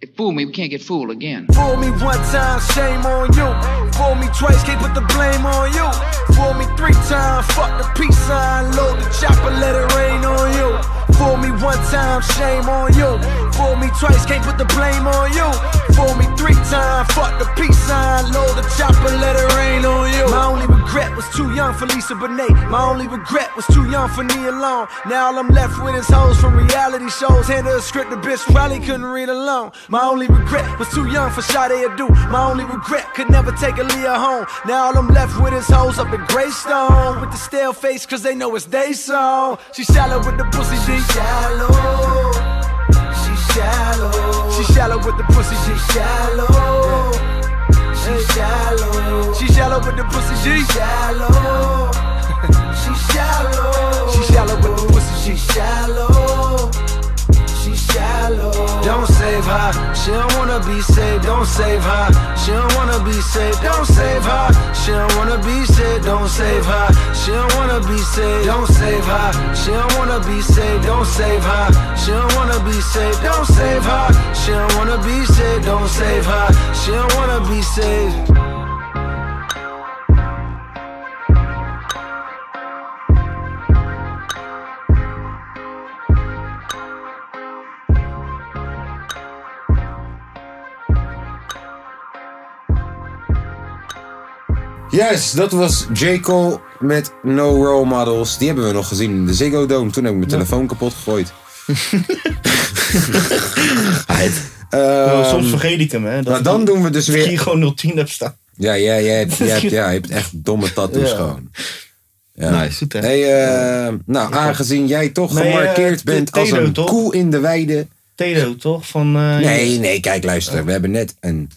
Speaker 12: If fool me, we can't get fooled again.
Speaker 8: Fool me one time, shame on you. Fool me twice, can't put the blame on you. Fool me three times, fuck the peace sign. Load the chopper, let it rain on you. Fool me one time, shame on you. Fool me twice, can't put the blame on you. Fool me three times, fuck the peace sign. Load the chopper, let it rain on you. My only regret was too young for Lisa Bonet. My only regret was too young for Nia Long. Now all I'm left with is hoes from reality shows. Hand her a script, the bitch probably couldn't read alone. My only regret was too young for Sade Adu. My only regret could never take a Leah home. Now all I'm left with is hoes up in Greystone. With the stale face, cause they know it's they song. She shallow with the pussy, she shallow. She shallow. shallow with the pussy. She shallow. She shallow. She shallow with the pussy. She shallow. She shallow. She shallow with the pussy. She shallow. She shallow. Don't save her. She don't wanna be saved. Don't save her. She don't wanna be saved. Don't save her. She don't wanna be saved. Don't save her. She don't wanna be saved. Don't save her. She don't wanna be saved. Don't save her. She don't wanna be saved. Don't save her. She don't wanna be saved. Don't save her. She don't wanna be saved.
Speaker 1: Yes, dat was J. Cole met No Role Models. Die hebben we nog gezien in de Ziggo Dome. Toen heb ik mijn telefoon kapot gegooid.
Speaker 3: Nou,
Speaker 1: Ehm,
Speaker 3: soms vergeet ik hem, hè.
Speaker 1: nou, dan doen we dus weer-
Speaker 3: Hier gewoon 010 heb staan.
Speaker 1: Ja, ja, jij hebt, jij hebt, ja, je hebt echt domme tattoos
Speaker 3: Ja.
Speaker 1: gewoon. Ja.
Speaker 4: Nice.
Speaker 1: Hey, eh, nou, aangezien jij toch
Speaker 3: Nee, eh,
Speaker 1: gemarkeerd
Speaker 3: T-
Speaker 1: bent als
Speaker 3: Tedo,
Speaker 1: een
Speaker 3: toch?
Speaker 1: koe in de weide.
Speaker 3: Tedo, toch? Van, eh,
Speaker 1: Nee, nee, kijk, luister. We hebben net een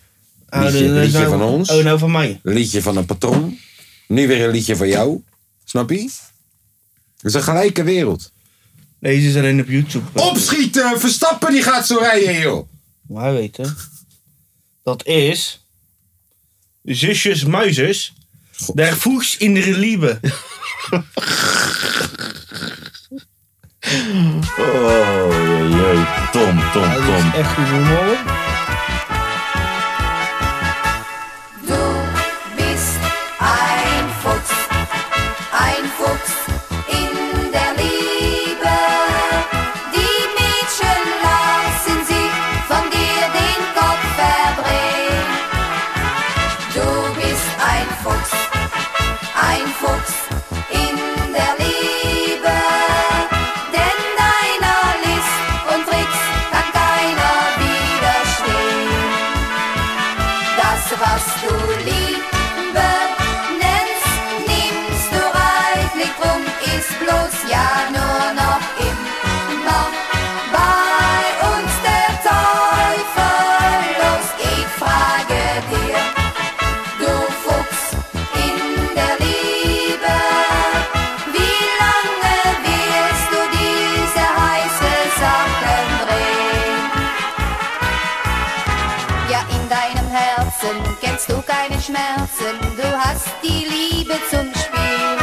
Speaker 3: Oh,
Speaker 1: liedje,
Speaker 3: dat is
Speaker 1: liedje
Speaker 3: nou-
Speaker 1: van ons.
Speaker 3: Oh, nou van mij.
Speaker 1: Een liedje van een patron. Nu weer een liedje van jou. Snap je? Het is een gelijke wereld.
Speaker 3: Deze is alleen op YouTube.
Speaker 1: Opschieten! Verstappen, die gaat zo rijden, joh!
Speaker 3: Maar hij weet hè. Dat is... Zusjes Muizers. Der voegs in de Liebe.
Speaker 4: Oh, leuk. Tom, Tom, Tom.
Speaker 3: Echt goed humor.
Speaker 13: Du bist ein Fuchs, ein Fuchs in der Liebe. Die Mädchen lassen sich von dir den Kopf verdrehen. Du bist ein Fuchs, ein Fuchs in der Liebe. Denn deiner List und Tricks kann keiner widerstehen. Das, was du Liebe nennst, nimmst du reichlich drum, ist bloß ja nur noch immer bei uns der Teufel los. Ich frage dir, du Fuchs in der Liebe, wie lange willst du diese heiße Sachen drehen? Ja, in deinem Herzen kennst du keine Schmerzen, du hast die Liebe zum Spiel.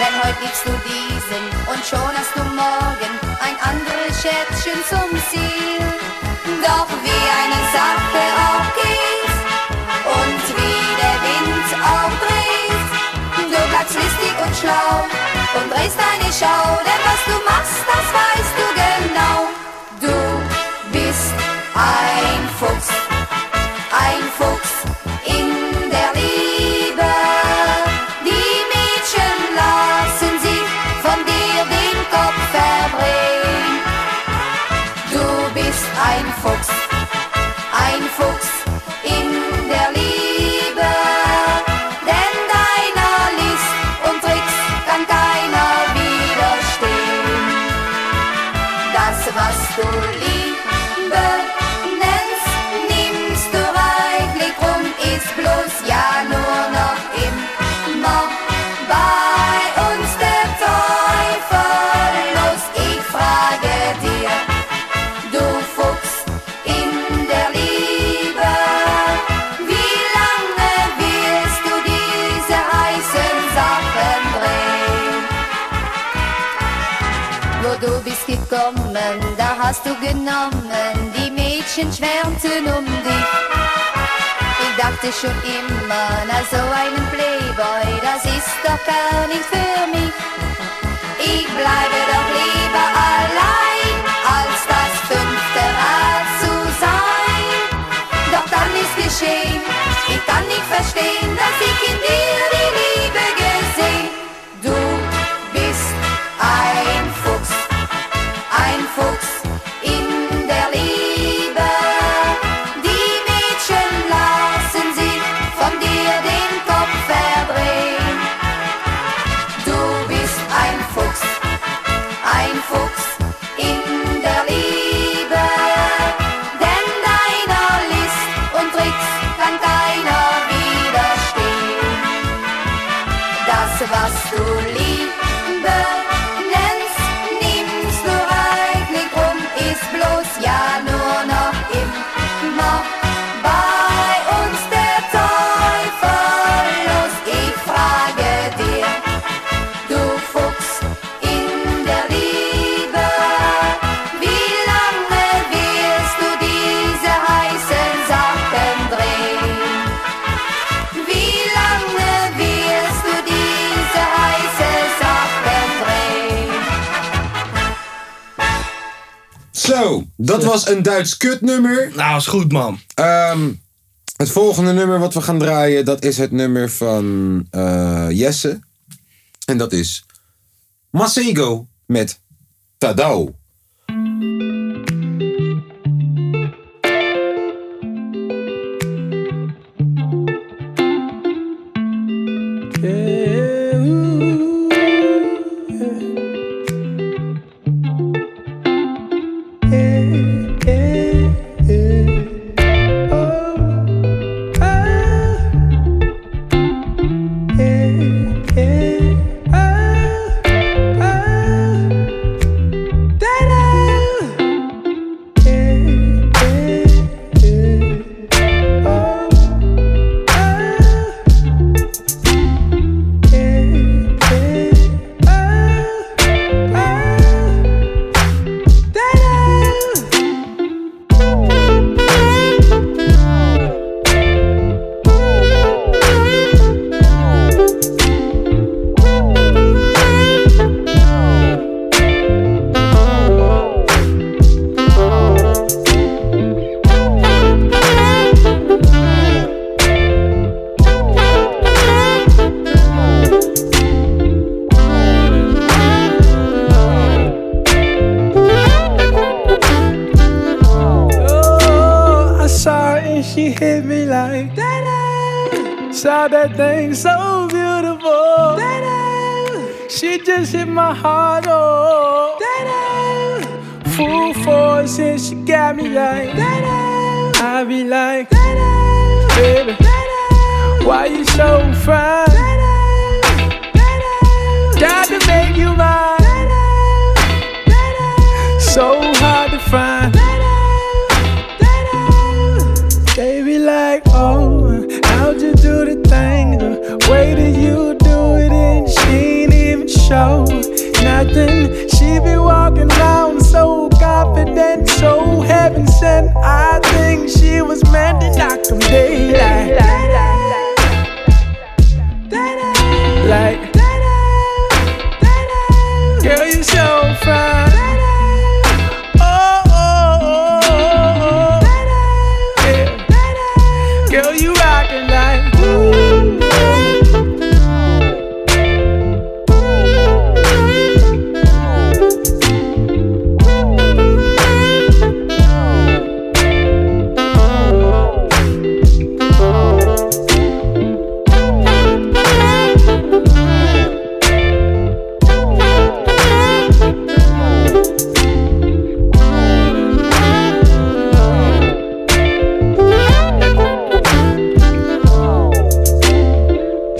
Speaker 13: Denn heute liebst du diesen und schon hast du morgen ein anderes Schätzchen zum Ziel. Doch wie eine Sache auch geht und wie der Wind auch dreht, du bleibst listig und schlau und drehst deine Schau, denn was du machst, das weißt du genau. Du bist ein Fuchs, ein Fuchs in der Liebe. Die Mädchen lassen sich von dir den Kopf verbringen. Du bist ein Fuchs, ein Fuchs in der Liebe. Denn deiner List und Tricks kann keiner widerstehen. Das, was du Liebe nennst, nimmst du reichlich rum, ist bloß ja nur noch immer bei uns der Teufel los. Ich frage dir, du Fuchs in der Liebe, wie lange wirst du diese heißen Sachen drehen? Wo du bist gekommen, da hast du genommen, die Mädchen schwärmten um dich. Ich dachte schon immer, na so einen Playboy, das ist doch gar nicht für mich. Ich bleibe doch lieber allein, als das fünfte Rad zu sein. Doch dann ist geschehen, ich kann nicht verstehen, dass ich in dir die Liebe gesehen. Du bist ein Fuchs, ein Fuchs in der Liebe. Die Mädchen lassen sich von dir den Kopf verdrehen. Du bist ein Fuchs, ein Fuchs in
Speaker 1: Zo, dat was een Duits kutnummer. Ehm,
Speaker 3: Nou, is goed, man.
Speaker 1: het volgende nummer wat we gaan draaien, dat is het nummer van eh, Jesse. En dat is Masego met Tadao.
Speaker 14: Oh, I saw her and she hit me like da Saw that thing so beautiful. da She just hit my heart, oh. da Full force and she got me like da I be like da baby. Why you so fine? Got to make you mine. So hard to find. They be like, oh, how'd you do the thing? The way that you do it, and she ain't even show nothing. She be walking around so confident, so heaven sent. I think she was meant to knock them daylight. Like, girl, you so fine. Oh, oh, oh, oh, oh. Yeah. Girl, you rockin' like ooh.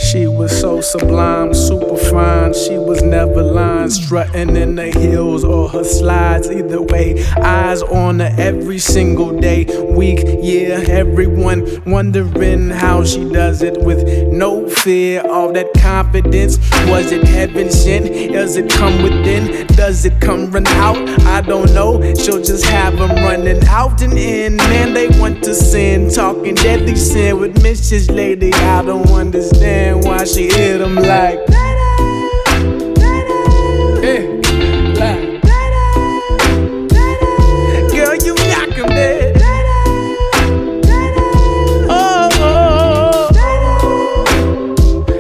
Speaker 14: She was so sublime, super fine. She was never lying, strutting in the heels or her slides. Either way, eyes on her every single day, week, year. Everyone wondering how she does it with no fear. All that confidence, was it heaven sent? Does it come within? Does it come run out? I don't know. She'll just have them running out and in. Man, they want to sin, talking deadly sin with Mrs. Lady. I don't understand why she hit them like. Eh, like. Girl, you knock 'em dead. Oh, oh, oh.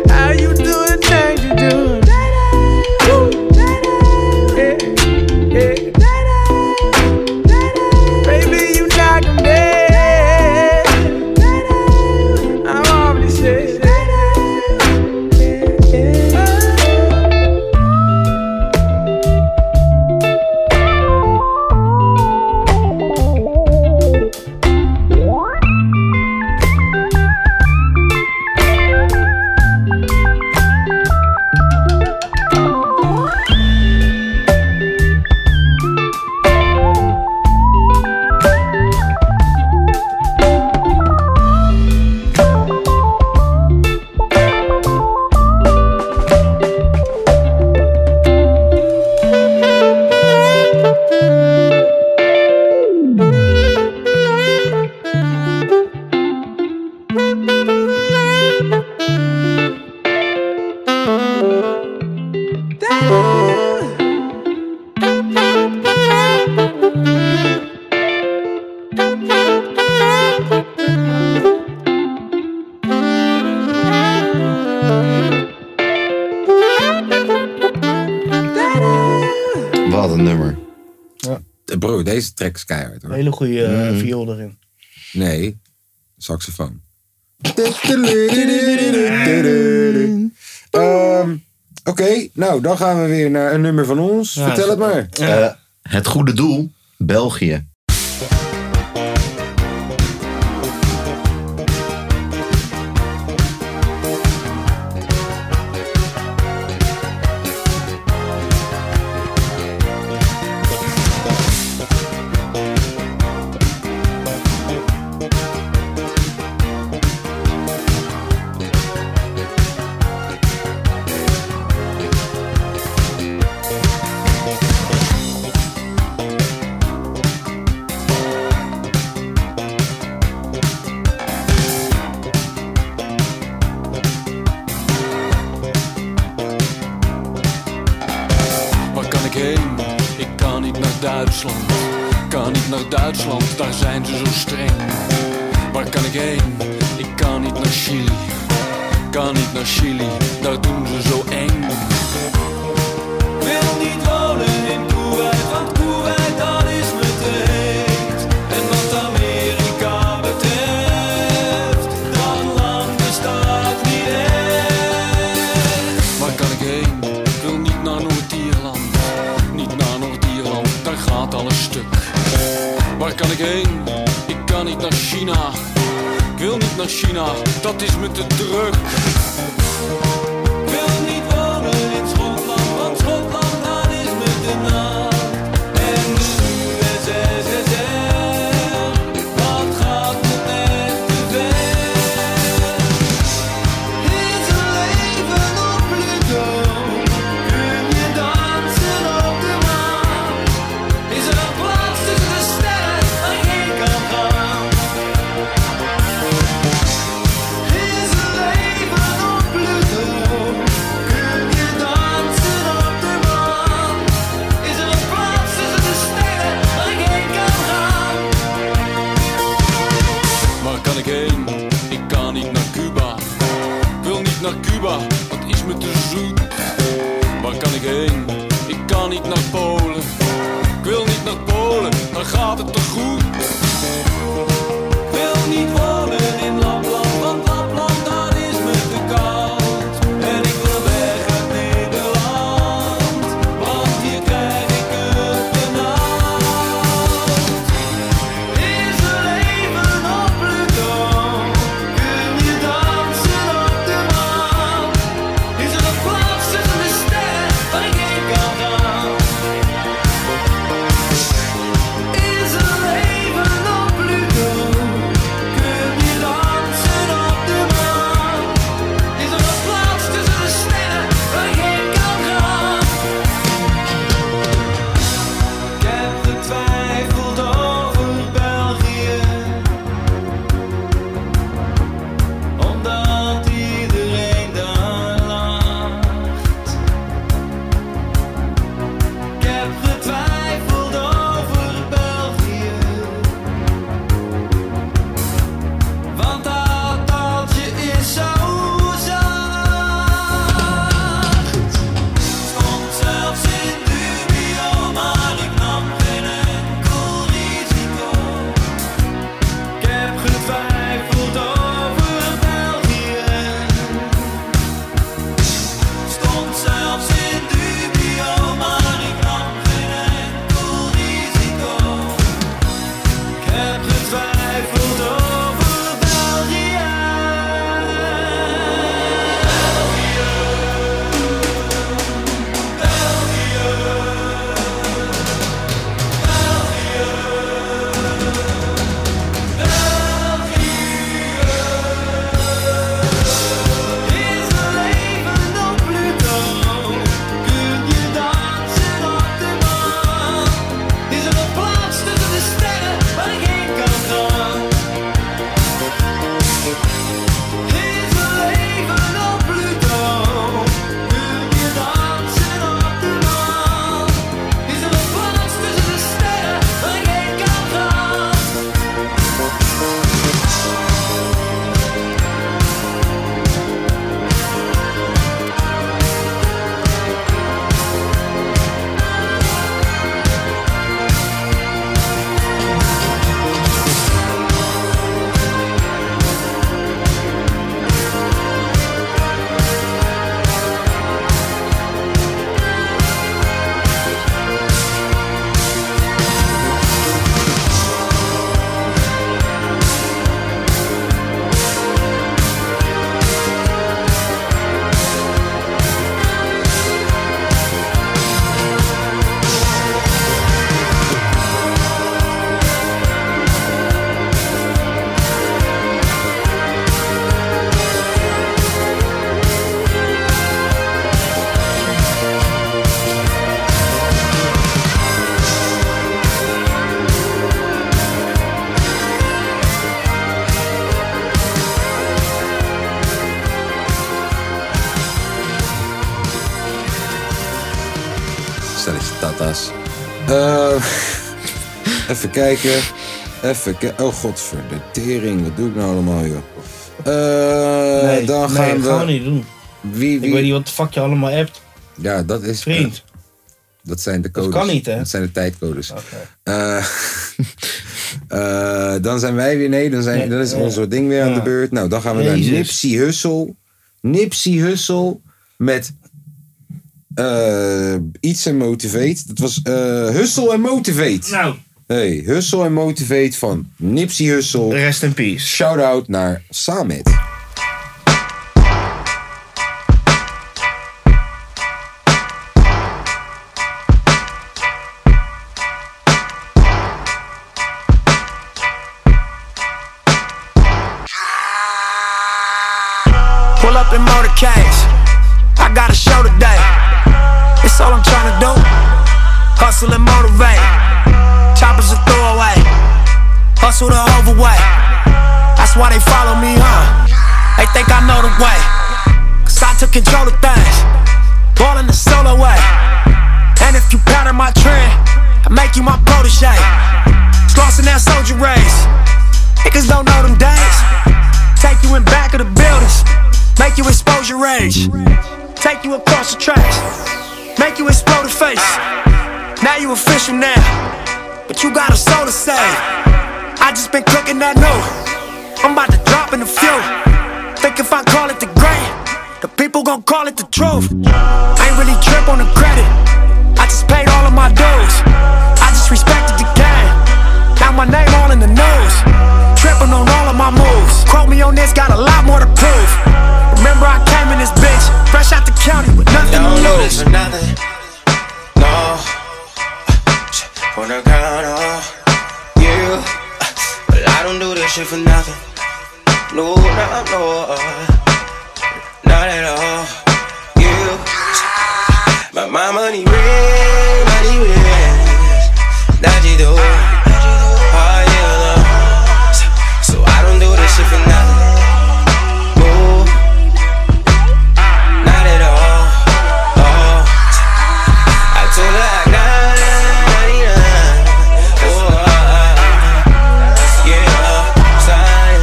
Speaker 14: How you do the things you do? Woo. Eh, eh. Baby, you knock 'em dead. I'm already said. Oh,
Speaker 1: Bro, Eh, deze track is keihard hoor.
Speaker 3: Een hele goede eh,
Speaker 1: Mm.
Speaker 3: viool erin.
Speaker 1: Nee, saxofoon. Ehm, Oké, nou dan gaan we weer naar een nummer van ons. Vertel het maar.
Speaker 4: Eh, het goede doel, België.
Speaker 15: Waar kan ik heen? Ik kan niet naar Duitsland. Kan niet naar Duitsland, daar zijn ze zo streng. Waar kan ik heen? Ik kan niet naar Chili. Kan niet naar Chili, daar doen ze zo eng. Wil niet wonen in Kuwait, want Kuwait dat is me te heet. En wat Amerika betreft, dat land bestaat niet echt. Waar kan ik heen? Ik wil niet naar Noord-Ierland, niet naar Noord-Ierland, daar gaat alles stuk. Waar kan ik heen? Ik kan niet naar China. Ik wil niet naar China, dat is me te druk. Ik wil niet wonen in Schotland, want Schotland dat is me te naam. En de USSR, dat gaat me echt te ver. Is een leven op Pluto? Kun je dansen op de maan? Is er een plaats tussen de sterren waar ik kan gaan? Is een leven op Pluto? Kun je dansen op de maan? Is er een plaats tussen de sterren waar ik kan gaan? Waar kan ik heen? Ik kan niet naar Cuba. Ik wil niet naar Cuba, dat is me te zoet. Waar kan ik heen? Ik kan niet naar Polen. Ik wil niet naar Polen, daar gaat het te goed. Ik wil niet wonen in Lapland, want Lapland daar is me te koud. En ik wil weg uit Nederland, want hier krijg ik het benauwd. Is er leven op Pluto? Kun je dansen op de maan? Is er een plaats tussen de sterren waar ik heen kan gaan? Is er leven
Speaker 4: tata's?
Speaker 1: Eh, even kijken. Even kijken. Oh, godverdomme. Tering. Wat doe ik nou allemaal, joh? Eh,
Speaker 3: nee,
Speaker 1: dan
Speaker 3: nee,
Speaker 1: gaan
Speaker 3: dat
Speaker 1: we...
Speaker 3: gaan we niet doen.
Speaker 1: Wie, wie...
Speaker 3: Ik weet niet wat de fuck je allemaal hebt.
Speaker 1: Ja, dat is...
Speaker 3: Vriend.
Speaker 1: dat zijn de codes.
Speaker 3: kan niet, hè?
Speaker 1: Dat zijn de tijdcodes. Eh, eh, dan zijn wij weer... Nee, dan, zijn,
Speaker 3: Nee,
Speaker 1: dan is
Speaker 3: ja.
Speaker 1: onze ding weer aan de beurt. Nou, dan gaan we
Speaker 3: Jezus.
Speaker 1: naar Nipsey Hussle. Nipsey Hussle met... eh, iets en Motivate. Dat was eh Hustle en Motivate.
Speaker 3: Nou.
Speaker 1: Hey, Hustle en Motivate van Nipsey Hussle.
Speaker 3: Rest in peace.
Speaker 1: Shout-out naar Samet.
Speaker 16: Pull up in motor cash. I got a show today. It's all I'm tryna do. Hustle and motivate. Choppers a throwaway. Hustle the overweight. That's why they follow me, huh? They think I know the way. Cause I took control of things. Ballin' the solo way. And if you pattern my trend, I make you my protege. Slossin' that soldier race. Niggas don't know them days. Take you in back of the buildings. Make you expose your rage. Take you across the tracks. Make you explode the face. Now you official now. But you got a soul to save. I just been cooking that new. I'm about to drop in a few. Think if I call it the great, the people gon' call it the truth. I ain't really trip on the credit. I just paid all of my dues. I just respected the game. Now my name all in the news. Tripping on all of my moves. Quote me on this, got a lot more to prove. Remember I came in this bitch, fresh out the county with nothing
Speaker 17: Don't
Speaker 16: to
Speaker 17: lose
Speaker 16: lose.
Speaker 17: for nothing. No. On the ground, on you. But I don't do this shit for nothing. No, no, no. Not at all. You. But my money real, money real. That you do. All year long. So I don't do this shit for nothing. No. Not at all. Oh. I told her I got it. Oh, uh, yeah, sorry.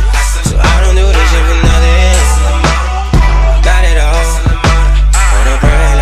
Speaker 17: So I don't do this shit for nothing. Not at all. On a brand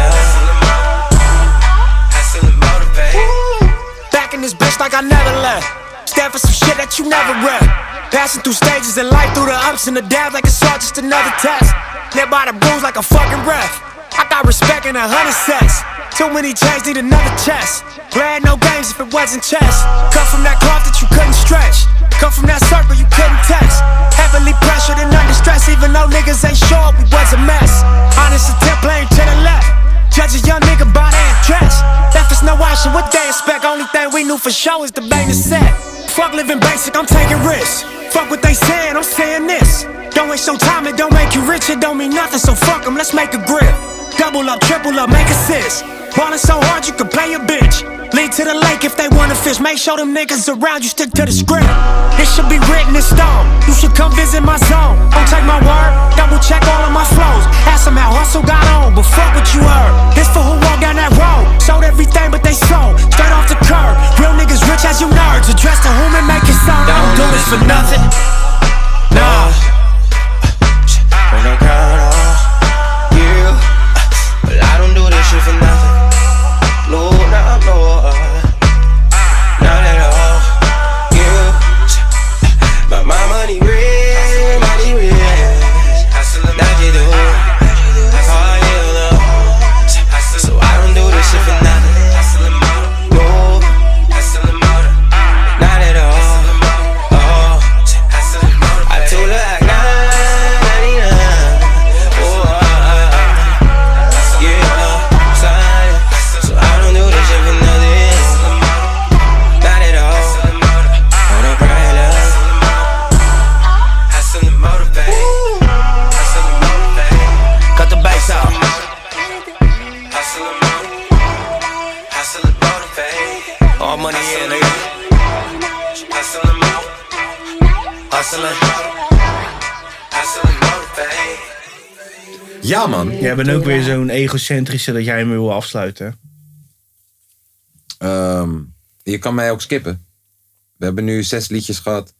Speaker 16: Back in this bitch like I never left. Stand for some shit that you never read. Passing through stages and life through the ups and the downs like it's all just another test. Live by the rules like a fucking breath. I got respect in a hundred sets. Too many chains need another chest. Glad no games if it wasn't chess. Cut from that cloth that you couldn't stretch. Come from that circle you couldn't test. Heavily pressured and under stress, even though niggas ain't sure we was a mess. Honest attempt, blame to the left. Judge a young nigga by their dress. Left us no option, what they expect. Only thing we knew for sure is the bang is set. Fuck living basic, I'm taking risks. Fuck what they saying, I'm saying this. Don't waste your time, it don't make you rich, it don't mean nothing, so fuck them, let's make a grip. Double up, triple up, make assists. Ballin' so hard you can play a bitch. Lead to the lake if they wanna fish. Make sure them niggas around you stick to the script. This should be written in stone. You should come visit my zone. Don't take my word, double check all of my flows. Ask them how hustle got on, but fuck what you heard. This for who walked down that road. Sold everything but they sold. Straight off the curb. Real niggas rich as you nerds. Address to whom it make it sound. I don't do this for nothing. Nah.
Speaker 17: On the ground, on you. But I don't do this shit for nothing. No, no, no. Not at all. You. But my money real, money real. That you do. All year long. So I don't do this shit for nothing. No. Not at all. Oh. I told her I got 99.
Speaker 16: Cut the bass out.
Speaker 17: All money in, nigga. Hustling, hustling, hustling, motivate.
Speaker 1: Ja, man.
Speaker 3: Jij bent ook weer zo'n egocentrische dat jij hem weer wil afsluiten.
Speaker 18: Ehm, je kan mij ook skippen. We hebben nu zes liedjes gehad.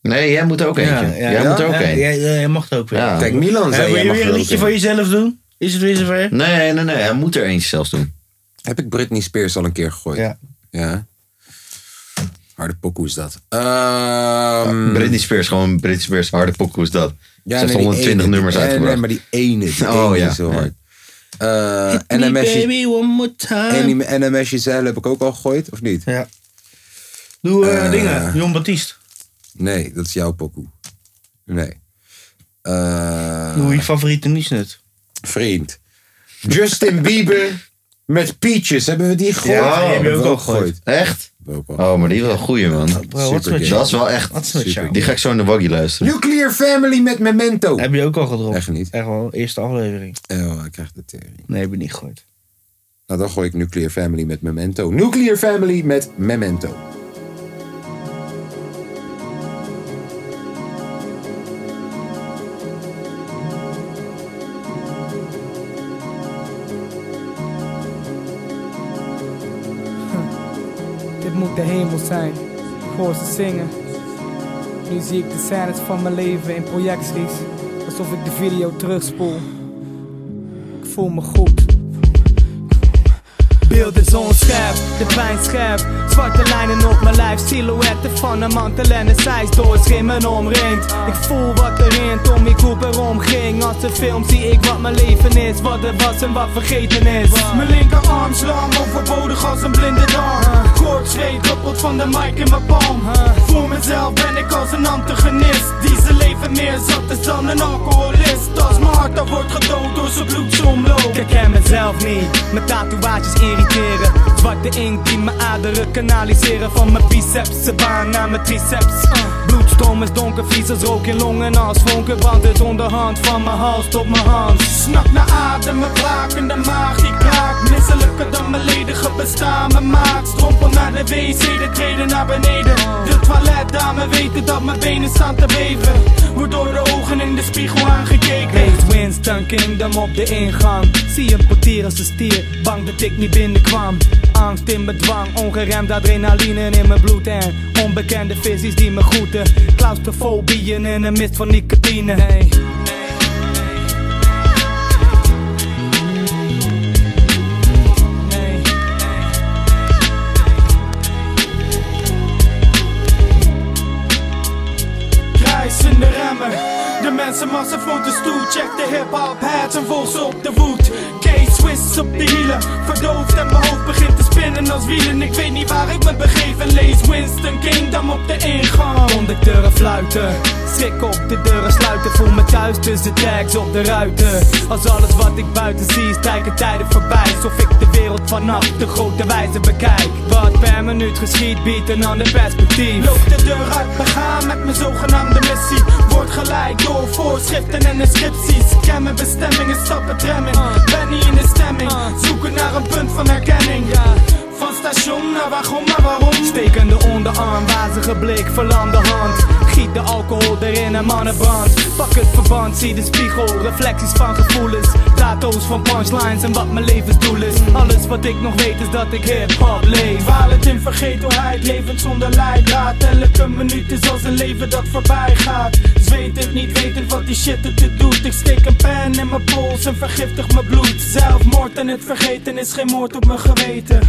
Speaker 4: Nee, jij moet ook eentje. Jij moet er ook een.
Speaker 3: Jij, jij mag er ook weer.
Speaker 4: Ja. Kijk, Milan zei,
Speaker 3: Eh, Wil
Speaker 4: jij
Speaker 3: je
Speaker 4: mag
Speaker 3: weer
Speaker 4: er
Speaker 3: een
Speaker 4: ook
Speaker 3: liedje
Speaker 4: in.
Speaker 3: van jezelf doen? Is het weer zover?
Speaker 4: Nee, nee, nee. Hij moet er eentje zelfs doen.
Speaker 18: Heb ik Britney Spears al een keer gegooid?
Speaker 3: Ja.
Speaker 18: Ja. Harde pokoe is dat. Eh, Ehm,
Speaker 4: Britney Spears, gewoon Britney Spears, harde pokoe is dat.
Speaker 18: Ja,
Speaker 4: Ze heeft
Speaker 18: nee, die
Speaker 4: 120
Speaker 18: ene,
Speaker 4: nummers
Speaker 18: die- nee,
Speaker 4: uitgebracht. Oh,
Speaker 18: nee, maar die ene, die ene is heel hard. Eh,
Speaker 3: En dan
Speaker 18: NMS is-
Speaker 3: baby one more time.
Speaker 18: en die NMS Giselle heb ik ook al gegooid, of niet?
Speaker 3: Ja. Doe eh,
Speaker 18: Eh,
Speaker 3: dingen. Jon Baptiste.
Speaker 18: Nee, dat is jouw pokoe. Nee. Eh,
Speaker 3: Doe je favoriete niesnut.
Speaker 18: Vriend. Justin Bieber met Peaches. Hebben we die gegooid?
Speaker 4: Ja, die heb je
Speaker 18: hebben
Speaker 4: ook
Speaker 18: we
Speaker 4: al gegooid. Echt? Oh, maar die is wel een goeie, man.
Speaker 18: met
Speaker 4: Supergame.
Speaker 18: jou?
Speaker 4: dat is wel echt.
Speaker 18: Wat is met jou?
Speaker 4: Die ga ik zo in de waggie luisteren.
Speaker 18: Nuclear Family met Memento.
Speaker 3: Heb je ook al gedropt?
Speaker 18: Echt niet.
Speaker 3: Echt wel, eerste aflevering.
Speaker 18: Oh, ik krijg de tering.
Speaker 3: Nee, heb ik niet gegooid.
Speaker 18: Nou, dan gooi ik Nuclear Family met Memento. Nuclear Family met Memento.
Speaker 19: Dit moet de hemel zijn. Ik hoor ze zingen. Nu zie ik de scènes van mijn leven in projecties. Alsof ik de video terugspoel. Ik voel me goed. Beelden zonscherp, de pijn scherp. Zwarte lijnen op mijn lijf, silhouetten van een mantel en een zijs door het schimmen omringd. Ik voel wat er in Tommy Cooper omging. Als de film zie ik wat mijn leven is, wat er was en wat vergeten is. Mijn linkerarm slam, overbodig als een blinde darm. Kort zweet druppelt van de mic in mijn palm. Voor mezelf ben ik als een antagonist. Die zijn leven meer zat is dan een alcoholist. Als mijn hart dat wordt gedood door zijn bloedsomloop. Ik ken mezelf niet, mijn tatoeages irriteren. Zwarte inkt die mijn aderen kanaliseren. Van mijn biceps, ze baan naar mijn triceps. Bloedstroom is donker, vies als rook in longen. Als vonken brandt het onderhand van mijn hals tot mijn hand. Snak naar adem, mijn blakende maag die kraakt. Misselijker dan mijn ledige bestaan, mijn maakt. Strompel naar de wc, de treden naar beneden. De toiletdame weten dat mijn benen staan te beven. Wordt door de ogen in de spiegel aangekeken. Heet Winston Kingdom op de ingang. Zie een portier als een stier, bang dat ik niet binnenkwam. Angst in bedwang, ongeremd adrenaline in mijn bloed en onbekende visies die me groeten. Claustrofobieën in een mist van nicotine. kruisende remmen. De mensenmassa voor de stoel, check de hip-hop hats en volg ze op de voet. K-Swiss op de hielen, verdoofd en mijn hoofd begint te spinnen als wielen. Ik weet niet waar ik me begeven, lees Winston Kingdom op de ingang. Conducteuren fluiten, schrik op de deuren sluiten. Voel me thuis tussen tags op de ruiten. Als alles wat ik buiten zie, is stijgen tijden voorbij. Alsof ik de wereld vanaf de grote wijze bekijk. Wat per minuut geschiet, biedt een ander perspectief. Loop de deur uit, begaan met mijn zogenaamde missie. Word gelijk door voorschriften en inscripties. Ken mijn bestemmingen, stappen tremming. Ben niet in de stemming, zoeken naar een punt van herkenning. Van station naar wagon, maar waarom? Stekende onderarm, wazige blik, verlamde hand. Giet de alcohol erin en mannenbrand. Pak het verband, zie de spiegel, reflecties van gevoelens. Tato's van punchlines en wat mijn levensdoel is. Alles wat ik nog weet is dat ik hip-hop leef. Dwalend in vergetelheid, levend zonder leidraad. Elke minuut is als een leven dat voorbij gaat. Zwetend, niet wetend wat die shit het te doet. Ik steek een pen in mijn pols en vergiftig mijn bloed. Zelfmoord en het vergeten is geen moord op mijn geweten.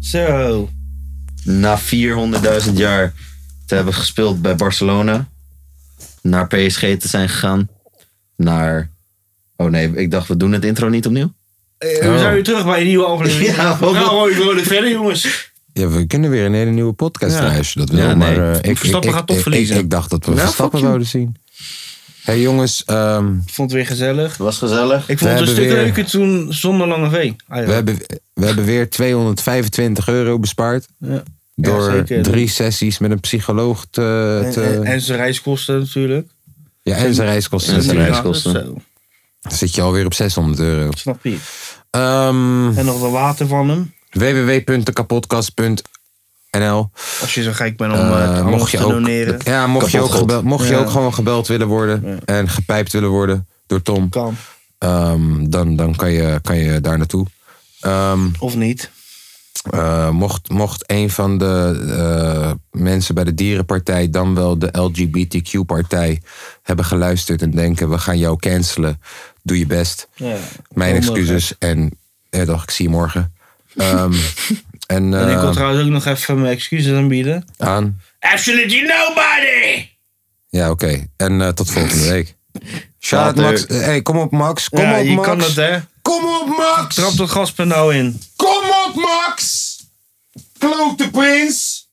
Speaker 3: Zo.
Speaker 4: na 400.000 jaar te hebben gespeeld bij Barcelona. Naar PSG te zijn gegaan. Naar. Oh nee, ik dacht, we doen het intro niet opnieuw.
Speaker 3: Eh,
Speaker 4: Oh.
Speaker 3: We zijn weer terug bij een nieuwe aflevering.
Speaker 4: Ja,
Speaker 3: nou, hoor, ik wil het verder, jongens.
Speaker 1: Ja, we kunnen weer een hele nieuwe podcast
Speaker 3: Ja.
Speaker 1: thuis. Dat wil,
Speaker 3: Ja,
Speaker 1: maar
Speaker 3: nee.
Speaker 1: eh,
Speaker 3: Want Verstappen gaat toch
Speaker 1: ik,
Speaker 3: verliezen.
Speaker 1: Ik, ik dacht dat we
Speaker 3: Ja, Nou, fuck
Speaker 1: Verstappen
Speaker 3: you.
Speaker 1: zouden zien. Hé hey, jongens, ehm,
Speaker 3: Ik vond het weer gezellig. Het
Speaker 4: was gezellig.
Speaker 3: Ik vond het
Speaker 1: We
Speaker 3: een
Speaker 1: hebben
Speaker 3: stuk
Speaker 1: weer-
Speaker 3: leuker toen zonder lange V. Ah,
Speaker 1: we, hebben, we hebben weer 225 euro bespaard.
Speaker 3: Ja.
Speaker 1: Door
Speaker 3: Ja, zeker.
Speaker 1: drie sessies met een psycholoog te...
Speaker 3: En,
Speaker 1: te-
Speaker 3: en, en zijn reiskosten natuurlijk.
Speaker 1: ja, en zijn reiskosten.
Speaker 3: En zijn reiskosten. Zo.
Speaker 1: Dan zit je alweer op 600 euro.
Speaker 3: Snap je.
Speaker 1: Ehm
Speaker 3: En nog de water van hem.
Speaker 1: www.dekapodcast.nl
Speaker 3: Als je zo gek bent om
Speaker 1: Eh,
Speaker 3: eh, het anders te
Speaker 1: ook,
Speaker 3: doneren.
Speaker 1: Ja, mocht, je ook,
Speaker 3: Kapotgod.
Speaker 1: gebeld- mocht je
Speaker 3: Ja.
Speaker 1: ook gewoon gebeld willen worden en gepijpt willen worden door Tom, ehm,
Speaker 3: kan.
Speaker 1: dan, dan kan, je, kan je daar naartoe. Ehm, eh,
Speaker 3: of niet.
Speaker 1: mocht, mocht een van de eh, mensen bij de dierenpartij, dan wel de LGBTQ-partij, hebben geluisterd en denken: we gaan jou cancelen. Doe je best.
Speaker 3: Ja.
Speaker 1: Mijn
Speaker 3: Zondag,
Speaker 1: excuses. En eh, dag, ik zie je morgen. Ehm, en
Speaker 3: En ik wil
Speaker 1: eh,
Speaker 3: trouwens ook nog even mijn excuses aanbieden.
Speaker 1: aan.
Speaker 3: Absolutely nobody!
Speaker 1: Ja, oké. En eh, tot volgende week. Shout out
Speaker 3: Later.
Speaker 1: Max. Eh, hey, kom op Max. Kom
Speaker 3: ja,
Speaker 1: op
Speaker 3: je
Speaker 1: Max.
Speaker 3: kan dat hè.
Speaker 1: Kom op Max.
Speaker 3: Trap dat gaspedaal in.
Speaker 18: Kom op, Max! Klote prins!